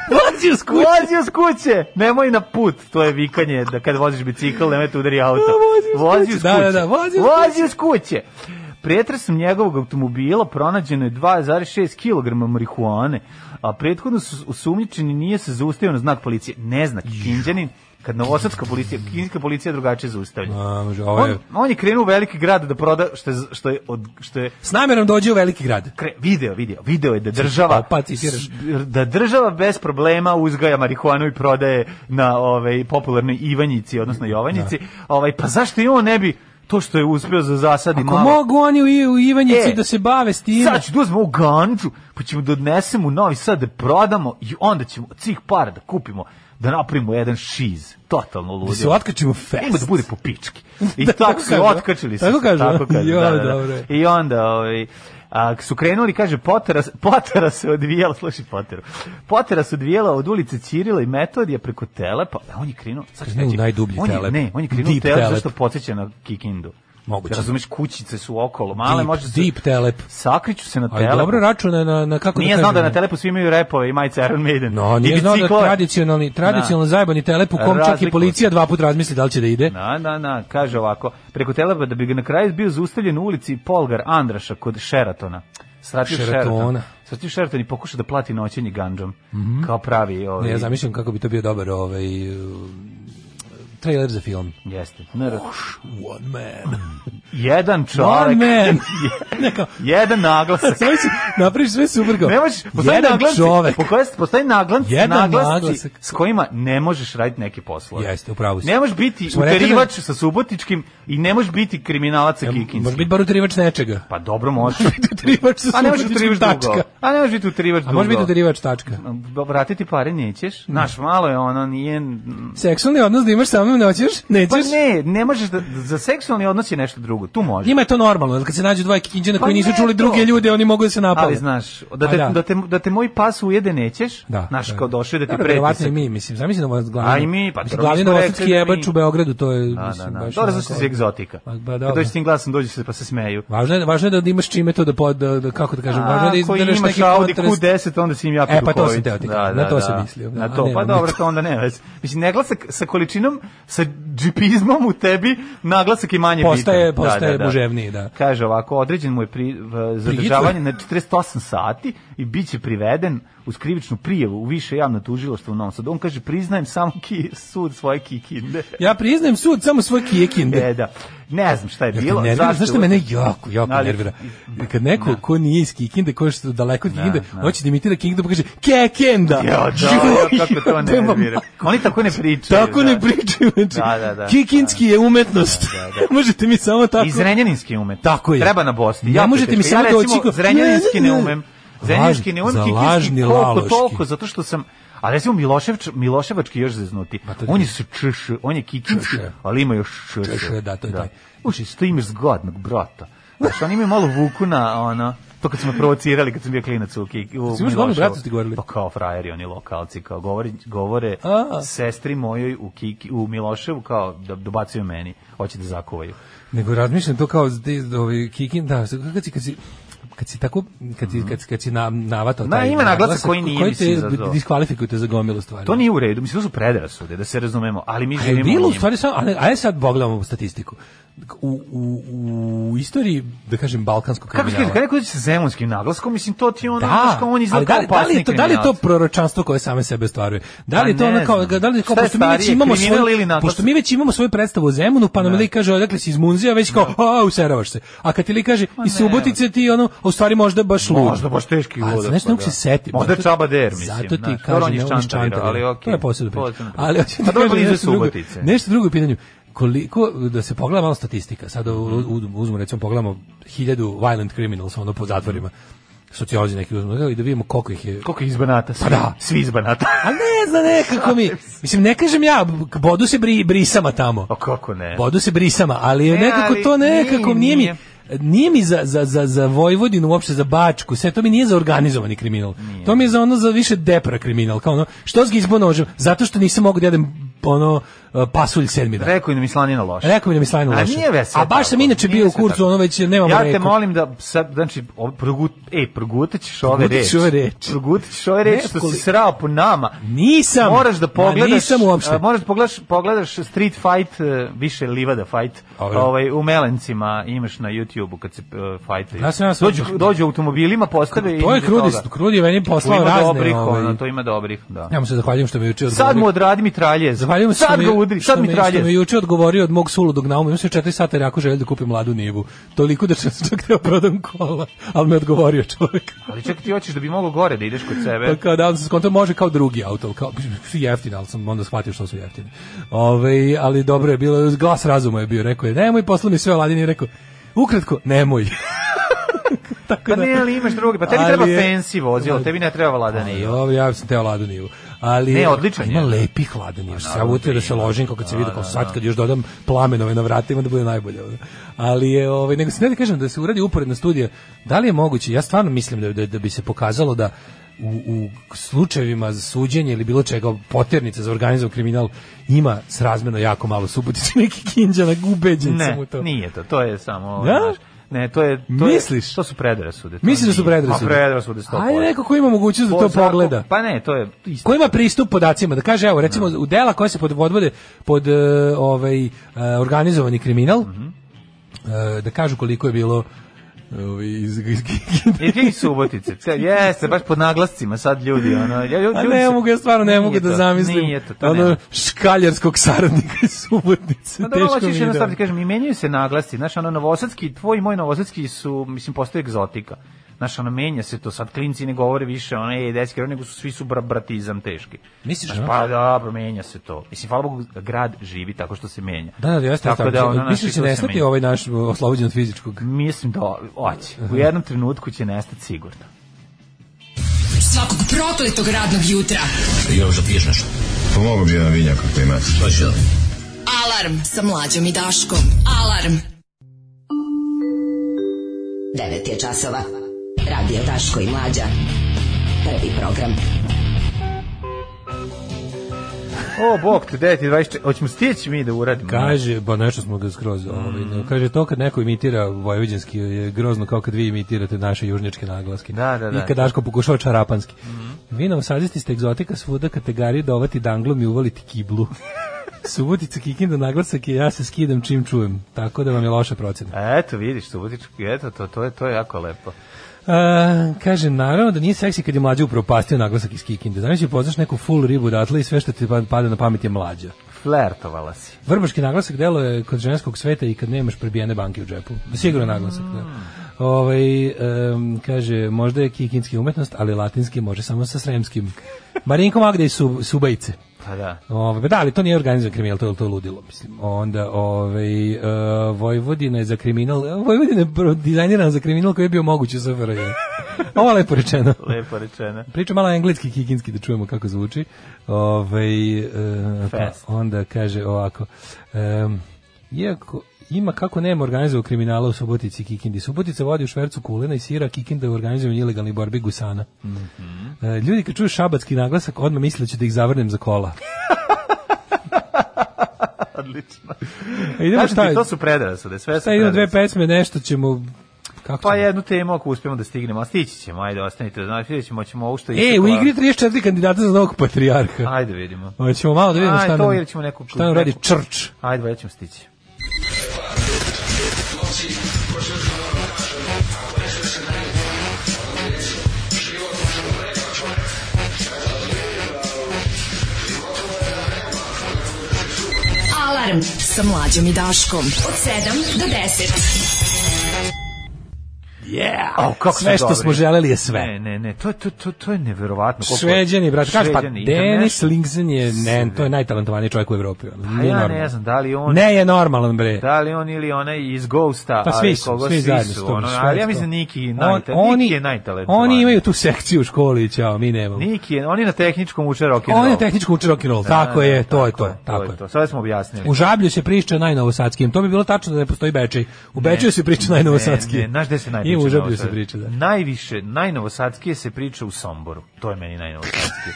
[SPEAKER 5] Vozio s kuće.
[SPEAKER 6] Vozio s kuće! Nemoj na put, to je vikanje da kad voziš bicikl, nemoj te udari auto.
[SPEAKER 5] Da, vozio s
[SPEAKER 6] Vozio s
[SPEAKER 5] kuće. Da, da, da, vozio s
[SPEAKER 6] Vozio s kuće! Pretresom njegovog automobila pronađeno je 2,6 kg marihuane, a prethodno su osumnjičeni nije se zaustavio na znak policije. Ne znak, Kinđanin, kad novosadska policija, kinjska policija drugačije zaustavlja.
[SPEAKER 5] A, može, ovo je-
[SPEAKER 6] On, on je krenuo u veliki grad da proda što je, što je, od, što je
[SPEAKER 5] S namjerom dođe u veliki grad.
[SPEAKER 6] kre, video, video, video je da država
[SPEAKER 5] Opa, citiraš.
[SPEAKER 6] s- da država bez problema uzgaja marihuanu i prodaje na ovaj popularnoj Ivanjici, odnosno Jovanjici. Ovaj pa zašto i on ne bi to što je uspio za zasadi
[SPEAKER 5] Ako
[SPEAKER 6] malo.
[SPEAKER 5] mogu oni u, I- u Ivanjici
[SPEAKER 6] E,
[SPEAKER 5] da se bave s tim.
[SPEAKER 6] Sad ću da uzmemo u ganđu, pa ćemo da odnesemo u Novi Sad da prodamo i onda ćemo od svih para da kupimo, da napravimo jedan šiz. Totalno
[SPEAKER 5] Da se
[SPEAKER 6] ludilo.
[SPEAKER 5] otkačimo fest.
[SPEAKER 6] Ima da bude po pički. I
[SPEAKER 5] Da,
[SPEAKER 6] tako
[SPEAKER 5] tako
[SPEAKER 6] su
[SPEAKER 5] kažu, a?
[SPEAKER 6] otkačili su.
[SPEAKER 5] Tako
[SPEAKER 6] se,
[SPEAKER 5] kažu,
[SPEAKER 6] Tako
[SPEAKER 5] a?
[SPEAKER 6] kažu,
[SPEAKER 5] Jo,
[SPEAKER 6] da, da, da.
[SPEAKER 5] dobro.
[SPEAKER 6] I onda ovaj, a, su krenuli, kaže, potera, potera se odvijela, slušaj poteru, potera se odvijela od ulice Cirila i Metodija preko Telepa, a on je krenuo, sad ću
[SPEAKER 5] Krenuo
[SPEAKER 6] reći,
[SPEAKER 5] u najdublji
[SPEAKER 6] on je,
[SPEAKER 5] Telep.
[SPEAKER 6] Ne, on je krenuo u
[SPEAKER 5] Deep
[SPEAKER 6] Telep,
[SPEAKER 5] Telep.
[SPEAKER 6] zašto podsjeća na Kikindu.
[SPEAKER 5] Moguće.
[SPEAKER 6] Razumeš, kućice su okolo, male
[SPEAKER 5] Deep,
[SPEAKER 6] može se...
[SPEAKER 5] deep telep.
[SPEAKER 6] Sakriću se na
[SPEAKER 5] Ali
[SPEAKER 6] Telepu.
[SPEAKER 5] dobro računa na, na kako
[SPEAKER 6] Nije
[SPEAKER 5] da
[SPEAKER 6] znao da
[SPEAKER 5] kažem. ono.
[SPEAKER 6] na Telepu svi imaju repove i majice Iron Maiden.
[SPEAKER 5] No,
[SPEAKER 6] I
[SPEAKER 5] nije znao da
[SPEAKER 6] biciklove.
[SPEAKER 5] tradicionalni, tradicionalno
[SPEAKER 6] Da.
[SPEAKER 5] zajebani telep u kom čak i
[SPEAKER 6] Razlikuju
[SPEAKER 5] policija dva puta razmisli da li će da ide.
[SPEAKER 6] Na, na, na, kaže ovako, preko teleba da bi ga na kraju bio zaustavljen u ulici Polgar Andraša kod Sheratona. Sratio
[SPEAKER 5] Sheratona.
[SPEAKER 6] Sheraton. Sratio Sheraton i pokuša da plati noćenje ganđom. Kao pravi ovaj.
[SPEAKER 5] Mhm. Ne, ja zamišljam kako bi to bio dobar ovaj, uh, trailer za film.
[SPEAKER 6] Jeste. Nr.
[SPEAKER 5] One man.
[SPEAKER 6] Jedan čovjek.
[SPEAKER 5] man.
[SPEAKER 6] jedan naglasak.
[SPEAKER 5] Sve si, napraviš sve super kao.
[SPEAKER 6] Ne možeš, postoji
[SPEAKER 5] jedan
[SPEAKER 6] naglasci,
[SPEAKER 5] čovek.
[SPEAKER 6] po koje- postoji naglasci,
[SPEAKER 5] Jedan
[SPEAKER 6] naglasci
[SPEAKER 5] naglasak.
[SPEAKER 6] s kojima ne možeš raditi neke poslove.
[SPEAKER 5] Jeste, upravo si.
[SPEAKER 6] Ne možeš biti
[SPEAKER 5] Smo rekli da-
[SPEAKER 6] uterivač sa Subotičkim i ne možeš biti kriminalac sa
[SPEAKER 5] Može
[SPEAKER 6] Kikinskim.
[SPEAKER 5] biti bar utirivač nečega.
[SPEAKER 6] Pa dobro možeš.
[SPEAKER 5] Utirivač sa
[SPEAKER 6] A ne možeš
[SPEAKER 5] subotičkim
[SPEAKER 6] utirivač dugo.
[SPEAKER 5] tačka.
[SPEAKER 6] A ne možeš biti utirivač dugo.
[SPEAKER 5] A može biti utirivač tačka.
[SPEAKER 6] Vratiti pare nećeš. Naš malo je ono, nije...
[SPEAKER 5] Seksualni odnos da imaš sa mnom nećeš? Nećeš?
[SPEAKER 6] Pa ne, ne možeš da, za seksualni odnos je nešto drugo. Tu možeš.
[SPEAKER 5] Njima je to normalno, jer kad se nađu dva kikinđena
[SPEAKER 6] Pa
[SPEAKER 5] koji nisu
[SPEAKER 6] ne
[SPEAKER 5] čuli
[SPEAKER 6] to.
[SPEAKER 5] druge ljude, oni mogu da se napale.
[SPEAKER 6] Ali znaš, da te,
[SPEAKER 5] pa- A da.
[SPEAKER 6] da. te, da te moj pas ujede nećeš,
[SPEAKER 5] Da.
[SPEAKER 6] znaš,
[SPEAKER 5] da.
[SPEAKER 6] kao došli da ti
[SPEAKER 5] Dobro, verovatno
[SPEAKER 6] pretisak.
[SPEAKER 5] i mi, mislim, zamisli da vas glavni.
[SPEAKER 6] A i mi, pa dobro,
[SPEAKER 5] glavni
[SPEAKER 6] mi smo
[SPEAKER 5] novosadski
[SPEAKER 6] rekli da mi-
[SPEAKER 5] jebač u Beogradu, to je
[SPEAKER 6] Da, da,
[SPEAKER 5] mislim
[SPEAKER 6] da.
[SPEAKER 5] baš.
[SPEAKER 6] Dobro,
[SPEAKER 5] onako-
[SPEAKER 6] zašto si egzotika?
[SPEAKER 5] Pa, pa,
[SPEAKER 6] Kad
[SPEAKER 5] dobro.
[SPEAKER 6] dođeš s tim glasom, dođeš se pa se smeju.
[SPEAKER 5] Važno je, važno je da imaš čime to da, pod, da, da kako da kažem, važno je da
[SPEAKER 6] Ako
[SPEAKER 5] izbereš
[SPEAKER 6] imaš
[SPEAKER 5] neki
[SPEAKER 6] Audi
[SPEAKER 5] kontrast.
[SPEAKER 6] Q10, onda si im ja
[SPEAKER 5] E, pa to sam teo ti kažem, na to sam mislio.
[SPEAKER 6] Na
[SPEAKER 5] Da,
[SPEAKER 6] to,
[SPEAKER 5] ne,
[SPEAKER 6] pa
[SPEAKER 5] ne,
[SPEAKER 6] dobro,
[SPEAKER 5] ne.
[SPEAKER 6] to onda ne veze. Mislim, naglasak sa količinom, sa džipizmom u tebi, naglasak je manje bitan.
[SPEAKER 5] Postaje- postaje buževniji, da.
[SPEAKER 6] Kaže ovako, određen mu je pri, v- zadržavanje na 48 sati i bit će priveden uz krivičnu prijevu u više javno tužiloštvo u Novom Sadu. On kaže, priznajem samo ki, sud svoje kikinde.
[SPEAKER 5] Ja priznajem sud samo svoj kijekin.
[SPEAKER 6] E, da. Ne znam šta je
[SPEAKER 5] Jel te
[SPEAKER 6] bilo.
[SPEAKER 5] nervira?
[SPEAKER 6] zašto
[SPEAKER 5] Znaš
[SPEAKER 6] je
[SPEAKER 5] što mene jako, jako
[SPEAKER 6] Ali-
[SPEAKER 5] nervira? Kad neko ko nije iz Kikinde, ko je što daleko od Kikinde, hoće da imitira Kikinde, pa kaže Kekenda!
[SPEAKER 6] Jo,
[SPEAKER 5] Joj,
[SPEAKER 6] da, kako to
[SPEAKER 5] jebem,
[SPEAKER 6] nervira. Oni tako ne pričaju.
[SPEAKER 5] Tako ne
[SPEAKER 6] da.
[SPEAKER 5] pričaju. Znači,
[SPEAKER 6] Da, da, da.
[SPEAKER 5] Kikinski je umetnost. Možete mi samo tako...
[SPEAKER 6] I zrenjaninski umem.
[SPEAKER 5] Tako je.
[SPEAKER 6] Treba na Bosni.
[SPEAKER 5] Ne
[SPEAKER 6] Jako
[SPEAKER 5] možete
[SPEAKER 6] teško.
[SPEAKER 5] mi samo
[SPEAKER 6] ja
[SPEAKER 5] to
[SPEAKER 6] recimo
[SPEAKER 5] očiko-
[SPEAKER 6] Zrenjaninski
[SPEAKER 5] Ne, ne,
[SPEAKER 6] ne
[SPEAKER 5] ne.
[SPEAKER 6] umem. Zrenjaninski ne umem.
[SPEAKER 5] Za
[SPEAKER 6] kikinski
[SPEAKER 5] lažni
[SPEAKER 6] koliko
[SPEAKER 5] laloški.
[SPEAKER 6] Toliko, zato što sam... A recimo Miloševač, Miloševački je još zeznuti.
[SPEAKER 5] to je-
[SPEAKER 6] on je se čš, on je kikinski,
[SPEAKER 5] Čš.
[SPEAKER 6] ali ima još čš.
[SPEAKER 5] Čš, da, to je taj.
[SPEAKER 6] Uši, što imaš zgodnog brata. Znaš, oni imaju malo vuku na ono, to kad smo provocirali kad sam bio klinac u, Kik- u
[SPEAKER 5] Jesi imaš glavnog brata, ste govorili?
[SPEAKER 6] Pa kao frajeri, oni lokalci, kao govori, govore
[SPEAKER 5] A.
[SPEAKER 6] sestri mojoj u, Kiki, u Miloševu, kao da dobacuju meni, hoće da zakuvaju.
[SPEAKER 5] Nego razmišljam to kao zdi- ovi kikin, da, kad si, kad si, kad si tako kad si, kad si, kad si na, navatao
[SPEAKER 6] Na, Mhm. ima naglasak koji nije,
[SPEAKER 5] koji
[SPEAKER 6] mislim,
[SPEAKER 5] te
[SPEAKER 6] za to.
[SPEAKER 5] diskvalifikujete za gomilu stvari.
[SPEAKER 6] To nije u redu, mislim, to su predrasude, da se razumemo, ali mi
[SPEAKER 5] A je
[SPEAKER 6] živimo
[SPEAKER 5] bilo
[SPEAKER 6] u
[SPEAKER 5] u
[SPEAKER 6] njima.
[SPEAKER 5] stvari samo, ajde, ajde sad pogledamo statistiku. U, u, u istoriji, da kažem, balkanskog
[SPEAKER 6] Kako se
[SPEAKER 5] kriminala.
[SPEAKER 6] kaže, kada kažeš sa zemonskim naglaskom, mislim, to ti je ono,
[SPEAKER 5] Da,
[SPEAKER 6] znaš, kao on
[SPEAKER 5] ali
[SPEAKER 6] izgleda
[SPEAKER 5] da
[SPEAKER 6] kao
[SPEAKER 5] li, da li, je
[SPEAKER 6] opasni
[SPEAKER 5] to, da li je to
[SPEAKER 6] kriminalac.
[SPEAKER 5] proročanstvo koje same sebe ostvaruje? Da li je
[SPEAKER 6] Pa
[SPEAKER 5] to
[SPEAKER 6] ne
[SPEAKER 5] ono kao,
[SPEAKER 6] znam.
[SPEAKER 5] da li je kao,
[SPEAKER 6] Šta je
[SPEAKER 5] pošto mi već
[SPEAKER 6] starije,
[SPEAKER 5] imamo
[SPEAKER 6] kriminal
[SPEAKER 5] svoj,
[SPEAKER 6] ili naglasak?
[SPEAKER 5] pošto mi već imamo svoju predstavu o Zemunu, pa nam li kaže, odakle si iz Munzija, već kao, a, useravaš se. A kad ti li kaže, iz Subotice ti, ono, a u stvari možda baš lud.
[SPEAKER 6] Možda baš teški
[SPEAKER 5] A,
[SPEAKER 6] ludak,
[SPEAKER 5] znaš,
[SPEAKER 6] pa
[SPEAKER 5] ne mogu se
[SPEAKER 6] da.
[SPEAKER 5] setim.
[SPEAKER 6] Možda je
[SPEAKER 5] Zato-
[SPEAKER 6] Čaba Der, mislim,
[SPEAKER 5] Zato ti
[SPEAKER 6] znaš. Dobro,
[SPEAKER 5] kažem,
[SPEAKER 6] on je
[SPEAKER 5] ne
[SPEAKER 6] iz
[SPEAKER 5] mogu
[SPEAKER 6] Čantavira, ali okej.
[SPEAKER 5] To je posebno
[SPEAKER 6] Posebna
[SPEAKER 5] pitanje.
[SPEAKER 6] priča.
[SPEAKER 5] Ali, hoću ti
[SPEAKER 6] A dobro,
[SPEAKER 5] kažem
[SPEAKER 6] blizu
[SPEAKER 5] nešto drugo-
[SPEAKER 6] Subotice.
[SPEAKER 5] Nešto drugo je pitanje. Koliko, da se pogleda malo statistika, sad u-
[SPEAKER 6] Mhm.
[SPEAKER 5] u- uzmemo, recimo, pogledamo hiljadu violent criminals, ono, po zatvorima, sociolozi neki uzmemo, i da vidimo koliko ih je
[SPEAKER 6] Koliko je iz Banata? Svi,
[SPEAKER 5] da.
[SPEAKER 6] svi iz Banata.
[SPEAKER 5] a ne zna nekako mi. Mislim, ne kažem ja, b- bodu se bri, brisama tamo.
[SPEAKER 6] A Pa kako ne?
[SPEAKER 5] Bodu se brisama, ali je
[SPEAKER 6] E,
[SPEAKER 5] nekako
[SPEAKER 6] ali
[SPEAKER 5] to nekako
[SPEAKER 6] nije,
[SPEAKER 5] nije, mi...
[SPEAKER 6] nije.
[SPEAKER 5] Nije mi za, za, za, za Vojvodinu, uopšte za Bačku, sve to mi nije za organizovani kriminal. To mi je za ono za više depra kriminal, kao ono, što zgi izbo nožem? Zato što nisam mogu da jedem ono pasulj sedmi dan.
[SPEAKER 6] Rekao je da mi slanina loša.
[SPEAKER 5] Rekao mi da mi slajno
[SPEAKER 6] A
[SPEAKER 5] loše.
[SPEAKER 6] nije ve sve
[SPEAKER 5] A baš sam
[SPEAKER 6] tako,
[SPEAKER 5] inače
[SPEAKER 6] nije
[SPEAKER 5] bio u
[SPEAKER 6] sve tako.
[SPEAKER 5] kurcu, ono već nemamo
[SPEAKER 6] Ja te
[SPEAKER 5] reku.
[SPEAKER 6] molim da sad znači ovo progut ej progutaćeš ove
[SPEAKER 5] Progutat ću
[SPEAKER 6] reči.
[SPEAKER 5] ove reči.
[SPEAKER 6] Progutaćeš ove reči što si
[SPEAKER 5] Nekoliko-
[SPEAKER 6] srao po nama.
[SPEAKER 5] Nisam.
[SPEAKER 6] Moraš da
[SPEAKER 5] Ma,
[SPEAKER 6] pogledaš.
[SPEAKER 5] nisam uopšte.
[SPEAKER 6] a, moraš da pogledaš, pogledaš Street Fight, e, više Livada Fight.
[SPEAKER 5] Dobro.
[SPEAKER 6] Ovaj u Melencima imaš na YouTubeu kad se uh, fajtaju.
[SPEAKER 5] Ja sam ja sam-
[SPEAKER 6] dođu dođu automobilima, postave i
[SPEAKER 5] To je
[SPEAKER 6] iza
[SPEAKER 5] Krudi,
[SPEAKER 6] toga.
[SPEAKER 5] Krudi je meni
[SPEAKER 6] Tu ima
[SPEAKER 5] poslao razne.
[SPEAKER 6] dobrih,
[SPEAKER 5] ovaj,
[SPEAKER 6] ono, to ima dobrih, da.
[SPEAKER 5] Ja mu se zahvaljujem što me juče odgovorio.
[SPEAKER 6] Sad mu odradi mitraljez.
[SPEAKER 5] Zahvaljujem se što
[SPEAKER 6] Sad
[SPEAKER 5] mi-
[SPEAKER 6] ga udri,
[SPEAKER 5] što
[SPEAKER 6] sad
[SPEAKER 5] mi- Što me
[SPEAKER 6] mitraljez.
[SPEAKER 5] juče odgovorio od mog suludog nauma, imam se 4 sata jer ako želim da kupim mladu nivu. Toliko da sam čak treba prodam kola, ali me odgovorio čovjek.
[SPEAKER 6] Ali čekaj, ti hoćeš da bi moglo gore da ideš kod sebe.
[SPEAKER 5] Pa kao da on se skonto može kao drugi auto, kao su jeftine, ali sam onda shvatio što su jeftine. Ovaj, ali dobro je bilo, glas razuma je bio, rekao je nemoj, posla mi sve Aladin i rekao ukratko nemoj. Tako
[SPEAKER 6] Pa ne, ali imaš drugi, pa tebi
[SPEAKER 5] Ali
[SPEAKER 6] treba
[SPEAKER 5] je-
[SPEAKER 6] fancy vozilo, tebi ne treba vlada
[SPEAKER 5] Ali
[SPEAKER 6] nije.
[SPEAKER 5] ovo, ja sam teo ladu nivu. Ali,
[SPEAKER 6] Ne, odličan
[SPEAKER 5] Ima
[SPEAKER 6] je. Pa
[SPEAKER 5] lepih lada nivu. Ja utio da se ložim kako kad se vidi kao sad kad još dodam plamenove na vratima da bude najbolje. ono. Ali je, ovaj, nego se ne da kažem da se uradi uporedna studija. Da li je moguće? Ja stvarno mislim da, da, da bi se pokazalo da u, u slučajevima za suđenje ili bilo čega poternice za organizovan kriminal ima srazmerno jako malo subotice neki kinđana ubeđen sam u
[SPEAKER 6] Ne,
[SPEAKER 5] to.
[SPEAKER 6] nije to, to je samo... ovaj,
[SPEAKER 5] Da?
[SPEAKER 6] znaš, Ne, to je... To je-
[SPEAKER 5] Misliš?
[SPEAKER 6] to su predrasude. to
[SPEAKER 5] Misliš da su
[SPEAKER 6] nije.
[SPEAKER 5] predrasude?
[SPEAKER 6] Pa predrasude 100%.
[SPEAKER 5] Ajde neko ko ima mogućnost da
[SPEAKER 6] Po
[SPEAKER 5] to
[SPEAKER 6] svakom-
[SPEAKER 5] pogleda.
[SPEAKER 6] Pa ne, to je... isto.
[SPEAKER 5] ko ima pristup podacima da kaže evo recimo u dela koja se pod podvode pod e,
[SPEAKER 6] Mhm.
[SPEAKER 5] ovaj e, organizovani kriminal e, da kažu koliko je bilo Ovi, iz, iz,
[SPEAKER 6] Irke i Subotice. Ca- Jeste, baš pod naglascima sad ljudi. Ono, ja- ljudi
[SPEAKER 5] A ne
[SPEAKER 6] su-
[SPEAKER 5] mogu, ja stvarno ne
[SPEAKER 6] Nije
[SPEAKER 5] mogu da
[SPEAKER 6] to,
[SPEAKER 5] zamislim.
[SPEAKER 6] Nije to, to ne
[SPEAKER 5] ono
[SPEAKER 6] mogu.
[SPEAKER 5] škaljarskog saradnika iz Subotice.
[SPEAKER 6] Ma dobro,
[SPEAKER 5] teško mi
[SPEAKER 6] hoćeš
[SPEAKER 5] je
[SPEAKER 6] jedno
[SPEAKER 5] da-
[SPEAKER 6] staviti, kažem, i menjaju se naglasci, znaš, ono, novosadski, tvoj i moj novosadski su, mislim, postoje egzotika. Znaš, ono, menja se to, sad klinci ne govore više, ono, ej, deski, nego su, svi su bra- bratizam teški.
[SPEAKER 5] Misliš,
[SPEAKER 6] Znaš,
[SPEAKER 5] ono?
[SPEAKER 6] pa dobro, menja se to. Mislim, hvala Bogu, grad živi tako što se menja.
[SPEAKER 5] Da, da, jeste.
[SPEAKER 6] Tako
[SPEAKER 5] Tako
[SPEAKER 6] da, ono, znaš,
[SPEAKER 5] Misliš da
[SPEAKER 6] i
[SPEAKER 5] će
[SPEAKER 6] to se
[SPEAKER 5] nestati
[SPEAKER 6] menja.
[SPEAKER 5] ovaj naš uh, oslobođen od fizičkog?
[SPEAKER 6] Mislim da, oće, u jednom trenutku će nestati sigurno.
[SPEAKER 4] Svakog prokletog radnog jutra.
[SPEAKER 11] Još da piješ nešto? Pomogu bi jedan vinjak ako imate. Šta će da?
[SPEAKER 4] Alarm sa mlađom i Daškom. Alarm. 9 je časova. Radio Daško i Mlađa. Prvi program.
[SPEAKER 6] O, bog te, 9.24, hoćemo stići mi da uradimo.
[SPEAKER 5] Kaže, pa nešto smo ga skroz,
[SPEAKER 6] Mm-hmm.
[SPEAKER 5] ovaj, ne, kaže to kad neko imitira vojvođanski je grozno kao kad vi imitirate naše južnjačke naglaske.
[SPEAKER 6] Da, da, Mm-hmm. da.
[SPEAKER 5] I kad Daško pokušava čarapanski. Vi nam sadisti ste egzotika svuda kategorije dovati danglom i uvaliti kiblu. Subotica kikinda naglasak i ja se skidam čim čujem. Tako da vam je loša procena.
[SPEAKER 6] Eto, vidiš, Subotički, eto, to, to, je, to je jako lepo.
[SPEAKER 5] A, kaže, naravno da nije seksi kad je mlađa upropastio naglasak iz Kikinde. Znači, poznaš neku full ribu odatle i sve što ti pa- pada na pamet je mlađa.
[SPEAKER 6] Flertovala si.
[SPEAKER 5] Vrbaški naglasak deluje kod ženskog sveta i kad nemaš prebijene banke u džepu. Sigurno naglasak, da. Ovaj, em, kaže, možda je kikinski umetnost, ali latinski može samo sa sremskim. Marinko Magda iz Sub- Subajce.
[SPEAKER 6] Pa da.
[SPEAKER 5] Ove, da, ali to nije organizovan kriminal, to je to je ludilo, mislim. Onda, ovaj, e, Vojvodina je za kriminal, e, Vojvodina je pro- dizajnirana za kriminal koji je bio moguć u SFRJ. Ovo je lepo rečeno.
[SPEAKER 6] Lepo rečeno.
[SPEAKER 5] Priča malo engleski, kikinski da čujemo kako zvuči. Ovaj e, pa
[SPEAKER 6] Fest.
[SPEAKER 5] onda kaže ovako. em, iako ima kako nema organizovanog kriminala u Subotici i Kikindi. Subotica vodi u švercu kulena i sira, Kikinda u organizovanju ilegalnih borbi gusana.
[SPEAKER 6] Mhm.
[SPEAKER 5] E, ljudi kad čuju šabatski naglasak, odmah misle da ću da ih zavrnem za kola.
[SPEAKER 6] Odlično.
[SPEAKER 5] E, idemo
[SPEAKER 6] Kažem
[SPEAKER 5] šta
[SPEAKER 6] ti,
[SPEAKER 5] je?
[SPEAKER 6] to su predrasude, sve su
[SPEAKER 5] Sad idemo dve
[SPEAKER 6] predrasude.
[SPEAKER 5] pesme, nešto ćemo... Kako
[SPEAKER 6] Pa
[SPEAKER 5] ćemo?
[SPEAKER 6] jednu temu ako uspijemo da stignemo, a stići ćemo, ajde, ostanite, znači, vidjet ćemo, ćemo ovo što je pa-
[SPEAKER 5] E,
[SPEAKER 6] istekla.
[SPEAKER 5] u igri 34 kandidata za novog patrijarha.
[SPEAKER 6] Ajde, vidimo.
[SPEAKER 5] Hoćemo malo da vidimo
[SPEAKER 6] Aj,
[SPEAKER 5] šta
[SPEAKER 6] to
[SPEAKER 5] nam,
[SPEAKER 6] ili ćemo neku-
[SPEAKER 5] šta nam radi
[SPEAKER 6] neku-
[SPEAKER 5] črč.
[SPEAKER 6] Ajde, valjda ćemo stići.
[SPEAKER 4] Alarm sa mlađom i Daškom. Od 7 do 10.
[SPEAKER 5] Yeah!
[SPEAKER 6] Au, kako
[SPEAKER 5] sve
[SPEAKER 6] su
[SPEAKER 5] što
[SPEAKER 6] dobri.
[SPEAKER 5] smo želeli je sve.
[SPEAKER 6] Ne, ne, ne, to, to, to, to je neverovatno. koliko-
[SPEAKER 5] Šveđani, brate, kaže pa
[SPEAKER 6] Šveđani,
[SPEAKER 5] Denis
[SPEAKER 6] Internet-
[SPEAKER 5] Lingzen je ne, to je najtalentovaniji čovjek u Evropi. ono,
[SPEAKER 6] Pa
[SPEAKER 5] nije
[SPEAKER 6] ja ne
[SPEAKER 5] normalan.
[SPEAKER 6] znam, da li on...
[SPEAKER 5] Ne je normalan bre.
[SPEAKER 6] Da li on ili onaj iz Ghosta,
[SPEAKER 5] Pa svi
[SPEAKER 6] ali
[SPEAKER 5] su,
[SPEAKER 6] koga
[SPEAKER 5] svi zajedno
[SPEAKER 6] su,
[SPEAKER 5] su to,
[SPEAKER 6] ono,
[SPEAKER 5] sve
[SPEAKER 6] ali ja
[SPEAKER 5] to.
[SPEAKER 6] mislim Niki,
[SPEAKER 5] On-
[SPEAKER 6] najta,
[SPEAKER 5] oni,
[SPEAKER 6] Niki je najtalentovaniji.
[SPEAKER 5] oni imaju tu sekciju u školi, ćao, mi nemamo.
[SPEAKER 6] Niki je, oni na tehničkom uče rock and
[SPEAKER 5] On je
[SPEAKER 6] roll.
[SPEAKER 5] tehničko uče rock and roll, tako
[SPEAKER 6] Da,
[SPEAKER 5] je,
[SPEAKER 6] da,
[SPEAKER 5] to je to, tako
[SPEAKER 6] je
[SPEAKER 5] je.
[SPEAKER 6] to. Sada smo objasnili.
[SPEAKER 5] U Žablju se priča najnovosadskim. To bi bilo tačno da ne postoji Bečej. U Bečeju se priča najnovosadski.
[SPEAKER 6] Ne, ne, znaš gde se najpriča?
[SPEAKER 5] I u Žablju se
[SPEAKER 6] novosadski?
[SPEAKER 5] priča, da.
[SPEAKER 6] Najviše, najnovosadskije se priča u Somboru. To je meni najnovosadskije.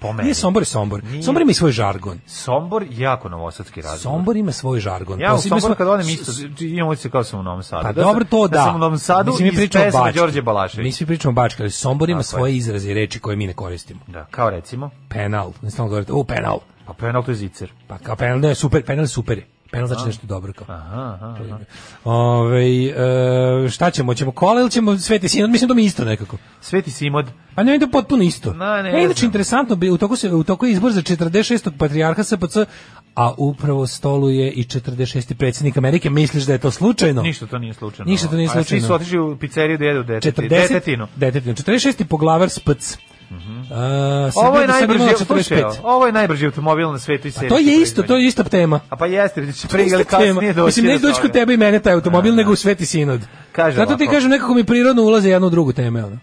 [SPEAKER 6] Po meni.
[SPEAKER 5] Nije Sombor, je Sombor.
[SPEAKER 6] Nije.
[SPEAKER 5] Sombor ima i svoj žargon.
[SPEAKER 6] Sombor, jako novosadski razgovor.
[SPEAKER 5] Sombor ima svoj žargon.
[SPEAKER 6] Ja u
[SPEAKER 5] Posebno
[SPEAKER 6] Somboru
[SPEAKER 5] Pa smo-
[SPEAKER 6] kad odem isto, imam utisak kao sam u Novom Sadu.
[SPEAKER 5] Pa
[SPEAKER 6] Da
[SPEAKER 5] dobro
[SPEAKER 6] sam-
[SPEAKER 5] to da.
[SPEAKER 6] Da sam u Novom Sadu
[SPEAKER 5] Mislim, mi
[SPEAKER 6] iz
[SPEAKER 5] pričamo
[SPEAKER 6] pesme
[SPEAKER 5] bački.
[SPEAKER 6] Đorđe Balašević.
[SPEAKER 5] Mi svi pričamo bački, ali Sombor ima
[SPEAKER 6] Tako je.
[SPEAKER 5] svoje izraze i reči koje mi ne koristimo.
[SPEAKER 6] Da, kao recimo.
[SPEAKER 5] Penal, ne stalno govorite, u penal.
[SPEAKER 6] Pa penal to je zicer.
[SPEAKER 5] Pa kao penal, ne, super, penal je super. je. Penal znači nešto dobro kao.
[SPEAKER 6] Aha, aha, aha.
[SPEAKER 5] Ovaj, e, šta ćemo, ćemo kola ili ćemo Sveti Sinod? Mislim da mi je isto nekako.
[SPEAKER 6] Sveti Simod.
[SPEAKER 5] Pa ne, to je potpuno isto.
[SPEAKER 6] Na, ne
[SPEAKER 5] e, inače,
[SPEAKER 6] znam.
[SPEAKER 5] interesantno, bi- u toku, se, u toku je izbor za 46. patrijarha SPC, a upravo stolu je i 46. predsjednik Amerike. Misliš da je to slučajno?
[SPEAKER 6] Ništa to nije slučajno.
[SPEAKER 5] Ništa to nije
[SPEAKER 6] A svi
[SPEAKER 5] slučajno.
[SPEAKER 6] su otišli u pizzeriju da jedu deteti-
[SPEAKER 5] 40,
[SPEAKER 6] Znači, detetinu. Mhm.
[SPEAKER 5] Detetinu. 46. poglavar spc. A, Srbija
[SPEAKER 6] Ovo je
[SPEAKER 5] do sad imala
[SPEAKER 6] najbrži, slušaj,
[SPEAKER 5] 45.
[SPEAKER 6] ovo je najbrži automobil na svetu i
[SPEAKER 5] A
[SPEAKER 6] seriji.
[SPEAKER 5] Pa to je isto, to je ista tema.
[SPEAKER 6] A pa jeste, znači pre ili
[SPEAKER 5] Ista tema.
[SPEAKER 6] kasnije doći.
[SPEAKER 5] Mislim, ne
[SPEAKER 6] do
[SPEAKER 5] doći kod
[SPEAKER 6] toga.
[SPEAKER 5] tebe i mene taj automobil, nego u Sveti Sinod.
[SPEAKER 6] Kaže
[SPEAKER 5] Zato ti
[SPEAKER 6] ovako.
[SPEAKER 5] kažem, nekako mi prirodno ulaze jedno u drugu teme. Ono.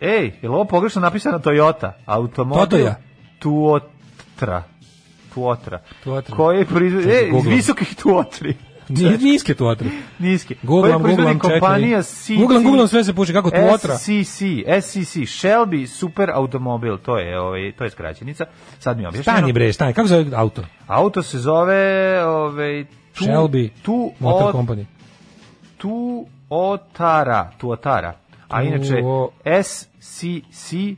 [SPEAKER 6] Ej, je li ovo pogrešno napisano Toyota? Automobil
[SPEAKER 5] Totoja.
[SPEAKER 6] Tuotra. Tuotra.
[SPEAKER 5] Tuotra.
[SPEAKER 6] Koji proizvodi...
[SPEAKER 5] Čekaj,
[SPEAKER 6] E, iz
[SPEAKER 5] googlam.
[SPEAKER 6] visokih tuotri.
[SPEAKER 5] Nije niske tu otre.
[SPEAKER 6] Niski.
[SPEAKER 5] Googlam,
[SPEAKER 6] Koji proizvodi
[SPEAKER 5] googlam, čekaj.
[SPEAKER 6] kompanija CC...
[SPEAKER 5] Googlam, googlam, sve se puši, kako tuotra?
[SPEAKER 6] SCC, SCC, Shelby Super Automobil, to je, ovaj, to je skraćenica. Sad mi je objašnjeno.
[SPEAKER 5] Stani bre, stani, kako zove auto?
[SPEAKER 6] Auto se zove... Ovaj, tu,
[SPEAKER 5] Shelby
[SPEAKER 6] tu
[SPEAKER 5] Motor
[SPEAKER 6] od-
[SPEAKER 5] Company.
[SPEAKER 6] Tuotara, Tuotara. A inače
[SPEAKER 5] Tuo-
[SPEAKER 6] SCC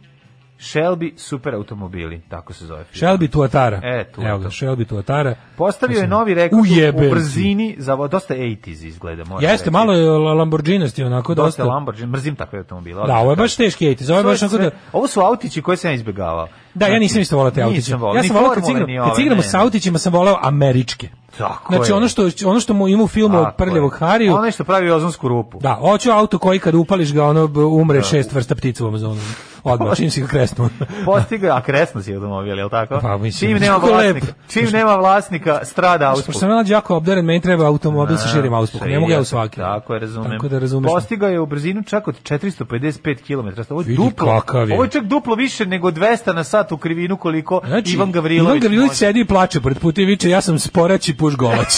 [SPEAKER 6] Shelby super automobili, tako se zove. firma.
[SPEAKER 5] Shelby Tuatara.
[SPEAKER 6] E, Tuatara.
[SPEAKER 5] Evo ga, Shelby Tuatara.
[SPEAKER 6] Postavio je
[SPEAKER 5] Mislim,
[SPEAKER 6] novi rekord
[SPEAKER 5] ujebem
[SPEAKER 6] u
[SPEAKER 5] ti.
[SPEAKER 6] brzini, za, vo- dosta 80s izgleda. moram
[SPEAKER 5] Jeste,
[SPEAKER 6] reći.
[SPEAKER 5] malo je Lamborghinosti onako
[SPEAKER 6] dosta,
[SPEAKER 5] dosta.
[SPEAKER 6] Lamborghini, mrzim takve automobile.
[SPEAKER 5] Da, ovo je baš teški 80s, ovo je
[SPEAKER 6] To je
[SPEAKER 5] baš onako
[SPEAKER 6] sve-
[SPEAKER 5] da...
[SPEAKER 6] Ovo su autići koje sam ja izbjegavao.
[SPEAKER 5] Da, ja
[SPEAKER 6] Znači,
[SPEAKER 5] nisam isto volao te
[SPEAKER 6] nisam
[SPEAKER 5] autiće.
[SPEAKER 6] volao,
[SPEAKER 5] Ja
[SPEAKER 6] ni
[SPEAKER 5] sam volao kad
[SPEAKER 6] formule, ni
[SPEAKER 5] cigram,
[SPEAKER 6] ove,
[SPEAKER 5] kad cigramo
[SPEAKER 6] ne,
[SPEAKER 5] s
[SPEAKER 6] ne.
[SPEAKER 5] autićima sam volao američke.
[SPEAKER 6] Tako
[SPEAKER 5] Znači
[SPEAKER 6] je.
[SPEAKER 5] ono što ono što mu ima u filmu od
[SPEAKER 6] Tako je.
[SPEAKER 5] prljavog Hariju.
[SPEAKER 6] Onaj što pravi ozonsku rupu.
[SPEAKER 5] Da, hoću auto koji kad upališ ga ono b- umre šest vrsta ptica u Amazonu. Odmah čim si ga kresnuo.
[SPEAKER 6] Postigao, a kresno si automobil, je li tako?
[SPEAKER 5] Pa, mislim,
[SPEAKER 6] čim nema
[SPEAKER 5] kako lep.
[SPEAKER 6] vlasnika, čim nema vlasnika, strada
[SPEAKER 5] Pošto
[SPEAKER 6] auspuh.
[SPEAKER 5] sam mlađi jako obdaren, meni treba automobil sa širim auspuhom. Ne mogu ja u svaki.
[SPEAKER 6] Tako je, razumem.
[SPEAKER 5] Tako da razumeš.
[SPEAKER 6] Postigao je u brzinu čak od 455 km. Ovo je
[SPEAKER 5] Vidi
[SPEAKER 6] duplo.
[SPEAKER 5] kakav je.
[SPEAKER 6] Ovo je čak duplo više nego 200 na sat u krivinu koliko Ivan Gavrilović.
[SPEAKER 5] Znači, Ivan Gavrilović
[SPEAKER 6] može.
[SPEAKER 5] sedi i plače pored puta i viče ja sam sporaći puš golač.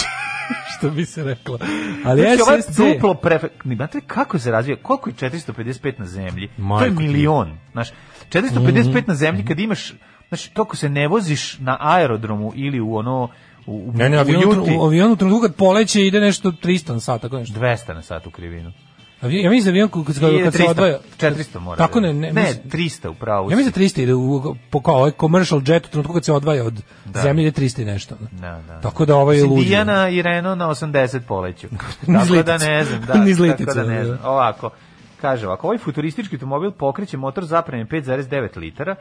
[SPEAKER 5] što bi se reklo. Ali
[SPEAKER 6] znači, ovo je
[SPEAKER 5] SSC...
[SPEAKER 6] duplo prefe... Ni, Znate kako se razvija? Koliko je 455 na zemlji? to je
[SPEAKER 5] Majko ti. Mhm.
[SPEAKER 6] milion. Znaš, 455 na zemlji kad imaš... Znaš, toliko se ne voziš na aerodromu ili u ono... U, u,
[SPEAKER 5] Ne, ne,
[SPEAKER 6] u
[SPEAKER 5] avion,
[SPEAKER 6] Juti.
[SPEAKER 5] u, avion u trenutku kad poleće ide nešto 300 na sat, tako nešto.
[SPEAKER 6] 200 na sat u krivinu.
[SPEAKER 5] Avion, ja mislim da avion kad, kad, se- kad se
[SPEAKER 6] 300,
[SPEAKER 5] odvaja...
[SPEAKER 6] 400 mora.
[SPEAKER 5] Tako
[SPEAKER 6] da
[SPEAKER 5] ne,
[SPEAKER 6] je.
[SPEAKER 5] ne,
[SPEAKER 6] ne
[SPEAKER 5] mislim-
[SPEAKER 6] 300 u pravu.
[SPEAKER 5] Ja
[SPEAKER 6] si.
[SPEAKER 5] mislim da 300 ide u, po kao ovaj commercial jet u trenutku kad se odvaja od zemlje ide 300 i nešto. ono.
[SPEAKER 6] Da, da.
[SPEAKER 5] Tako da ovo je ono.
[SPEAKER 6] Mislim,
[SPEAKER 5] luđe.
[SPEAKER 6] Dijana i Renault na 80 poleću.
[SPEAKER 5] Niz
[SPEAKER 6] tako da
[SPEAKER 5] liticu.
[SPEAKER 6] ne znam, da.
[SPEAKER 5] Niz
[SPEAKER 6] tako
[SPEAKER 5] liticu,
[SPEAKER 6] da ne
[SPEAKER 5] da.
[SPEAKER 6] znam. Ovako, kaže ovako, ovaj futuristički automobil pokreće motor zapreme 5,9 litara,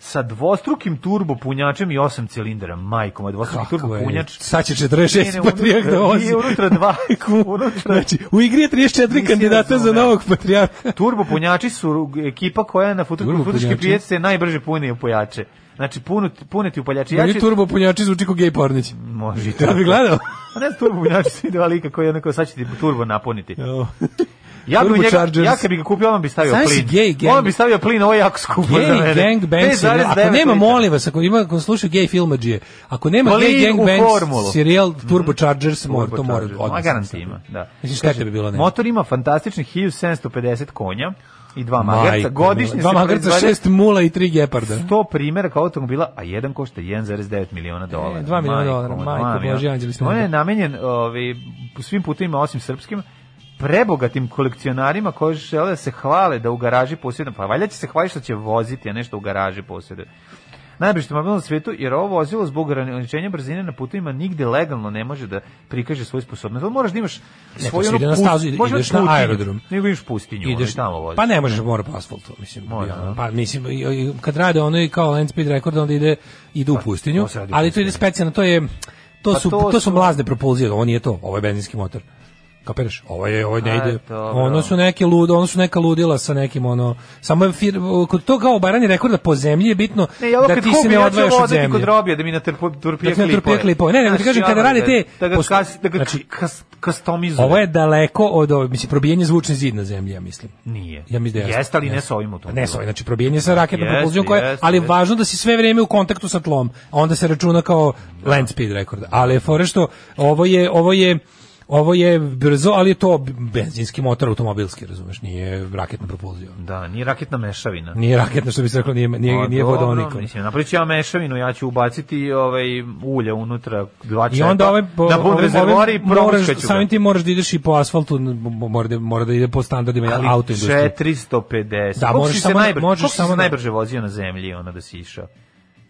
[SPEAKER 6] sa dvostrukim turbo punjačem i osam cilindara, majkom, a dvostruki
[SPEAKER 5] Kako
[SPEAKER 6] turbo
[SPEAKER 5] je?
[SPEAKER 6] punjač.
[SPEAKER 5] Sad će 46 patrijarh da vozi.
[SPEAKER 6] Nije unutra dva, unutra
[SPEAKER 5] Znači, u igri je 34
[SPEAKER 6] Nisi
[SPEAKER 5] kandidata za
[SPEAKER 6] razumeo.
[SPEAKER 5] novog patrijarha.
[SPEAKER 6] Turbo punjači su ekipa koja na
[SPEAKER 5] Turbo
[SPEAKER 6] futur- futurške
[SPEAKER 5] punjači?
[SPEAKER 6] pijace najbrže puni upojače. Znači, punu, puneti upaljači.
[SPEAKER 5] Ja
[SPEAKER 6] Ja
[SPEAKER 5] će...
[SPEAKER 6] ću... Mm.
[SPEAKER 5] turbo punjači zvuči kao gej pornić.
[SPEAKER 6] Može i
[SPEAKER 5] Ja
[SPEAKER 6] tako.
[SPEAKER 5] bi gledao.
[SPEAKER 6] A ne znam, turbo punjači su ide lika koji onako sad će ti turbo napuniti. Ja bi
[SPEAKER 5] Turbo
[SPEAKER 6] u njega,
[SPEAKER 5] Chargers.
[SPEAKER 6] ja kad bi ga kupio, on bi stavio
[SPEAKER 5] Znaš
[SPEAKER 6] plin.
[SPEAKER 5] si gay gang?
[SPEAKER 6] On bi stavio plin, ovo je jako skupo za
[SPEAKER 5] Gay
[SPEAKER 6] mene.
[SPEAKER 5] gang bang
[SPEAKER 6] 5,9
[SPEAKER 5] serial. Ako nema,
[SPEAKER 6] litara.
[SPEAKER 5] molim vas, ako ima, ako sluša gay filmađije, ako nema
[SPEAKER 6] Plin
[SPEAKER 5] gay gang
[SPEAKER 6] u
[SPEAKER 5] bang
[SPEAKER 6] formulu. Mhm.
[SPEAKER 5] serial Turbo Chargers,
[SPEAKER 6] Turbo
[SPEAKER 5] mora, to mora
[SPEAKER 6] Chargers.
[SPEAKER 5] odmah.
[SPEAKER 6] Ma garantima, da.
[SPEAKER 5] Mislim, šteta bi bilo ne.
[SPEAKER 6] Motor ima fantastičnih 1750 konja i dva magarca.
[SPEAKER 5] Majko
[SPEAKER 6] Godišnje
[SPEAKER 5] mila. Dva
[SPEAKER 6] se
[SPEAKER 5] magarca,
[SPEAKER 6] proizvede
[SPEAKER 5] šest mula i tri geparda.
[SPEAKER 6] 100 primjeraka automobila, a jedan košta 1,9 miliona dolara.
[SPEAKER 5] E, dva miliona
[SPEAKER 6] Majko
[SPEAKER 5] dolara,
[SPEAKER 6] moja,
[SPEAKER 5] majko
[SPEAKER 6] dva miliona.
[SPEAKER 5] Božji anđeli snega.
[SPEAKER 6] On je namenjen ovaj, u svim putovima osim srpskim, prebogatim kolekcionarima koji žele da se hvale da u garaži posjeduju. Pa valjda će se hvali što će voziti, a nešto u garaži posjeduju. Najbrži automobil na svijetu, jer ovo vozilo zbog ograničenja brzine na putovima nigde legalno ne može da prikaže svoju sposobnost. Ali moraš da imaš
[SPEAKER 5] to
[SPEAKER 6] svoju
[SPEAKER 5] se ide na
[SPEAKER 6] pust-
[SPEAKER 5] stazu, ide-
[SPEAKER 6] možda
[SPEAKER 5] ideš na
[SPEAKER 6] putinju,
[SPEAKER 5] aerodrom.
[SPEAKER 6] Nego imaš pustinju, ideš tamo voziš.
[SPEAKER 5] Pa ne možeš, mora po asfaltu, mislim.
[SPEAKER 6] Mora,
[SPEAKER 5] ja.
[SPEAKER 6] da.
[SPEAKER 5] pa mislim i- i- kad rade ono i kao land speed record onda ide ide u pustinju,
[SPEAKER 6] Pa, to se radi u
[SPEAKER 5] ali to ide
[SPEAKER 6] pustinji.
[SPEAKER 5] specijalno, to je to
[SPEAKER 6] Pa
[SPEAKER 5] su
[SPEAKER 6] to
[SPEAKER 5] to,
[SPEAKER 6] su-
[SPEAKER 5] su mlazne propulzije, ovo nije to, ovo je benzinski motor. Kapiraš? Ovo je ovo ne
[SPEAKER 6] A,
[SPEAKER 5] ide.
[SPEAKER 6] dobro.
[SPEAKER 5] Ono su neke lude, ono su neka ludila sa nekim ono samo je fir- kod to kao baranje rekorda po zemlji je bitno
[SPEAKER 6] Ne, ja ovo
[SPEAKER 5] da
[SPEAKER 6] kad
[SPEAKER 5] ti se
[SPEAKER 6] kupim,
[SPEAKER 5] ne
[SPEAKER 6] ja ću
[SPEAKER 5] odvajaš od
[SPEAKER 6] voziti
[SPEAKER 5] zemlje.
[SPEAKER 6] kod robija da mi na trpu- turpije
[SPEAKER 5] Da ti na
[SPEAKER 6] klipove.
[SPEAKER 5] turpije klipove. Ne, nego ti
[SPEAKER 6] Znaš,
[SPEAKER 5] kažem,
[SPEAKER 6] ja
[SPEAKER 5] kada rade
[SPEAKER 6] da-
[SPEAKER 5] te-
[SPEAKER 6] Da ga,
[SPEAKER 5] posto-
[SPEAKER 6] kas, da ga
[SPEAKER 5] znači,
[SPEAKER 6] kas, kastomizuje.
[SPEAKER 5] Ovo je daleko od ove- mislim probijenje zvučni zid na zemlji, ja mislim.
[SPEAKER 6] Nije.
[SPEAKER 5] Ja mislim da jeste.
[SPEAKER 6] Jeste, ali ne
[SPEAKER 5] Jeste.
[SPEAKER 6] sa ovim automobilom.
[SPEAKER 5] Ne, sorry, znači probijenje sa raketnom
[SPEAKER 6] Jeste,
[SPEAKER 5] propulzijom koja,
[SPEAKER 6] jeste,
[SPEAKER 5] ali je
[SPEAKER 6] jeste.
[SPEAKER 5] važno da si sve vrijeme u kontaktu sa tlom. Onda se računa kao land speed rekord. Ali je fore što ovo je ovo je ovo je brzo, ali je to benzinski motor automobilski, razumeš, nije raketna propulzija.
[SPEAKER 6] Da, nije raketna mešavina.
[SPEAKER 5] Nije raketna što bi se reklo, nije
[SPEAKER 6] Pa
[SPEAKER 5] nije, nije
[SPEAKER 6] dobro,
[SPEAKER 5] vodonikom.
[SPEAKER 6] Mislim, napravit ću ja mešavinu, ja ću ubaciti ovaj ulje unutra, dva
[SPEAKER 5] I
[SPEAKER 6] čepa,
[SPEAKER 5] onda ovaj po-
[SPEAKER 6] da bun
[SPEAKER 5] ovaj-
[SPEAKER 6] rezervoar i
[SPEAKER 5] ovaj moraš-
[SPEAKER 6] promuškat ću ga.
[SPEAKER 5] Samim tim moraš da ideš i po asfaltu, n- mora da, mora da ide po standardima
[SPEAKER 6] Ali
[SPEAKER 5] autoindustrije.
[SPEAKER 6] 450.
[SPEAKER 5] Da,
[SPEAKER 6] Koliko
[SPEAKER 5] možeš
[SPEAKER 6] si se
[SPEAKER 5] samo-
[SPEAKER 6] najbrže-
[SPEAKER 5] možeš
[SPEAKER 6] koliko si se
[SPEAKER 5] samo-
[SPEAKER 6] najbrže vozio na zemlji, ono da si išao.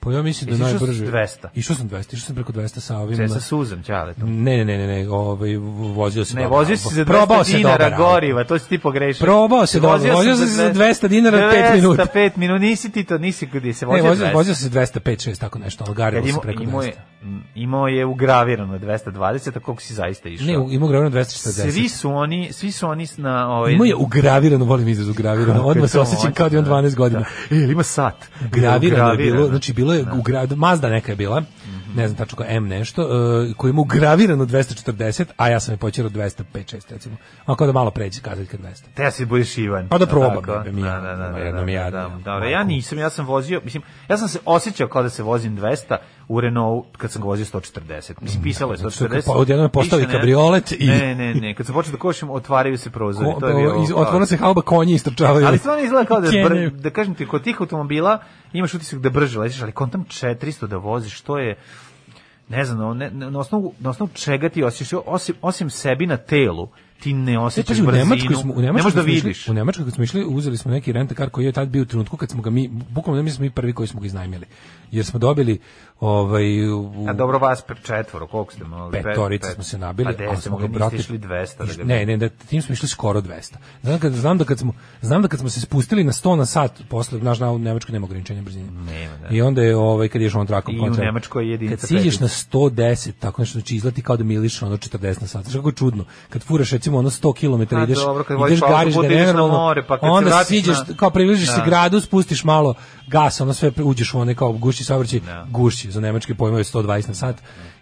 [SPEAKER 5] Pa ja mislim da
[SPEAKER 6] Jesi išao s
[SPEAKER 5] najbrže.
[SPEAKER 6] 200?
[SPEAKER 5] Išao sam 200, išao sam preko 200 sa ovim.
[SPEAKER 6] Sve sa suzem, čaletom.
[SPEAKER 5] Ne, ne, ne, ne, ne, ovaj vozio se.
[SPEAKER 6] Ne,
[SPEAKER 5] dobar
[SPEAKER 6] vozio si
[SPEAKER 5] auto.
[SPEAKER 6] za
[SPEAKER 5] Probao
[SPEAKER 6] 200
[SPEAKER 5] se
[SPEAKER 6] dinara
[SPEAKER 5] dobar auto.
[SPEAKER 6] goriva, to si ti pogrešio.
[SPEAKER 5] Probao se dobro, vozio sam se za 200 dinara pet minuta.
[SPEAKER 6] 5 minuta, nisi ti to, nisi gdje se
[SPEAKER 5] Ne,
[SPEAKER 6] vozio.
[SPEAKER 5] vozio,
[SPEAKER 6] 200.
[SPEAKER 5] vozio se 205, 6 tako nešto, ali
[SPEAKER 6] Kad
[SPEAKER 5] garilo se
[SPEAKER 6] imao,
[SPEAKER 5] preko
[SPEAKER 6] imao,
[SPEAKER 5] 200.
[SPEAKER 6] je, imao je ugravirano 220, a koliko si zaista išao?
[SPEAKER 5] Ne, u- imao gravirano 240.
[SPEAKER 6] Svi su oni, svi su oni na ovaj
[SPEAKER 5] Imao je ugravirano, volim izraz ugravirano,
[SPEAKER 6] Kako je
[SPEAKER 5] odmah se
[SPEAKER 6] to
[SPEAKER 5] osjećam
[SPEAKER 6] moćno,
[SPEAKER 5] kao da imam
[SPEAKER 6] da.
[SPEAKER 5] 12 godina.
[SPEAKER 6] E, jel ima sat.
[SPEAKER 5] Gravirano je bilo,
[SPEAKER 6] Ugravirano.
[SPEAKER 5] znači bilo je ugra- Mazda neka je bila,
[SPEAKER 6] Mhm.
[SPEAKER 5] ne znam tačno kao M nešto, uh, koji ima ugravirano 240, a ja sam je počerao 205, 6 recimo. Onako da malo pređe kazaljka 200.
[SPEAKER 6] Te ja si budeš Ivan.
[SPEAKER 5] Pa da probam,
[SPEAKER 6] Tako.
[SPEAKER 5] jebe mi,
[SPEAKER 6] Da, da, da,
[SPEAKER 5] ima
[SPEAKER 6] da,
[SPEAKER 5] jednom
[SPEAKER 6] da,
[SPEAKER 5] jadno.
[SPEAKER 6] da, dobro, ja nisam, ja sam vozio, mislim, ja sam se osjećao kao da se vozim 200 u Renault kad sam ga vozio 140. Mislim, pisalo je 140.
[SPEAKER 5] Pa odjednom je postao i
[SPEAKER 6] piše, ne?
[SPEAKER 5] kabriolet i-
[SPEAKER 6] Ne, ne, ne, kad sam počeo da košim, otvaraju se prozori.
[SPEAKER 5] Ko-
[SPEAKER 6] to je bilo,
[SPEAKER 5] iz- Otvorila se halba, konji istrčavaju.
[SPEAKER 6] Ali stvarno izgleda kao da, br,
[SPEAKER 5] Kenjaju.
[SPEAKER 6] da kažem ti, kod tih automobila imaš utisak da brže leziš, ali kontam 400 da voziš, to je ono, ne znam, ne, ne- na, osnovu, na osnovu čega ti osjećaš, osim, osim sebi na telu, ti ne
[SPEAKER 5] E,
[SPEAKER 6] osjećaš
[SPEAKER 5] pazi, u
[SPEAKER 6] brzinu.
[SPEAKER 5] Nemačkoj smo, u
[SPEAKER 6] ne
[SPEAKER 5] Nemačkoj
[SPEAKER 6] možeš da
[SPEAKER 5] smo išli-
[SPEAKER 6] vidiš.
[SPEAKER 5] u Nemačkoj kad smo išli, uzeli smo neki rentakar koji je tad bio u trenutku kad smo ga mi, bukvalno mi smo mi prvi koji smo ga iznajmili. Jer smo dobili ovaj, u,
[SPEAKER 6] A dobro vas pre četvoro, koliko ste mogli?
[SPEAKER 5] petorica smo se nabili,
[SPEAKER 6] Pa gde ste mogli, niste išli 200 da ga
[SPEAKER 5] ne, ne, da tim smo išli skoro 200. Znam, kad, znam, da kad smo, znam da kad smo se spustili na 100 na sat, posle, znaš, na, u Nemačkoj nema ograničenja brzine.
[SPEAKER 6] Nema, da.
[SPEAKER 5] I onda je, ovaj, kad ješ on trakom
[SPEAKER 6] I u
[SPEAKER 5] kontra.
[SPEAKER 6] Nemačkoj je jedinica
[SPEAKER 5] Kad siđeš
[SPEAKER 6] prekida.
[SPEAKER 5] na 110, tako nešto, znači izlati kao da miliš ono 40 na sat. Znaš kako je čudno. Kad furaš recimo ono 100 km
[SPEAKER 6] A,
[SPEAKER 5] ideš,
[SPEAKER 6] Pa dobro, kad
[SPEAKER 5] ideš
[SPEAKER 6] voziš
[SPEAKER 5] gariš
[SPEAKER 6] autoput,
[SPEAKER 5] ga
[SPEAKER 6] ideš na
[SPEAKER 5] nenormalno,
[SPEAKER 6] more, pa kad se
[SPEAKER 5] onda
[SPEAKER 6] vratiš
[SPEAKER 5] siđeš,
[SPEAKER 6] na-
[SPEAKER 5] kao pa približiš se
[SPEAKER 6] Da.
[SPEAKER 5] gradu, spustiš malo gas, ono sve uđeš u one kao gušći saobraćaj, gušći, za nemačke pojmove 120 na sat,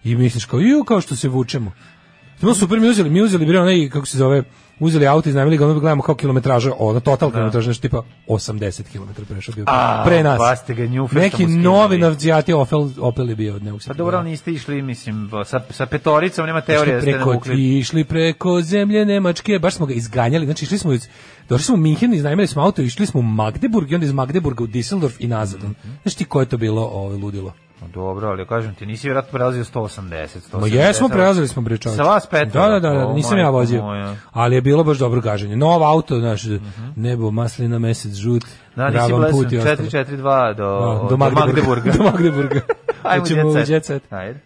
[SPEAKER 5] i misliš kao, ju, kao što se vučemo. No super mi uzeli, mi uzeli bre onaj kako se zove, uzeli auto i znamili ga, onda gledamo kao kilometraža, ona total kilometraža nešto tipa 80 km prešao bio.
[SPEAKER 6] A,
[SPEAKER 5] pre nas.
[SPEAKER 6] pa ste ga njufe što
[SPEAKER 5] Neki
[SPEAKER 6] mu skinuli.
[SPEAKER 5] novi navcijati Opel, Opel je bio od neusjetljivog.
[SPEAKER 6] Pa dobro, ali niste išli, mislim, sa, sa petoricom nema teorije da
[SPEAKER 5] Išli
[SPEAKER 6] ste
[SPEAKER 5] preko,
[SPEAKER 6] navukli.
[SPEAKER 5] išli preko zemlje Nemačke, baš smo ga izganjali. Znači, išli smo iz, došli smo u Minhen, iznajmili smo auto, išli smo u Magdeburg i onda iz Magdeburga u Düsseldorf i nazad.
[SPEAKER 6] Mhm.
[SPEAKER 5] Znaš ti koje je to bilo ovo, ludilo?
[SPEAKER 6] No, Dobro, ali kažem ti, nisi vjerojatno prelazio 180, 180.
[SPEAKER 5] Ma jesmo, prelazili smo bre čoveče.
[SPEAKER 6] Sa vas
[SPEAKER 5] Da,
[SPEAKER 6] petora?
[SPEAKER 5] da, da, da,
[SPEAKER 6] O,
[SPEAKER 5] nisam ja
[SPEAKER 6] majko
[SPEAKER 5] vozio.
[SPEAKER 6] moja. Mhm.
[SPEAKER 5] Ali je bilo baš dobro gaženje. Nov auto, znaš, nebo, maslina, mesec, žut,
[SPEAKER 6] Da, nisi
[SPEAKER 5] ravan
[SPEAKER 6] blesan,
[SPEAKER 5] put i ostalo.
[SPEAKER 6] 4-4-2 do,
[SPEAKER 5] Da,
[SPEAKER 6] do Magdeburga.
[SPEAKER 5] do Magdeburga.
[SPEAKER 6] Ajmo
[SPEAKER 5] Hoćemo u
[SPEAKER 6] u
[SPEAKER 5] Jet
[SPEAKER 6] jet
[SPEAKER 5] Set.
[SPEAKER 6] set. Ajde.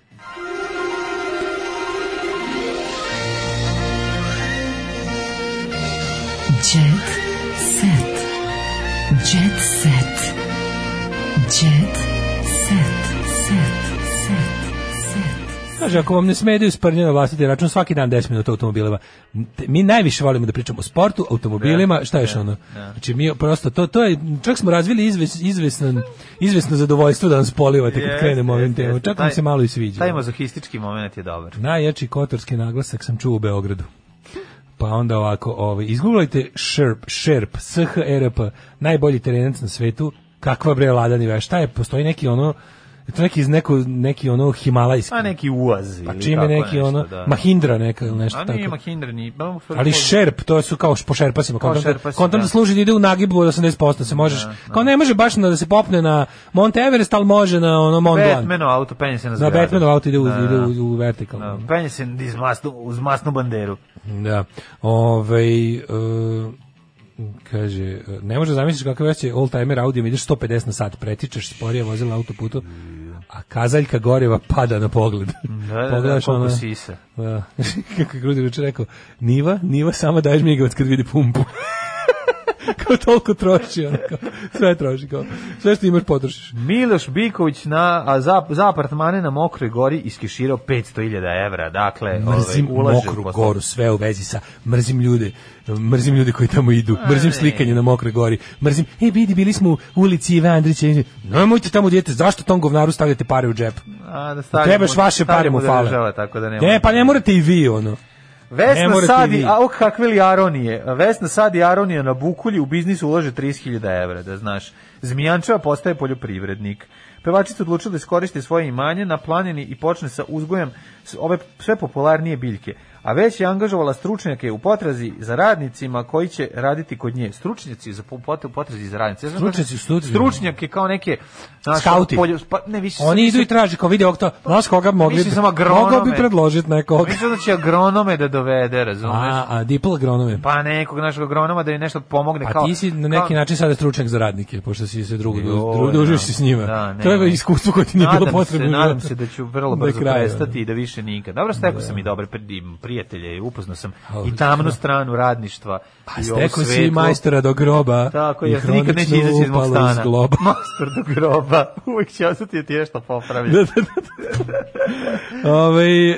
[SPEAKER 4] Jet set. Jet set. Jet set. Set. Set. Set.
[SPEAKER 5] Kaže, ako vam ne smedaju sprnje na vlastiti račun, svaki dan 10 minuta automobilima. Te- Mi najviše volimo da pričamo o sportu, automobilima, šta je još ono? Znači, mi prosto, to, to je, čak smo razvili izves, izvesno, izvesno zadovoljstvo da nas polivate kad
[SPEAKER 6] Jeste,
[SPEAKER 5] krenemo ovim
[SPEAKER 6] jeste,
[SPEAKER 5] temom.
[SPEAKER 6] jeste.
[SPEAKER 5] Čak nam
[SPEAKER 6] Taj-
[SPEAKER 5] se malo i sviđa.
[SPEAKER 6] Taj mazohistički moment je dobar.
[SPEAKER 5] Najjači kotorski naglasak sam čuo u Beogradu. Pa onda ovako, ovaj, izgooglajte Sherp, Sherp, SHRP, najbolji terenac na svetu, kakva bre ladani veš, šta je, postoji neki ono, je to neki iz neko, neki ono himalajski,
[SPEAKER 6] A neki uaz
[SPEAKER 5] pa
[SPEAKER 6] ili
[SPEAKER 5] čime
[SPEAKER 6] tako
[SPEAKER 5] neki
[SPEAKER 6] nešto,
[SPEAKER 5] ono,
[SPEAKER 6] da.
[SPEAKER 5] Mahindra neka ili nešto
[SPEAKER 6] A
[SPEAKER 5] tako.
[SPEAKER 6] nije Mahindra, ni... pa ba, u stvari
[SPEAKER 5] Ali
[SPEAKER 6] ko-
[SPEAKER 5] šerp, to su kao š- po šerpasima.
[SPEAKER 6] Kao
[SPEAKER 5] Kontam,
[SPEAKER 6] šerpasi,
[SPEAKER 5] kontam da
[SPEAKER 6] da.
[SPEAKER 5] služi da ide u nagibu od 80%, se možeš, kao ne može baš na, da se popne na Mount Everest, ali može na ono Mont Blanc.
[SPEAKER 6] Batmanov auto penje se na
[SPEAKER 5] Na
[SPEAKER 6] zgradu.
[SPEAKER 5] Batmanov auto ide u,
[SPEAKER 6] Da, da.
[SPEAKER 5] ide u, u vertikalno.
[SPEAKER 6] Da, Penje se iz masnu, uz masnu banderu.
[SPEAKER 5] Da. Ovaj e, kaže, e, ne može zamisliti kakav već je old-timer Audi, ideš 150 na sat, pretičeš sporije vozila na autoputu, a kazaljka goriva pada na pogled.
[SPEAKER 6] Da, da, da, koliko
[SPEAKER 5] ono-
[SPEAKER 6] sise.
[SPEAKER 5] Da. Kako je Grudin juče rekao, Niva, Niva sama daješ migavac kad vidi pumpu. kao toliko troši, ono, kao, sve troši, kao, sve što imaš potrošiš.
[SPEAKER 6] Miloš Biković na, a za, za apartmane na Mokroj gori iskeširao 500.000 evra. Dakle,
[SPEAKER 5] mrzim
[SPEAKER 6] ovaj, ulaže u
[SPEAKER 5] mokru
[SPEAKER 6] posao.
[SPEAKER 5] goru, sve u vezi sa mrzim ljude, mrzim ljude koji tamo idu, mrzim
[SPEAKER 6] ne.
[SPEAKER 5] slikanje na mokroj gori, mrzim, e vidi, bili smo u ulici Ive Andrića, i- nemojte tamo djete, zašto tom govnaru stavljate pare u džep?
[SPEAKER 6] A, da stavimo-
[SPEAKER 5] Trebaš vaše pare
[SPEAKER 6] stavimo
[SPEAKER 5] mu
[SPEAKER 6] da
[SPEAKER 5] fale.
[SPEAKER 6] država, tako da ne
[SPEAKER 5] Ne, pa ne morate i vi, ono. Ne
[SPEAKER 6] Vesna
[SPEAKER 5] morate i
[SPEAKER 6] Sadi,
[SPEAKER 5] vi.
[SPEAKER 6] a ok kakve li aronije. Vesna Sadi aronija na Bukulji u biznisu ulaže 30.000 evra, da znaš. Zmijančeva postaje poljoprivrednik. Pevačica odlučila da iskoristi svoje imanje na planini i počne sa uzgojem s- ove sve popularnije biljke. A već je angažovala stručnjake u potrazi za radnicima koji će raditi kod nje. Stručnjaci za po- pot- u potrazi za radnice. Ja znam
[SPEAKER 5] Stručnjaci
[SPEAKER 6] kažem,
[SPEAKER 5] u studiju.
[SPEAKER 6] Stručnjake kao neke... znaš,
[SPEAKER 5] Skauti.
[SPEAKER 6] poljo- pa, ne, više
[SPEAKER 5] Oni
[SPEAKER 6] nisu-
[SPEAKER 5] idu i traže, kao vidi ovog to, znaš koga mogli,
[SPEAKER 6] Mislim, samo
[SPEAKER 5] mogao bi
[SPEAKER 6] agronome.
[SPEAKER 5] predložiti nekog.
[SPEAKER 6] Mislim da će znači agronome da dovede, razumeš?
[SPEAKER 5] A, a dipl agronome.
[SPEAKER 6] Pa nekog našeg agronoma da im nešto pomogne.
[SPEAKER 5] A
[SPEAKER 6] kao,
[SPEAKER 5] Pa ti si na neki
[SPEAKER 6] kao-
[SPEAKER 5] način sada stručnjak za radnike, pošto si se drugo,
[SPEAKER 6] Joj,
[SPEAKER 5] družiš
[SPEAKER 6] da.
[SPEAKER 5] se s njima.
[SPEAKER 6] Da, ne,
[SPEAKER 5] to je
[SPEAKER 6] ne.
[SPEAKER 5] iskustvo koje ti nije bilo
[SPEAKER 6] Nadam
[SPEAKER 5] potrebno.
[SPEAKER 6] Se,
[SPEAKER 5] u
[SPEAKER 6] nadam
[SPEAKER 5] životu.
[SPEAKER 6] se da ću
[SPEAKER 5] Do
[SPEAKER 6] vrlo brzo
[SPEAKER 5] kraja,
[SPEAKER 6] prestati i da više nikad. Dobro, stekao sam i dobre pri- prijatelje i upoznao sam
[SPEAKER 5] Ali,
[SPEAKER 6] i tamnu
[SPEAKER 5] da.
[SPEAKER 6] stranu radništva.
[SPEAKER 5] Pa
[SPEAKER 6] i ovu
[SPEAKER 5] stekao si i
[SPEAKER 6] svetlu.
[SPEAKER 5] majstora do groba.
[SPEAKER 6] Tako
[SPEAKER 5] i
[SPEAKER 6] je, ja nikad neće
[SPEAKER 5] hronično
[SPEAKER 6] izaći iz mog
[SPEAKER 5] upalo iz
[SPEAKER 6] stana.
[SPEAKER 5] globa.
[SPEAKER 6] Majstor do groba. Uvijek će ostati ti nešto popravlja.
[SPEAKER 5] Da, da, Ovaj,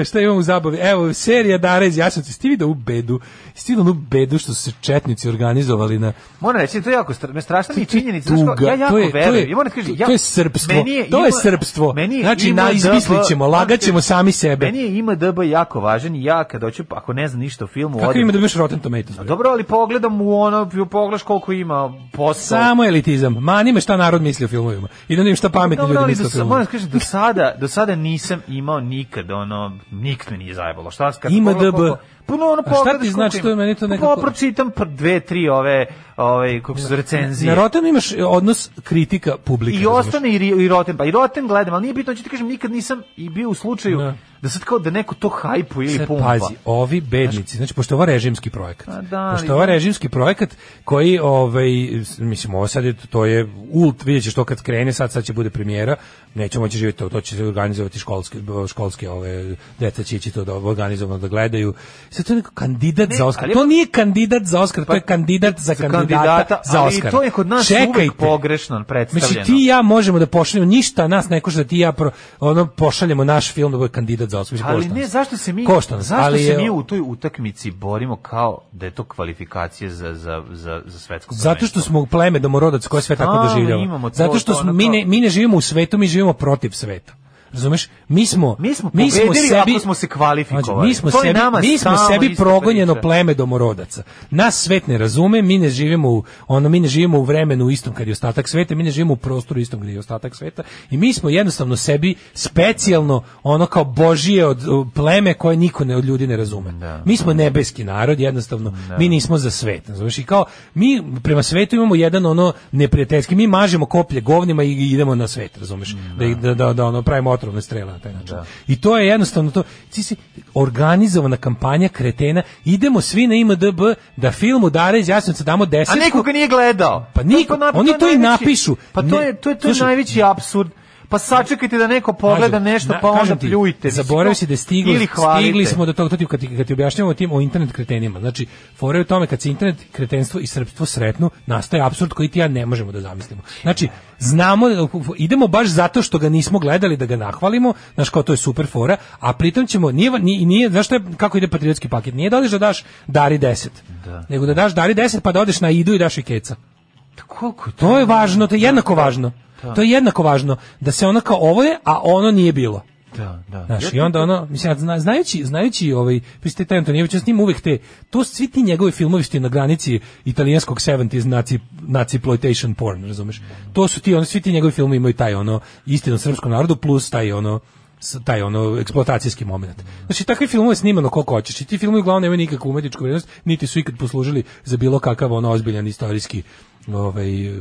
[SPEAKER 5] e, šta imamo u zabavi? Evo, serija Darez Jasnici. Ste vidio u bedu? Ste vidio onu bedu što su se četnici organizovali na...
[SPEAKER 6] Moram reći, to je jako stra, me strašna mi je činjenica.
[SPEAKER 5] Tuga,
[SPEAKER 6] znaš kao, Ja jako
[SPEAKER 5] to je- to
[SPEAKER 6] verujem.
[SPEAKER 5] je-
[SPEAKER 6] I moram ti kažem, ja,
[SPEAKER 5] to je srpstvo,
[SPEAKER 6] meni
[SPEAKER 5] to je
[SPEAKER 6] ima-
[SPEAKER 5] srpstvo.
[SPEAKER 6] Meni je
[SPEAKER 5] Znači, na-
[SPEAKER 6] IMDb
[SPEAKER 5] izmislit ćemo, lagat ćemo sami sebe.
[SPEAKER 6] Meni je IMDB jako važan i ja kad hoću, ako ne znam ništa o filmu,
[SPEAKER 5] Kako
[SPEAKER 6] odem-
[SPEAKER 5] ima da biš Rotten Tomatoes?
[SPEAKER 6] A
[SPEAKER 5] bre?
[SPEAKER 6] Dobro, ali pogledam u ono, pogledaš koliko ima posla.
[SPEAKER 5] Samo elitizam. Mani me šta narod misli o filmovima. I da ne vidim šta pametni
[SPEAKER 6] Dobro,
[SPEAKER 5] ljudi
[SPEAKER 6] ali
[SPEAKER 5] misle
[SPEAKER 6] do,
[SPEAKER 5] o
[SPEAKER 6] sa- moram
[SPEAKER 5] filmovima.
[SPEAKER 6] ti kažem, do sada, do sada nisam imao nikad, ono, nikad me nije zajebalo. Šta, kad
[SPEAKER 5] Ima
[SPEAKER 6] pogledam
[SPEAKER 5] DB.
[SPEAKER 6] koliko- Puno ono
[SPEAKER 5] A šta ti znači,
[SPEAKER 6] koliko
[SPEAKER 5] to je
[SPEAKER 6] ima.
[SPEAKER 5] meni to
[SPEAKER 6] Pa
[SPEAKER 5] nekako-
[SPEAKER 6] pročitam pr- dve, tri ove, ove, kako su recenzije.
[SPEAKER 5] Na Rottenu imaš e, odnos kritika publika.
[SPEAKER 6] I
[SPEAKER 5] razumeš?
[SPEAKER 6] ostane i, ri- i Rotten, pa i Rotten gledam, ali nije bitno, ću ti kažem, nikad nisam i bio u slučaju
[SPEAKER 5] Da.
[SPEAKER 6] da sad kao da neko to hajpu ili
[SPEAKER 5] Sad
[SPEAKER 6] pumpa.
[SPEAKER 5] Pazi, ovi bednici, znači pošto je ovo režimski projekat.
[SPEAKER 6] A da, ali-
[SPEAKER 5] pošto je ovo režimski projekat koji ovaj s- mislim ovo sad je, to je ult, vidjet ćeš to kad krene, sad sad će bude premijera, nećemo moći živjeti to, to će se organizovati školske školske ove deca će ići to da organizovano da gledaju. Sad to je neko kandidat
[SPEAKER 6] Ne,
[SPEAKER 5] za Oskar.
[SPEAKER 6] ali- Pa,
[SPEAKER 5] To nije kandidat za Oskar, to je kandidat za
[SPEAKER 6] Za
[SPEAKER 5] kandidata, za
[SPEAKER 6] ali
[SPEAKER 5] Oskar.
[SPEAKER 6] to je kod nas uvek pogrešno predstavljeno.
[SPEAKER 5] Mislim, ti i ja možemo da pošaljemo ništa nas ne košta da ti i ja pro, ono pošaljemo naš film da bude kandidat za Oskar. Mislim,
[SPEAKER 6] ali
[SPEAKER 5] košta
[SPEAKER 6] ne,
[SPEAKER 5] nas.
[SPEAKER 6] zašto se mi
[SPEAKER 5] Košta nas,
[SPEAKER 6] zašto
[SPEAKER 5] ali
[SPEAKER 6] se
[SPEAKER 5] je-
[SPEAKER 6] mi u toj utakmici borimo kao da je to kvalifikacije za, za, za, za svetsko
[SPEAKER 5] Zato što smo pleme domorodac koje sve tako
[SPEAKER 6] Stalno
[SPEAKER 5] doživljava.
[SPEAKER 6] imamo to,
[SPEAKER 5] Zato što
[SPEAKER 6] to,
[SPEAKER 5] smo,
[SPEAKER 6] ono
[SPEAKER 5] mi,
[SPEAKER 6] kao-
[SPEAKER 5] ne, mi ne živimo u svetu, mi živimo protiv sveta. Razumeš? Mi smo mi smo,
[SPEAKER 6] pobedili ako smo se kvalifikovali.
[SPEAKER 5] Mlađe, mi smo
[SPEAKER 6] To je
[SPEAKER 5] sebi,
[SPEAKER 6] nama
[SPEAKER 5] mi smo
[SPEAKER 6] stalno
[SPEAKER 5] sebi
[SPEAKER 6] ista
[SPEAKER 5] progonjeno
[SPEAKER 6] priča.
[SPEAKER 5] pleme domorodaca. Nas svet ne razume, mi ne živimo u ono mi ne živimo u vremenu istom kad je ostatak sveta, mi ne živimo u prostoru istom kad je ostatak sveta i mi smo jednostavno sebi specijalno ono kao božije od uh, pleme koje niko ne od ljudi ne razume. Mi smo nebeski narod jednostavno. Mi nismo za svet, razumeš? I kao mi prema svetu imamo jedan ono neprijateljski, mi mažemo koplje govnima i idemo na svet, razumeš? Da ih- da da, da ono pravimo otrovne strele na taj način. I to je jednostavno to. Ti si organizovana kampanja kretena. Idemo svi na IMDb da film udare iz Jasenovca damo 10.
[SPEAKER 6] A neko ga nije gledao.
[SPEAKER 5] Pa niko,
[SPEAKER 6] je napi-
[SPEAKER 5] oni
[SPEAKER 6] je
[SPEAKER 5] to i
[SPEAKER 6] najveći-
[SPEAKER 5] napišu.
[SPEAKER 6] Pa to
[SPEAKER 5] Ne,
[SPEAKER 6] je to je to je
[SPEAKER 5] slušaj,
[SPEAKER 6] najveći apsurd. Pa sačekajte da neko pogleda
[SPEAKER 5] Kažem,
[SPEAKER 6] nešto
[SPEAKER 5] na-
[SPEAKER 6] pa onda
[SPEAKER 5] kažem ti,
[SPEAKER 6] pljujte. Mislim,
[SPEAKER 5] Zaboravio
[SPEAKER 6] kao-
[SPEAKER 5] si da je stiglo,
[SPEAKER 6] ili hvalite.
[SPEAKER 5] stigli smo do toga, to ti kad, ti- kad ti objašnjavamo o tim o internet kretenima. Znači, fore je u tome kad se internet, kretenstvo i srpstvo sretnu, nastaje apsurd koji ti i ja ne možemo da zamislimo. Znači, znamo, idemo baš zato što ga nismo gledali da ga nahvalimo, znaš kao to je super fora, a pritom ćemo, nije, va- nije, nije znaš što je, kako ide patriotski paket, nije da odeš da daš dari 10, nego da daš dari 10 pa da odeš na idu i daš i keca.
[SPEAKER 6] Koliko je to?
[SPEAKER 5] To je važno, to je jednako važno. To je jednako važno da se ono kao ovo je, a ono nije bilo.
[SPEAKER 6] Da, da.
[SPEAKER 5] Znaš, i onda ono, mislim, ja zna, znajući, znajući ovaj, pisite taj Antonijević, ja s njim uvek te, to svi ti njegovi filmovi što je na granici italijanskog 70s naci, naciploitation porn, razumeš? To su ti, ono, svi ti njegovi filmovi imaju taj, ono, istinu srpskom narodu plus taj, ono, s- taj ono eksploatacijski moment. Znači takvi filmovi je snimano koliko hoćeš i ti filmovi uglavnom nemaju nikakvu umetničku vrednost, niti su ikad poslužili za bilo kakav ono ozbiljan istorijski ovaj e,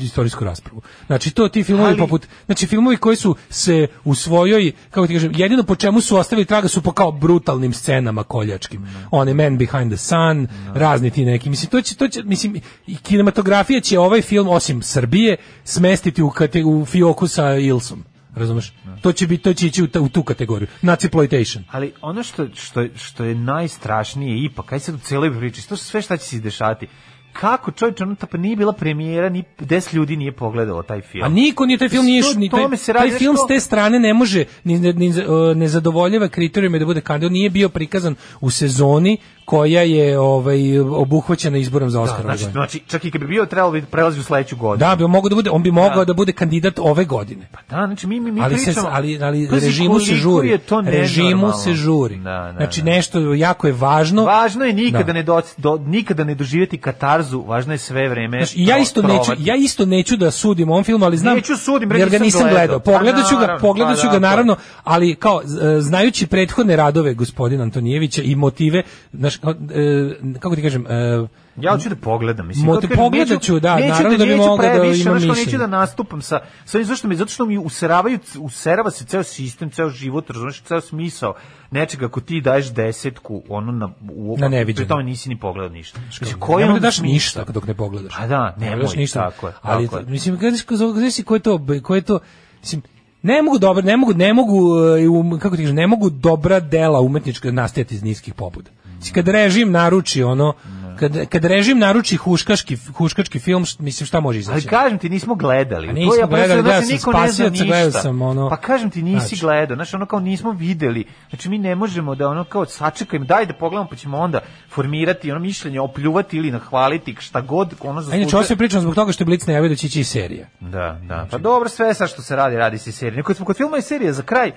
[SPEAKER 5] istorijsku raspravu. Znači to ti filmovi
[SPEAKER 6] Ali-
[SPEAKER 5] poput znači filmovi koji su se u svojoj kako ti kažem jedino po čemu su ostavili traga su po kao brutalnim scenama koljačkim. One Man Behind the Sun, razni ti neki. Mislim to će to će mislim i kinematografija će ovaj film osim Srbije smestiti u kate, u fioku sa Ilsom. Razumeš? To će biti to će ići u, ta- u tu kategoriju. Naciploitation.
[SPEAKER 6] Ali ono što, što, što je najstrašnije ipak, aj sad u celoj priči, to sve šta će se izdešati, kako čovječ, ono ta pa nije bila premijera, ni 10 ljudi nije pogledalo taj film.
[SPEAKER 5] A niko nije taj film nije
[SPEAKER 6] Što
[SPEAKER 5] ni taj,
[SPEAKER 6] tome se radi,
[SPEAKER 5] taj
[SPEAKER 6] znaš
[SPEAKER 5] film
[SPEAKER 6] što?
[SPEAKER 5] s te strane ne može ni ni, ni e, ne zadovoljava kriterijume da bude kandidat, nije bio prikazan u sezoni koja je ovaj obuhvaćena izborom za Oskar. ove
[SPEAKER 6] Znači,
[SPEAKER 5] godine.
[SPEAKER 6] znači, čak i kad bi bio trebalo bi prelazi u sledeću godinu.
[SPEAKER 5] Da, bi on mogao da bude, on bi mogao da. bude kandidat ove godine.
[SPEAKER 6] Da, znači mi mi mi
[SPEAKER 5] ali se
[SPEAKER 6] pričamo.
[SPEAKER 5] ali ali
[SPEAKER 6] Pazi,
[SPEAKER 5] režimu se
[SPEAKER 6] koliko
[SPEAKER 5] žuri.
[SPEAKER 6] je to
[SPEAKER 5] režimu
[SPEAKER 6] nenormalno.
[SPEAKER 5] se žuri.
[SPEAKER 6] Da, da,
[SPEAKER 5] znači
[SPEAKER 6] da.
[SPEAKER 5] nešto jako je važno.
[SPEAKER 6] Važno je nikada
[SPEAKER 5] Da.
[SPEAKER 6] ne doc- do, nikada ne doživjeti katarzu, važno je sve vreme.
[SPEAKER 5] Znaš, i ja
[SPEAKER 6] pro-
[SPEAKER 5] isto neću,
[SPEAKER 6] provati.
[SPEAKER 5] ja isto neću da sudim o ovom filmu, ali znam
[SPEAKER 6] Neću sudim, bre,
[SPEAKER 5] jer ga
[SPEAKER 6] nisam
[SPEAKER 5] nisam gledao.
[SPEAKER 6] gledao. Pa
[SPEAKER 5] Pogledaću ga,
[SPEAKER 6] naravno,
[SPEAKER 5] pogledaću
[SPEAKER 6] pa
[SPEAKER 5] ga
[SPEAKER 6] da, pa.
[SPEAKER 5] naravno, ali kao z- e, znajući prethodne radove gospodina Antonijevića i motive, znaš, kao, e, kako ti kažem, e,
[SPEAKER 6] Ja hoću da pogledam, mislim.
[SPEAKER 5] Mo-
[SPEAKER 6] kako kažem,
[SPEAKER 5] pogledat
[SPEAKER 6] neću-
[SPEAKER 5] ću, da,
[SPEAKER 6] neću
[SPEAKER 5] naravno da bi
[SPEAKER 6] neću
[SPEAKER 5] mogao da
[SPEAKER 6] previše,
[SPEAKER 5] imam
[SPEAKER 6] znaš što
[SPEAKER 5] mišljenje.
[SPEAKER 6] Neću da nastupam sa, sa ovim, zašto mi, zato što mi useravaju, userava se ceo sistem, ceo život, razumeš, ceo smisao nečega ako ti daješ desetku, ono na, u,
[SPEAKER 5] Na neviđeno.
[SPEAKER 6] pri tome nisi ni pogledao ništa. Mislim,
[SPEAKER 5] ne
[SPEAKER 6] Znači, koji
[SPEAKER 5] mogu
[SPEAKER 6] onda
[SPEAKER 5] da daš
[SPEAKER 6] smisao?
[SPEAKER 5] ništa dok ne pogledaš.
[SPEAKER 6] Pa da,
[SPEAKER 5] ne
[SPEAKER 6] nemoj,
[SPEAKER 5] daš ništa.
[SPEAKER 6] tako je,
[SPEAKER 5] ali
[SPEAKER 6] tako je.
[SPEAKER 5] mislim gledaj ko- gledaj si ko je to ko je to mislim ne mogu dobro, ne mogu, ne mogu e, um, kako ti kažem, ne mogu dobra dela umetnička nastajati iz niskih pobuda. Mislim, Kad režim naruči ono, kad, kad režim naruči huškaški, huškački film, š- mislim šta može izaći?
[SPEAKER 6] Ali kažem ti nismo gledali.
[SPEAKER 5] Znači, A nismo
[SPEAKER 6] to je apsurd,
[SPEAKER 5] gledali,
[SPEAKER 6] znači,
[SPEAKER 5] gledao sam
[SPEAKER 6] niko ne zna
[SPEAKER 5] Spasioca,
[SPEAKER 6] ništa.
[SPEAKER 5] gledao sam, ono,
[SPEAKER 6] Pa kažem ti nisi
[SPEAKER 5] znači.
[SPEAKER 6] gledao, znači ono kao nismo videli. Znači mi ne možemo da ono kao sačekajmo, daj da pogledamo pa ćemo onda formirati ono mišljenje, opljuvati ili nahvaliti šta god ono
[SPEAKER 5] A
[SPEAKER 6] zaslužuje.
[SPEAKER 5] inače, ovo sve pričam zbog toga što je Blic najavio da će ići i serija.
[SPEAKER 6] Da, da.
[SPEAKER 5] Znači-
[SPEAKER 6] Pa dobro, sve sa što se radi, radi se i serija. Kod smo kod filma i serije za kraj.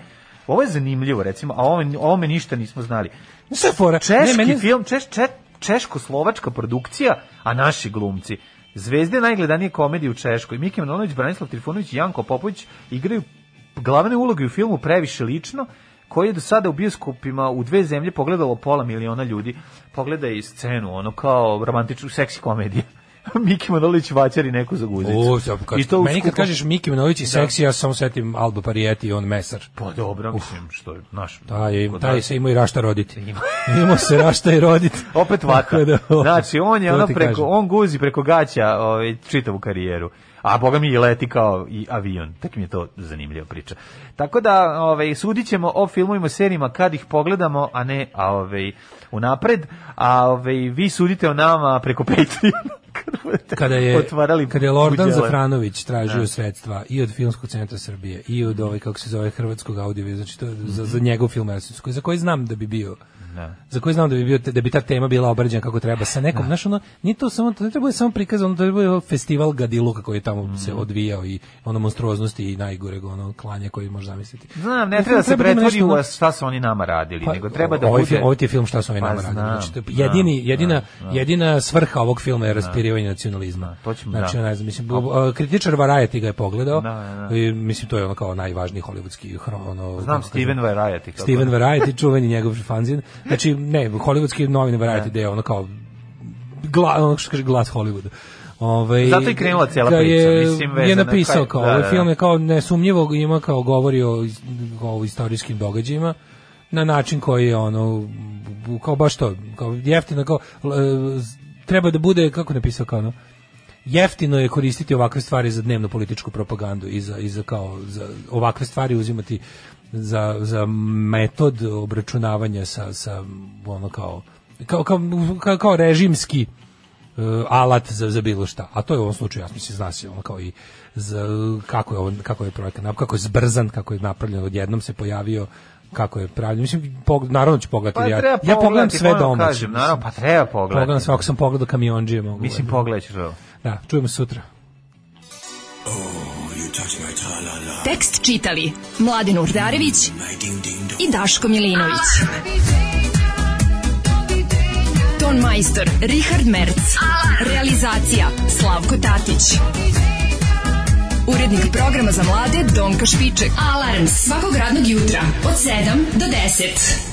[SPEAKER 6] Ovo je zanimljivo, recimo, a ovo, ovo me ništa nismo znali.
[SPEAKER 5] Sve fora.
[SPEAKER 6] Češki
[SPEAKER 5] Ne, meni-
[SPEAKER 6] film, češ, če, češko-slovačka produkcija, a naši glumci. Zvezde najgledanije komedije u Češkoj. Miki Manolović, Branislav Trifunović i Janko Popović igraju glavne uloge u filmu Previše lično, koji je do sada u bioskopima u dve zemlje pogledalo pola miliona ljudi. Pogledaj i scenu, ono kao romantičnu seksi komediju. Miki Manolić vaćari neku za guzicu.
[SPEAKER 5] O, sad kad,
[SPEAKER 6] I to u
[SPEAKER 5] meni kad
[SPEAKER 6] skupom-
[SPEAKER 5] kažeš Miki Manojlić i
[SPEAKER 6] Da.
[SPEAKER 5] seksi, ja samo setim Alba Parijeti i on mesar.
[SPEAKER 6] Pa dobro, mislim, što je, naš...
[SPEAKER 5] Taj,
[SPEAKER 6] kod
[SPEAKER 5] taj
[SPEAKER 6] nas-
[SPEAKER 5] se ima i rašta roditi. Ima se rašta i roditi.
[SPEAKER 6] Opet
[SPEAKER 5] Tako
[SPEAKER 6] vata.
[SPEAKER 5] da, o,
[SPEAKER 6] Znači, on je
[SPEAKER 5] to
[SPEAKER 6] ono
[SPEAKER 5] ti
[SPEAKER 6] preko,
[SPEAKER 5] kažem.
[SPEAKER 6] on guzi preko gaća ovaj, čitavu karijeru. A boga mi i leti kao i avion. Tek mi je to zanimljiva priča. Tako da, ovaj, sudit ćemo o filmovima, serijima kad ih pogledamo, a ne a, ovaj, unapred. A ovaj, vi sudite o nama preko Patreona. kad budete
[SPEAKER 5] kada je
[SPEAKER 6] otvarali
[SPEAKER 5] kada je Lordan
[SPEAKER 6] budžele.
[SPEAKER 5] Zafranović tražio
[SPEAKER 6] Da.
[SPEAKER 5] sredstva i od filmskog centra Srbije i od ovaj kako se zove hrvatskog audio znači to je za, za njegov film Ersic, koji- za koji znam da bi bio
[SPEAKER 6] Da.
[SPEAKER 5] za koji znam da bi bio da bi ta tema bila obrađena kako treba sa nekom znaš ono ni to samo to ne treba je samo prikazano to je festival gadiluka koji je tamo
[SPEAKER 6] Mm.
[SPEAKER 5] se odvijao i ono monstruoznosti i najgoreg ono klanja koji možeš zamisliti
[SPEAKER 6] Znam, ne
[SPEAKER 5] Mislim,
[SPEAKER 6] treba da se
[SPEAKER 5] da ima
[SPEAKER 6] pretvori
[SPEAKER 5] nešto, ono-
[SPEAKER 6] u šta su oni nama radili, nego treba da
[SPEAKER 5] ovaj
[SPEAKER 6] bude...
[SPEAKER 5] Film, ovaj ti film šta su oni
[SPEAKER 6] Pa
[SPEAKER 5] nama radili.
[SPEAKER 6] znam,
[SPEAKER 5] Znači, to je jedini,
[SPEAKER 6] znam,
[SPEAKER 5] jedina,
[SPEAKER 6] znam.
[SPEAKER 5] jedina svrha ovog filma je raspirivanje nacionalizma.
[SPEAKER 6] to ćemo,
[SPEAKER 5] znači,
[SPEAKER 6] da.
[SPEAKER 5] ne znam, mislim, bu- a, kritičar Variety ga je pogledao.
[SPEAKER 6] Da, da.
[SPEAKER 5] I, mislim, to je ono kao najvažniji hollywoodski hro- ono,
[SPEAKER 6] Znam
[SPEAKER 5] kako
[SPEAKER 6] Steven
[SPEAKER 5] kažem,
[SPEAKER 6] Variety. kako-
[SPEAKER 5] Steven Variety, čuveni njegov fanzin. Znači, ne, hollywoodski novine Variety, gde je ono kao gla, ono što kaže glas Hollywooda. Ovaj
[SPEAKER 6] Zato je krenula cijela
[SPEAKER 5] ga
[SPEAKER 6] priča,
[SPEAKER 5] je-
[SPEAKER 6] mislim, vezana
[SPEAKER 5] je napisao
[SPEAKER 6] kaj-
[SPEAKER 5] kao,
[SPEAKER 6] da,
[SPEAKER 5] ovaj
[SPEAKER 6] da, da.
[SPEAKER 5] film je kao nesumnjivo ima kao govori o, iz- o istorijskim događajima na način koji je ono bu- kao baš to, kao jeftino kao l- e, z- treba da bude kako je napisao kao ono jeftino je koristiti ovakve stvari za dnevno političku propagandu i za, i za kao za ovakve stvari uzimati za, za metod obračunavanja sa, sa ono kao kao, kao, kao, kao režimski e, alat za, za bilo šta. A to je u ovom slučaju, ja mislim, zna se ono kao i za, kako je, on, kako je projekat, nap- kako je zbrzan, kako je napravljen, odjednom se pojavio, kako je pravljen. Mislim, pog- naravno ću pogledati.
[SPEAKER 6] Pa
[SPEAKER 5] ja,
[SPEAKER 6] treba
[SPEAKER 5] ja pogledam
[SPEAKER 6] pogledati,
[SPEAKER 5] sve
[SPEAKER 6] moram
[SPEAKER 5] domaće.
[SPEAKER 6] kažem, naravno,
[SPEAKER 5] mislim.
[SPEAKER 6] pa treba pogledati.
[SPEAKER 5] Pogledam sve, ako sam pogledao kamionđije, mogu.
[SPEAKER 6] Mislim,
[SPEAKER 5] gledati.
[SPEAKER 6] pogledat ćeš ovo.
[SPEAKER 5] Da, čujemo se sutra.
[SPEAKER 4] Tekst čitali Mladin Urdarević i Daško Milinović. Ton majstor Richard Merc. Realizacija Slavko Tatić. Urednik programa za mlade Donka Špiček. Alarms svakog radnog jutra od 7 do 10.